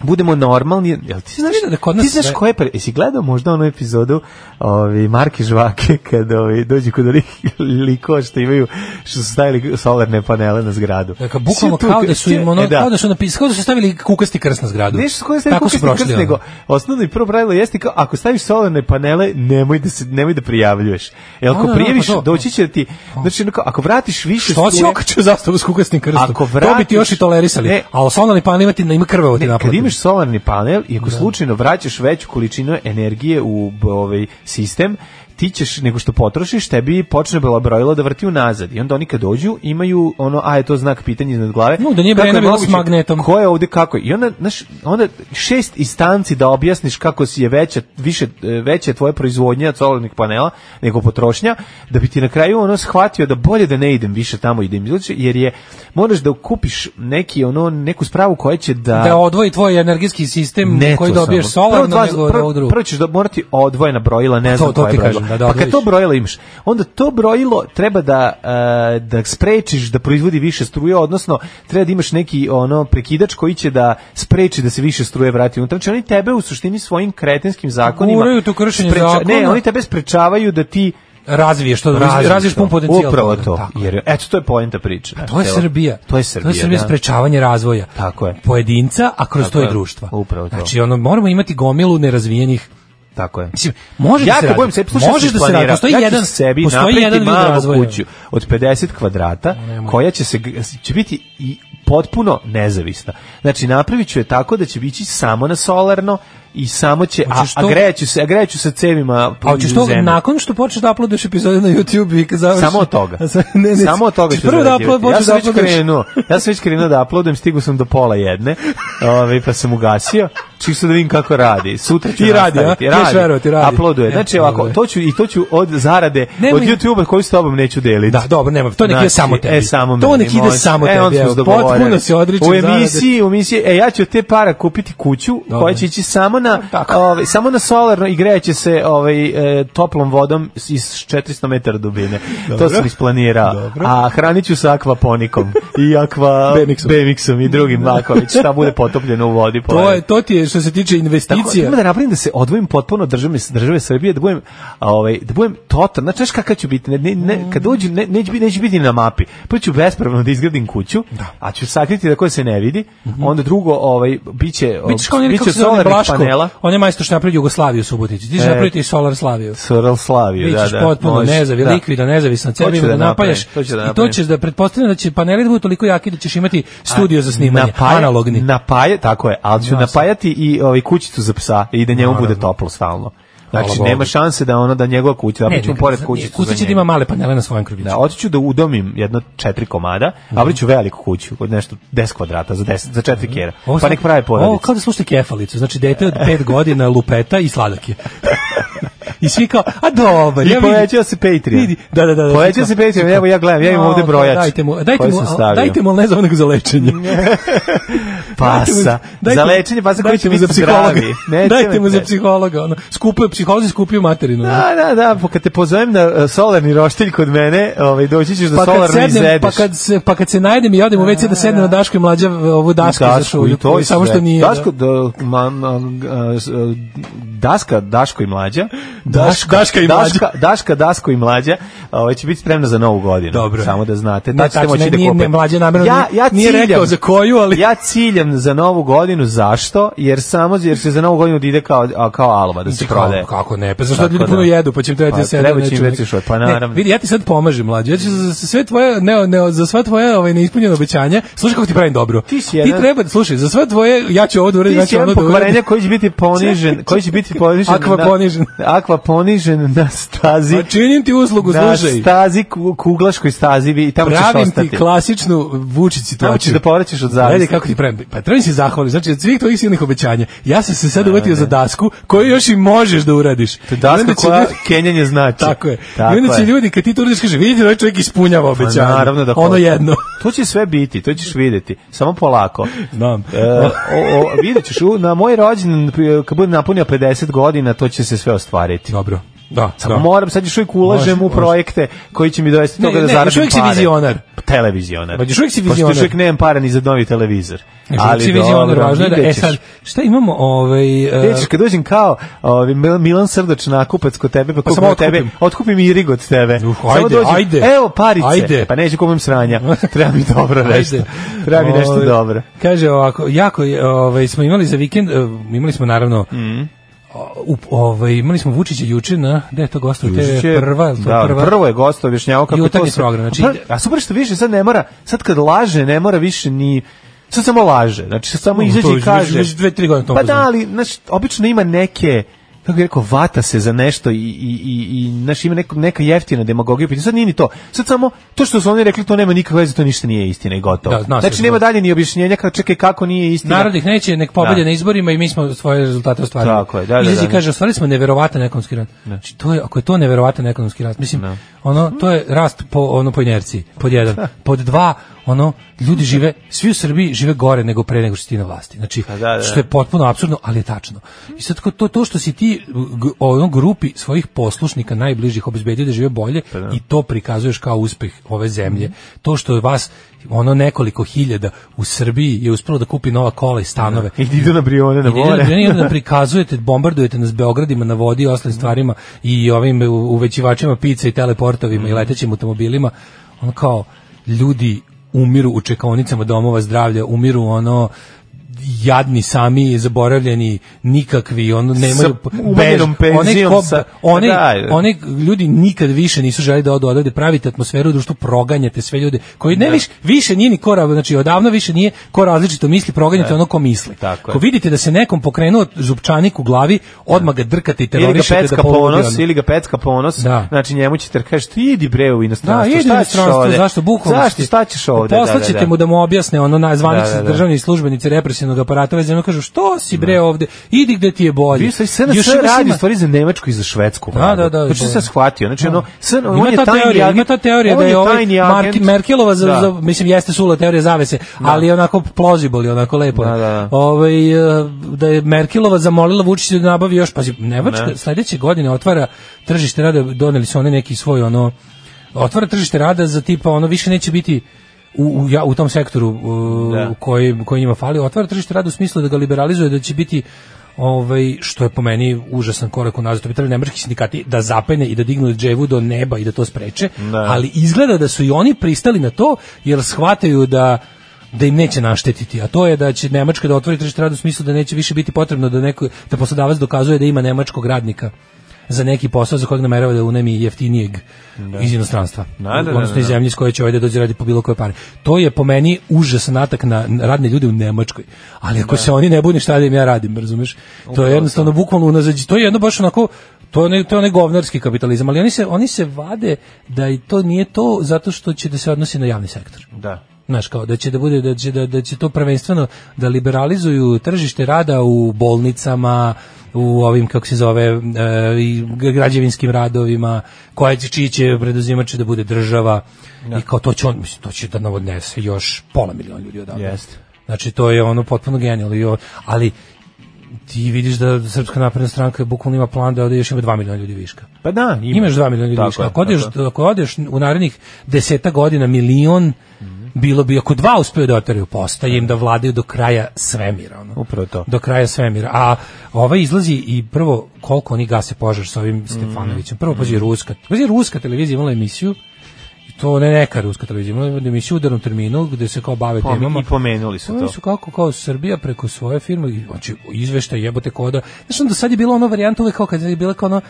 Speaker 5: budemo normalni. Jel ti znaš,
Speaker 6: vidio da kod nas
Speaker 5: ti znaš
Speaker 6: sve-
Speaker 5: koje pre... Jesi gledao možda onu epizodu ovi, Marke Žvake kad ovi, dođu kod onih likova što imaju, što su stavili solarne panele na zgradu.
Speaker 6: Dakle, bukvalno
Speaker 5: Svi tu-
Speaker 6: kao da su im ono,
Speaker 5: E, da.
Speaker 6: kao da su napis, kao da su stavili kukasti krst na zgradu.
Speaker 5: Nešto koje stavio
Speaker 6: Tako su
Speaker 5: kukasti krst,
Speaker 6: prošli, ono.
Speaker 5: nego osnovno i prvo pravilo jeste kao ako staviš solarne panele, nemoj da se nemoj da prijavljuješ. Jel
Speaker 6: Da, da,
Speaker 5: ako
Speaker 6: da,
Speaker 5: prijaviš,
Speaker 6: pa to. Pa.
Speaker 5: doći će ti znači ono kao, ako vratiš više
Speaker 6: Što si
Speaker 5: struje-
Speaker 6: okačio zastavu s kukasnim krstom?
Speaker 5: Ako
Speaker 6: To bi
Speaker 5: vratiš-
Speaker 6: ti još i tolerisali.
Speaker 5: Ne.
Speaker 6: A osnovno pan imati, ima krvavo ti Da.
Speaker 5: Ne, kad
Speaker 6: naplati.
Speaker 5: imaš solarni panel i ako slučajno vraćaš veću količinu energije u b- ovaj sistem, ti ćeš, nego što potrošiš, tebi počne bila brojila da vrti unazad. I onda oni kad dođu, imaju ono, a je to znak pitanja iznad glave.
Speaker 6: No, da nije
Speaker 5: Kako je
Speaker 6: Brenna bila s
Speaker 5: moguće?
Speaker 6: magnetom.
Speaker 5: Ko je ovde kako? je? I onda, znaš, onda šest istanci da objasniš kako si je veća, više, e, veća je tvoja proizvodnja od solarnih panela nego potrošnja, da bi ti na kraju ono shvatio da bolje da ne idem više tamo i da im izluči, jer je, moraš da kupiš neki, ono, neku spravu koja će
Speaker 6: Da odvoji tvoj energetski sistem
Speaker 5: ne
Speaker 6: koji
Speaker 5: to
Speaker 6: dobiješ
Speaker 5: samo. Prvo
Speaker 6: solarno
Speaker 5: dva-
Speaker 6: nego
Speaker 5: prvo-
Speaker 6: ovu drugu.
Speaker 5: Prvo ćeš da morati odvojena brojila, ne
Speaker 6: To-
Speaker 5: znam
Speaker 6: to
Speaker 5: koje
Speaker 6: ti
Speaker 5: brojilo.
Speaker 6: kažem, da, da,
Speaker 5: pa kad to
Speaker 6: odvojiš.
Speaker 5: brojilo imaš, onda to brojilo treba da, e, da sprečiš da proizvodi više struje, odnosno treba da imaš neki ono prekidač koji će da spreči da se više struje vrati unutra. Znači oni tebe u suštini svojim kretinskim zakonima...
Speaker 6: Guraju te u kršenje
Speaker 5: Ne,
Speaker 6: zakona.
Speaker 5: oni tebe sprečavaju da ti
Speaker 6: Razviješ to, razviješ, razviješ pun
Speaker 5: to.
Speaker 6: potencijal.
Speaker 5: Upravo
Speaker 6: toga.
Speaker 5: to.
Speaker 6: Tako.
Speaker 5: Jer, eto, to je poenta priče.
Speaker 6: To je
Speaker 5: Evo,
Speaker 6: Srbija.
Speaker 5: To je Srbija,
Speaker 6: To je Srbija
Speaker 5: da.
Speaker 6: sprečavanje razvoja.
Speaker 5: Tako je.
Speaker 6: Pojedinca, a kroz
Speaker 5: Tako
Speaker 6: to
Speaker 5: je.
Speaker 6: i društva.
Speaker 5: Upravo to.
Speaker 6: Znači, ono, moramo imati gomilu nerazvijenih
Speaker 5: Tako je.
Speaker 6: Mislim, može
Speaker 5: ja
Speaker 6: da se
Speaker 5: kad
Speaker 6: radi.
Speaker 5: budem sebi, slušaj,
Speaker 6: Možeš
Speaker 5: sam
Speaker 6: da se radi.
Speaker 5: isplanirao.
Speaker 6: Postoji
Speaker 5: ja ću
Speaker 6: jedan-
Speaker 5: sebi
Speaker 6: postoji
Speaker 5: napraviti
Speaker 6: jedan vid
Speaker 5: malu
Speaker 6: razvoja.
Speaker 5: kuću od 50 kvadrata koja će se će biti i potpuno nezavisna. Znači napravit ću je tako da će biti samo na solarno i samo će a,
Speaker 6: Hoćeš
Speaker 5: a
Speaker 6: to-
Speaker 5: grejaću se, a grejaću se cevima
Speaker 6: A hoćeš
Speaker 5: i u
Speaker 6: to
Speaker 5: zemlju.
Speaker 6: nakon što počneš da uploaduješ epizode na YouTube i kad završiš...
Speaker 5: Samo od toga.
Speaker 6: A sa- ne, ne,
Speaker 5: Samo od toga
Speaker 6: ćeš
Speaker 5: ću
Speaker 6: prvo da
Speaker 5: zarađivati.
Speaker 6: upload,
Speaker 5: ja
Speaker 6: počneš
Speaker 5: sam
Speaker 6: da
Speaker 5: već
Speaker 6: uploaduješ.
Speaker 5: krenuo. Ja sam već krenuo da uploadujem, stigao sam do pola jedne, ovaj, pa sam ugasio. Čisto da vidim kako radi. Sutra ću
Speaker 6: I radi,
Speaker 5: nastaviti.
Speaker 6: a? Nećeš verovati, radi.
Speaker 5: Uploaduje.
Speaker 6: E,
Speaker 5: Znači ovako,
Speaker 6: dobro.
Speaker 5: to ću, i to ću od zarade,
Speaker 6: Nemoj-
Speaker 5: od YouTube-a koju s tobom neću deliti.
Speaker 6: Da, dobro, nema. To nek ide samo tebi.
Speaker 5: E, samo
Speaker 6: to
Speaker 5: meni,
Speaker 6: nek ide
Speaker 5: može.
Speaker 6: samo
Speaker 5: e,
Speaker 6: tebi.
Speaker 5: onda smo
Speaker 6: evo,
Speaker 5: se dogovorili.
Speaker 6: Potpuno se odričem
Speaker 5: U
Speaker 6: zarade.
Speaker 5: emisiji, u emisiji, e, ja ću od te para kupiti kuću koja će ići samo na,
Speaker 6: Tako.
Speaker 5: ovaj, samo na solarno i grejaće se ovaj, e, toplom vodom iz 400 metara dubine. To sam isplanirao. A hranit ću sa akvaponikom i akva
Speaker 6: Bemixom.
Speaker 5: Bemixom i drugim Maković. Šta bude potopljeno u vodi.
Speaker 6: To, je, to ti je što se tiče
Speaker 5: Tako,
Speaker 6: investicija.
Speaker 5: ima da napravim da se odvojim potpuno od države, države Srbije, da budem, a, ovaj, da budem total, znači, znaš kakav ću biti, ne, ne, ne, kad dođu, ne, neću, biti, neću biti na mapi, pa ću bespravno da izgradim kuću, a ću sakriti da ko se ne vidi, onda drugo, ovaj, bit će,
Speaker 6: Bićeš Mhm. kao oni kako se zove
Speaker 5: solarnih
Speaker 6: Blaško,
Speaker 5: panela,
Speaker 6: on je majstor što napravi Jugoslaviju u Subotici. Ti ćeš
Speaker 5: E.
Speaker 6: napraviti i Solar Slaviju.
Speaker 5: Soral Slaviju, da,
Speaker 6: Bićeš
Speaker 5: da.
Speaker 6: potpuno
Speaker 5: može,
Speaker 6: nezavi,
Speaker 5: da.
Speaker 6: likvidan, nezavisan,
Speaker 5: ću
Speaker 6: cevi
Speaker 5: da
Speaker 6: da napaljaš.
Speaker 5: napravim, to ću da
Speaker 6: I to
Speaker 5: napravim.
Speaker 6: ćeš da pretpostavljam da će paneli da budu toliko jaki da ćeš imati studio za snimanje,
Speaker 5: Napaja-
Speaker 6: analogni.
Speaker 5: Napaja, tako je, ali ću
Speaker 6: Da,
Speaker 5: napajati i ovaj kućicu za psa i da njemu bude toplo stalno. Znači,
Speaker 6: Hvala
Speaker 5: nema
Speaker 6: Bogu.
Speaker 5: šanse da ono da njegova kuća, da ćemo pored kućicu. za
Speaker 6: Kuća će da
Speaker 5: njega.
Speaker 6: ima male panele na svojem kroviću.
Speaker 5: Da, otiću da udomim jedno četiri komada, a
Speaker 6: Mhm.
Speaker 5: vriću veliku kuću od nešto 10 kvadrata za 10 za 4 kera.
Speaker 6: Ovo
Speaker 5: Pa
Speaker 6: sad-
Speaker 5: nek prave
Speaker 6: Ovo
Speaker 5: porodicu.
Speaker 6: kao da slušate kefalicu, znači dete od pet godina lupeta i sladak je. I svi kao, a dobar,
Speaker 5: I
Speaker 6: ja vidim.
Speaker 5: povećao se Patreon.
Speaker 6: Vidi, da, da, da. da,
Speaker 5: Povećao se
Speaker 6: svi kao-
Speaker 5: Patreon, evo ja gledam, ja imam
Speaker 6: No, pa
Speaker 5: ovde brojač.
Speaker 6: Dajte mu, dajte
Speaker 5: koji
Speaker 6: mu,
Speaker 5: sam stavio.
Speaker 6: dajte mu lezovnog za lečenje.
Speaker 5: pasa.
Speaker 6: Dajte
Speaker 5: za
Speaker 6: mu-
Speaker 5: lečenje pasa koji
Speaker 6: dajte
Speaker 5: će
Speaker 6: mu
Speaker 5: biti
Speaker 6: za psihologa.
Speaker 5: zdravi. Neće
Speaker 6: Dajte
Speaker 5: me-
Speaker 6: mu za
Speaker 5: ne.
Speaker 6: psihologa, ono. Skupio psiholozi, skupio materinu. ono.
Speaker 5: Da, da, da, pa kad te pozovem na e, solarni roštilj kod mene, ovaj, doći ćeš da
Speaker 6: Pa kad,
Speaker 5: solarno
Speaker 6: sednem,
Speaker 5: izedeš.
Speaker 6: pa, kad se, pa kad se najdem i odem u WC da sednem na Daško i mlađa ovu dasku, za šolju,
Speaker 5: i to je
Speaker 6: samo
Speaker 5: sve.
Speaker 6: što nije.
Speaker 5: Daško, da, ma, ma, a, s- a, daska, Daško i mlađa.
Speaker 6: Daš- Daška i mlađa.
Speaker 5: Daška, Daška, Daško i mlađa. Ovaj će biti spremna za novu godinu.
Speaker 6: Dobro.
Speaker 5: Samo da znate.
Speaker 6: Ne,
Speaker 5: Tad ćete
Speaker 6: tačno,
Speaker 5: moći
Speaker 6: ne,
Speaker 5: da
Speaker 6: nije-
Speaker 5: kupite.
Speaker 6: ne, mlađa namerno
Speaker 5: ja,
Speaker 6: nije-
Speaker 5: ja
Speaker 6: nije
Speaker 5: ciljam-
Speaker 6: rekao za koju, ali-
Speaker 5: Ja ciljam za novu godinu. Zašto? Jer samo jer se za novu godinu ide kao a, kao alva da se
Speaker 6: Kako-
Speaker 5: prodaje.
Speaker 6: Kako ne? Pa zašto
Speaker 5: Tako
Speaker 6: ljudi puno
Speaker 5: da.
Speaker 6: jedu, pa će im trebati
Speaker 5: Pa,
Speaker 6: da sede.
Speaker 5: treba će
Speaker 6: neću
Speaker 5: im
Speaker 6: nek-
Speaker 5: veći šoj, pa
Speaker 6: Ne,
Speaker 5: naravno.
Speaker 6: vidi, ja ti sad pomažem, mlađe. Ja ću za za sve tvoje, ne, ne, za sva tvoje ovaj, neispunjene obećanja, slušaj kako ti pravim dobro.
Speaker 5: Ti si jedan-
Speaker 6: Ti treba, slušaj, za sve tvoje, ja ću ovo da uradim,
Speaker 5: Ti
Speaker 6: ja
Speaker 5: si
Speaker 6: ću ono
Speaker 5: jedan
Speaker 6: da
Speaker 5: pokvarenja
Speaker 6: uradim.
Speaker 5: koji će biti ponižen, koji će biti ponižen.
Speaker 6: Akva
Speaker 5: na-
Speaker 6: ponižen.
Speaker 5: Akva ponižen na stazi.
Speaker 6: Pa činim ti uslugu,
Speaker 5: na
Speaker 6: slušaj.
Speaker 5: stazi, ku- kuglaškoj stazi vi- i tamo Da, ćeš
Speaker 6: Pravim
Speaker 5: ostati.
Speaker 6: ti klasičnu Vučić situaciju.
Speaker 5: Tamo ćeš da povraćaš od zavisti.
Speaker 6: Gledaj kako ti pravim. Pa trebam se zahvaliti. Znači, od svih tvojih silnih obećanja, ja sam se sad uvetio za dasku koju još i možeš da uradiš.
Speaker 5: Da, To je
Speaker 6: I onda
Speaker 5: daska
Speaker 6: će
Speaker 5: koja
Speaker 6: ljudi-
Speaker 5: kenjanje znači.
Speaker 6: Tako je.
Speaker 5: Tako
Speaker 6: I onda će
Speaker 5: je.
Speaker 6: ljudi, kad ti to uradiš, kaže, vidite, ovaj čovjek ispunjava
Speaker 5: Pa
Speaker 6: obećanje.
Speaker 5: naravno da
Speaker 6: Ono
Speaker 5: hoće.
Speaker 6: jedno.
Speaker 5: To će sve biti, to ćeš videti. Samo polako.
Speaker 6: Znam.
Speaker 5: E, o, o, vidjet ćeš, u- na moj rođen, kad budem napunio 50 godina, to će se sve ostvariti.
Speaker 6: Dobro. Da,
Speaker 5: Samo
Speaker 6: da.
Speaker 5: moram, sad još uvijek ulažem
Speaker 6: Može,
Speaker 5: u
Speaker 6: može.
Speaker 5: projekte koji će mi dovesti do
Speaker 6: Ne,
Speaker 5: toga da
Speaker 6: ne,
Speaker 5: zaradim
Speaker 6: još uvijek si
Speaker 5: pare.
Speaker 6: vizionar.
Speaker 5: Televizionar.
Speaker 6: Pa još uvijek si
Speaker 5: Pošto
Speaker 6: vizionar.
Speaker 5: još uvijek nemam para ni za novi televizor.
Speaker 6: Ali si vizionar,
Speaker 5: dobro,
Speaker 6: znači, važno je da, e
Speaker 5: vidjet ćeš.
Speaker 6: sad, šta imamo, ovaj, e,
Speaker 5: Vidjet ćeš, kad dođem kao ovaj, Mil- Milan Srdač na kupac kod tebe, pa, kupim
Speaker 6: samo
Speaker 5: od tebe,
Speaker 6: otkupim.
Speaker 5: otkupim i rig od tebe.
Speaker 6: Uh,
Speaker 5: Samo
Speaker 6: ajde,
Speaker 5: dođem,
Speaker 6: ajde.
Speaker 5: Evo parice.
Speaker 6: Ajde.
Speaker 5: Pa neću kupim sranja. Treba mi dobro nešto.
Speaker 6: Ajde.
Speaker 5: Treba mi nešto
Speaker 6: Ovaj,
Speaker 5: dobro.
Speaker 6: Kaže ovako, jako je, ovaj, smo imali za vikend, eh, imali smo naravno,
Speaker 5: Mm.
Speaker 6: o- u, ovaj, imali smo Vučića juče na, gde je to gostov TV,
Speaker 5: Juče je-
Speaker 6: prva, jel to
Speaker 5: da,
Speaker 6: prva,
Speaker 5: prvo je gost objašnjavao kako
Speaker 6: Jutarnji
Speaker 5: sve-
Speaker 6: program, znači-
Speaker 5: Pa, a super što više sad ne mora, sad kad laže ne mora više ni sad samo laže. Znači sad samo
Speaker 6: Mm,
Speaker 5: izađe
Speaker 6: to
Speaker 5: i
Speaker 6: već-
Speaker 5: kaže.
Speaker 6: već- već dve, tri godine u tom
Speaker 5: Pa da,
Speaker 6: fazonu.
Speaker 5: ali znači obično ima neke kako bih rekao, vata se za nešto i, i, i, i znaš, ima neko, neka jeftina demagogija, pa sad nije ni to. Sad samo, to što su oni rekli, to nema nikakve veze, to ništa nije istina i gotovo.
Speaker 6: Da, zna se
Speaker 5: znači, nema
Speaker 6: razumeti.
Speaker 5: dalje ni objašnjenja, kao čekaj kako nije istina.
Speaker 6: Narod ih neće, nek pobede
Speaker 5: Da.
Speaker 6: na izborima i mi smo svoje rezultate ostvarili.
Speaker 5: Tako je, da, da,
Speaker 6: Izlazi i
Speaker 5: da.
Speaker 6: kaže, ostvarili smo neverovatan ekonomski rast. Znači, to je, ako je to neverovatan ekonomski rast, mislim,
Speaker 5: Da.
Speaker 6: ono, to je rast po, ono, po inerciji, pod jedan. Pod dva, ono, ljudi žive, svi u Srbiji žive gore nego pre nego što si ti na vlasti. Znači,
Speaker 5: da, da.
Speaker 6: što je potpuno apsurdno, ali je tačno. I sad, ko- to, to što si ti g- ono grupi svojih poslušnika najbližih obezbedio da žive bolje i to prikazuješ kao uspeh ove zemlje. To što je vas ono nekoliko hiljada u Srbiji je uspelo da kupi nova kola i stanove.
Speaker 5: Da. I idu na brione, na
Speaker 6: I
Speaker 5: more.
Speaker 6: ne da prikazujete, bombardujete nas Beogradima na vodi i
Speaker 5: Da.
Speaker 6: ostalim stvarima i ovim u- uvećivačima pice i teleportovima i
Speaker 5: Mm.
Speaker 6: letećim automobilima. Ono kao ljudi umiru u čekaonicama domova zdravlja, umiru ono jadni sami, zaboravljeni, nikakvi, ono nemaju
Speaker 5: umanjenom penzijom, sa-
Speaker 6: one,
Speaker 5: da.
Speaker 6: one ljudi nikad više nisu želi da odu odavde, pravite atmosferu u društvu, proganjate sve ljude koji
Speaker 5: Da.
Speaker 6: ne više, više nije ni ko, ra- znači odavno više nije ko različito misli, proganjate ono ko misli.
Speaker 5: Da. Tako je.
Speaker 6: Ko vidite da se nekom pokrenuo zupčanik u glavi, odmah ga drkate i
Speaker 5: ili ga
Speaker 6: terorišete
Speaker 5: pecka
Speaker 6: da poludi
Speaker 5: ponos,
Speaker 6: ono.
Speaker 5: ili ga pecka ponos,
Speaker 6: Da.
Speaker 5: znači njemu ćete kažeš ti idi bre u
Speaker 6: Da,
Speaker 5: inostranstvo,
Speaker 6: ide u
Speaker 5: šta ćeš
Speaker 6: inostranstvo,
Speaker 5: ovde?
Speaker 6: zašto bukvalno?
Speaker 5: Zašto,
Speaker 6: ti-
Speaker 5: šta ćeš ovde?
Speaker 6: Poslaćete
Speaker 5: da, da, da.
Speaker 6: mu da mu objasne ono najzvanični
Speaker 5: Da, da, da.
Speaker 6: državni službenici represivnog aparata, već ono kažu što si bre ovde, idi gde ti je bolje.
Speaker 5: Vi sve sve
Speaker 6: Još
Speaker 5: sve
Speaker 6: ima-
Speaker 5: radi stvari za nemačku i za švedsku. vladu.
Speaker 6: da, da,
Speaker 5: Znači
Speaker 6: da.
Speaker 5: se shvatio. Znači ono, sve-
Speaker 6: Ima
Speaker 5: on je
Speaker 6: ta
Speaker 5: tajni
Speaker 6: teorija,
Speaker 5: agent-
Speaker 6: ima ta teorija
Speaker 5: on
Speaker 6: da je ovaj
Speaker 5: tajni
Speaker 6: Mark-
Speaker 5: agent.
Speaker 6: Merkelova za,
Speaker 5: Da.
Speaker 6: za- mislim jeste sula teorija zavese, ali je onako plausible, je onako lepo. je.
Speaker 5: Da, da, da.
Speaker 6: Ovaj, e, da je Merkelova zamolila Vučića da nabavi još, pazi, Nemačka sledeće godine otvara tržište rada, doneli su oni neki svoj ono otvara tržište rada za tipa ono više neće biti u, u, ja, u tom sektoru u,
Speaker 5: Da.
Speaker 6: koji, koji njima fali, otvara tržište rada u smislu da ga liberalizuje, da će biti ovaj što je po meni užasan korak unazad to bi trebali nemački sindikati da zapene i da dignu dževu do neba i da to spreče
Speaker 5: Da.
Speaker 6: ali izgleda da su i oni pristali na to jer shvataju da da im neće naštetiti, a to je da će Nemačka da otvori tržište rada u smislu da neće više biti potrebno da neko da poslodavac dokazuje da ima nemačkog radnika za neki posao za kojeg namerava da unajmi jeftinijeg iz inostranstva.
Speaker 5: Da, da, da, da,
Speaker 6: odnosno iz
Speaker 5: da.
Speaker 6: zemlje iz koje će ovaj da dođe radi po bilo koje pare. To je po meni užasan atak na na radne ljude u Nemačkoj. Ali ako se oni ne bude šta da im ja radim, razumeš? To je jednostavno bukvalno unazađi. To je jedno baš onako to je onaj- to je onaj govnarski kapitalizam, ali oni se oni se vade da i to nije to zato što će da se odnosi na javni sektor.
Speaker 5: Da.
Speaker 6: Znaš, kao da će da bude da će da, da će to prvenstveno da liberalizuju tržište rada u bolnicama, u ovim kako se zove e, i građevinskim radovima, koja će čiji će preduzimač da bude država. I kao to će on, mislim, to će da navodnese još pola miliona ljudi odavde.
Speaker 5: Da, Jeste.
Speaker 6: Znači to je ono potpuno genijalno, i o- ali ti vidiš da Srpska napredna stranka bukvalno ima plan da ovde još ima 2 miliona ljudi viška.
Speaker 5: Pa da, ima.
Speaker 6: Imaš 2 miliona ljudi
Speaker 5: Tako
Speaker 6: viška.
Speaker 5: je,
Speaker 6: Ako odeš,
Speaker 5: tako
Speaker 6: ako odeš u narednih 10 godina milion, bilo bi, ako dva uspeju da oteraju postaje im da vladaju do kraja svemira. Ono.
Speaker 5: Upravo to.
Speaker 6: Do kraja svemira. A ovaj izlazi i prvo koliko oni gase požar sa
Speaker 5: Mm.
Speaker 6: ovim Stefanovićem. Prvo pazi ruska. Pazi ruska televizija imala emisiju i to ne neka ruska televizija, imala je emisiju u udarnom terminu gde se kao bave
Speaker 5: Pom-
Speaker 6: temama.
Speaker 5: I pomenuli su
Speaker 6: Oni
Speaker 5: to.
Speaker 6: su kako kao Srbija preko svoje firme, znači izveštaj jebote koda. Znači onda sad je bilo ono varijanta uvek kao kad je bila kao ono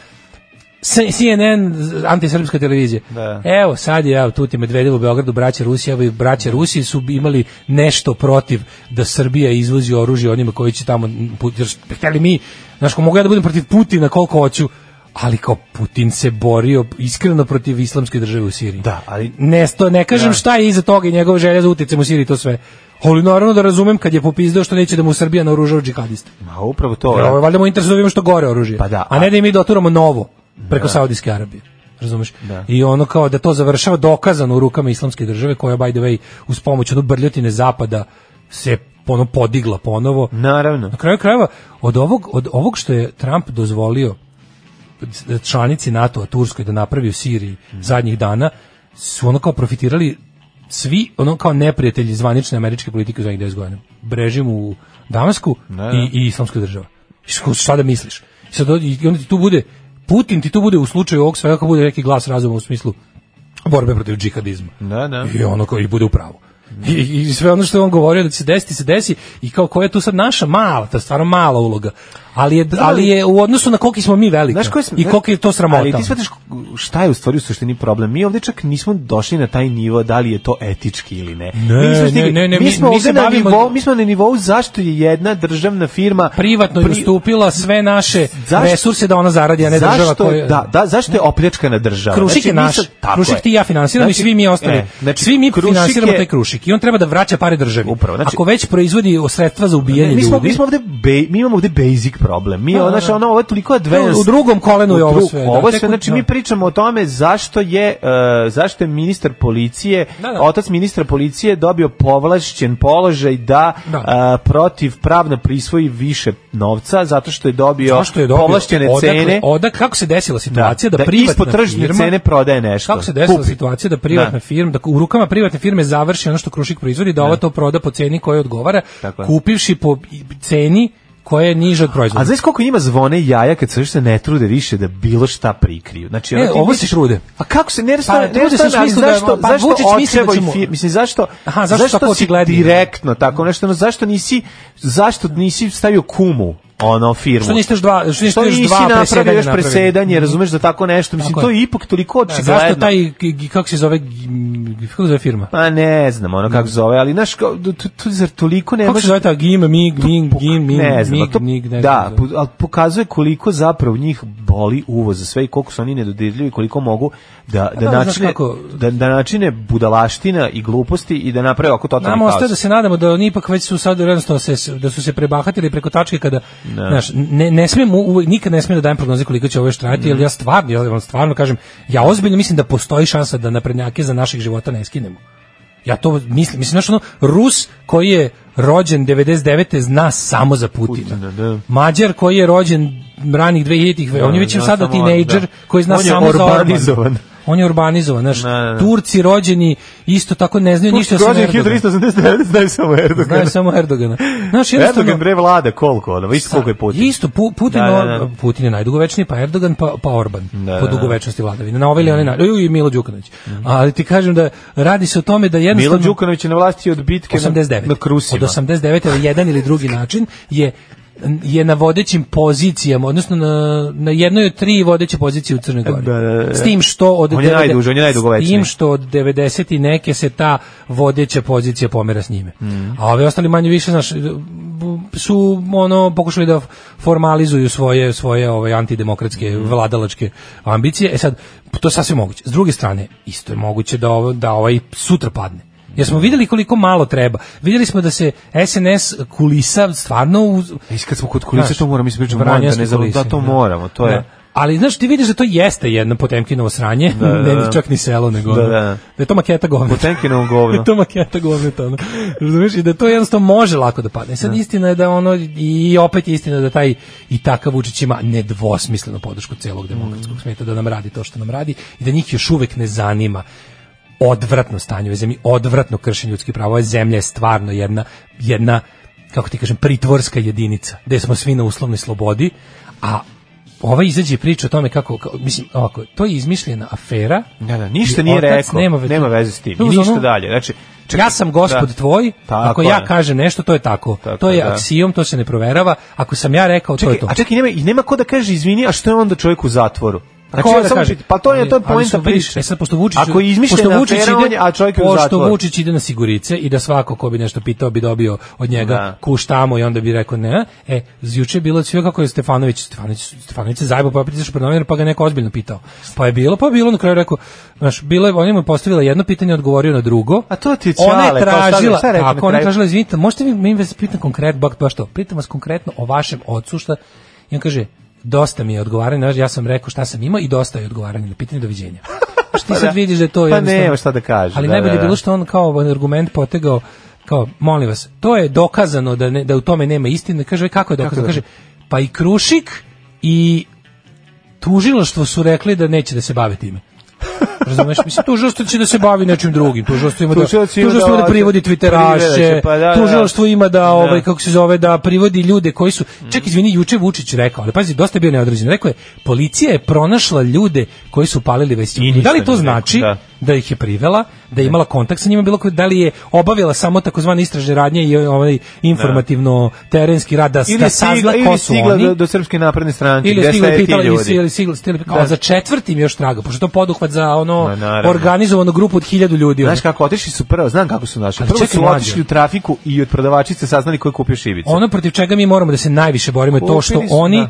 Speaker 6: C- CNN, z- antisrpska televizija.
Speaker 5: Da.
Speaker 6: Evo, sad je, evo, tu ti Medvedev u Beogradu, braća Rusija, evo i braća Rusiji su imali nešto protiv da Srbija izvozi oružje onima koji će tamo, put- jer hteli mi, znaš, ko mogu ja da budem protiv Putina koliko hoću, ali kao Putin se borio iskreno protiv islamske države u Siriji.
Speaker 5: Da, ali-
Speaker 6: Ne, sto, ne kažem
Speaker 5: Da.
Speaker 6: šta je iza toga i njegova želja za utjecem u Siriji i to sve. Ali naravno da razumem kad je popizdeo što neće da mu Srbija naoružava džihadiste.
Speaker 5: Ma upravo to.
Speaker 6: Ovo je
Speaker 5: da.
Speaker 6: valjda mu interes da vidimo što gore oružje.
Speaker 5: Pa da,
Speaker 6: a,
Speaker 5: a- Da.
Speaker 6: ne da im mi doturamo novo preko Saudijske Arabije. Razumeš? I ono kao da to završava dokazano u rukama islamske države koja by the way uz pomoć ono brljotine zapada se ono podigla ponovo.
Speaker 5: Naravno.
Speaker 6: Na kraju krajeva od ovog od ovog što je Trump dozvolio članici NATO-a Turskoj da napravi u Siriji zadnjih dana su ono kao profitirali svi ono kao neprijatelji zvanične američke politike u zadnjih 10 godina. Režim u Damasku i, i islamska država. I što sada misliš? I sad, i onda ti tu bude, Putin ti tu bude u slučaju ovog svega kako bude neki glas razuma u smislu borbe protiv džihadizma.
Speaker 5: Da, da.
Speaker 6: I ono koji bude u pravu. I, I sve ono što je on govorio da će se desiti, se desi i kao koja je tu sad naša mala, ta stvarno mala uloga. Ali je, ali je u odnosu na koliki smo mi veliki
Speaker 5: Znaš koji smo-
Speaker 6: i koliki je to sramota.
Speaker 5: Ali ti shvataš šta je u stvari u suštini problem? Mi ovde čak nismo došli na taj nivo da li je to etički ili ne.
Speaker 6: Ne,
Speaker 5: mi, nismo
Speaker 6: ne,
Speaker 5: stigli-
Speaker 6: ne, ne,
Speaker 5: mi
Speaker 6: mi-
Speaker 5: smo
Speaker 6: mi
Speaker 5: ovde
Speaker 6: se
Speaker 5: na
Speaker 6: bavimo-
Speaker 5: nivou, mi smo na nivou zašto je jedna državna firma
Speaker 6: privatno je
Speaker 5: pri-
Speaker 6: ustupila sve naše
Speaker 5: Zašto-
Speaker 6: resurse da ona zaradi, a ne
Speaker 5: zašto,
Speaker 6: država koja...
Speaker 5: da, da, zašto je opljačkana država? Znači,
Speaker 6: Krušik je
Speaker 5: mi
Speaker 6: naš.
Speaker 5: sad- tako
Speaker 6: krušik
Speaker 5: je.
Speaker 6: ti i ja finansiramo i
Speaker 5: Znači,
Speaker 6: svi mi ostali.
Speaker 5: e, znači,
Speaker 6: svi mi
Speaker 5: Krušik
Speaker 6: finansiramo
Speaker 5: je-
Speaker 6: taj krušik i on treba da vraća pare državi.
Speaker 5: Upravo, znači-
Speaker 6: Ako već proizvodi sredstva za ubijanje
Speaker 5: mi smo,
Speaker 6: ljudi. Da,
Speaker 5: mi smo ovde be- mi imamo ovde basic problem. Mi ono znači ono ovo je toliko advanced.
Speaker 6: U drugom kolenu je
Speaker 5: U
Speaker 6: ovo
Speaker 5: dru-
Speaker 6: sve, da,
Speaker 5: Ovo
Speaker 6: tek
Speaker 5: sve
Speaker 6: u-
Speaker 5: znači
Speaker 6: da.
Speaker 5: mi pričamo o tome zašto je e, zašto je ministar policije,
Speaker 6: Da, da.
Speaker 5: otac ministra policije dobio povlašćen položaj da,
Speaker 6: Da.
Speaker 5: e, protiv pravno prisvoji više novca zato što je dobio,
Speaker 6: Zašto je dobio?
Speaker 5: povlašćene
Speaker 6: Odakle-
Speaker 5: cene.
Speaker 6: odakle- kako se desila situacija da,
Speaker 5: da
Speaker 6: privatna
Speaker 5: ispod tržne
Speaker 6: firma-
Speaker 5: cene prodaje nešto.
Speaker 6: Kako se desila
Speaker 5: Kupi.
Speaker 6: situacija da privatna
Speaker 5: Da.
Speaker 6: firma, da u rukama privatne firme završi ono što Krušik proizvodi, da ova to proda po ceni koja odgovara,
Speaker 5: Tako je.
Speaker 6: kupivši po ceni koja je niža od proizvoda.
Speaker 5: A znaš koliko njima zvone jaja kad se više ne trude više da bilo šta prikriju? Znači, ono
Speaker 6: E,
Speaker 5: ti
Speaker 6: ovo se
Speaker 5: misliš-
Speaker 6: trude.
Speaker 5: A kako se, ne
Speaker 6: Pa,
Speaker 5: rastavlja, ne
Speaker 6: trude se u
Speaker 5: rastavlja, ali
Speaker 6: smislu da-
Speaker 5: zašto,
Speaker 6: pa,
Speaker 5: zašto
Speaker 6: Vučić misli da
Speaker 5: očevoj
Speaker 6: ćemo-
Speaker 5: fi- mislim, zašto,
Speaker 6: Aha, zašto tako
Speaker 5: si
Speaker 6: očigledno?
Speaker 5: direktno tako nešto, ono, zašto nisi, zašto nisi stavio kumu, ono, firmu?
Speaker 6: Što niste još dva, što niste
Speaker 5: Što
Speaker 6: još
Speaker 5: nisi
Speaker 6: dva
Speaker 5: napravio
Speaker 6: presedanja
Speaker 5: još
Speaker 6: napravili? Mhm.
Speaker 5: presedanje, razumeš da tako nešto, mislim,
Speaker 6: Tako
Speaker 5: to
Speaker 6: je.
Speaker 5: je ipak toliko
Speaker 6: Da,
Speaker 5: očigledno.
Speaker 6: zašto taj, g- g- kako se zove, g- kako se zove firma?
Speaker 5: Pa ne znam, ono kako zove, ali znaš, kao, tu, tu, tu, zar toliko ne
Speaker 6: Mhm. Kako se
Speaker 5: može
Speaker 6: zove ta gim, mig, mig, gim, mig,
Speaker 5: Pa, ne znam,
Speaker 6: mig,
Speaker 5: a to,
Speaker 6: mig, ne
Speaker 5: da,
Speaker 6: znam.
Speaker 5: po- ali pokazuje koliko zapravo njih boli uvoz za sve i koliko su oni nedodirljivi, koliko mogu da, da,
Speaker 6: da, znaš
Speaker 5: načine,
Speaker 6: kako-
Speaker 5: da, da načine budalaština i gluposti i da naprave oko totalni
Speaker 6: Nama ostaje
Speaker 5: haos.
Speaker 6: da se nadamo da oni ipak već su sad jednostavno se, da su se prebahatili preko tačke kada,
Speaker 5: Da.
Speaker 6: znaš, ne, ne smijem, uvek, nikad ne smijem da dajem prognoze koliko će ovo još trajati, jer ja stvarno, ja vam stvarno kažem, ja ozbiljno mislim da postoji šansa da naprednjake za naših života ne skinemo. Ja to mislim, mislim, znaš ono, Rus koji je rođen 99. zna samo za Putina.
Speaker 5: Putina, da.
Speaker 6: Mađar koji je rođen ranih 2000-ih, on je već
Speaker 5: zna
Speaker 6: sada
Speaker 5: samo-
Speaker 6: tinejdžer
Speaker 5: da.
Speaker 6: koji zna
Speaker 5: On je
Speaker 6: samo za Orbana.
Speaker 5: urbanizovan.
Speaker 6: On je urbanizovan, znaš.
Speaker 5: Da, da, da.
Speaker 6: Turci rođeni isto tako ne znaju ništa osim
Speaker 5: Rođen
Speaker 6: Erdogana.
Speaker 5: 1389, znaju samo Erdogan.
Speaker 6: Znaju samo Erdogana. Znaš, jednostavno-
Speaker 5: Erdogan bre vlada koliko, ono, isto koliko je Putin.
Speaker 6: Isto, Pu- Putin,
Speaker 5: Da, da,
Speaker 6: Or-
Speaker 5: da.
Speaker 6: Putin je najdugovečniji, pa Erdogan, pa, pa Orban.
Speaker 5: da,
Speaker 6: po
Speaker 5: da.
Speaker 6: dugovečnosti vladavine. Na ovaj ili onaj način. Ju, I Milo Đukanović. Ali ti kažem da radi se o tome da jednostavno...
Speaker 5: Milo Đukanović je na vlasti od bitke na-
Speaker 6: 89.
Speaker 5: na Krusima.
Speaker 6: Od 89. na jedan ili drugi način je je na vodećim pozicijama, odnosno na, na jednoj od tri vodeće pozicije u Crnoj Gori.
Speaker 5: Da, da, da.
Speaker 6: S tim što od
Speaker 5: On je
Speaker 6: devede-
Speaker 5: najduži, on je najdugovečniji.
Speaker 6: S tim što od 90 i neke se ta vodeća pozicija pomera s njime.
Speaker 5: Mm.
Speaker 6: A ovi ostali manje više, znaš, su ono pokušali da formalizuju svoje svoje ove antidemokratske
Speaker 5: Mm.
Speaker 6: vladalačke ambicije. E sad to je sasvim moguće. S druge strane, isto je moguće da ovo da ovaj sutra padne. Jer
Speaker 5: Mm.
Speaker 6: smo vidjeli koliko malo treba. Vidjeli smo da se SNS kulisa stvarno uz,
Speaker 5: Iz kad smo kod kulisa,
Speaker 6: Znaš,
Speaker 5: to moramo ispričati, moram da
Speaker 6: vranjačke
Speaker 5: ne zaboravim, da
Speaker 6: kulise,
Speaker 5: to moramo, to je...
Speaker 6: Da. Ali znaš, ti vidiš da to jeste jedno Potemkinovo sranje,
Speaker 5: da,
Speaker 6: ne
Speaker 5: da.
Speaker 6: čak ni selo, nego ono,
Speaker 5: Da, da.
Speaker 6: da je to maketa govneta.
Speaker 5: Potemkinovo govno.
Speaker 6: Da je to maketa govneta, ono. Razumeš? I da to jednostavno može lako da padne. Sad istina je da ono, i opet je istina da taj i takav Vučić ima nedvosmislenu podršku celog
Speaker 5: Mm.
Speaker 6: demokratskog smeta da nam radi to što nam radi i da njih još uvek ne zanima odvratno stanje u ovoj zemlji, odvratno kršenje ljudskih prava. Ova zemlja je stvarno jedna, jedna kako ti kažem, pritvorska jedinica, gde smo svi na uslovnoj slobodi, a ova izađe i priča o tome kako, kao- mislim, ovako, to je izmišljena afera.
Speaker 5: Da, da, ništa
Speaker 6: i
Speaker 5: nije
Speaker 6: otac
Speaker 5: rekao, nema,
Speaker 6: veze-
Speaker 5: veze s tim,
Speaker 6: To je
Speaker 5: i
Speaker 6: uz
Speaker 5: ništa
Speaker 6: ono-
Speaker 5: dalje, znači...
Speaker 6: ja sam gospod
Speaker 5: da.
Speaker 6: tvoj,
Speaker 5: Tako
Speaker 6: ako ja
Speaker 5: je.
Speaker 6: kažem nešto, to je tako.
Speaker 5: Tako
Speaker 6: to je
Speaker 5: je, da.
Speaker 6: aksijom, to se ne proverava. Ako sam ja rekao,
Speaker 5: Čekaj,
Speaker 6: to je
Speaker 5: a
Speaker 6: to.
Speaker 5: čekaj, nema, i nema ko da kaže izvini, a što je onda čovjek u zatvoru?
Speaker 6: A
Speaker 5: Znači,
Speaker 6: ko
Speaker 5: ja
Speaker 6: da
Speaker 5: samo
Speaker 6: kaže?
Speaker 5: pit- pa to je, to je
Speaker 6: Ali- ali
Speaker 5: poenta
Speaker 6: su- vidiš,
Speaker 5: priče.
Speaker 6: E sad, pošto Vučić,
Speaker 5: Ako je
Speaker 6: pošto
Speaker 5: izmišljena
Speaker 6: Vučić
Speaker 5: afera, on je- a čovjek je u
Speaker 6: Pošto
Speaker 5: zatvoru.
Speaker 6: Vučić ide na sigurice i da svako ko bi nešto pitao bi dobio od njega
Speaker 5: Da.
Speaker 6: kuš tamo i onda bi rekao ne. E, juče je bilo sve kako je Stefanović, Stefanović, Stefanović se zajebao, pa je pritišao pred novinar, pa ga je neko ozbiljno pitao. Pa je bilo, pa je bilo, na kraju je rekao, znaš, bilo je, on je mu postavila jedno pitanje, odgovorio na drugo.
Speaker 5: A to ti je
Speaker 6: Ona
Speaker 5: ćale,
Speaker 6: je
Speaker 5: pa šta-
Speaker 6: tražila,
Speaker 5: šta je rekao na
Speaker 6: tako, ona je
Speaker 5: kraju?
Speaker 6: tražila, izvinite, možete vi mi vas pitam konkretno, bak, baš to, pitam vas konkretno o vašem ocu, šta, i on kaže, dosta mi je odgovaranje, ja sam rekao šta sam imao i dosta je odgovaranje na pitanje doviđenja. Znaš, ti sad vidiš da je to
Speaker 5: Pa
Speaker 6: jednostavno-
Speaker 5: nema šta da kaže,
Speaker 6: Ali
Speaker 5: da,
Speaker 6: najbolje
Speaker 5: da,
Speaker 6: je
Speaker 5: da.
Speaker 6: bilo što on kao ovaj argument potegao, kao, molim vas, to je dokazano da, ne, da u tome nema istine, kaže, kako je dokazano, kaže, pa i Krušik i tužilaštvo su rekli da neće da se bave time. Razumeš? Mislim, tužilaštvo će da se bavi nečim drugim. Tužilaštvo ima da,
Speaker 5: Tužilac ima
Speaker 6: tužilaštvo ima da
Speaker 5: da- privede
Speaker 6: privodi tviteraše,
Speaker 5: će, pa da, da.
Speaker 6: tužilaštvo ima da, ovaj,
Speaker 5: Da. Mhm.
Speaker 6: kako se zove, da privodi ljude koji su... Čak, izvini, juče Vučić rekao, ali pazi, dosta je bio neodređen. Rekao je, policija je pronašla ljude koji su palili
Speaker 5: I
Speaker 6: vesiću.
Speaker 5: ništa
Speaker 6: Da li to
Speaker 5: nije rekao,
Speaker 6: znači
Speaker 5: da.
Speaker 6: da ih je privela, da je imala kontakt sa njima, bilo koji, da li je obavila samo takozvane istražne radnje i ovaj informativno terenski rad da,
Speaker 5: Ili
Speaker 6: da
Speaker 5: je stigla-
Speaker 6: sazna
Speaker 5: ili
Speaker 6: ko
Speaker 5: je da-
Speaker 6: su
Speaker 5: stigla
Speaker 6: oni.
Speaker 5: do, do srpske napredne stranke,
Speaker 6: Ili je
Speaker 5: gde
Speaker 6: stigla
Speaker 5: ste
Speaker 6: i
Speaker 5: ti
Speaker 6: pitala
Speaker 5: ljudi.
Speaker 6: jesi, ili stigla, stigla, kao,
Speaker 5: Da.
Speaker 6: za četvrtim još traga, pošto je to poduhvat za
Speaker 5: Ma,
Speaker 6: ono
Speaker 5: naravno.
Speaker 6: organizovanu grupu od hiljadu ljudi. ono.
Speaker 5: Znaš kako, otišli su prvo, znam kako su našli.
Speaker 6: Ali
Speaker 5: Prvo
Speaker 6: čekaj,
Speaker 5: su
Speaker 6: mlađe.
Speaker 5: otišli u trafiku i od prodavačice saznali ko je kupio šibicu.
Speaker 6: Ono protiv čega mi moramo da se najviše borimo je to što
Speaker 5: Kupili su,
Speaker 6: oni
Speaker 5: da.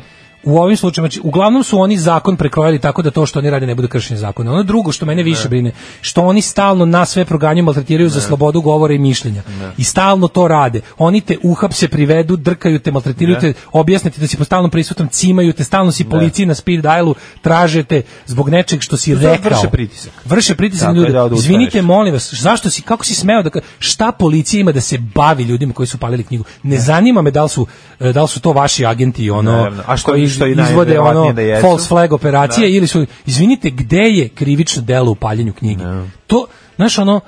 Speaker 6: u ovim slučajima, znači, uglavnom su oni zakon prekrojali tako da to što oni rade ne bude kršenje zakona. Ono drugo što mene više brine, što oni stalno nas sve proganjaju, maltretiraju za slobodu govora i mišljenja. I stalno to rade. Oni te uhapse, privedu, drkaju te, maltretiraju te, objasne ti da si po stalnom prisutnom, cimaju te, stalno si policiji na speed dialu, traže te zbog nečeg što si
Speaker 5: Zato
Speaker 6: rekao.
Speaker 5: vrše pritisak.
Speaker 6: Vrše pritisak
Speaker 5: Tako
Speaker 6: na
Speaker 5: je,
Speaker 6: ljude.
Speaker 5: da odustaneš.
Speaker 6: Izvinite, molim vas, zašto si, kako si smeo da, ka- šta policija ima da se bavi ljudima koji su palili knjigu? Ne zanima me da li su, e, da li su to vaši agenti, ono,
Speaker 5: Naravno. A što-
Speaker 6: koji
Speaker 5: što je
Speaker 6: izvode
Speaker 5: najverovatnije
Speaker 6: ono,
Speaker 5: da jesu. Da.
Speaker 6: false flag operacije, ili su, izvinite, gde je krivično delo u paljenju knjige?
Speaker 5: Da.
Speaker 6: To, znaš, ono,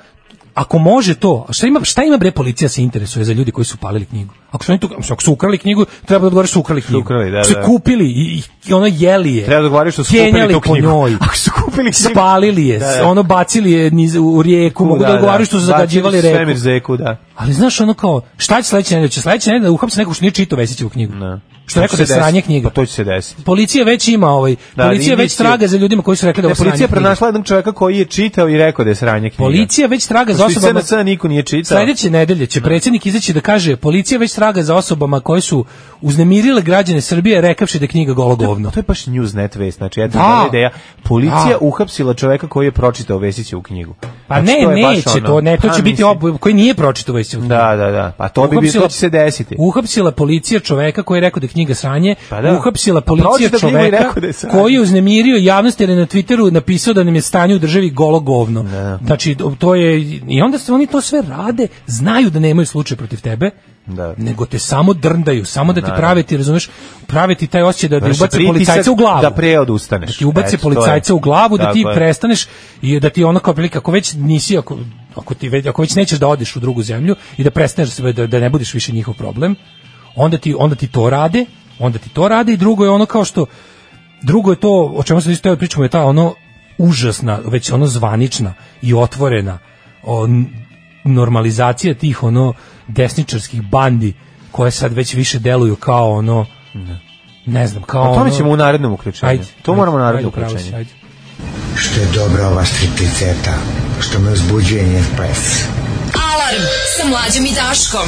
Speaker 6: Ako može to, a šta ima, šta ima bre policija se interesuje za ljudi koji su palili knjigu? Ako su, oni tu, ako su ukrali knjigu, treba da odgovore su ukrali knjigu.
Speaker 5: ukrali, da,
Speaker 6: Ako su
Speaker 5: da.
Speaker 6: kupili i, i ono jeli je.
Speaker 5: Treba da govoriš što su
Speaker 6: kenjali
Speaker 5: kupili tu
Speaker 6: po
Speaker 5: knjigu.
Speaker 6: njoj
Speaker 5: Ako su kupili knjigu.
Speaker 6: spalili je,
Speaker 5: Da, da.
Speaker 6: ono bacili je niz, u rijeku, mogu da, odgovaraju što su
Speaker 5: Bacili
Speaker 6: zagađivali
Speaker 5: su
Speaker 6: reku.
Speaker 5: Svemir zeku, da.
Speaker 6: Ali znaš ono kao, šta će sledeće nedelje? Će sledeće nedelje da uhapse nekog što nije čitao Vesićevu knjigu.
Speaker 5: Ne. To
Speaker 6: Što je rekao
Speaker 5: će
Speaker 6: da je
Speaker 5: se
Speaker 6: sranje
Speaker 5: desiti.
Speaker 6: knjiga.
Speaker 5: Pa to će se desiti.
Speaker 6: Policija već ima ovaj,
Speaker 5: Da,
Speaker 6: policija već
Speaker 5: indicije.
Speaker 6: traga za ljudima koji su rekli da
Speaker 5: Ne,
Speaker 6: ovo sranje
Speaker 5: policija je
Speaker 6: knjiga.
Speaker 5: pronašla jednog čoveka koji je čitao i rekao da je sranje knjiga.
Speaker 6: Policija da već traga za
Speaker 5: Pošto i
Speaker 6: osobama...
Speaker 5: CNC niko nije čitao.
Speaker 6: Sledeće nedelje će predsjednik izaći da kaže policija već traga za osobama koje su uznemirile građane Srbije rekavši da je knjiga golo govno.
Speaker 5: To je baš newsnet vest, znači jedna
Speaker 6: Da.
Speaker 5: da. ideja. Policija
Speaker 6: Da.
Speaker 5: uhapsila čoveka koji je pročitao Vesićevu knjigu.
Speaker 6: Pa
Speaker 5: Znači, to
Speaker 6: ne,
Speaker 5: je baš
Speaker 6: neće
Speaker 5: ono-
Speaker 6: to, ne, to
Speaker 5: Pa
Speaker 6: će biti
Speaker 5: mislim-
Speaker 6: obu koji nije pročitao Vesićevu knjigu.
Speaker 5: Da, da, da. Pa to bi bilo, to će se desiti.
Speaker 6: Uhapsila policija čoveka koji je rekao da je knjiga sranje,
Speaker 5: Pa da.
Speaker 6: uhapsila
Speaker 5: Pa pročitao
Speaker 6: policija
Speaker 5: knjigu i
Speaker 6: čoveka
Speaker 5: rekao da je sranje.
Speaker 6: koji je uznemirio javnost jer je na Twitteru napisao da nam je stanje u državi golo govno.
Speaker 5: Da.
Speaker 6: Znači, to je, i onda se oni to sve rade, znaju da nemaju slučaj protiv tebe,
Speaker 5: Da.
Speaker 6: nego te samo drndaju, samo da ti prave ti, razumeš, prave ti taj osjećaj da, da
Speaker 5: Vrše
Speaker 6: ubace
Speaker 5: Znači, pritisak
Speaker 6: policajca u glavu.
Speaker 5: Da pre odustaneš.
Speaker 6: Da ti ubace
Speaker 5: Eto, to je.
Speaker 6: policajca u glavu, da
Speaker 5: Tako
Speaker 6: ti
Speaker 5: je.
Speaker 6: prestaneš i da ti ono kao prilika, ako već nisi, ako, ako, ti, već- ako već nećeš da odeš u drugu zemlju i da prestaneš da, se- da, da ne budiš više njihov problem, onda ti, onda ti to rade, onda ti to rade i drugo je ono kao što, drugo je to, o čemu se isto pričamo, je ta ono užasna, već ono zvanična i otvorena o, n- normalizacija tih ono desničarskih bandi koje sad već više deluju kao ono ne znam, kao
Speaker 5: Da. O tome
Speaker 6: ono-
Speaker 5: ćemo Pa u narednom uključenju.
Speaker 6: Ajde,
Speaker 5: to
Speaker 6: ajde,
Speaker 5: moramo u narednom
Speaker 6: ajde, pravo si,
Speaker 5: uključenju.
Speaker 6: ajde.
Speaker 7: Što je dobra ova stripticeta, što me uzbuđuje njen ples.
Speaker 4: Alarm sa mlađom i Daškom.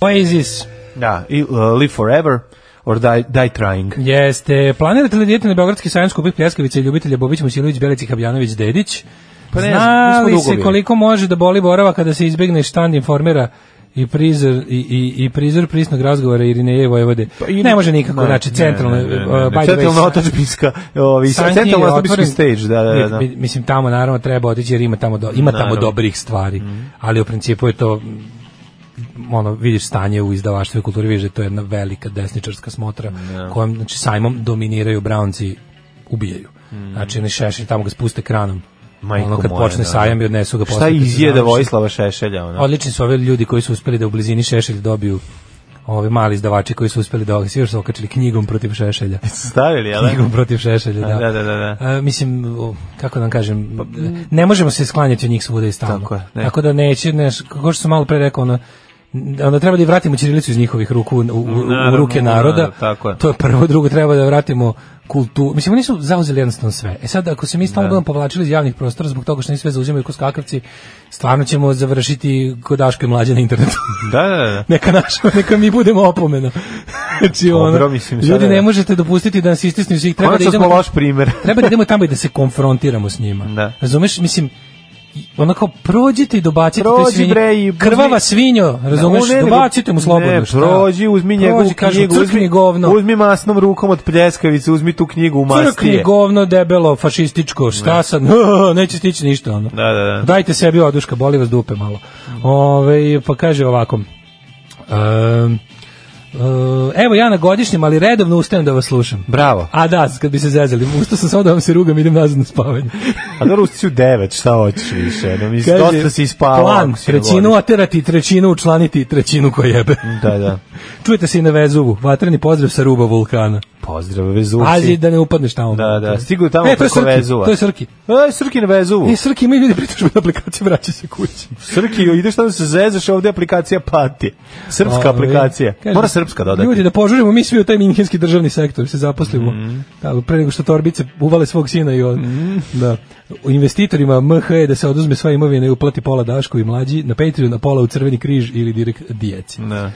Speaker 6: Oasis.
Speaker 5: Da, i uh, Live Forever or Die, die Trying.
Speaker 6: Jeste, planirate li dijete na Beogradski sajam skupih pljeskavica i ljubitelja Bobić Musilović, Belici Habjanović, Dedić?
Speaker 5: Pa ne znam,
Speaker 6: Zna
Speaker 5: nismo
Speaker 6: li
Speaker 5: dugo
Speaker 6: se
Speaker 5: bili.
Speaker 6: koliko može da boli borava kada se izbegne štand informera i prizor i, i, i prizor prisnog razgovora Irineje Vojvode.
Speaker 5: Pa i-
Speaker 6: ne može nikako, znači centralno,
Speaker 5: ne, ne, ne, ne,
Speaker 6: uh, by the way,
Speaker 5: Centralna otačbinska, ovi,
Speaker 6: Sanki
Speaker 5: centralna
Speaker 6: je
Speaker 5: otačbinski
Speaker 6: otvoren-
Speaker 5: stage, da, da, da.
Speaker 6: Mi- mi- Mislim, tamo naravno treba otići jer ima tamo, do, ima tamo
Speaker 5: Naravno. Mhm.
Speaker 6: dobrih stvari, ali u principu je to m, ono, vidiš stanje u izdavaštvu i kulturi, vidiš da je to jedna velika desničarska smotra
Speaker 5: Da.
Speaker 6: kojom, znači, sajmom dominiraju Brownci, ubijaju. Znači, oni šešir tamo ga spuste kranom.
Speaker 5: Mhm. Majko
Speaker 6: ono kad
Speaker 5: moja,
Speaker 6: počne
Speaker 5: da, da.
Speaker 6: sajam i odnesu ga posle.
Speaker 5: Šta
Speaker 6: kad se
Speaker 5: izjeda
Speaker 6: završi.
Speaker 5: Vojislava Šešelja, ono?
Speaker 6: Odlični su ovi ljudi koji su uspeli da u blizini Šešelj dobiju ovi mali izdavači koji su uspeli da ga svi još su okačili knjigom protiv Šešelja.
Speaker 5: Stavili, jel? da?
Speaker 6: Knjigom protiv Šešelja, da.
Speaker 5: Da, da, da, da.
Speaker 6: A, mislim, o, kako da vam kažem, ne možemo se sklanjati od njih svuda i stalno.
Speaker 5: Pa, Tako je, ne.
Speaker 6: Tako da neće, ne, kako što sam malo pre rekao, ono, onda treba da i vratimo ćirilicu iz njihovih ruku u, u- u, u
Speaker 5: Naravno,
Speaker 6: ruke naroda.
Speaker 5: naravno, tako je.
Speaker 6: To je prvo, drugo treba da vratimo kulturu. Mislim, oni su zauzeli jednostavno sve. E sad, ako se mi
Speaker 5: Da.
Speaker 6: stalno budemo povlačili iz javnih prostora zbog toga što oni sve zauzimaju kod skakavci, stvarno ćemo završiti kod Daške mlađe na internetu.
Speaker 5: Da, da, da.
Speaker 6: neka naša, neka mi budemo opomeno. znači,
Speaker 5: Dobro,
Speaker 6: ono,
Speaker 5: mislim, sada
Speaker 6: ljudi
Speaker 5: je-
Speaker 6: ne možete dopustiti da nas istisnu svih. Treba da
Speaker 5: Konačno smo
Speaker 6: idemo,
Speaker 5: loš primer.
Speaker 6: treba da idemo tamo i da se konfrontiramo s njima.
Speaker 5: Da.
Speaker 6: Razumeš? Mislim, i- onako prođite i dobacite toj
Speaker 5: Prođi,
Speaker 6: svinji.
Speaker 5: bre, i uzmi-
Speaker 6: Krvava svinjo, razumeš?
Speaker 5: Da, u ne, nego-
Speaker 6: dobacite mu slobodno.
Speaker 5: Ne,
Speaker 6: šta?
Speaker 5: prođi, uzmi njegovu
Speaker 6: Prođi, kažu,
Speaker 5: knjigu,
Speaker 6: "Crkni
Speaker 5: uzmi,
Speaker 6: govno.
Speaker 5: uzmi masnom rukom od pljeskavice, uzmi tu knjigu u
Speaker 6: Crkni
Speaker 5: mastije.
Speaker 6: govno debelo fašističko, šta sad, neće stići ništa ono.
Speaker 5: Da, da, da.
Speaker 6: Dajte sebi oduška, Ovaj, boli vas dupe malo. Ove, pa kaže ovako. Ehm Uh, evo ja na godišnjem, ali redovno ustajem da vas slušam.
Speaker 5: Bravo.
Speaker 6: A da, kad bi se zezali, ustao sam samo da vam se rugam, idem nazad na spavanje.
Speaker 5: A dobro, usti u devet, šta hoćeš više? No, mi dosta si ispavao.
Speaker 6: plan,
Speaker 5: ako si na
Speaker 6: trećinu
Speaker 5: godišnjem.
Speaker 6: oterati, trećinu učlaniti, trećinu koja jebe.
Speaker 5: Da, da.
Speaker 6: Čujete se i na Vezuvu, vatreni pozdrav sa ruba vulkana.
Speaker 5: Pozdrav, Vezuvci.
Speaker 6: Pazi da ne upadneš tamo.
Speaker 5: Da, da, stigu tamo
Speaker 6: E, to je
Speaker 5: preko
Speaker 6: Srki,
Speaker 5: Vezuva.
Speaker 6: To je Srki.
Speaker 5: E, Srki na Vezuvu.
Speaker 6: E, Srki, imaju ljudi pritužbe na aplikaciji, vraća se kući.
Speaker 5: Srki, ideš tamo da se zezaš, ovde aplikacija pati. Srpska
Speaker 6: Ovaj,
Speaker 5: aplikacija.
Speaker 6: kaže,
Speaker 5: Mora srpska dodati.
Speaker 6: Ljudi, da požurimo mi svi u taj minhenski državni sektor, se zaposlimo.
Speaker 5: Mhm.
Speaker 6: Tako, pre nego što torbice uvale svog sina i on. Da. U investitorima MH je da se oduzme sva imovina i uplati pola Dašku i mlađi, na Patreon, na pola u Crveni križ ili direkt djeci.
Speaker 5: Da.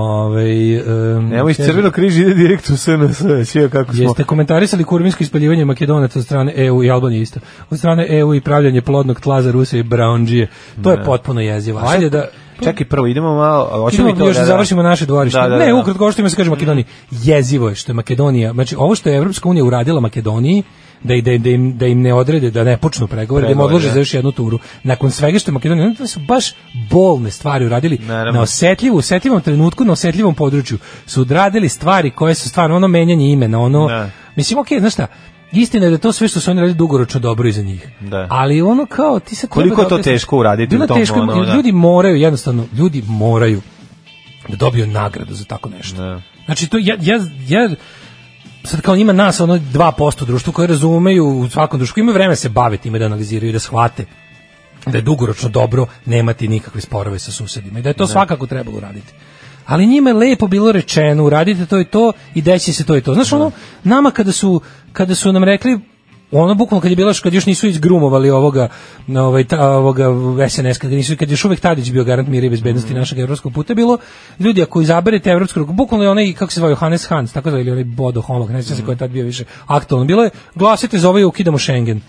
Speaker 6: Ovaj um,
Speaker 5: Nemo iz
Speaker 6: kaže,
Speaker 5: Crvenog križa ide direkt u SNS, sve kako smo.
Speaker 6: Jeste komentarisali kurvinsko ispaljivanje Makedonaca od strane EU i Albanije isto. Od strane EU i pravljanje plodnog tla za Rusije i Brownđije. To je potpuno jezivo. Hajde da
Speaker 5: Čekaj, prvo idemo malo, a hoćemo
Speaker 6: Idemo
Speaker 5: i to
Speaker 6: još
Speaker 5: da,
Speaker 6: da,
Speaker 5: da.
Speaker 6: završimo naše dvorište.
Speaker 5: Da, da,
Speaker 6: ne,
Speaker 5: da.
Speaker 6: ukratko, ovo što ima se kaže Makedoniji. Jezivo je što je Makedonija, znači ovo što je Evropska unija uradila Makedoniji, da, i- da, im- da, im, da im ne odrede, da ne počnu pregovore, da im
Speaker 5: Pregovore,
Speaker 6: odlože
Speaker 5: da.
Speaker 6: za još jednu turu. Nakon svega što je Makedonija, oni su baš bolne stvari uradili
Speaker 5: Naravno.
Speaker 6: na osetljivu, osetljivom trenutku, na osetljivom području. Su odradili stvari koje su stvarno ono menjanje imena, ono...
Speaker 5: Da.
Speaker 6: Mislim, okej, znaš šta, Istina je da je to sve što su oni radili dugoročno dobro i za njih.
Speaker 5: Da.
Speaker 6: Ali ono kao ti se
Speaker 5: Koliko je to teško uraditi u
Speaker 6: Bilo je
Speaker 5: tom,
Speaker 6: teško,
Speaker 5: ono, da.
Speaker 6: ljudi moraju jednostavno, ljudi moraju da dobiju nagradu za tako nešto.
Speaker 5: Da.
Speaker 6: Znači to ja, ja, ja sad kao ima nas ono 2% u društvu koji razumeju u svakom društvu imaju vreme da se bave time da analiziraju i da shvate da je dugoročno dobro nemati nikakve sporove sa susedima i da je to svakako trebalo uraditi. Ali njima je lepo bilo rečeno, uradite to i to i deći se to i to. Znaš, ono, nama kada su, kada su nam rekli, ono bukvalno kad je bilo, kad još nisu izgrumovali ovoga, ovaj, ta, ovoga SNS, kad, nisu, kad je još uvek Tadić bio garant mira i bezbednosti našeg evropskog puta, bilo, ljudi, ako izaberete evropsku ruku, bukvalno je onaj, kako se zove, Johannes Hans, tako zove, ili onaj Bodo Homog, ne znam se ko je tad bio više aktualno, bilo je, glasite za ovaj, ukidamo Schengen.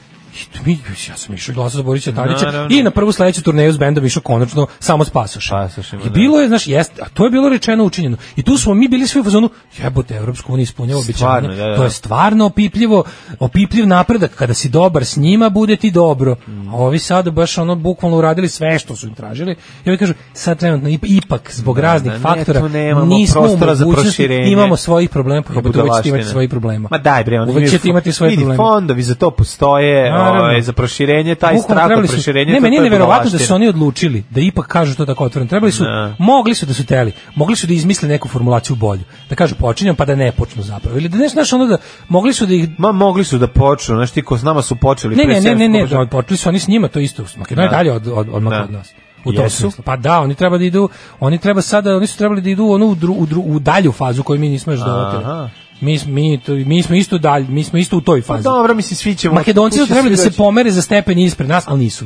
Speaker 6: I to mi, ja sam išao i glasao za Borisa Tadića
Speaker 5: Naravno.
Speaker 6: i na prvu sledeću turneju s bendom išao konačno samo s pasošem.
Speaker 5: Pasošima,
Speaker 6: I
Speaker 5: da.
Speaker 6: bilo je, znaš, jest, a to je bilo rečeno učinjeno. I tu smo mi bili svi u fazonu, jebote, Evropska unija ispunjava
Speaker 5: Stvarno,
Speaker 6: obećanja.
Speaker 5: da, da.
Speaker 6: To je stvarno opipljivo, opipljiv napredak. Kada si dobar s njima, bude ti dobro.
Speaker 5: Mm.
Speaker 6: A ovi sad baš ono bukvalno uradili sve što su im tražili. I ovi kažu, sad trenutno ip- ipak zbog raznih
Speaker 5: Da, ne,
Speaker 6: faktora
Speaker 5: tu nemamo
Speaker 6: nismo u
Speaker 5: prostora za
Speaker 6: mogućnosti,
Speaker 5: proširenje.
Speaker 6: imamo svojih problema, pa uvek ćete
Speaker 5: budalaštine.
Speaker 6: imati svojih problema.
Speaker 5: Ma daj bre, oni
Speaker 6: Uvek
Speaker 5: imaju
Speaker 6: ćete
Speaker 5: fo-
Speaker 6: imati svoje
Speaker 5: vidi,
Speaker 6: probleme.
Speaker 5: fondovi za to postoje,
Speaker 6: Naravno.
Speaker 5: ovaj, za proširenje, taj
Speaker 6: Bukvalno
Speaker 5: strah
Speaker 6: trebali
Speaker 5: od
Speaker 6: su-
Speaker 5: proširenja.
Speaker 6: Ne,
Speaker 5: to-
Speaker 6: meni je
Speaker 5: to je
Speaker 6: neverovatno da su
Speaker 5: budalaština.
Speaker 6: oni odlučili da ipak kažu to tako otvoreno. Trebali su,
Speaker 5: Da.
Speaker 6: mogli su da su teli, mogli su da izmisle neku formulaciju bolju. Da kažu počinjem pa da ne počnu zapravo. Ili da nešto znaš ono da mogli su da ih
Speaker 5: Ma mogli su da počnu, znaš ti ko s nama su počeli
Speaker 6: Ne,
Speaker 5: pre
Speaker 6: ne, ne, ne, ne,
Speaker 5: srpskog-
Speaker 6: da, počeli su oni s njima, to je isto. Makedonija
Speaker 5: Da.
Speaker 6: da. dalje od od od,
Speaker 5: Da.
Speaker 6: od nas. U tom
Speaker 5: Jesu.
Speaker 6: smislu. Pa da, oni treba da idu, oni treba sada, oni su trebali da idu u onu u, dru, u, dru, u dalju fazu koju mi nismo još
Speaker 5: Aha.
Speaker 6: dovodili. Mi, smo- mi, to- mi smo isto dalj, mi smo isto u toj fazi.
Speaker 5: Pa Dobro, mislim, svi ćemo...
Speaker 6: Makedonci
Speaker 5: tu
Speaker 6: su
Speaker 5: će
Speaker 6: trebali da se
Speaker 5: doći.
Speaker 6: pomere za stepen ispred nas, ali nisu.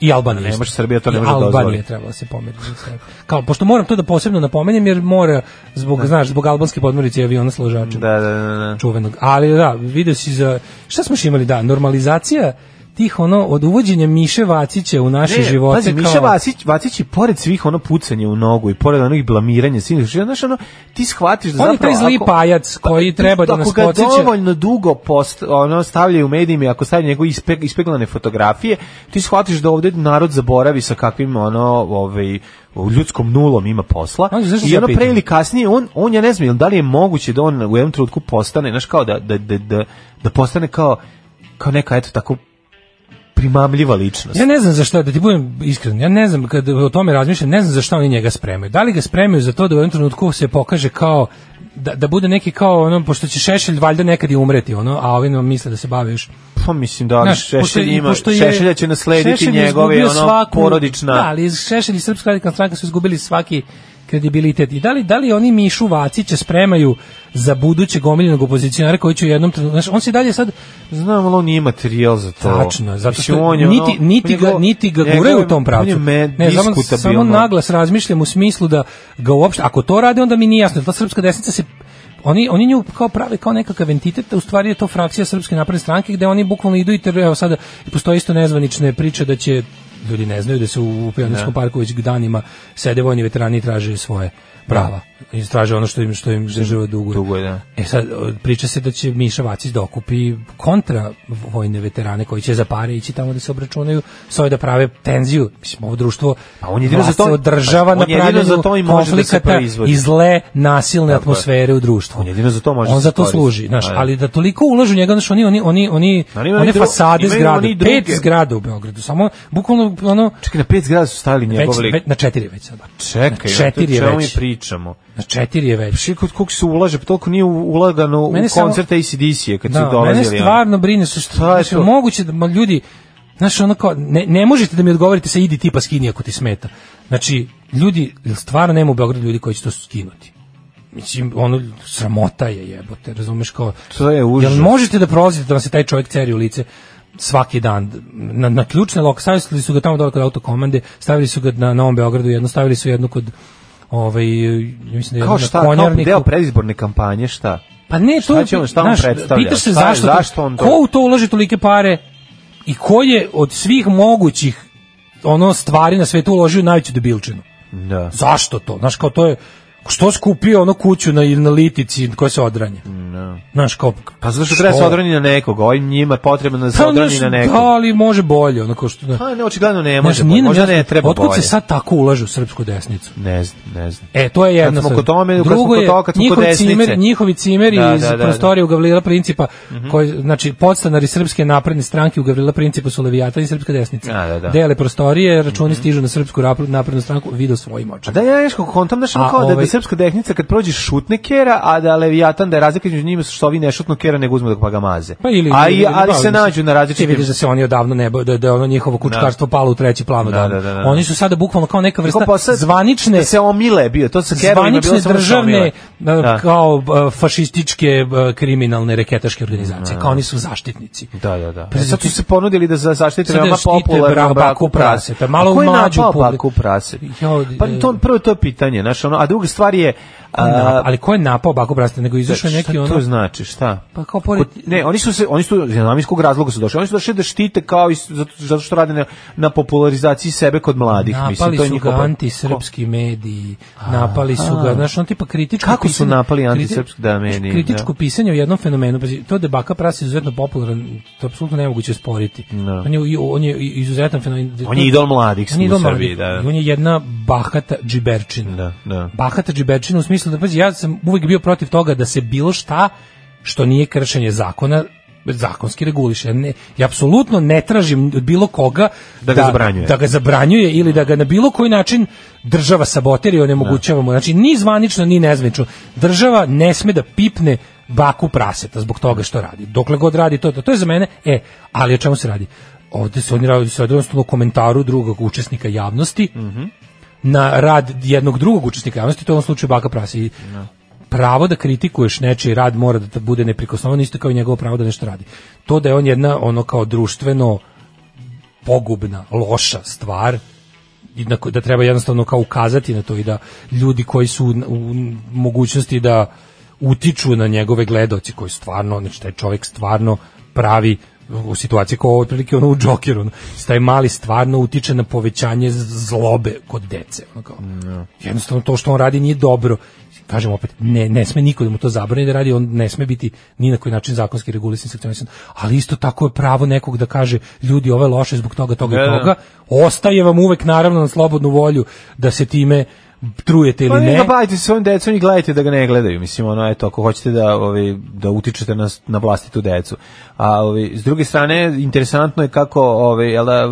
Speaker 6: I Albanija.
Speaker 5: Ne
Speaker 6: isto.
Speaker 5: može Srbija to ne
Speaker 6: I
Speaker 5: može da dozvoli.
Speaker 6: Albanija trebala da se pomeri. za stepen. Kao pošto moram to da posebno napomenem jer mora zbog znaš zbog albanske podmornice i aviona s ložačem
Speaker 5: Da, da, da, da.
Speaker 6: čuvenog. Ali da, video si za šta smo još imali da normalizacija tih ono od uvođenja Miše Vacića u naše
Speaker 5: Ne,
Speaker 6: živote
Speaker 5: Pazi,
Speaker 6: kao
Speaker 5: Miša Vacić, Vacić i pored svih ono pucanje u nogu i pored onih blamiranja svih, znači, znaš ono, ti shvatiš da
Speaker 6: On je
Speaker 5: zapravo...
Speaker 6: taj zli
Speaker 5: ako-
Speaker 6: pajac koji
Speaker 5: ti-
Speaker 6: treba da nas
Speaker 5: Ako ga
Speaker 6: podsjeća.
Speaker 5: dovoljno dugo post, ono, stavljaju u medijima, i ako stavljaju njegove ispe, ispeglane fotografije, ti shvatiš da ovde narod zaboravi sa kakvim ono, ovaj, u ljudskom nulom ima posla.
Speaker 6: Ali zašto se
Speaker 5: I
Speaker 6: ja
Speaker 5: ono pre
Speaker 6: pitam?
Speaker 5: ili kasnije, on, on ja ne znam, jel da li je moguće da on u jednom trenutku postane, znaš kao da, da, da, da, da postane kao, kao neka, eto tako, primamljiva ličnost.
Speaker 6: Ja ne znam za šta, da ti budem iskren, ja ne znam, kad o tome razmišljam, ne znam za šta oni njega spremaju. Da li ga spremaju za to da u jednom trenutku se pokaže kao, da, da bude neki kao ono, pošto će Šešelj valjda nekad i umreti, ono, a ovi nam misle da se bave još
Speaker 5: Pa mislim da ali
Speaker 6: Znaš, pošto-
Speaker 5: Šešelj
Speaker 6: i
Speaker 5: ima,
Speaker 6: pošto je-
Speaker 5: Šešelja će naslediti
Speaker 6: Šešelj je
Speaker 5: njegove
Speaker 6: izgubio
Speaker 5: ono
Speaker 6: svaku-
Speaker 5: porodična.
Speaker 6: Da, ali Šešelj i Srpska radikalna stranka su izgubili svaki kredibilitet. I da li, da li oni Mišu Vacića spremaju za budućeg omiljenog opozicionara koji će u jednom trenutku... Znaš, on se i dalje sad...
Speaker 5: Znam, ali on nije materijal za to.
Speaker 6: Tačno, je, zato
Speaker 5: Mislim,
Speaker 6: što
Speaker 5: on je ono-
Speaker 6: niti, niti, ga,
Speaker 5: njegov-
Speaker 6: niti ga
Speaker 5: njegov-
Speaker 6: guraju u tom
Speaker 5: On je
Speaker 6: pravcu.
Speaker 5: med,
Speaker 6: Ne, samo,
Speaker 5: diskutabilno.
Speaker 6: samo naglas razmišljam u smislu da ga uopšte, ako to rade, onda mi nije jasno. Ta srpska desnica se Oni, oni nju kao prave kao nekakav entitet, a u stvari je to frakcija Srpske napredne stranke gde oni bukvalno idu i ter, evo sada i postoje isto nezvanične priče da će ljudi ne znaju da se u, u Pionirskom parku već danima sede vojni veterani i traže svoje prava. I traže ono što im što im država Da. duguje.
Speaker 5: Dugo je, da.
Speaker 6: E sad, o, priča se da će Miša Vacić dokupi kontra vojne veterane koji će za pare ići tamo da se obračunaju, svoje da prave tenziju. Mislim, ovo društvo
Speaker 5: Pa on jedino za
Speaker 6: vlast se
Speaker 5: to- pa
Speaker 6: održava
Speaker 5: on
Speaker 6: na
Speaker 5: jedino
Speaker 6: pravljenju
Speaker 5: za to i može da se
Speaker 6: konflikata
Speaker 5: proizvodi.
Speaker 6: i zle
Speaker 5: Tako
Speaker 6: nasilne
Speaker 5: je.
Speaker 6: atmosfere u društvu.
Speaker 5: On jedino za to može
Speaker 6: On
Speaker 5: da
Speaker 6: za
Speaker 5: se
Speaker 6: to
Speaker 5: koristi.
Speaker 6: služi, znaš,
Speaker 5: Da, da.
Speaker 6: ali da toliko ulažu u njega, znaš, oni, oni, oni, oni,
Speaker 5: Ali ima
Speaker 6: one
Speaker 5: i dru-
Speaker 6: fasade
Speaker 5: imaju
Speaker 6: zgrada,
Speaker 5: oni
Speaker 6: pet
Speaker 5: druge.
Speaker 6: zgrada u Beogradu, samo bukvalno ono,
Speaker 5: Čekaj, na pet zgrada su stavili
Speaker 6: već,
Speaker 5: njegov lik.
Speaker 6: već, na četiri je već sada.
Speaker 5: Čekaj,
Speaker 6: na četiri
Speaker 5: o
Speaker 6: je
Speaker 5: čemu mi
Speaker 6: već. Pa
Speaker 5: pričamo?
Speaker 6: Na četiri je već.
Speaker 5: Šikot kog se ulaže, pa toliko nije ulagano u
Speaker 6: Mene samo-
Speaker 5: koncerte ACDC-je kad su
Speaker 6: Da,
Speaker 5: dolazili.
Speaker 6: mene
Speaker 5: ono.
Speaker 6: stvarno brine su što
Speaker 5: Šta je
Speaker 6: znači,
Speaker 5: to?
Speaker 6: moguće da ma, ljudi znaš ono kao ne, ne možete da mi odgovorite sa idi ti pa skini ako ti smeta. Znači ljudi jel stvarno nema u Beogradu ljudi koji će to skinuti. Mislim, ono, sramota je jebote, razumeš kao...
Speaker 5: To je užas.
Speaker 6: Jel možete da prolazite da vam se taj čovjek ceri u lice svaki dan? Na, na ključne lokacije stavili su ga tamo dole kod autokomande, stavili su ga na Novom Beogradu jedno, stavili su jednu kod ovaj, mislim da je
Speaker 5: Kao
Speaker 6: jednu
Speaker 5: šta,
Speaker 6: na
Speaker 5: kao
Speaker 6: konjarniku.
Speaker 5: deo predizborne kampanje, šta?
Speaker 6: Pa ne, to je,
Speaker 5: će on- šta on
Speaker 6: znaš,
Speaker 5: predstavlja?
Speaker 6: Pitaš se
Speaker 5: Šta je-
Speaker 6: zašto,
Speaker 5: zašto on to-
Speaker 6: ko u to ulaže tolike pare i ko je od svih mogućih ono stvari na svetu uložio najveću debilčinu.
Speaker 5: Da.
Speaker 6: Zašto to? Znaš, kao to je, što skupio ono kuću na, na litici koja se odranja?
Speaker 5: No.
Speaker 6: Znaš, kao...
Speaker 5: Pa zato što treba se
Speaker 6: što?
Speaker 5: odroni na nekog, ovim njima je potrebno da se
Speaker 6: Pa,
Speaker 5: odroni
Speaker 6: znaš,
Speaker 5: na
Speaker 6: Da,
Speaker 5: nekog.
Speaker 6: ali može bolje, ono kao što...
Speaker 5: Pa ne, očigledno ne
Speaker 6: Znaš,
Speaker 5: može,
Speaker 6: nije nam
Speaker 5: možda
Speaker 6: jasno
Speaker 5: ne treba
Speaker 6: Otkud
Speaker 5: bolje.
Speaker 6: se sad tako ulaže u srpsku desnicu?
Speaker 5: Ne znam, ne znam.
Speaker 6: E, to je jedna
Speaker 5: smo
Speaker 6: stvar.
Speaker 5: kod tome, kad smo
Speaker 6: Drugo
Speaker 5: kod
Speaker 6: je,
Speaker 5: toga, kad smo kod
Speaker 6: njihovi
Speaker 5: desnice.
Speaker 6: cimer- njihovi cimeri
Speaker 5: Da,
Speaker 6: iz
Speaker 5: da, Mhm. da,
Speaker 6: prostorije u Gavrila Principa, koji, znači, podstanari Srpske napredne stranke u Gavrila Principa su Levijata i Srpska desnica.
Speaker 5: Da, da, da.
Speaker 6: Dele prostorije, računi stižu na Srpsku rap- naprednu stranku, video svojim
Speaker 5: A
Speaker 6: očima.
Speaker 5: da ja nešto kontam da
Speaker 6: A,
Speaker 5: kao da,
Speaker 6: ovaj-
Speaker 5: da srpska tehnica kad prođe šutne kera, a da leviatan da je razlika između njima što ovi ne šutnu kera nego uzmu da pa ga maze.
Speaker 6: Pa ili,
Speaker 5: a, i-
Speaker 6: ili-
Speaker 5: ali
Speaker 6: da,
Speaker 5: se
Speaker 6: mislim,
Speaker 5: nađu na
Speaker 6: Ti
Speaker 5: različitim
Speaker 6: vidiš da se oni odavno ne bave, da, da je ono njihovo kučkarstvo palo u treći plan odavno.
Speaker 5: da, da, da.
Speaker 6: Oni su sada bukvalno kao neka vrsta
Speaker 5: Kao posad-
Speaker 6: zvanične
Speaker 5: da se omile bio, to sa kerovima bilo
Speaker 6: zvanične
Speaker 5: samo da se
Speaker 6: državne
Speaker 5: omile.
Speaker 6: e,
Speaker 5: Da.
Speaker 6: kao e, fašističke e, kriminalne reketaške organizacije, kao oni su zaštitnici.
Speaker 5: Da, da, da.
Speaker 6: Pa
Speaker 5: E, sad
Speaker 6: ti-
Speaker 5: su se ponudili da za- zaštite
Speaker 6: Sad
Speaker 5: veoma
Speaker 6: štite
Speaker 5: popularno
Speaker 6: bra- baku
Speaker 5: braku
Speaker 6: praseta,
Speaker 5: praseta.
Speaker 6: malo
Speaker 5: A ko je
Speaker 6: mlađu
Speaker 5: napao
Speaker 6: publiku.
Speaker 5: baku prase?
Speaker 6: Jo,
Speaker 5: Pa
Speaker 6: e,
Speaker 5: to, prvo to je pitanje, znaš, ono, a druga stvar je...
Speaker 6: Ko
Speaker 5: a,
Speaker 6: je napao- ali ko je napao Baku Brasta, nego je izašao neki
Speaker 5: šta
Speaker 6: ono...
Speaker 5: to znači, šta?
Speaker 6: Pa kao pored-
Speaker 5: Kod- ne, oni su se oni su iz dinamijskog razloga su došli. Oni su došli da štite kao i s- zato, zato što rade na, na popularizaciji sebe kod mladih, mislim,
Speaker 6: Napali
Speaker 5: to je
Speaker 6: su ga
Speaker 5: njihov
Speaker 6: antisrpski mediji, napali su ga, znaš, on tipa kritičko
Speaker 5: Kako su
Speaker 6: pisanje-
Speaker 5: napali
Speaker 6: kriti-
Speaker 5: antisrpski, da, mediji,
Speaker 6: Kritičko
Speaker 5: da.
Speaker 6: pisanje u jednom fenomenu, pazi, to da je Baka Pras izuzetno popularan, to apsolutno nemoguće sporiti.
Speaker 5: Da.
Speaker 6: On je, on je izuzetan fenomen.
Speaker 5: On je idol mladih
Speaker 6: On je idol
Speaker 5: u Srbiji,
Speaker 6: mladih.
Speaker 5: da, da.
Speaker 6: I On je jedna bahata džiberčina.
Speaker 5: Da, da.
Speaker 6: Bahata džiberčina u smislu da, pazi, ja sam uvijek bio protiv toga da se bilo šta što nije kršenje zakona zakonski reguliše. Ja Ne, ja apsolutno ne tražim od bilo koga
Speaker 5: Da ga zabranjuje.
Speaker 6: da ga zabranjuje ili da ga na bilo koji način država sabotira i onemogućava
Speaker 5: Da.
Speaker 6: mu. Znači, ni zvanično, ni nezvanično. Država ne sme da pipne baku praseta zbog toga što radi. Dokle god radi to, to, to je za mene, e, ali o čemu se radi? Ovde se oni radi se odnosno o komentaru drugog učesnika javnosti
Speaker 5: Mhm.
Speaker 6: na rad jednog drugog učesnika javnosti, to je u ovom slučaju baka prase. I pravo da kritikuješ nečiji rad mora da te bude neprikosnovan, isto kao i njegovo pravo da nešto radi. To da je on jedna ono kao društveno pogubna, loša stvar i na ko- da treba jednostavno kao ukazati na to i da ljudi koji su u, u mogućnosti da utiču na njegove gledaoce koji stvarno, znači taj čovjek stvarno pravi u situaciji kao otprilike ono u Jokeru, ono, taj mali stvarno utiče na povećanje z- zlobe kod dece, ono kao.
Speaker 5: Da.
Speaker 6: Jednostavno to što on radi nije dobro. Kažem opet, ne, ne sme niko da mu to zabrani da radi, on ne sme biti ni na koji način zakonski regulisan, sankcionisan, ali isto tako je pravo nekog da kaže, ljudi, ovo je loše zbog toga, toga
Speaker 5: Da,
Speaker 6: i
Speaker 5: da.
Speaker 6: toga, ostaje vam uvek naravno na slobodnu volju da se time trujete
Speaker 5: Pa
Speaker 6: ili
Speaker 5: ne,
Speaker 6: ne.
Speaker 5: ne bavite se svojim decom i gledajte da ga ne gledaju. Mislim, ono, eto, ako hoćete da, ovi, da utičete na, na vlastitu decu. A ovi, s druge strane, interesantno je kako ovi, jela,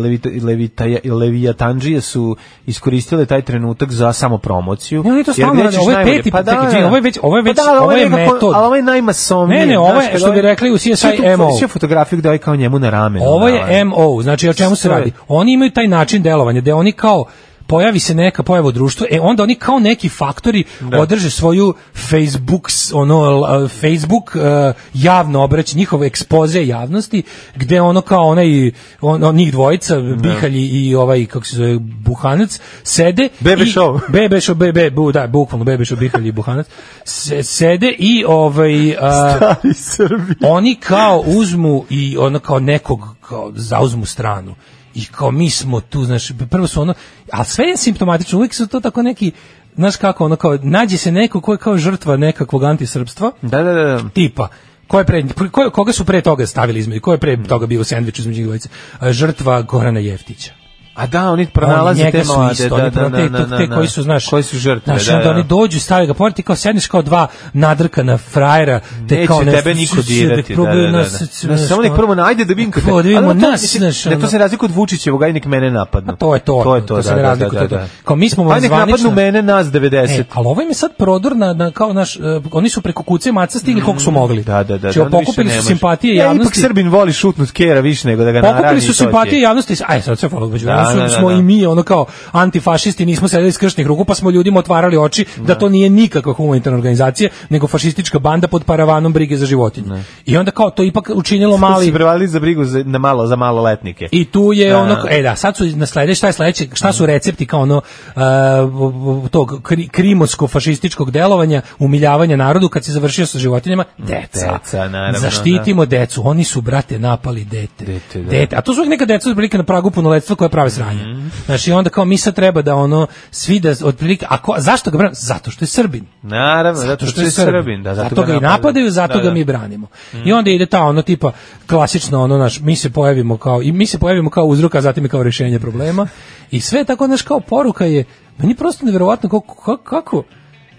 Speaker 5: levita, levita, levijatanđije su iskoristile taj trenutak za samopromociju.
Speaker 6: Ne, oni to
Speaker 5: Jer
Speaker 6: stalno
Speaker 5: gde
Speaker 6: rade,
Speaker 5: ćeš
Speaker 6: ovo je
Speaker 5: najbolje?
Speaker 6: peti- čekaj, čekaj, ovo je već- ovo je već-
Speaker 5: pa da, ali
Speaker 6: ovo je
Speaker 5: nekako-
Speaker 6: metod.
Speaker 5: Ali ovo je najmasovniji.
Speaker 6: Ne, ne, ovo
Speaker 5: znaš,
Speaker 6: je,
Speaker 5: kad
Speaker 6: što bi rekli u CSI
Speaker 5: Čuj tu
Speaker 6: MO.
Speaker 5: fo- čuj fotografiju gde ovaj kao njemu na ramenu.
Speaker 6: Ovo
Speaker 5: da, ono.
Speaker 6: je MO, znači o čemu se
Speaker 5: Stoje.
Speaker 6: radi? Oni imaju taj način delovanja, gde oni kao pojavi se neka pojava u društvu, e onda oni kao neki faktori
Speaker 5: Da.
Speaker 6: održe svoju Facebook, s- ono, l- Facebook eh, javno obrać, njihov ekspoze javnosti, gde ono kao onaj, on, on, njih dvojica,
Speaker 5: Da.
Speaker 6: Bihalj i ovaj, kako se zove, Buhanac, sede.
Speaker 5: Bebe
Speaker 6: i-
Speaker 5: show.
Speaker 6: Bebe show, bebe, bu, da, bukvalno, Bebe show, Bihalj i Buhanac, se- sede i ovaj... eh,
Speaker 5: Stari Srbi.
Speaker 6: oni kao uzmu i ono kao nekog kao zauzmu stranu i kao mi smo tu, znaš, prvo su ono, ali sve je simptomatično, uvijek su to tako neki, znaš kako, ono kao, nađe se neko ko je kao žrtva nekakvog antisrpstva,
Speaker 5: Da, da, da.
Speaker 6: tipa Ko je pre, ko, koga su pre toga stavili između, ko je pre toga bio u sandviču između njih dvojice? A, Žrtva Gorana Jeftića.
Speaker 5: A da, oni
Speaker 6: Oni
Speaker 5: pronalaze
Speaker 6: njega
Speaker 5: te
Speaker 6: su
Speaker 5: mlade,
Speaker 6: isto,
Speaker 5: da,
Speaker 6: oni
Speaker 5: da, da,
Speaker 6: pronalaze
Speaker 5: da,
Speaker 6: te-
Speaker 5: da,
Speaker 6: te
Speaker 5: da.
Speaker 6: koji su, znaš,
Speaker 5: koji su žrtve,
Speaker 6: Znaš,
Speaker 5: da,
Speaker 6: onda
Speaker 5: da.
Speaker 6: oni dođu, stave ga pored, ti kao sedneš kao dva nadrkana frajera, te
Speaker 5: Neće
Speaker 6: kao nešto-
Speaker 5: tebe niko
Speaker 6: s- s- da
Speaker 5: dirati, da,
Speaker 6: probaju
Speaker 5: da, da,
Speaker 6: nas,
Speaker 5: da.
Speaker 6: s-
Speaker 5: Znaš,
Speaker 6: znaš,
Speaker 5: samo nek
Speaker 6: kao-
Speaker 5: prvo najde da vidim kako-
Speaker 6: Kao da vidimo
Speaker 5: Ali to-
Speaker 6: nas,
Speaker 5: mislim,
Speaker 6: znaš,
Speaker 5: ne, to
Speaker 6: ono.
Speaker 5: se razlikuje od Vučićevoga, aj nek mene napadnu.
Speaker 6: A to je to,
Speaker 5: To je to,
Speaker 6: to se
Speaker 5: da,
Speaker 6: ne
Speaker 5: da,
Speaker 6: razlikuje,
Speaker 5: da,
Speaker 6: to je to.
Speaker 5: da.
Speaker 6: Kao mi smo
Speaker 5: Aj nek
Speaker 6: zvanično-
Speaker 5: napadnu mene, nas 90.
Speaker 6: E, ali ovo im je sad prodor na, na kao naš, e, oni su preko kuce maca stigli koliko su mogli.
Speaker 5: Da, da, da.
Speaker 6: Znači,
Speaker 5: da, onda više
Speaker 6: pokupili
Speaker 5: ne
Speaker 6: su
Speaker 5: može.
Speaker 6: simpatije
Speaker 5: Ja,
Speaker 6: javnosti.
Speaker 5: Ipak Srbin voli šutnut kera više nego da ga narani.
Speaker 6: Pokupili
Speaker 5: i
Speaker 6: su
Speaker 5: to ti je.
Speaker 6: simpatije javnosti, aj sad se hvala Bogu,
Speaker 5: Da,
Speaker 6: ono su-
Speaker 5: da, da,
Speaker 6: smo
Speaker 5: da.
Speaker 6: i mi ono kao antifašisti, nismo sedeli iz kršnih ruku, pa smo ljudima otvarali oči da to nije nikakva humanitarna organizacija, nego fašistička banda pod paravanom brige za životinje.
Speaker 5: Da.
Speaker 6: I onda kao to ipak učinilo
Speaker 5: Su
Speaker 6: mali
Speaker 5: prevalili za brigu za, na malo, za maloletnike.
Speaker 6: I tu je
Speaker 5: Da.
Speaker 6: ono, e da, sad su na sledeće, šta je sledeće, šta su recepti kao ono e, uh, tog kri, krimosko-fašističkog delovanja, umiljavanja narodu kad se završio sa životinjama? Deca.
Speaker 5: Mm, Deca, naravno, da.
Speaker 6: Zaštitimo decu, oni su, brate, napali dete.
Speaker 5: Dete, da. Mhm.
Speaker 6: A to su uvijek neka deca otprilike na pragu punoletstva koje prave sranje. Znači, onda kao mi sad treba da ono, svi da otprilike, a ko, zašto ga branimo? Zato što je Srbin.
Speaker 5: Naravno, zato što je Srbin. Da,
Speaker 6: zato, ga i napadaju, zato
Speaker 5: Da,
Speaker 6: ga
Speaker 5: da.
Speaker 6: mi branimo. I onda ide ta ono tipa klasično ono naš mi se pojavimo kao i mi se pojavimo kao uzrok, a zatim i kao rješenje problema. I sve je tako naš kao poruka je meni prosto neverovatno kako kako, kako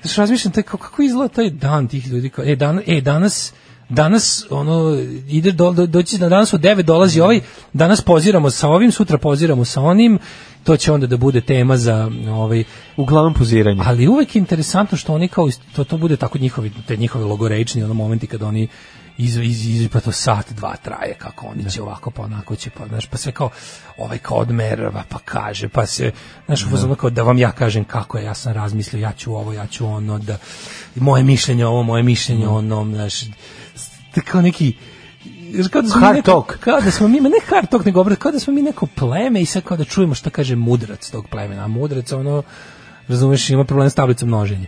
Speaker 6: znaš, razmišljam taj, kako, kako izgleda taj dan tih ljudi kao e dan e danas danas ono ide do, do, doći na danas u 9
Speaker 5: Mm.
Speaker 6: dolazi ovaj danas poziramo sa ovim sutra poziramo sa onim to će onda da bude tema za ovaj
Speaker 5: Uglavnom poziranje.
Speaker 6: ali uvek je interesantno što oni kao ist- to to bude tako njihovi te njihovi logoreični ono momenti kad oni iz, iz, iz- pa to sat dva traje kako oni će ovako pa onako će pa znaš pa sve kao ovaj kao odmerava pa kaže pa se znaš u fazonu kao da vam ja kažem kako je ja sam razmislio ja ću ovo ja ću ono da moje mišljenje ovo moje mišljenje ono znaš kao neki Znaš, kao da smo mi
Speaker 5: Hard
Speaker 6: neko-
Speaker 5: talk.
Speaker 6: Kao da smo mi, ma ne hard talk, nego obrat, kao da smo mi neko pleme i sad kao da čujemo šta kaže mudrac tog plemena. A mudrac, ono, razumeš, ima problem s tablicom množenja.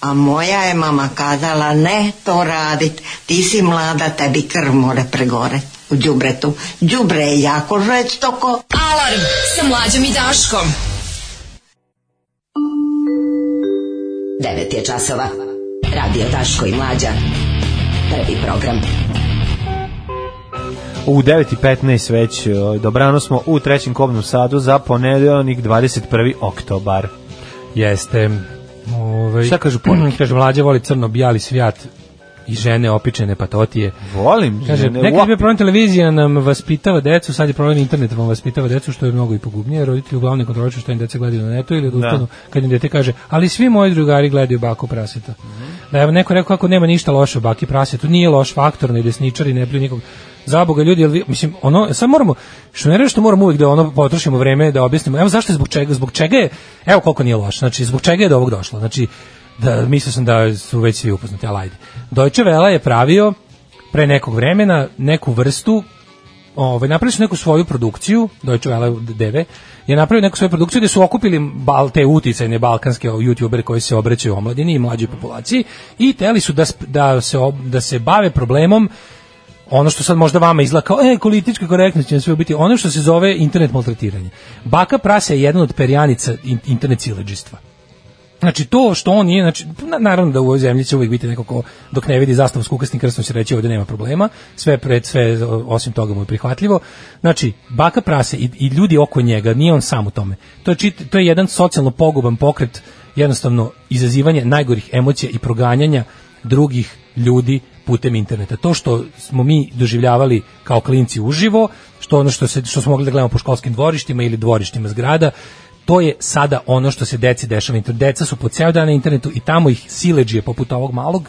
Speaker 2: A moja je mama kazala ne to radit, ti si mlada, tebi krv more pregore u đubretu. Đubre je jako žestoko.
Speaker 4: Alarm sa mlađom i Daškom.
Speaker 10: 9 je časova. Radio Daško i Mlađa. Prvi program.
Speaker 5: U 9.15 već o, dobrano smo u trećem kobnom sadu za ponedeljnik 21. oktobar.
Speaker 6: Jeste. Ovaj,
Speaker 5: Šta kažu poruke?
Speaker 6: kaže, mlađa voli crno, bijali svijat i žene opičene patotije.
Speaker 5: Volim.
Speaker 6: Kaže,
Speaker 5: žene,
Speaker 6: nekad je
Speaker 5: uop.
Speaker 6: bio problem televizija nam vaspitava decu, sad je problem internet vam vaspitava decu, što je mnogo i pogubnije. Roditelji uglavnom kontroliču što im deca gledaju na netu ili odustanu kad im dete kaže, ali svi moji drugari gledaju baku praseta. Da je neko rekao kako nema ništa loše u baki prasetu, nije loš faktor, ne desničari, ne pliju nikog. Zaboga ljudi, jel vi- mislim, ono, sad moramo, što ne reći što moramo uvijek da ono potrošimo vreme da objasnimo, evo zašto je zbog čega, zbog čega je, evo koliko nije loš, znači zbog čega je do ovog došlo, znači, da, mislio sam da su već svi upoznati, ali ajde. Deutsche Welle je pravio pre nekog vremena neku vrstu ovaj napravili su neku svoju produkciju Deutsche Welle DV je napravio neku svoju produkciju gde su okupili bal te uticajne balkanske youtubere koji se obraćaju omladini i mlađoj populaciji i teli su da, sp- da se ob- da se bave problemom ono što sad možda vama izgleda kao, e, politička korektnost će nam sve biti, ono što se zove internet maltretiranje. Baka prase je jedan od perjanica in- internet sileđistva. Znači to što on je, znači na- naravno da u ovoj zemlji će uvijek biti neko ko dok ne vidi zastavu s kukasnim krstom će reći ovdje nema problema, sve pred sve o- osim toga mu je prihvatljivo. Znači baka prase i, i ljudi oko njega, nije on sam u tome. To je, čit- to je jedan socijalno poguban pokret, jednostavno izazivanje najgorih emocija i proganjanja drugih ljudi putem interneta. To što smo mi doživljavali kao klinci uživo, što ono što se što smo mogli da gledamo po školskim dvorištima ili dvorištima zgrada, to je sada ono što se deci dešava. na internetu. Deca su po ceo dan na internetu i tamo ih sileđije poput ovog malog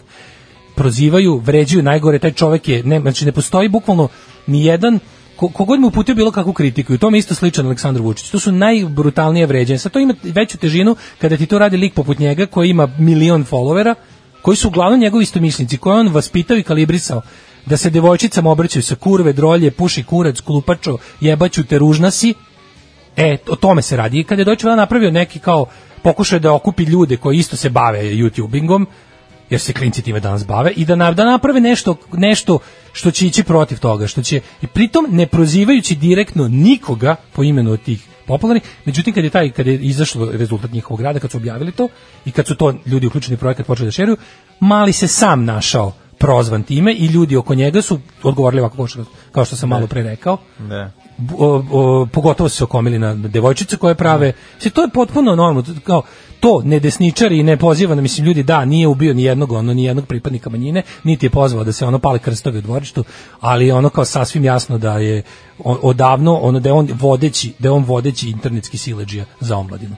Speaker 6: prozivaju, vređaju najgore, taj čovek je, ne, znači ne postoji bukvalno ni jedan ko- kogod mu uputio bilo kakvu kritiku i to mi je isto sličan Aleksandru Vučiću. To su najbrutalnije vređanje. Sad to ima veću težinu kada ti to radi lik poput njega koji ima milion followera, koji su uglavnom njegovi istomišljenici, koje je on vaspitao i kalibrisao da se devojčicama obraćaju sa kurve, drolje, puši kurac, klupačo, jebaću te ružna si, E, o tome se radi. I kad je Deutsche Welle napravio neki kao pokušaj da okupi ljude koji isto se bave YouTubingom jer se klinci time danas bave i da na, da naprave nešto nešto što će ići protiv toga, što će i pritom ne prozivajući direktno nikoga po imenu od tih popularnih. Međutim kad je taj kad je izašlo rezultat njihovog rada, kad su objavili to i kad su to ljudi uključeni u projekat počeli da šeruju, mali se sam našao prozvan time i ljudi oko njega su odgovorili ovako kao što, kao što sam malo pre rekao.
Speaker 5: Da.
Speaker 6: B- o- o- pogotovo su se okomili na devojčice koje prave. Se to je potpuno normalno, to- kao to ne desničari i ne poziva, na- mislim ljudi da nije ubio ni jednog, ono ni jednog pripadnika manjine, niti je pozvao da se ono pale krstovi u dvorištu, ali je ono kao sasvim jasno da je o- odavno ono da je on vodeći, da je on vodeći internetski siledžija za omladinu.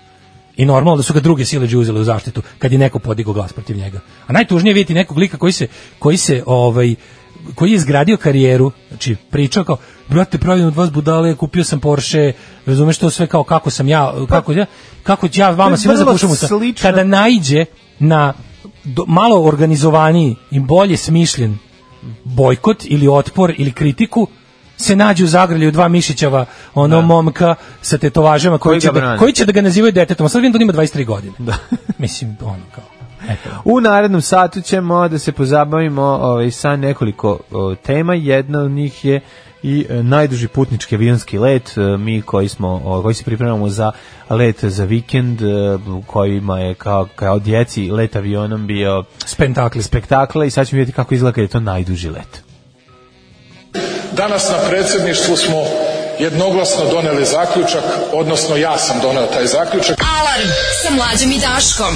Speaker 6: I normalno da su ga druge sileđe uzele u zaštitu kad je neko podigao glas protiv njega. A najtužnije je vidjeti nekog lika koji se, koji se ovaj, koji je izgradio karijeru, znači pričao kao, brate, pravim od vas budale, kupio sam Porsche, razumeš to sve kao kako sam ja, kako ja, kako ću ja
Speaker 5: Pa, To
Speaker 6: vama
Speaker 5: je
Speaker 6: svima
Speaker 5: vrlo
Speaker 6: zapušam usta.
Speaker 5: slično.
Speaker 6: Kada naiđe na do- malo organizovaniji i bolje smišljen bojkot ili otpor ili kritiku, se nađe u zagrlju dva mišićava ono momka sa tetovažama koji,
Speaker 5: Da. Koji
Speaker 6: će
Speaker 5: ga
Speaker 6: da,
Speaker 5: brani.
Speaker 6: koji će da ga nazivaju detetom. A Sad vidim da on ima 23 godine. Da. Mislim, ono kao. Eto.
Speaker 5: U narednom satu ćemo da se pozabavimo ovaj, sa nekoliko o, tema. Jedna od njih je i e, najduži putnički avionski let. E, Mi koji, smo, o, koji se pripremamo za let za vikend, e, u kojima je kao, kao djeci let avionom bio
Speaker 6: Spentakli.
Speaker 5: spektakla i sad ćemo vidjeti kako izgleda kad je to najduži let.
Speaker 11: Danas na predsjedništvu smo jednoglasno doneli zaključak, odnosno ja sam doneo taj zaključak.
Speaker 4: Alarm sa mlađom i Daškom.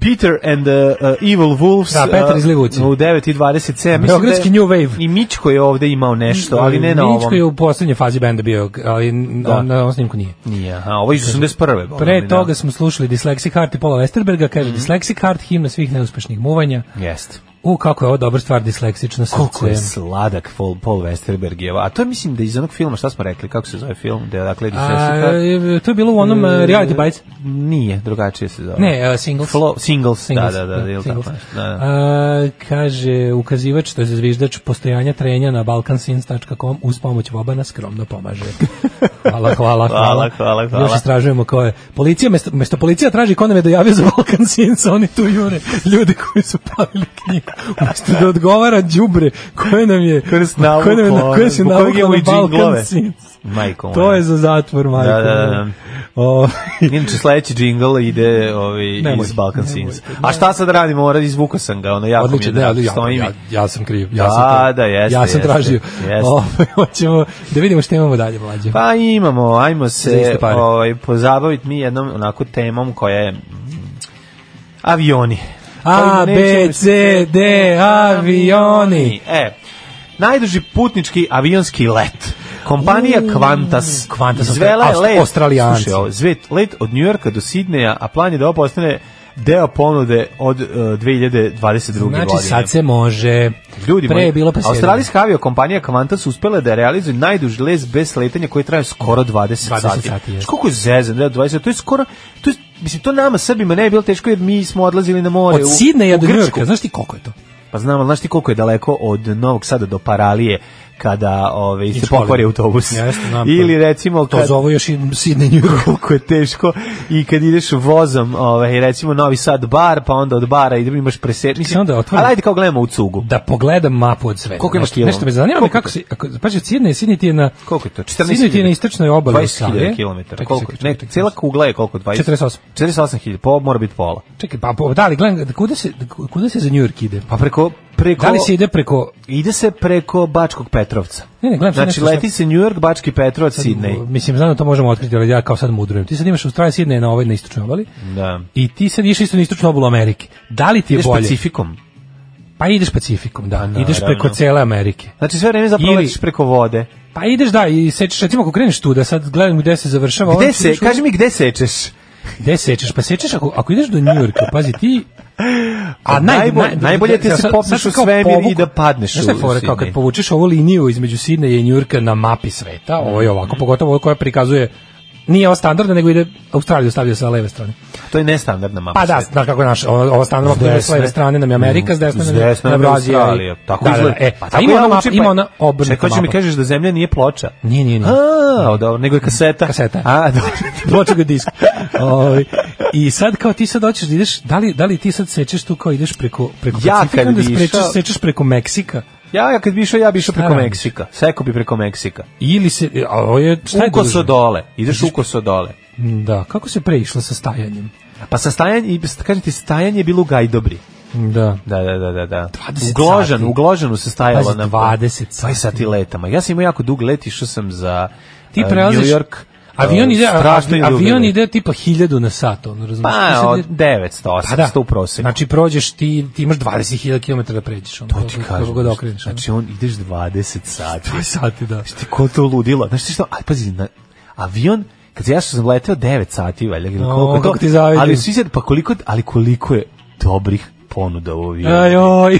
Speaker 5: Peter and the uh, Evil Wolves
Speaker 6: Da, Petar iz
Speaker 5: uh,
Speaker 6: Livuci.
Speaker 5: u 9.27.
Speaker 6: Beogradski New Wave.
Speaker 5: da I Mičko je ovde imao nešto, ali ne na ovom.
Speaker 6: Mičko je u poslednjoj fazi benda bio, ali n-
Speaker 5: Da.
Speaker 6: on- na ovom snimku nije.
Speaker 5: Nije, aha, ovo je iz 81.
Speaker 6: Pre
Speaker 5: Da. Mhm.
Speaker 6: toga smo slušali Dyslexic Heart i Paula Westerberga, kaže Dyslexic Heart, himna svih neuspešnih muvanja.
Speaker 5: Jeste.
Speaker 6: U, kako je ovo dobra stvar, disleksično srce.
Speaker 5: Koliko je sladak Paul, Paul Westerberg je. A to je, mislim, da iz onog filma, šta smo rekli, kako se zove film, da je dakle
Speaker 6: A,
Speaker 5: Dyslexia?
Speaker 6: e, to je bilo u onom e, Reality Bites.
Speaker 5: Nije, drugačije se zove.
Speaker 6: Ne, e, Singles.
Speaker 5: Flo- singles,
Speaker 6: Singles,
Speaker 5: da, da, da, ili
Speaker 6: Singles.
Speaker 5: tako nešto, da, da.
Speaker 6: A, kaže, ukazivač, to je zviždač postojanja trenja na balkansins.com uz pomoć Vobana skromno pomaže. Hvala, hvala, hvala.
Speaker 5: Hvala, hvala, hvala.
Speaker 6: Još istražujemo ko je. Policija, mesto, mesto policija traži ko nam je dojavio za Balkansins, oni tu jure ljudi koji su pravili knjigu. Mesto da odgovara đubre koje nam je...
Speaker 5: Koje nas navuklo,
Speaker 6: koje nam je na- koje se
Speaker 5: zbog kojeg
Speaker 6: navuklo
Speaker 5: imamo
Speaker 6: na
Speaker 5: i džinglove.
Speaker 6: Balkansins.
Speaker 5: Majko
Speaker 6: To
Speaker 5: moja.
Speaker 6: je za zatvor, majko.
Speaker 5: da, da.
Speaker 6: moja. Ovaj, O,
Speaker 5: Inače, sledeći džingl ide ovi,
Speaker 6: Nemoj,
Speaker 5: iz Balkan
Speaker 6: nemoj,
Speaker 5: Sins. A šta sad da radimo? Ora, izvukao sam ga, ono, jako
Speaker 6: Odlično,
Speaker 5: mi je
Speaker 6: da,
Speaker 5: drago,
Speaker 6: ja,
Speaker 5: stoji mi.
Speaker 6: ja, ja sam kriv. Ja
Speaker 5: Da,
Speaker 6: sam kriv.
Speaker 5: da, jeste,
Speaker 6: Ja sam
Speaker 5: jeste,
Speaker 6: tražio.
Speaker 5: jeste.
Speaker 6: Ovaj, hoćemo da vidimo šta imamo dalje, mlađe.
Speaker 5: Pa imamo, ajmo
Speaker 6: Za
Speaker 5: se
Speaker 6: iste pare.
Speaker 5: ovaj, pozabaviti mi jednom onako temom koja je mm, avioni.
Speaker 6: A,
Speaker 5: Koji pa nećemo
Speaker 6: B, C, D, avioni.
Speaker 5: E, najduži putnički avionski let. Kompanija Qantas,
Speaker 6: Qantas,
Speaker 5: izvela je
Speaker 6: Aust-
Speaker 5: let,
Speaker 6: Australijanci.
Speaker 5: slušaj ovo, zvet- let od Njujorka do Sidneja, a plan je da ovo postane deo ponude od e, 2022.
Speaker 6: Znači,
Speaker 5: godine.
Speaker 6: sad se može.
Speaker 5: Ljudi
Speaker 6: Pre
Speaker 5: moji,
Speaker 6: je bilo pa
Speaker 5: Australijska aviokompanija Qantas uspela je da realizuje najduži les bez sletanja koji traje skoro 20,
Speaker 6: 20
Speaker 5: sati.
Speaker 6: sati, jeste.
Speaker 5: Znaš koliko je zezan, da, 20, to je skoro, to je, mislim, to nama Srbima ne je bilo teško jer mi smo odlazili na more
Speaker 6: Od
Speaker 5: u-
Speaker 6: Sidneja
Speaker 5: u
Speaker 6: do
Speaker 5: Grčku.
Speaker 6: Njurka, znaš ti koliko je to?
Speaker 5: Pa znam, ali znaš ti koliko je daleko od Novog Sada do Paralije kada ove, se
Speaker 6: škole.
Speaker 5: pokvari autobus.
Speaker 6: Jeste, znam to.
Speaker 5: Ili recimo
Speaker 6: To
Speaker 5: kad,
Speaker 6: zovu još i Sidney Njurka.
Speaker 5: koliko je teško i kad ideš vozom, ovaj, recimo Novi Sad bar, pa onda od bara i imaš preset. Mislim,
Speaker 6: Samo da otvorim.
Speaker 5: ali ajde kao gledamo u cugu.
Speaker 6: Da pogledam mapu od sveta.
Speaker 5: Koliko ima
Speaker 6: Nešto-
Speaker 5: kilo?
Speaker 6: Nešto me zanima me
Speaker 5: Koliko
Speaker 6: kako se... Ako, paži, od Sidneja, Sidney ti je na...
Speaker 5: Koliko je to? 14.000?
Speaker 6: Sidney ti je na istočnoj obali.
Speaker 5: 20.000
Speaker 6: Australije.
Speaker 5: km.
Speaker 6: Čekaj,
Speaker 5: Koliko?
Speaker 6: čekaj,
Speaker 5: Ne,
Speaker 6: čekaj,
Speaker 5: cela kugla je koliko? 20?
Speaker 6: 48.
Speaker 5: 48.000, po, mora biti pola.
Speaker 6: Čekaj, pa pa, da li gledam, kuda se, kuda se za Njurk ide?
Speaker 5: Pa preko... preko
Speaker 6: Da li se ide preko
Speaker 5: Ide se preko Bačkog Petrovca.
Speaker 6: Ne, ne, gledam sad
Speaker 5: znači,
Speaker 6: nešto
Speaker 5: leti se New York, Bački Petrovac, Sidney.
Speaker 6: Mislim, znam da to možemo otkriti, ali ja kao sad mudrujem. Ti sad imaš Australija, Sidneja na ovoj, na istočnoj obali.
Speaker 5: Da.
Speaker 6: I ti sad ideš isto na istočnu obalu Amerike. Da li ti je
Speaker 5: Ideš
Speaker 6: bolje?
Speaker 5: Pacifikom.
Speaker 6: Pa ideš Pacifikom, da.
Speaker 5: naravno.
Speaker 6: ideš preko cele Amerike.
Speaker 5: Znači, sve vreme zapravo
Speaker 6: Ili-
Speaker 5: letiš preko vode.
Speaker 6: Pa ideš, da, i sečeš, recimo ako kreneš tu, da sad gledam gde se završava. ovo,
Speaker 5: Gde se,
Speaker 6: ideš u-
Speaker 5: kaži mi gde sečeš?
Speaker 6: Gde sečeš? Pa sečeš ako, ako ideš do Njujorka, pazi ti...
Speaker 5: Pa najbolje- najbolje ti je da se
Speaker 6: sad-
Speaker 5: popneš
Speaker 6: sad
Speaker 5: u
Speaker 6: kao
Speaker 5: svemir i
Speaker 6: povuku-
Speaker 5: da padneš
Speaker 6: Znaš šta je
Speaker 5: u
Speaker 6: fora, kao kad
Speaker 5: Sidney?
Speaker 6: povučeš ovu liniju između Sidneja i Njujorka na mapi sveta, ovo je ovako, pogotovo ovo koja prikazuje nije ovo standardno, nego ide Australiju stavlja sa leve strane.
Speaker 5: To je nestandardna mapa
Speaker 6: Pa da,
Speaker 5: sveta.
Speaker 6: znaš kako je naš, ova ova standardna
Speaker 5: S
Speaker 6: mapa je s
Speaker 5: desne.
Speaker 6: leve strane nam je Amerika, s desne
Speaker 5: S
Speaker 6: nam je
Speaker 5: desne nam je
Speaker 6: Brazilija i-
Speaker 5: Australija. Tako
Speaker 6: da, da, da,
Speaker 5: izgleda.
Speaker 6: e,
Speaker 5: Pa
Speaker 6: a
Speaker 5: tako
Speaker 6: ima
Speaker 5: ja
Speaker 6: ona,
Speaker 5: učim,
Speaker 6: ima
Speaker 5: pa-
Speaker 6: ona obrnuta
Speaker 5: Čekaj, hoće
Speaker 6: mapa.
Speaker 5: mi kažeš da zemlja nije ploča.
Speaker 6: Nije, nije, nije.
Speaker 5: A, dobro, nego je kaseta.
Speaker 6: Kaseta.
Speaker 5: A, da. dobro.
Speaker 6: Ploča ga disk. Ovaj, I sad kao ti sad hoćeš da ideš, da li, da li ti sad sečeš tu kao ideš preko, preko
Speaker 5: Ja
Speaker 6: Pacifika,
Speaker 5: kad
Speaker 6: onda
Speaker 5: bi
Speaker 6: sprečeš,
Speaker 5: išao-
Speaker 6: sečeš preko Meksika?
Speaker 5: Ja, ja kad bi išao, ja bi išao
Speaker 6: Šta
Speaker 5: preko
Speaker 6: radiš?
Speaker 5: Meksika. Seko bi preko Meksika.
Speaker 6: Ili se, a ovo je, šta je
Speaker 5: Ukoso
Speaker 6: duže?
Speaker 5: dole. Ideš ukoso dole.
Speaker 6: Da, kako se preišlo sa stajanjem?
Speaker 5: Pa sa stajanje, i- kažem ti, stajanje je bilo u Gajdobri.
Speaker 6: Da.
Speaker 5: Da, da, da, da. da.
Speaker 6: 20
Speaker 5: Ugložan,
Speaker 6: sati.
Speaker 5: ugložanu se stajalo
Speaker 6: Pazi,
Speaker 5: na...
Speaker 6: 20
Speaker 5: sati. 20 sati letama. Ja sam imao jako dug let, išao sam za
Speaker 6: Ti
Speaker 5: eh,
Speaker 6: prelaziš...
Speaker 5: New York.
Speaker 6: Avion
Speaker 5: eh,
Speaker 6: ide,
Speaker 5: strašno je
Speaker 6: avi-
Speaker 5: dug
Speaker 6: avion
Speaker 5: let.
Speaker 6: ide tipa hiljadu na sat, ono, razumiješ?
Speaker 5: Pa, od 900, 800 u prosjeku.
Speaker 6: Znači, prođeš ti, ti imaš 20.000 km da pređeš. Ono,
Speaker 5: To ti
Speaker 6: kako-
Speaker 5: kažem.
Speaker 6: Kako god da okreneš. ono.
Speaker 5: Znači, on ideš 20 sati.
Speaker 6: 20 sati, da.
Speaker 5: Znaš ti ko to ludilo? Znaš ti što? Aj, pazi, na, avion, kad se ja što sam leteo 9 sati, valjda, ili
Speaker 6: O,
Speaker 5: koliko to,
Speaker 6: kako ti zavidim.
Speaker 5: ali svi sad, pa koliko, ali koliko je dobrih ponuda u avionu.
Speaker 6: Ajoj.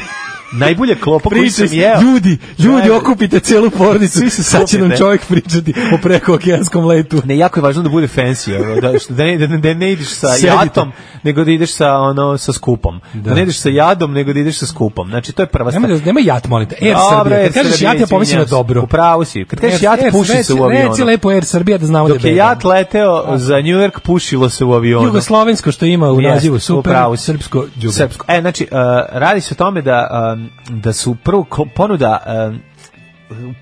Speaker 5: Najbolje klopa koji sam
Speaker 6: Pričaj,
Speaker 5: jeo.
Speaker 6: ljudi, ljudi,
Speaker 5: Ajde.
Speaker 6: okupite celu porodicu,
Speaker 5: se
Speaker 6: sad će nam
Speaker 5: skupite.
Speaker 6: čovjek pričati o prekookeanskom letu.
Speaker 5: Ne, jako je važno da bude fancy, ono, da, što- da, ne, da, ne- da ne ideš sa
Speaker 6: Sedite.
Speaker 5: jatom, nego da ideš sa, ono, sa skupom. Da. ne ideš sa jadom, nego da ideš sa skupom. Znači, to je prva
Speaker 6: Nema,
Speaker 5: stvar.
Speaker 6: da, nema jat, molim te. Air
Speaker 5: Dobro,
Speaker 6: Srbija.
Speaker 5: Air
Speaker 6: Kad kažeš
Speaker 5: Srbija,
Speaker 6: jat, ja pomislim na
Speaker 5: izvinjam se.
Speaker 6: dobro.
Speaker 5: U pravu si. Kad kažeš jat,
Speaker 6: Air-
Speaker 5: puši
Speaker 6: reci-
Speaker 5: se u avionu.
Speaker 6: Reci lepo Air Srbija da znamo
Speaker 5: Dok
Speaker 6: da
Speaker 5: je
Speaker 6: beba.
Speaker 5: jat leteo za New York, pušilo se u avionu.
Speaker 6: Jugoslovensko što ima u
Speaker 5: Jeste,
Speaker 6: nazivu
Speaker 5: u
Speaker 6: super,
Speaker 5: pravu si.
Speaker 6: srpsko đubre.
Speaker 5: Srpsko. E, znači, uh, radi se o tome da, um, da su prvo ko- ponuda... um,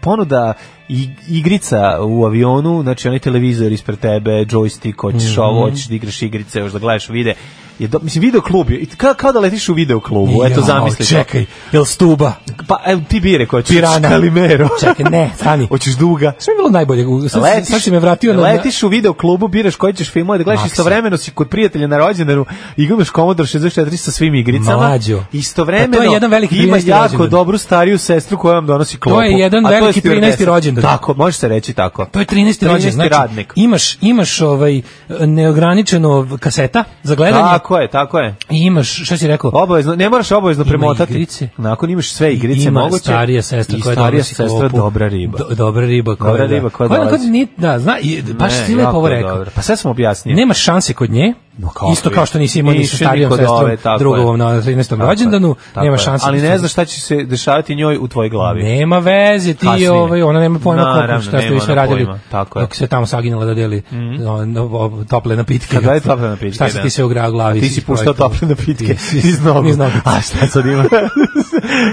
Speaker 5: ponuda i- igrica u avionu, znači onaj televizor ispred tebe, joystick,
Speaker 6: Mhm.
Speaker 5: hoćeš ovo, hoćeš da igraš igrice, još da gledaš vide. Je do, mislim, video klub je, i ka, kao da letiš u video klubu, eto
Speaker 6: Jao,
Speaker 5: zamisli. to.
Speaker 6: Čekaj, jel stuba?
Speaker 5: Pa, evo, ti bi rekao, hoćeš
Speaker 6: Pirana.
Speaker 5: Kalimero.
Speaker 6: Čekaj, ne, stani.
Speaker 5: Hoćeš duga.
Speaker 6: Sve je bilo najbolje. U- Sad, letiš, sad si me vratio na...
Speaker 5: letiš u video klubu, biraš koji ćeš film da gledaš
Speaker 6: Maksa.
Speaker 5: istovremeno si kod prijatelja na rođendanu i gledaš Commodore 64 sa svim igricama.
Speaker 6: Mlađo.
Speaker 5: Istovremeno
Speaker 6: Pa to je jedan veliki
Speaker 5: ima
Speaker 6: 13.
Speaker 5: jako
Speaker 6: rođendan.
Speaker 5: dobru stariju sestru koja vam donosi klopu.
Speaker 6: je jedan
Speaker 5: a je
Speaker 6: veliki 13.
Speaker 5: stewardesa.
Speaker 6: rođendan.
Speaker 5: Tako, može se reći tako.
Speaker 6: To je 13. rođendan,
Speaker 5: 13.
Speaker 6: znači
Speaker 5: radnik.
Speaker 6: imaš, imaš ovaj, neograničeno kaseta za gledanje
Speaker 5: Tako je, tako je.
Speaker 6: i imaš, šta si rekao,
Speaker 5: Obavezno, ne moraš obavezno
Speaker 6: Ima
Speaker 5: premotati.
Speaker 6: igrice.
Speaker 5: Nakon imaš sve igrice
Speaker 6: ima
Speaker 5: moguće.
Speaker 6: starija sestra
Speaker 5: I
Speaker 6: koja
Speaker 5: starija
Speaker 6: donosi
Speaker 5: sestra
Speaker 6: klopu.
Speaker 5: dobra riba.
Speaker 6: Do, dobra riba koja,
Speaker 5: Dobra
Speaker 6: da.
Speaker 5: riba koja
Speaker 6: onako
Speaker 5: dolazi.
Speaker 6: ni- da, zna, i, baš
Speaker 5: Ne,
Speaker 6: ti lepo
Speaker 5: jako
Speaker 6: ovo
Speaker 5: je
Speaker 6: rekao.
Speaker 5: dobro. Pa sve smo objasnili.
Speaker 6: Nemaš šanse kod nje,
Speaker 5: No kako
Speaker 6: isto
Speaker 5: je?
Speaker 6: kao što nisi imao ni sa
Speaker 5: Nisi ni
Speaker 6: starijom
Speaker 5: kod
Speaker 6: sestrom
Speaker 5: ove, tako
Speaker 6: drugovom
Speaker 5: je.
Speaker 6: na 13.
Speaker 5: Tako je,
Speaker 6: rođendanu,
Speaker 5: tako
Speaker 6: nema
Speaker 5: je.
Speaker 6: šanse. da
Speaker 5: Ali
Speaker 6: Isto-
Speaker 5: ne znaš šta će se dešavati njoj u tvojoj glavi.
Speaker 6: Nema veze, ti
Speaker 5: Kasnije.
Speaker 6: ovaj, ona nema pojma
Speaker 5: Naravno,
Speaker 6: koliko šta ste
Speaker 5: nema
Speaker 6: vi sve
Speaker 5: ona
Speaker 6: radili.
Speaker 5: pojma, tako je. Mhm.
Speaker 6: Dok se tamo saginjala da deli o, o, tople napitke.
Speaker 5: Kad daje tople napitke,
Speaker 6: Šta se
Speaker 5: da.
Speaker 6: ti sve ugra u glavi?
Speaker 5: A ti si puštao tople napitke
Speaker 6: Ti si-
Speaker 5: iz nogu.
Speaker 6: iz nogu.
Speaker 5: A šta sad ima?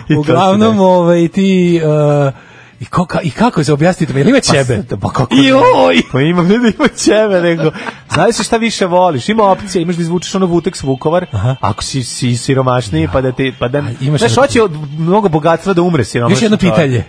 Speaker 5: I to
Speaker 6: Uglavnom,
Speaker 5: se
Speaker 6: ovaj, ti... Uh, I, ko, ka, I kako se objasnite? Ili ima
Speaker 5: da-
Speaker 6: ćebe?
Speaker 5: Pa, pa kako
Speaker 6: I
Speaker 5: ne?
Speaker 6: oj!
Speaker 5: Pa imam, ne da ima ćebe, nego, znaš se šta više voliš, ima opcija, imaš da izvučeš ono Vutex Vukovar, ako si, si siromašniji, pa da ti, pa da,
Speaker 6: A, imaš
Speaker 5: znaš,
Speaker 6: jedno-
Speaker 5: hoće od mnogo bogatstva da umre siromašni.
Speaker 6: Još jedno
Speaker 5: čovjek.
Speaker 6: pitanje.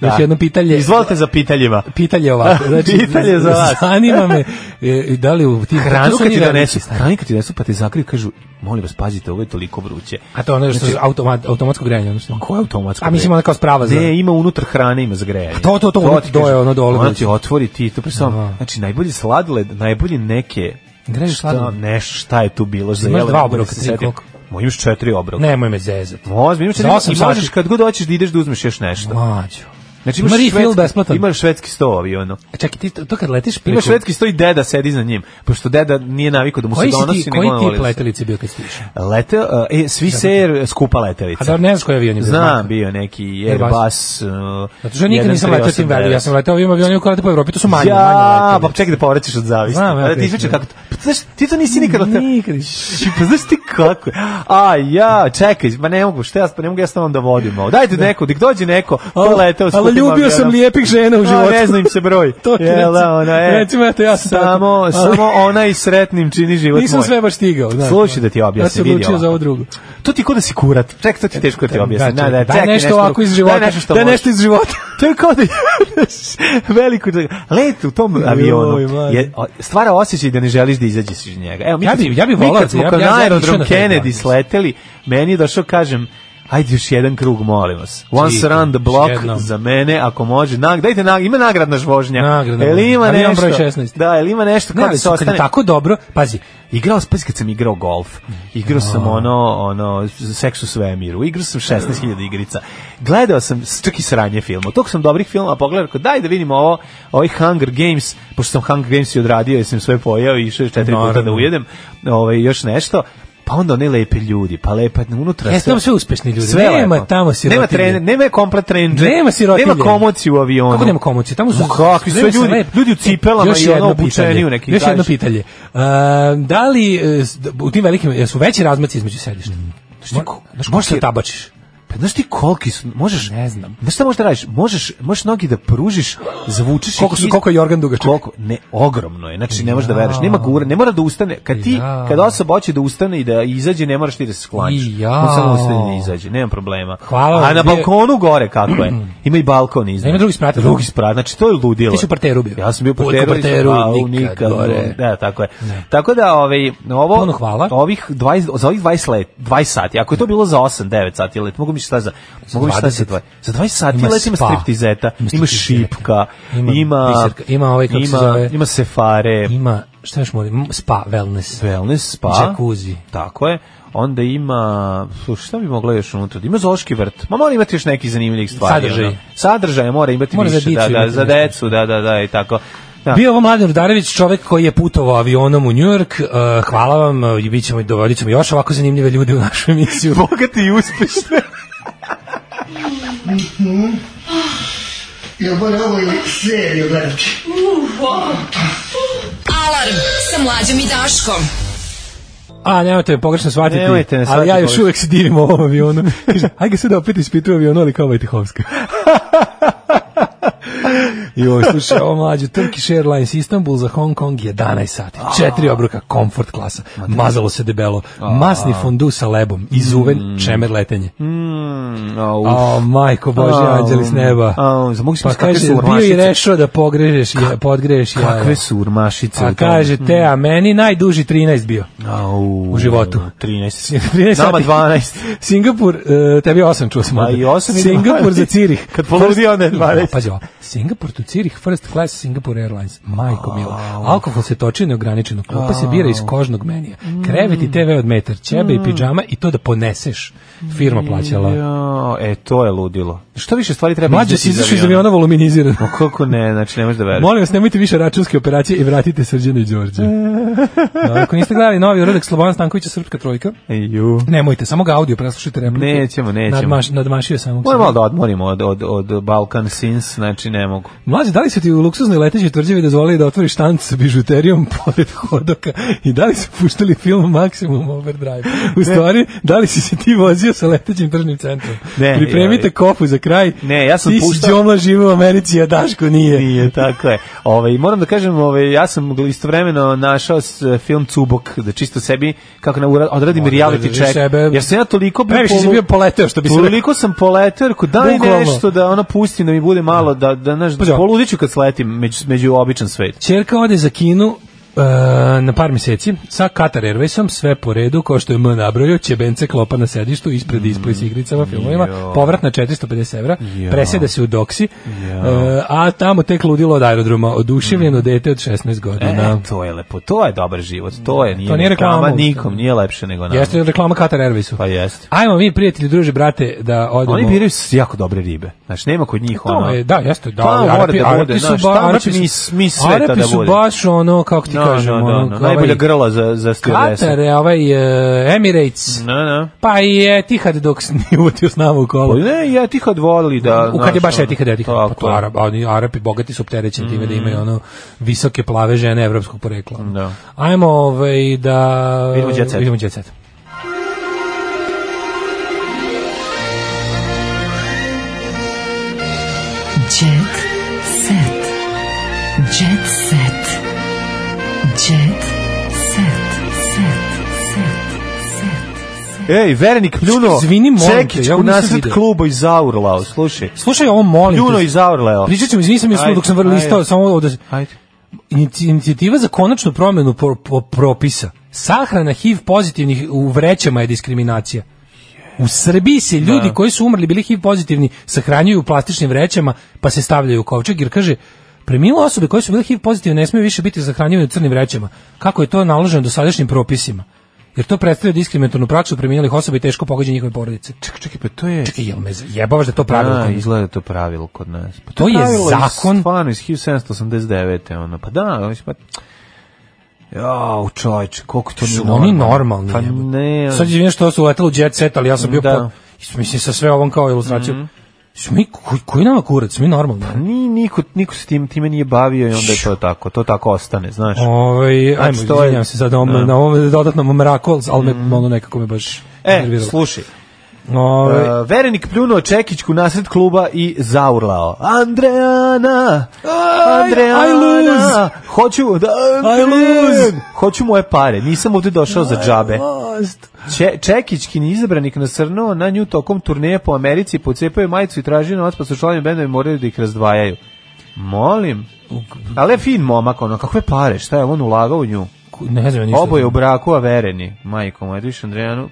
Speaker 5: Da.
Speaker 6: Još jedno pitanje.
Speaker 5: Izvolite za pitaljima.
Speaker 6: Pitanje ovako. Znači,
Speaker 5: Pitanje za vas.
Speaker 6: Zanima me, e, da li u tim...
Speaker 5: Hranu
Speaker 6: to su
Speaker 5: kad
Speaker 6: oni
Speaker 5: ti donesu,
Speaker 6: realnici,
Speaker 5: hranu kad ti donesu, pa te zakriju, kažu, molim vas, pazite, ovo je toliko vruće.
Speaker 6: A to je ono što je automat, automatsko grejanje. Ono što...
Speaker 5: Znači- Ko je automatsko?
Speaker 6: A mislim
Speaker 5: grejanje?
Speaker 6: ona kao sprava za...
Speaker 5: Ne, ima unutar hrane, ima za grejanje.
Speaker 6: Pa to, to, to, ono
Speaker 5: ti
Speaker 6: ti doje,
Speaker 5: kažem.
Speaker 6: ono dole
Speaker 5: Ona
Speaker 6: dođe. Da.
Speaker 5: ti otvori ti, to pre samo,
Speaker 6: Aha.
Speaker 5: znači najbolji sladoled, najbolji neke,
Speaker 6: Greješ
Speaker 5: šta,
Speaker 6: sladoled?
Speaker 5: nešto, šta je tu bilo za
Speaker 6: Znači,
Speaker 5: jelo, ne mogu
Speaker 6: Imaš dva
Speaker 5: da
Speaker 6: obroka,
Speaker 5: se
Speaker 6: tri,
Speaker 5: setim.
Speaker 6: koliko?
Speaker 5: Mo, imaš četiri obroka.
Speaker 6: Nemoj me zezati.
Speaker 5: Ozbiljno, imaš
Speaker 6: Za
Speaker 5: četiri-
Speaker 6: osam
Speaker 5: i možeš
Speaker 6: sati.
Speaker 5: kad god hoćeš da ideš da uzmeš još nešto.
Speaker 6: Mlađo.
Speaker 5: Znači
Speaker 6: Ima
Speaker 5: imaš
Speaker 6: refill
Speaker 5: švedski-
Speaker 6: besplatan.
Speaker 5: Imaš švedski sto aviono.
Speaker 6: Čekaj, ti to, to kad letiš preko...
Speaker 5: Imaš švedski sto i deda sedi za njim, pošto deda nije navikao da mu se
Speaker 6: Koji si
Speaker 5: donosi,
Speaker 6: ti,
Speaker 5: nego
Speaker 6: koji
Speaker 5: on voli
Speaker 6: tip
Speaker 5: da se-
Speaker 6: letelice bio kad si išao?
Speaker 5: Lete, e, svi se Air skupa letelica.
Speaker 6: A da ne znaš koji avion je bio?
Speaker 5: Znam,
Speaker 6: Marko?
Speaker 5: bio neki
Speaker 6: Airbus.
Speaker 5: Airbus. Uh,
Speaker 6: Zato što ja nikad nisam letao tim velikim, ja sam letao ovim avionima koji lete po Evropi, to su manje, manje
Speaker 5: Ja,
Speaker 6: letelice.
Speaker 5: pa čekaj da povraćaš od zavisti.
Speaker 6: Znam, ja
Speaker 5: A da ti
Speaker 6: pričam,
Speaker 5: izvuče
Speaker 6: da.
Speaker 5: kako to. Pa znaš, ti to nisi nikad letao.
Speaker 6: Nikad.
Speaker 5: Pa znaš ti kako? je? A ja, čekaj, ma ne mogu, šta ja, pa ne mogu ja stavno da vodim ovo. Dajte neko, dik dođe neko, ko
Speaker 6: Al-
Speaker 5: letao Pa s
Speaker 6: ali
Speaker 5: kupim
Speaker 6: ljubio sam
Speaker 5: avionom.
Speaker 6: lijepih žena u
Speaker 5: A,
Speaker 6: životu.
Speaker 5: Ne znam im se broj.
Speaker 6: To ti
Speaker 5: Jel da,
Speaker 6: recimo-
Speaker 5: ono, e,
Speaker 6: recimo, eto, ja sam tako.
Speaker 5: Samo,
Speaker 6: Ali-
Speaker 5: samo ona i sretnim čini život
Speaker 6: Nisam
Speaker 5: moj.
Speaker 6: sve baš stigao. Znaš,
Speaker 5: Slušaj da ti objasnim,
Speaker 6: Ja sam
Speaker 5: vidi
Speaker 6: odlučio
Speaker 5: ovako.
Speaker 6: za ovo drugo.
Speaker 5: To ti ko da si kurat. Ček, to ti je teško da ti objasnim.
Speaker 6: Da,
Speaker 5: Da, da,
Speaker 6: daj
Speaker 5: čekaj,
Speaker 6: nešto ovako iz
Speaker 5: drugo.
Speaker 6: života.
Speaker 5: Daj nešto što
Speaker 6: Daj
Speaker 5: možeš.
Speaker 6: nešto iz života.
Speaker 5: To je kao da veliko let u tom avionu
Speaker 6: Joj,
Speaker 5: je o- stvara osjećaj da ne želiš da izađeš iz njega. Evo mi
Speaker 6: Ja
Speaker 5: kad
Speaker 6: bi-
Speaker 5: smo-
Speaker 6: ja
Speaker 5: mi
Speaker 6: bi volao
Speaker 5: kad
Speaker 6: da-
Speaker 5: smo
Speaker 6: ja bi-
Speaker 5: kao
Speaker 6: ja bi- ja
Speaker 5: na
Speaker 6: bi
Speaker 5: aerodrom
Speaker 6: išao na taj
Speaker 5: Kennedy
Speaker 6: dan.
Speaker 5: sleteli, meni je došao kažem Ajde još jedan krug, molim vas. Once
Speaker 6: Čika,
Speaker 5: around the block
Speaker 6: još jednom.
Speaker 5: za mene, ako može. Nag, dajte nag, ima nagradna žvožnja.
Speaker 6: Nagradna
Speaker 5: Jel
Speaker 6: žvožnja.
Speaker 5: ima
Speaker 6: Ali imam
Speaker 5: nešto?
Speaker 6: broj 16.
Speaker 5: Da, jel ima nešto
Speaker 6: Ne,
Speaker 5: kako
Speaker 6: ali
Speaker 5: se
Speaker 6: su kad je
Speaker 5: ostane?
Speaker 6: tako dobro, pazi,
Speaker 5: Igrao sam, pazi, kad sam igrao golf. Igrao sam ono, ono, seks u svemiru. Igrao sam 16.000 igrica. Gledao sam s- čak i sranje filmu. Tog sam dobrih filma pogledao, rekao, daj da vidimo ovo, ovaj Hunger Games, pošto sam Hunger Games i odradio, jer sam sve pojao i išao četiri puta da
Speaker 6: Naravno.
Speaker 5: ujedem, ovaj, još nešto. Pa onda one lepe ljudi, pa lepa unutra.
Speaker 6: Jeste tamo sve uspešni ljudi. Nema
Speaker 5: lepo.
Speaker 6: tamo sirotinje.
Speaker 5: Nema, tren, nema komplet trenđe.
Speaker 6: Nema sirotinje.
Speaker 5: Nema komoci u avionu.
Speaker 6: Kako nema komocije? Tamo su
Speaker 5: Ma kakvi sve
Speaker 6: nema se
Speaker 5: ljudi-
Speaker 6: lep-
Speaker 5: ljudi u cipelama
Speaker 6: Još
Speaker 5: i ono
Speaker 6: jedno
Speaker 5: obučeni
Speaker 6: pitanje,
Speaker 5: u neki
Speaker 6: Još jedno
Speaker 5: gaži.
Speaker 6: pitanje. Uh, da li e, s- d- u tim velikim jesu veći razmaci između sedišta?
Speaker 5: ti
Speaker 6: Mo-
Speaker 5: ko-
Speaker 6: Znaš, možeš se
Speaker 5: ti-
Speaker 6: tabačiš.
Speaker 5: Pa znaš ti koliki su, možeš...
Speaker 6: Ne znam.
Speaker 5: Znaš šta možeš da radiš? Možeš, možeš nogi da pružiš, zavučeš...
Speaker 6: Koliko su-
Speaker 5: ih iz-
Speaker 6: koliko je jorgan dugačak?
Speaker 5: Koliko? Ne, ogromno je. Znači, ne možeš da veruješ. Nema gura, ne mora da ustane. Kad ti,
Speaker 6: Ja.
Speaker 5: kad osoba hoće da ustane i da izađe, ne moraš ti da se sklaniš.
Speaker 6: I ja.
Speaker 5: On samo ustane i da izađe, nema problema.
Speaker 6: Hvala
Speaker 5: A
Speaker 6: vam,
Speaker 5: na
Speaker 6: bio-
Speaker 5: balkonu gore kako je. Ima i balkon iznad.
Speaker 6: Ima drugi sprat.
Speaker 5: Drugi sprat. Znači, to je ludilo.
Speaker 6: Ti si u parteru bio.
Speaker 5: Ja sam bio u
Speaker 6: Uvijek u
Speaker 5: parteru.
Speaker 6: parteru,
Speaker 5: nisam- au,
Speaker 6: nikad gore.
Speaker 5: Da, tako je. Tako da, ovaj, ovo...
Speaker 6: Puno hvala.
Speaker 5: Ovih 20, za ovih 20, let, 20 sati, ako je to bilo za 8, 9 sati let, mogu mi šta za... Mogu mi šta za
Speaker 6: 20.
Speaker 5: 20, za 20 sati
Speaker 6: Ima
Speaker 5: let ima
Speaker 6: spa.
Speaker 5: striptizeta,
Speaker 6: Ima
Speaker 5: ima
Speaker 6: striptizeta.
Speaker 5: šipka,
Speaker 6: Ima
Speaker 5: ima...
Speaker 6: biserka, ima ovaj, kako se
Speaker 5: ima-
Speaker 6: zove?
Speaker 5: Ima sefare,
Speaker 6: Ima, šta još molim, spa, wellness.
Speaker 5: wellness spa.
Speaker 6: Jacuzzi.
Speaker 5: Tako je. Onda ima, sluš, šta bi mogla još unutra? Ima zoški vrt. Ma mora imati još neki zanimljivih stvari.
Speaker 6: Sadržaj.
Speaker 5: ono. Sadržaje mora imati
Speaker 6: Mora za
Speaker 5: više,
Speaker 6: dicu
Speaker 5: da, da,
Speaker 6: imati
Speaker 5: za
Speaker 6: nešto.
Speaker 5: decu, da, da, da, i tako. Da.
Speaker 6: Bio je ovo Mladen Rudarević, čovek koji je putovao avionom u Njujork. Uh, hvala vam, uh, i bit ćemo, dovodit ćemo još ovako zanimljive ljude u našu emisiju.
Speaker 5: Bogati i uspešni.
Speaker 2: Ja moram ovo seriju gledati.
Speaker 4: Alarm sa mlađom i Daškom.
Speaker 6: A, nemojte me pogrešno shvatiti,
Speaker 5: Nemojte me
Speaker 6: ali
Speaker 5: shvatiti
Speaker 6: ja još
Speaker 5: pogrešno.
Speaker 6: uvek se divim ovom avionu. Kaže, Aj ga sad da opet ispitu avionu, ali kao Vajtehovska. Joj, slušaj, ovo mlađe, Turkish Airlines Istanbul za Hong Kong 11 sati, četiri obroka, komfort klasa,
Speaker 5: da.
Speaker 6: mazalo se debelo, masni fondu sa lebom, izuven čemer letenje.
Speaker 5: Mm, au,
Speaker 6: O, majko Bože,
Speaker 5: Au,
Speaker 6: anđeli s neba.
Speaker 5: au, za- mogu si
Speaker 6: Pa
Speaker 5: misliti kakve su
Speaker 6: kaže, bio i
Speaker 5: ormašice.
Speaker 6: rešao da pogrežeš, je, podgreješ jaja.
Speaker 5: Kakve su Mm. urmašice
Speaker 6: A
Speaker 5: u tome.
Speaker 6: kaže, te, a meni najduži 13 bio.
Speaker 5: Au,
Speaker 6: u životu.
Speaker 5: 13.
Speaker 6: 13
Speaker 5: Nama
Speaker 6: sati.
Speaker 5: 12.
Speaker 6: Singapur, e, tebi je 8 čuo sam.
Speaker 5: Ma
Speaker 6: ovde.
Speaker 5: Pa i osam i
Speaker 6: Singapur
Speaker 5: 12.
Speaker 6: za Cirih.
Speaker 5: Kad poludi, onda je 12.
Speaker 6: E, Pazi ovo. Singapur to Cirih, first class Singapore Airlines. Majko mila. Alkohol se toči neograničeno. Klupa se bira iz kožnog menija.
Speaker 5: Mm.
Speaker 6: Krevet i TV od metar, ćebe i pidžama i to da poneseš. Firma plaćala.
Speaker 5: Jo, e, to je ludilo. Što više stvari treba
Speaker 6: Mlađe si izašao iz aviona voluminiziran.
Speaker 5: Ma Kako ne, znači ne možeš da veruješ.
Speaker 6: Molim vas, nemojte više računske operacije i vratite Srđana i Đorđe. Da, Ako niste gledali novi urodak Slobodana Stankovića, Srpska trojka,
Speaker 5: Ju.
Speaker 6: nemojte, samo ga audio preslušajte replike.
Speaker 5: Nećemo, nećemo.
Speaker 6: Nadmaš, nadmašio je samog
Speaker 5: Moram
Speaker 6: sebe.
Speaker 5: malo da odmorimo od, od, od Balkan Sins, znači ne mogu.
Speaker 6: Mlađe, da li su ti u luksuznoj letećoj tvrđavi dozvolili da otvoriš štanc sa bižuterijom pored hodoka i da li su puštali film Maximum Overdrive? U stvari, da li si se ti vozio sa letećim tržnim centrom?
Speaker 5: Ne,
Speaker 6: Pripremite
Speaker 5: joj.
Speaker 6: kofu za kraj.
Speaker 5: Ne, ja sam
Speaker 6: ti si
Speaker 5: puštao-
Speaker 6: Đomla živo u Americi, a Daško nije.
Speaker 5: Nije, tako je. Ove, i moram da kažem, ove, ja sam gl- istovremeno našao s, e, film Cubok, da čisto sebi, kako ne, ura- odradim
Speaker 6: Moram da
Speaker 5: reality
Speaker 6: odradiš
Speaker 5: check.
Speaker 6: sebe.
Speaker 5: Jer sam ja toliko bio,
Speaker 6: Previše si
Speaker 5: polu-
Speaker 6: bio poleteo, što bi se rekao.
Speaker 5: toliko sam poleteo, rekao, daj
Speaker 6: Bukvalno.
Speaker 5: nešto da ona pusti, da mi bude malo, da, da, znaš,
Speaker 6: Pazi ovo.
Speaker 5: poludiću kad sletim među, među običan svet.
Speaker 6: Čerka ode za Kinu e, na par meseci sa Qatar Airwaysom, sve po redu, kao što je M nabrojio, ćebence klopa na sedištu,
Speaker 5: Mm,
Speaker 6: ispred i ispoj s igricama, filmovima, povrat na 450 evra, preseda se u doksi, e, a tamo tek ludilo od aerodroma, oduševljeno dete od 16
Speaker 5: Mm. E,
Speaker 6: godina.
Speaker 5: to je lepo, to je dobar život, to je, nije,
Speaker 6: Da. To nije reklama,
Speaker 5: nikom, nije lepše nego nam.
Speaker 6: Jeste reklama Qatar Airwaysu.
Speaker 5: e. Pa jeste.
Speaker 6: Ajmo mi, prijatelji, druže, brate, da odemo...
Speaker 5: Oni biraju s- jako dobre ribe. Znači, nema kod njih
Speaker 6: To
Speaker 5: ono...
Speaker 6: je, da, jeste, da,
Speaker 5: Pa,
Speaker 6: ali
Speaker 5: mora
Speaker 6: Arapi,
Speaker 5: da bude,
Speaker 6: Arapi su,
Speaker 5: znaš,
Speaker 6: ba,
Speaker 5: tamo
Speaker 6: Arapi
Speaker 5: će mi s- mi
Speaker 6: su,
Speaker 5: sveta
Speaker 6: Arapi
Speaker 5: da
Speaker 6: su
Speaker 5: bude.
Speaker 6: baš ono, kako ti
Speaker 5: No, da,
Speaker 6: kažem,
Speaker 5: no,
Speaker 6: ono, ovaj
Speaker 5: no, no. Najbolja grla za, za stewardesa.
Speaker 6: Katar je ovaj e, Emirates,
Speaker 5: No, no.
Speaker 6: pa i Etihad dok se nije utio s nama u
Speaker 5: Pa
Speaker 6: kolo.
Speaker 5: ne, ja tih odvolili da...
Speaker 6: U kad je
Speaker 5: znaš,
Speaker 6: baš
Speaker 5: ono,
Speaker 6: Etihad, Etihad. Pa
Speaker 5: Tako
Speaker 6: to
Speaker 5: je. Mhm.
Speaker 6: Arab, oni Arapi bogati su opterećeni time da imaju ono visoke plave žene evropskog porekla.
Speaker 5: Da.
Speaker 6: Ajmo ovaj, da...
Speaker 5: Vidimo Jet Set.
Speaker 6: Vidimo Jet Set.
Speaker 4: Jet set. Jet set. Jet set. Set.
Speaker 5: Ej, Verenik pljuno
Speaker 6: Izvini, molim te,
Speaker 5: Cekić
Speaker 6: ja ovo
Speaker 5: u
Speaker 6: nisam
Speaker 5: nasred
Speaker 6: video.
Speaker 5: kluba iz Aurlao, slušaj.
Speaker 6: Slušaj ovo, molim
Speaker 5: Pljuno
Speaker 6: te.
Speaker 5: iz Aurlao.
Speaker 6: Pričat ćemo, nisam
Speaker 5: Ajde,
Speaker 6: još dok sam vrlo listao,
Speaker 5: ajde.
Speaker 6: samo ovo da...
Speaker 5: Ajde.
Speaker 6: Inici- Inicijativa za konačnu promenu pro- pro- propisa. Sahrana HIV pozitivnih u vrećama je diskriminacija. U Srbiji se ljudi koji su umrli bili HIV pozitivni sahranjuju u plastičnim vrećama pa se stavljaju u kovčeg jer kaže premilo osobe koje su bile HIV pozitivne ne smiju više biti sahranjivane u crnim vrećama. Kako je to naloženo dosadašnjim propisima? Jer to predstavlja diskriminatornu praksu preminulih osoba i teško pogađa njihove porodice.
Speaker 5: Čekaj, čekaj, pa to je...
Speaker 6: Čekaj, jel me zajebavaš da je to pravilo?
Speaker 5: Da,
Speaker 6: kod nas?
Speaker 5: izgleda to pravilo kod nas. Pa
Speaker 6: To je
Speaker 5: pravilo iz-
Speaker 6: zakon.
Speaker 5: Stvarno, iz 1789. Ono. Pa da, mislim, pa... Jao, čovječe, koliko to nije
Speaker 6: su oni normalni.
Speaker 5: Pa
Speaker 6: jebote.
Speaker 5: ne,
Speaker 6: Sad je vidim što su letelo u jet set, ali ja sam bio
Speaker 5: Da. Mhm.
Speaker 6: da. mislim sa sve ovom kao ilustracijom. Mm mi koji, koji nama kurac, mi normalni.
Speaker 5: ni, niko, niko se tim, time nije bavio i onda je to tako. To tako ostane, znaš.
Speaker 6: Ovaj,
Speaker 5: Znači,
Speaker 6: ajmo,
Speaker 5: to je-
Speaker 6: izvinjam se sad na ovom,
Speaker 5: Da. Mhm.
Speaker 6: na ovom dodatnom mraku, ali me, ono nekako me baš
Speaker 5: E,
Speaker 6: nerviralo.
Speaker 5: slušaj.
Speaker 6: Ovaj,
Speaker 5: Uh, Verenik pljunuo Čekićku nasred kluba i zaurlao. Andreana!
Speaker 6: Aj, I lose.
Speaker 5: Hoću, da,
Speaker 6: I lose.
Speaker 5: Hoću moje pare, nisam ovde došao za džabe.
Speaker 6: lost.
Speaker 5: Če, Čekićkin izabranik nasrnuo na nju tokom turneje po Americi, pocepao je majicu i tražio novac, pa su članovi benda i moraju da ih razdvajaju. Molim. Ali je fin momak, ono, kakve pare, šta je on ulagao u nju?
Speaker 6: Ku- Ne znam, ja nisam.
Speaker 5: Oboje u braku, a vereni. Majko moja, viš Andrejanu...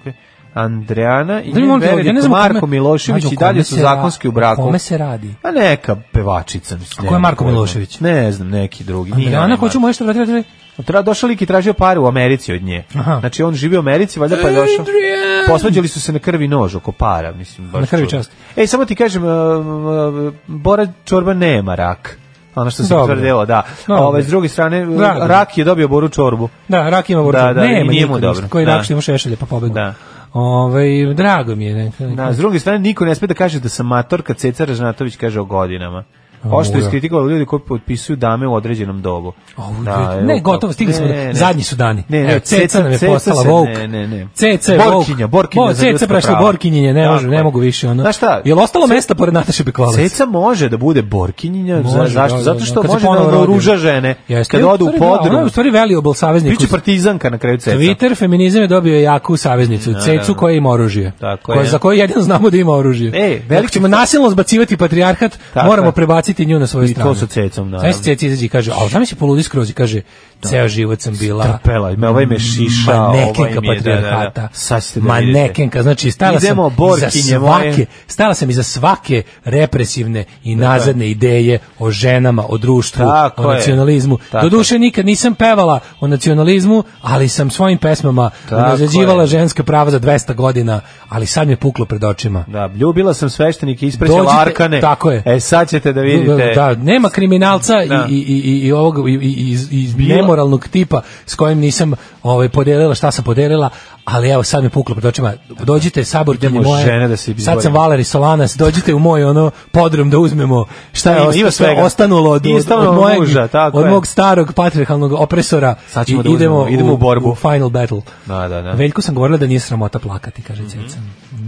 Speaker 5: Andrejana i
Speaker 6: Da mi
Speaker 5: njen
Speaker 6: molim te, ja ne
Speaker 5: verenik
Speaker 6: znam o
Speaker 5: Marko
Speaker 6: kome-
Speaker 5: Milošević
Speaker 6: Mlađo, o
Speaker 5: i dalje
Speaker 6: kome
Speaker 5: su
Speaker 6: se ra-
Speaker 5: zakonski u braku.
Speaker 6: o Kome se radi?
Speaker 5: A neka pevačica. Mislim,
Speaker 6: A ko je
Speaker 5: nemam
Speaker 6: Marko
Speaker 5: pojma.
Speaker 6: Milošević?
Speaker 5: Ne znam, neki drugi. nije onaj
Speaker 6: Andrijana,
Speaker 5: Marko.
Speaker 6: hoću moje što radi, radi, radi.
Speaker 5: Tra, Pa došao lik i tražio pare u Americi od nje.
Speaker 6: Aha.
Speaker 5: Znači on živi u Americi, valjda pa je došao.
Speaker 6: Adrian!
Speaker 5: Posvađali su se na krvi nož oko para, mislim. Baš
Speaker 6: Na krvi
Speaker 5: čudno.
Speaker 6: čast.
Speaker 5: Ej, samo ti kažem, uh, uh, Bora Čorba nema rak. Ono što se
Speaker 6: Dobro.
Speaker 5: tvrdilo, da.
Speaker 6: Dobro.
Speaker 5: Ove, s druge strane, uh,
Speaker 6: Drago.
Speaker 5: rak je dobio Boru Čorbu.
Speaker 6: Da, rak ima
Speaker 5: Da,
Speaker 6: vorčan.
Speaker 5: da, i
Speaker 6: Nema
Speaker 5: nije mu
Speaker 6: nikad ništa.
Speaker 5: dobro.
Speaker 6: Koji
Speaker 5: Da.
Speaker 6: rak što ima šešelje pa pobegu.
Speaker 5: Da.
Speaker 6: Ovaj, drago mi je. neka-
Speaker 5: Da, s druge strane, niko ne sme da kaže da sam mator kad Ceca Ražnatović kaže o godinama. Ošto je
Speaker 6: Ujo.
Speaker 5: iskritikovao ljudi koji potpisuju dame u određenom dobu.
Speaker 6: Au,
Speaker 5: Da,
Speaker 6: ljudi,
Speaker 5: evo
Speaker 6: Pa ne,
Speaker 5: to.
Speaker 6: gotovo, stigli smo.
Speaker 5: Ne,
Speaker 6: do-
Speaker 5: ne, ne.
Speaker 6: Zadnji su dani.
Speaker 5: Ne, ne,
Speaker 6: Evo, Ceca nam je
Speaker 5: Ceca
Speaker 6: postala
Speaker 5: se-
Speaker 6: Vogue.
Speaker 5: ne, ne, ne.
Speaker 6: Ceca je
Speaker 5: Borkinja,
Speaker 6: Vogue.
Speaker 5: Borkinja
Speaker 6: Bo,
Speaker 5: za ljudska
Speaker 6: Ceca prešla
Speaker 5: prava.
Speaker 6: Borkinjenje, ne,
Speaker 5: Tako
Speaker 6: može, ne
Speaker 5: je.
Speaker 6: mogu više. Ono.
Speaker 5: Znaš šta?
Speaker 6: Je li ostalo
Speaker 5: Ce-
Speaker 6: mesta pored Nataše Bekvalac?
Speaker 5: Ceca može da bude borkinjinja, za,
Speaker 6: Može,
Speaker 5: zašto?
Speaker 6: da, da,
Speaker 5: Zato
Speaker 6: da,
Speaker 5: što
Speaker 6: kad se
Speaker 5: može
Speaker 6: ponovo
Speaker 5: da
Speaker 6: rodi.
Speaker 5: oruža žene.
Speaker 6: Jeste,
Speaker 5: Kad
Speaker 6: u
Speaker 5: odu u
Speaker 6: stvari da,
Speaker 5: podrum.
Speaker 6: Ona je u stvari veli obolsaveznik.
Speaker 5: Biće partizanka na kraju Ceca. Da,
Speaker 6: Twitter feminizam je dobio jaku saveznicu, cecu koja ima oružje.
Speaker 5: Tako
Speaker 6: koja,
Speaker 5: je.
Speaker 6: Za koju jedino znamo da ima oružje.
Speaker 5: E, veliki-
Speaker 6: Ako ćemo nasilno zbacivati patrijarhat,
Speaker 5: Tako
Speaker 6: moramo
Speaker 5: je.
Speaker 6: prebaciti nju na svoju
Speaker 5: I to
Speaker 6: stranu.
Speaker 5: sa cecom, naravno. Da.
Speaker 6: Znaš, ceci izađe i kaže, a znam se poludi skroz i kaže, ceo život sam bila...
Speaker 5: Trpela, me ovaj me šiša, ovaj
Speaker 6: manekenka
Speaker 5: mi je, da, da, da.
Speaker 6: patrijarhata.
Speaker 5: Sad ćete da
Speaker 6: manekenka, znači stala sam
Speaker 5: Idemo,
Speaker 6: iza
Speaker 5: Borkinje moje.
Speaker 6: svake, stala sam iza svake represivne i nazadne ideje o ženama, o društvu,
Speaker 5: Tako
Speaker 6: o
Speaker 5: je.
Speaker 6: nacionalizmu.
Speaker 5: Tako je.
Speaker 6: Doduše Doduše nikad nisam pevala o nacionalizmu, ali sam svojim pesmama
Speaker 5: Tako
Speaker 6: unazađivala
Speaker 5: je.
Speaker 6: ženska prava za 200 godina, ali sad mi je puklo pred očima.
Speaker 5: Da, ljubila sam sveštenike, isprećala
Speaker 6: Dođite-
Speaker 5: arkane.
Speaker 6: tako je.
Speaker 5: E, sad ćete da vidite.
Speaker 6: Da, nema kriminalca
Speaker 5: Da.
Speaker 6: i, i, i, i ovog i, i, i, i nemoralnog tipa s kojim nisam ovaj podelila šta sam podelila, ali evo sad mi je puklo pred očima. Dođite saborkinje
Speaker 5: Idemo
Speaker 6: moje.
Speaker 5: žene da se izborimo.
Speaker 6: sad sam Valeri Solanas, dođite u moj ono podrum da uzmemo šta je
Speaker 5: Ima-
Speaker 6: osta-
Speaker 5: ima
Speaker 6: šta je
Speaker 5: svega.
Speaker 6: ostanulo od,
Speaker 5: Nije
Speaker 6: od, od
Speaker 5: stavljeno
Speaker 6: mojeg,
Speaker 5: muža, tako
Speaker 6: od
Speaker 5: je.
Speaker 6: mog starog patrijarhalnog opresora.
Speaker 5: Sad ćemo
Speaker 6: I
Speaker 5: da uzmemo, idemo u borbu.
Speaker 6: final battle.
Speaker 5: Da, da, da.
Speaker 6: Veljko sam govorila da nije sramota plakati, kaže Ceca.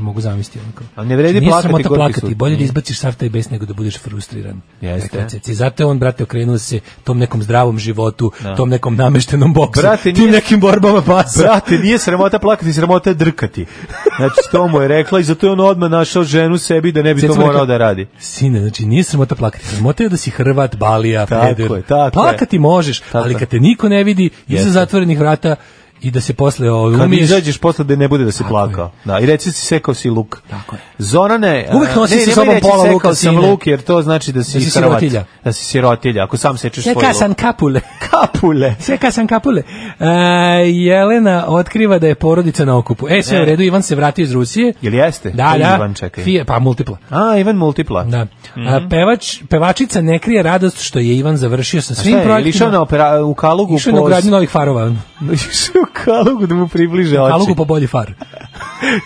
Speaker 6: Mogu zamisliti onako. Znači,
Speaker 5: A ne vredi
Speaker 6: nije
Speaker 5: plakati,
Speaker 6: sramota
Speaker 5: gorki
Speaker 6: plakati,
Speaker 5: sud.
Speaker 6: bolje da izbaciš sav taj bes nego da budeš frustriran.
Speaker 5: Jeste.
Speaker 6: Rekla je Ceca. I zato je on, brate, okrenuo se tom nekom zdravom životu, tom nekom nameštenom boksu,
Speaker 5: Da. Brate,
Speaker 6: tim
Speaker 5: nije-
Speaker 6: nekim borbama pasa.
Speaker 5: Brate, nije sramota plakati, sramota je drkati. Znači, to mu je rekla i zato je on odmah našao ženu sebi da ne bi
Speaker 6: Ceca
Speaker 5: to
Speaker 6: mu
Speaker 5: morao da
Speaker 6: rekla,
Speaker 5: radi.
Speaker 6: Sine, znači nije sramota plakati. Sramota je da si Hrvat, Balija,
Speaker 5: Tako
Speaker 6: Peder.
Speaker 5: je, tako je.
Speaker 6: plakati možeš, ali
Speaker 5: je.
Speaker 6: kad te niko ne vidi, iza
Speaker 5: Jeste.
Speaker 6: zatvorenih vrata i da se posle ovaj,
Speaker 5: Kad
Speaker 6: umiješ,
Speaker 5: izađeš posle da ne bude da si
Speaker 6: Tako
Speaker 5: plakao. Da, i reci si sekao si luk.
Speaker 6: Tako je.
Speaker 5: Zorane,
Speaker 6: Uvek
Speaker 5: a,
Speaker 6: nosi
Speaker 5: ne,
Speaker 6: sa
Speaker 5: nemoj
Speaker 6: sobom
Speaker 5: reći
Speaker 6: pola
Speaker 5: sekao
Speaker 6: luka,
Speaker 5: sam
Speaker 6: sine.
Speaker 5: luk, jer to znači da si,
Speaker 6: Da si
Speaker 5: Hrvat.
Speaker 6: sirotilja.
Speaker 5: Da si sirotilja, ako sam sečeš svoj luk.
Speaker 6: Seka sam kapule.
Speaker 5: Kapule.
Speaker 6: Seka sam kapule. E, Jelena otkriva da je porodica na okupu. E, sve
Speaker 5: E.
Speaker 6: u redu, Ivan se vratio iz Rusije.
Speaker 5: Jel jeste?
Speaker 6: Da,
Speaker 5: Koji
Speaker 6: da.
Speaker 5: Ivan, čekaj?
Speaker 6: Fije- pa multipla.
Speaker 5: A, Ivan Multipla.
Speaker 6: Da. A, pevač, pevačica ne krije radost što je Ivan završio sa svim
Speaker 5: Šta je, je li išao
Speaker 6: projektima.
Speaker 5: na opera, u Kalugu
Speaker 6: Išao je na
Speaker 5: po...
Speaker 6: ugradnju novih farova.
Speaker 5: Išao je u Kalugu da mu približe oči.
Speaker 6: Kalugu po bolji far.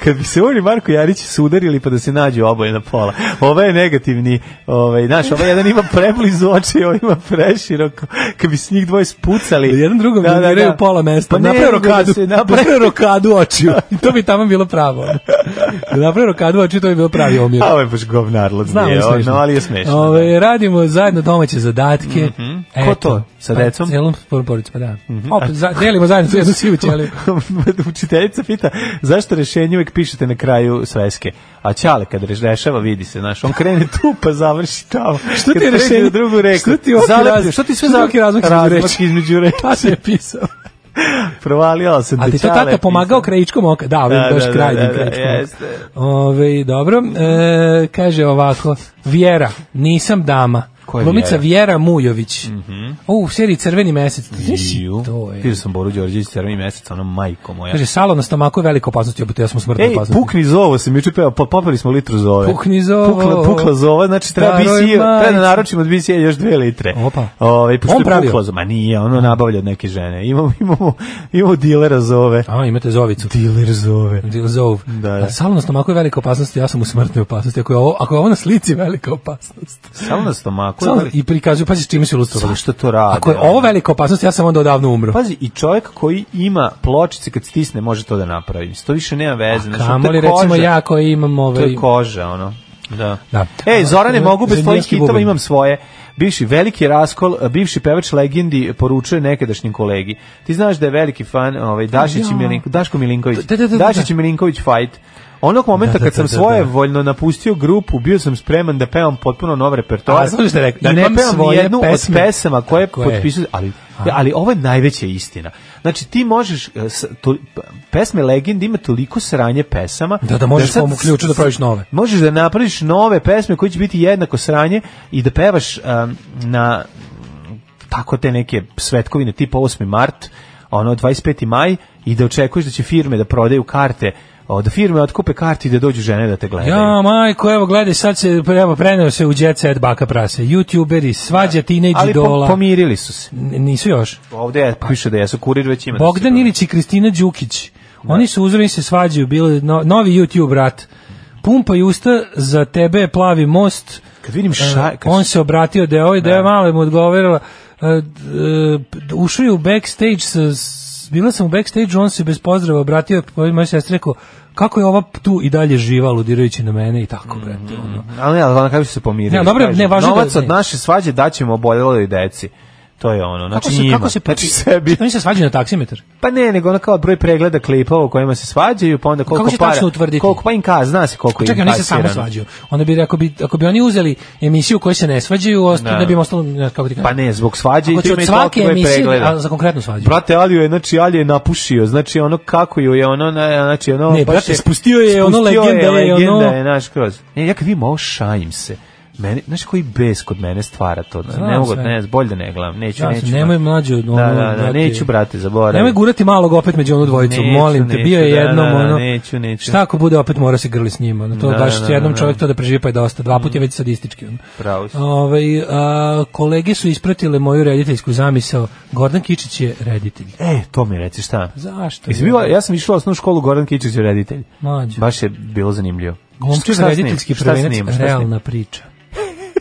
Speaker 5: Kad bi se on i Marko Jarić sudarili pa da se nađu oboje na pola. Ovaj je negativni, ovaj, znaš, ovaj jedan ima preblizu oči, ovaj ima preširoko. Kad bi se njih dvoje spucali.
Speaker 6: Jedan drugom da, pola mesta.
Speaker 5: Pa ne,
Speaker 6: napravio
Speaker 5: nego da
Speaker 6: rokadu.
Speaker 5: se napravi-
Speaker 6: Napravio rokadu očiju. I to bi tamo bilo pravo. Da napravio rokadu očiju, to bi bilo pravi omjer.
Speaker 5: A ovo je baš govnarlod.
Speaker 6: Znam, ali je smešno.
Speaker 5: No, ali je smešno. da.
Speaker 6: Ove, radimo zajedno domaće zadatke.
Speaker 5: Ko to? Sa decom? Mhm.
Speaker 6: Pa, celom porodicom, pa da. Opet, za, delimo zajedno tu jednu sivu ćeliju.
Speaker 5: Učiteljica pita zašto rešenje uvek pišete na kraju sveske. A Ćale kad reš- rešava vidi se, znaš, on krene tu pa završi tamo.
Speaker 6: Što ti
Speaker 5: Kad
Speaker 6: je
Speaker 5: pređe
Speaker 6: rešenje?
Speaker 5: na drugu reku.
Speaker 6: Što ti je oki
Speaker 5: Zalepi-
Speaker 6: razmak?
Speaker 5: Što ti sve
Speaker 6: Što ti je
Speaker 5: za-
Speaker 6: oki razmak između reči?
Speaker 5: između reči?
Speaker 6: Šta si Pa je pisao?
Speaker 5: Provalio sam
Speaker 6: A ti to tata pomagao krajičkom oka? Da, ovim
Speaker 5: Da,
Speaker 6: baš
Speaker 5: da, da,
Speaker 6: krajnjim
Speaker 5: da, da,
Speaker 6: krajičkom oka.
Speaker 5: jeste.
Speaker 6: Ove, dobro, e, kaže ovako, Vjera, nisam dama.
Speaker 5: Ko je Vjera?
Speaker 6: Glumica Vjera Mujović.
Speaker 5: Mhm.
Speaker 6: U, u seriji Crveni mesec. Ti znaš i To je.
Speaker 5: Pio sam Boru Đorđević crveni mesec, ono majko moja.
Speaker 6: Kaže, salo na stomaku je velika opasnost, jebote, ja smo smrtno
Speaker 5: Ej,
Speaker 6: opasnost.
Speaker 5: pukni zovo, sam juče peo, pa popili smo litru zove.
Speaker 6: Pukni zovo.
Speaker 5: Pukla, pukla zova, znači treba
Speaker 6: Staroj
Speaker 5: BC, treba
Speaker 6: majici.
Speaker 5: da naručimo od BC još dve litre.
Speaker 6: Opa.
Speaker 5: Ove,
Speaker 6: On
Speaker 5: pošto je
Speaker 6: pravio?
Speaker 5: pukla zova, ma nije, ono nabavlja od neke žene. Imamo, imamo, imamo dilera zove.
Speaker 6: A, imate zovicu.
Speaker 5: Diler zove.
Speaker 6: Dil zov.
Speaker 5: Da, da.
Speaker 6: A salo na stomaku je velika opasnost, ja sam u smrtnoj opasnosti. Ako je ovo, ako je ovo na slici velika opasnost.
Speaker 5: Samo na stomaku.
Speaker 6: Salo, I prikazuju, pazi s čime su ilustrovali.
Speaker 5: Zašto to rade? Pa,
Speaker 6: Ako je ovo velika opasnost, ja sam onda odavno umro.
Speaker 5: Pazi, i čovjek koji ima pločice kad stisne može to da napravi. Mislim, To više nema veze. Znači, to je
Speaker 6: Kamoli,
Speaker 5: koža.
Speaker 6: recimo ja koji imam
Speaker 5: To
Speaker 6: ovaj...
Speaker 5: je koža, ono. Da.
Speaker 6: Da.
Speaker 5: Ej, Zorane,
Speaker 6: A,
Speaker 5: mogu bez tvojih
Speaker 6: zemljanski
Speaker 5: hitova,
Speaker 6: bubanj.
Speaker 5: imam svoje. Bivši veliki raskol, a, bivši pevač legendi poručuje nekadašnjim kolegi. Ti znaš da je veliki fan ovaj, Dašić i
Speaker 6: Ja.
Speaker 5: Milinko, Daško Milinković.
Speaker 6: Da, da, da, da,
Speaker 5: Dašić i Milinković fight. Onog momenta
Speaker 6: Da, da,
Speaker 5: kad sam
Speaker 6: da, da,
Speaker 5: svoje
Speaker 6: da.
Speaker 5: voljno napustio grupu, bio sam spreman da pevam potpuno nov repertoar.
Speaker 6: A, znaš šta je rekao?
Speaker 5: I ne
Speaker 6: Imam
Speaker 5: pevam
Speaker 6: svoje
Speaker 5: nijednu od
Speaker 6: pesme.
Speaker 5: pesama koje je
Speaker 6: Tako je.
Speaker 5: potpisao, ali, ali ovo je najveća istina. Znači, ti možeš, e, s- to, pesme legendi ima toliko sranje pesama,
Speaker 6: Da, da možeš
Speaker 5: sad
Speaker 6: po mu ključu da praviš nove.
Speaker 5: Možeš da napraviš nove pesme koje će biti jednako sranje i da pevaš um, na mm, tako te neke svetkovine tipa 8. mart, ono 25. maj i da očekuješ da će firme da prodaju karte, o, da firme otkupe karte i da dođu žene da te gledaju.
Speaker 6: Ja, majko, evo gledaj, sad se evo, preneo se u jet set baka prase. Youtuberi, svađa, teenage
Speaker 5: Da. Ali po- Pa
Speaker 6: idola.
Speaker 5: pomirili su se.
Speaker 6: N- Nisu još.
Speaker 5: Ovde je, piše da jesu kurir već ima. da se
Speaker 6: Bogdan
Speaker 5: dođe.
Speaker 6: Ilić i Kristina Đukić.
Speaker 5: Da.
Speaker 6: Oni su uzorni se svađaju, bili no- novi YouTube rat. Pumpa i usta, za tebe je plavi most.
Speaker 5: Kad vidim
Speaker 6: E,
Speaker 5: ša... Kad
Speaker 6: on se obratio da je ovaj, da je malo mu odgovorila. E, d- e, p- ušao je u backstage sa, s- bila sam u backstage, on se bez pozdrava obratio, pa je moja sestra rekao, kako je ova p- tu i dalje živa, aludirajući na mene i tako, brate,
Speaker 5: Mhm.
Speaker 6: ono.
Speaker 5: Ali ne, ali na kraju su se pomirili.
Speaker 6: Ne, dobro,
Speaker 5: Kaže,
Speaker 6: ne, važno
Speaker 5: Novac
Speaker 6: da-
Speaker 5: od
Speaker 6: ne.
Speaker 5: naše svađe daćemo oboljeloj deci. To je ono, znači
Speaker 6: Kako se,
Speaker 5: njima.
Speaker 6: kako se
Speaker 5: znači sebi.
Speaker 6: Oni se svađaju na taksimetar.
Speaker 5: Pa ne, nego ono kao broj pregleda klipova u kojima se svađaju, pa onda koliko
Speaker 6: Kako će
Speaker 5: para...
Speaker 6: tačno utvrditi?
Speaker 5: Koliko, pa im kaz, zna se koliko
Speaker 6: Čekaj,
Speaker 5: im
Speaker 6: oni se samo
Speaker 5: kasirano.
Speaker 6: svađaju. Onda bi ako bi ako bi oni uzeli emisiju koju se ne svađaju, osta,
Speaker 5: Da.
Speaker 6: da. bi im ostalo ne, kako ti kažem.
Speaker 5: Pa ne, zbog svađe i
Speaker 6: Ako
Speaker 5: to
Speaker 6: će
Speaker 5: ima
Speaker 6: od
Speaker 5: i toliko
Speaker 6: svake
Speaker 5: broj
Speaker 6: emisije, da-
Speaker 5: pregleda.
Speaker 6: a za konkretnu svađu.
Speaker 5: Brate, Aliju je, znači, Aliju je napušio, znači, ono kako ju je, ono, na- znači, ono...
Speaker 6: Ne,
Speaker 5: baš
Speaker 6: brate, spustio je, ono,
Speaker 5: spustio
Speaker 6: legenda je,
Speaker 5: legenda
Speaker 6: ono-
Speaker 5: je, znaš, kroz. Ne, ja kad vidim ovo, šajim se. Mene, znaš koji bes kod mene stvara to,
Speaker 6: Znam
Speaker 5: ne mogu,
Speaker 6: sve.
Speaker 5: ne, bolje da ne gledam, neću,
Speaker 6: Ja sam,
Speaker 5: neću.
Speaker 6: nemoj
Speaker 5: brate.
Speaker 6: mlađe od ono,
Speaker 5: Da, da, da,
Speaker 6: brate.
Speaker 5: neću, brate, zaboravim.
Speaker 6: Nemoj gurati malog opet među onu dvojicu,
Speaker 5: Neću,
Speaker 6: molim te,
Speaker 5: neću,
Speaker 6: bio je
Speaker 5: da,
Speaker 6: jednom
Speaker 5: da, da,
Speaker 6: ono.
Speaker 5: neću, neću.
Speaker 6: Šta ako bude opet mora se grli s njima, ono, to
Speaker 5: Da,
Speaker 6: baš
Speaker 5: da, da,
Speaker 6: jednom
Speaker 5: da.
Speaker 6: čovjek to da preživi pa je dosta, dva puta je već sadistički. Ono.
Speaker 5: Pravo si.
Speaker 6: Ovaj, a, kolege su ispratile moju rediteljsku zamisao, Gordan Kičić je reditelj.
Speaker 5: E, to mi reci šta.
Speaker 6: Zašto?
Speaker 5: Jesi bila, ja sam išla u osnovnu školu Goran Kičić je reditelj.
Speaker 6: Mlađe.
Speaker 5: Baš je bilo zanimljivo.
Speaker 6: Glumčev
Speaker 5: Šta snim-
Speaker 6: rediteljski
Speaker 5: šta snim-
Speaker 6: prvenac,
Speaker 5: šta
Speaker 6: realna priča.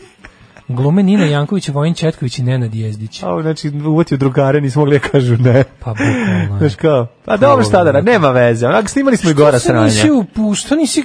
Speaker 6: Glume Nina Janković, Vojin Četković i Nenad Jezdić.
Speaker 5: A, znači, uvatio drugare, nismo mogli da kažu ne.
Speaker 6: Pa bukvalno.
Speaker 5: Znaš kao, a dobro šta da radi, nema veze. Onak, snimali smo i gora
Speaker 6: Što se
Speaker 5: sranja.
Speaker 6: nisi upu- Što nisi...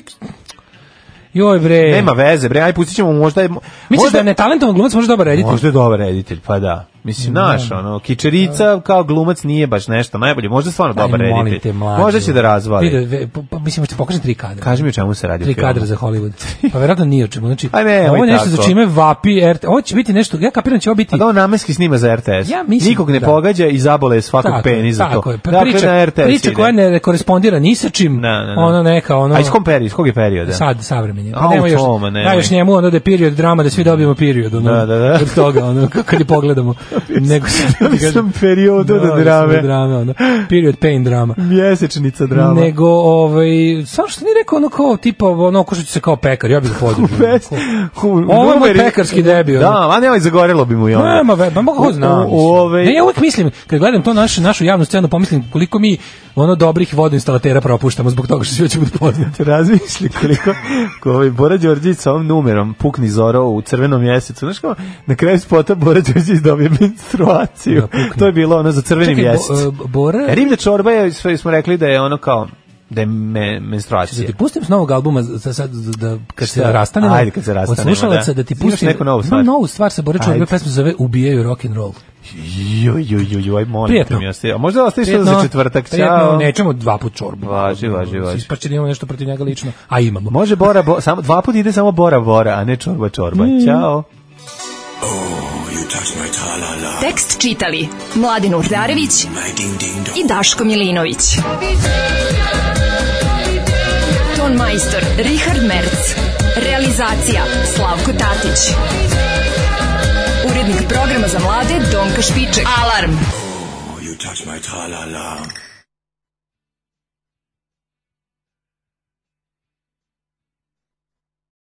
Speaker 6: Joj bre.
Speaker 5: Nema veze, bre, aj pustit ćemo možda... je-
Speaker 6: Misliš
Speaker 5: možda,
Speaker 6: da je netalentovan glumac može dobar reditelj?
Speaker 5: Možda je dobar reditelj, pa da. Mislim, naš, ono, kičerica kao glumac nije baš nešto najbolje. Možda je stvarno dobar
Speaker 6: Aj, molim
Speaker 5: reditelj.
Speaker 6: te, mlađo.
Speaker 5: Možda će da razvali.
Speaker 6: Vidi, ve- pa- pa, mislim, hoćete pokažem tri kadra.
Speaker 5: Kaži mi o čemu se radi u
Speaker 6: tri
Speaker 5: filmu.
Speaker 6: kadra za Hollywood. Pa verovatno ni o čemu. Znači,
Speaker 5: Aj, nemoj
Speaker 6: ovo je nešto
Speaker 5: tako.
Speaker 6: za čime vapi RT. Ovo će biti nešto, ja kapiram da će ovo biti...
Speaker 5: A da on namenski snima za RTS.
Speaker 6: Ja mislim,
Speaker 5: Nikog ne
Speaker 6: da.
Speaker 5: pogađa i zabole je svakog
Speaker 6: Tako je,
Speaker 5: peni za to.
Speaker 6: tako je. Pa
Speaker 5: Dakle,
Speaker 6: priča,
Speaker 5: na RTS
Speaker 6: priča
Speaker 5: ide.
Speaker 6: koja ne korespondira ni sa čim,
Speaker 5: Na, na, na.
Speaker 6: ono neka, ono...
Speaker 5: Da, A iz kom perioda, iz kog je perioda?
Speaker 6: Sad, savremenje.
Speaker 5: Da. A,
Speaker 6: Pa
Speaker 5: u
Speaker 6: nema još,
Speaker 5: tome, nemoj.
Speaker 6: da još njemu onda da je period drama, da svi dobijemo period, ono,
Speaker 5: Da, da, da.
Speaker 6: od toga, ono, k- kad je pogledamo. Nego sam,
Speaker 5: sam periodu do
Speaker 6: Dobio sam
Speaker 5: da drame.
Speaker 6: od da drame, ono, period pain drama.
Speaker 5: Mjesečnica drama.
Speaker 6: Nego, ovaj, samo što nije rekao ono kao, tipa, ono, okušat ću se kao pekar, ja bih ga podržao.
Speaker 5: Pes- Ku-
Speaker 6: Ovo je moj
Speaker 5: numeri-
Speaker 6: pekarski debi, ono.
Speaker 5: Da, a nemoj, zagorelo bi mu i ono.
Speaker 6: Nema ve, pa mogu ko zna.
Speaker 5: U- ovaj- u-
Speaker 6: mislim.
Speaker 5: u ovej-
Speaker 6: Ne, ja uvek mislim, kad gledam to našu, našu javnu scenu, pomislim koliko mi ono dobrih vodoinstalatera propuštamo zbog toga što svi hoćemo da poznati.
Speaker 5: razmišlja koliko ko ovaj Bora Đorđević sa ovim numerom pukni Zoro u crvenom mjesecu. Znaš kao, na kraju spota Bora Đorđević dobije menstruaciju.
Speaker 6: Da, pukne.
Speaker 5: to je bilo ono za crveni
Speaker 6: Čekaj,
Speaker 5: mjesec.
Speaker 6: bo, e, Bora...
Speaker 5: E, Riblja čorba je, sve smo rekli da je ono kao, da je me, menstruacija.
Speaker 6: Da ti pustim s novog albuma za sad da kad se
Speaker 5: Šta?
Speaker 6: rastanemo.
Speaker 5: Ajde, kad se rastanemo,
Speaker 6: Od slušalaca
Speaker 5: da.
Speaker 6: da, ti
Speaker 5: Imaš
Speaker 6: pustim
Speaker 5: neku novu stvar?
Speaker 6: Imam novu stvar sa Borićom,
Speaker 5: Ajde.
Speaker 6: ovaj pesma se zove Ubijaju rock and roll.
Speaker 5: Jo, jo, jo, jo, aj molim
Speaker 6: Prijetno.
Speaker 5: te mi ostaje. A možda ostaviš to za četvrtak,
Speaker 6: Prijetno,
Speaker 5: ciao.
Speaker 6: pa nećemo dva put čorbu.
Speaker 5: Važi, važi, važi.
Speaker 6: Ispašće da imamo nešto protiv njega lično, a imamo.
Speaker 5: Može Bora, bo, samo, dva puta ide samo Bora, Bora, a ne čorba, čorba. Ćao.
Speaker 4: Tekst čitali Mladin Urdarević i Daško Milinović. Ton majstor Richard Merc. Realizacija Slavko Tatić. Urednik programa za mlade Donka Špiček. Alarm!
Speaker 12: You touch my tra-la-la.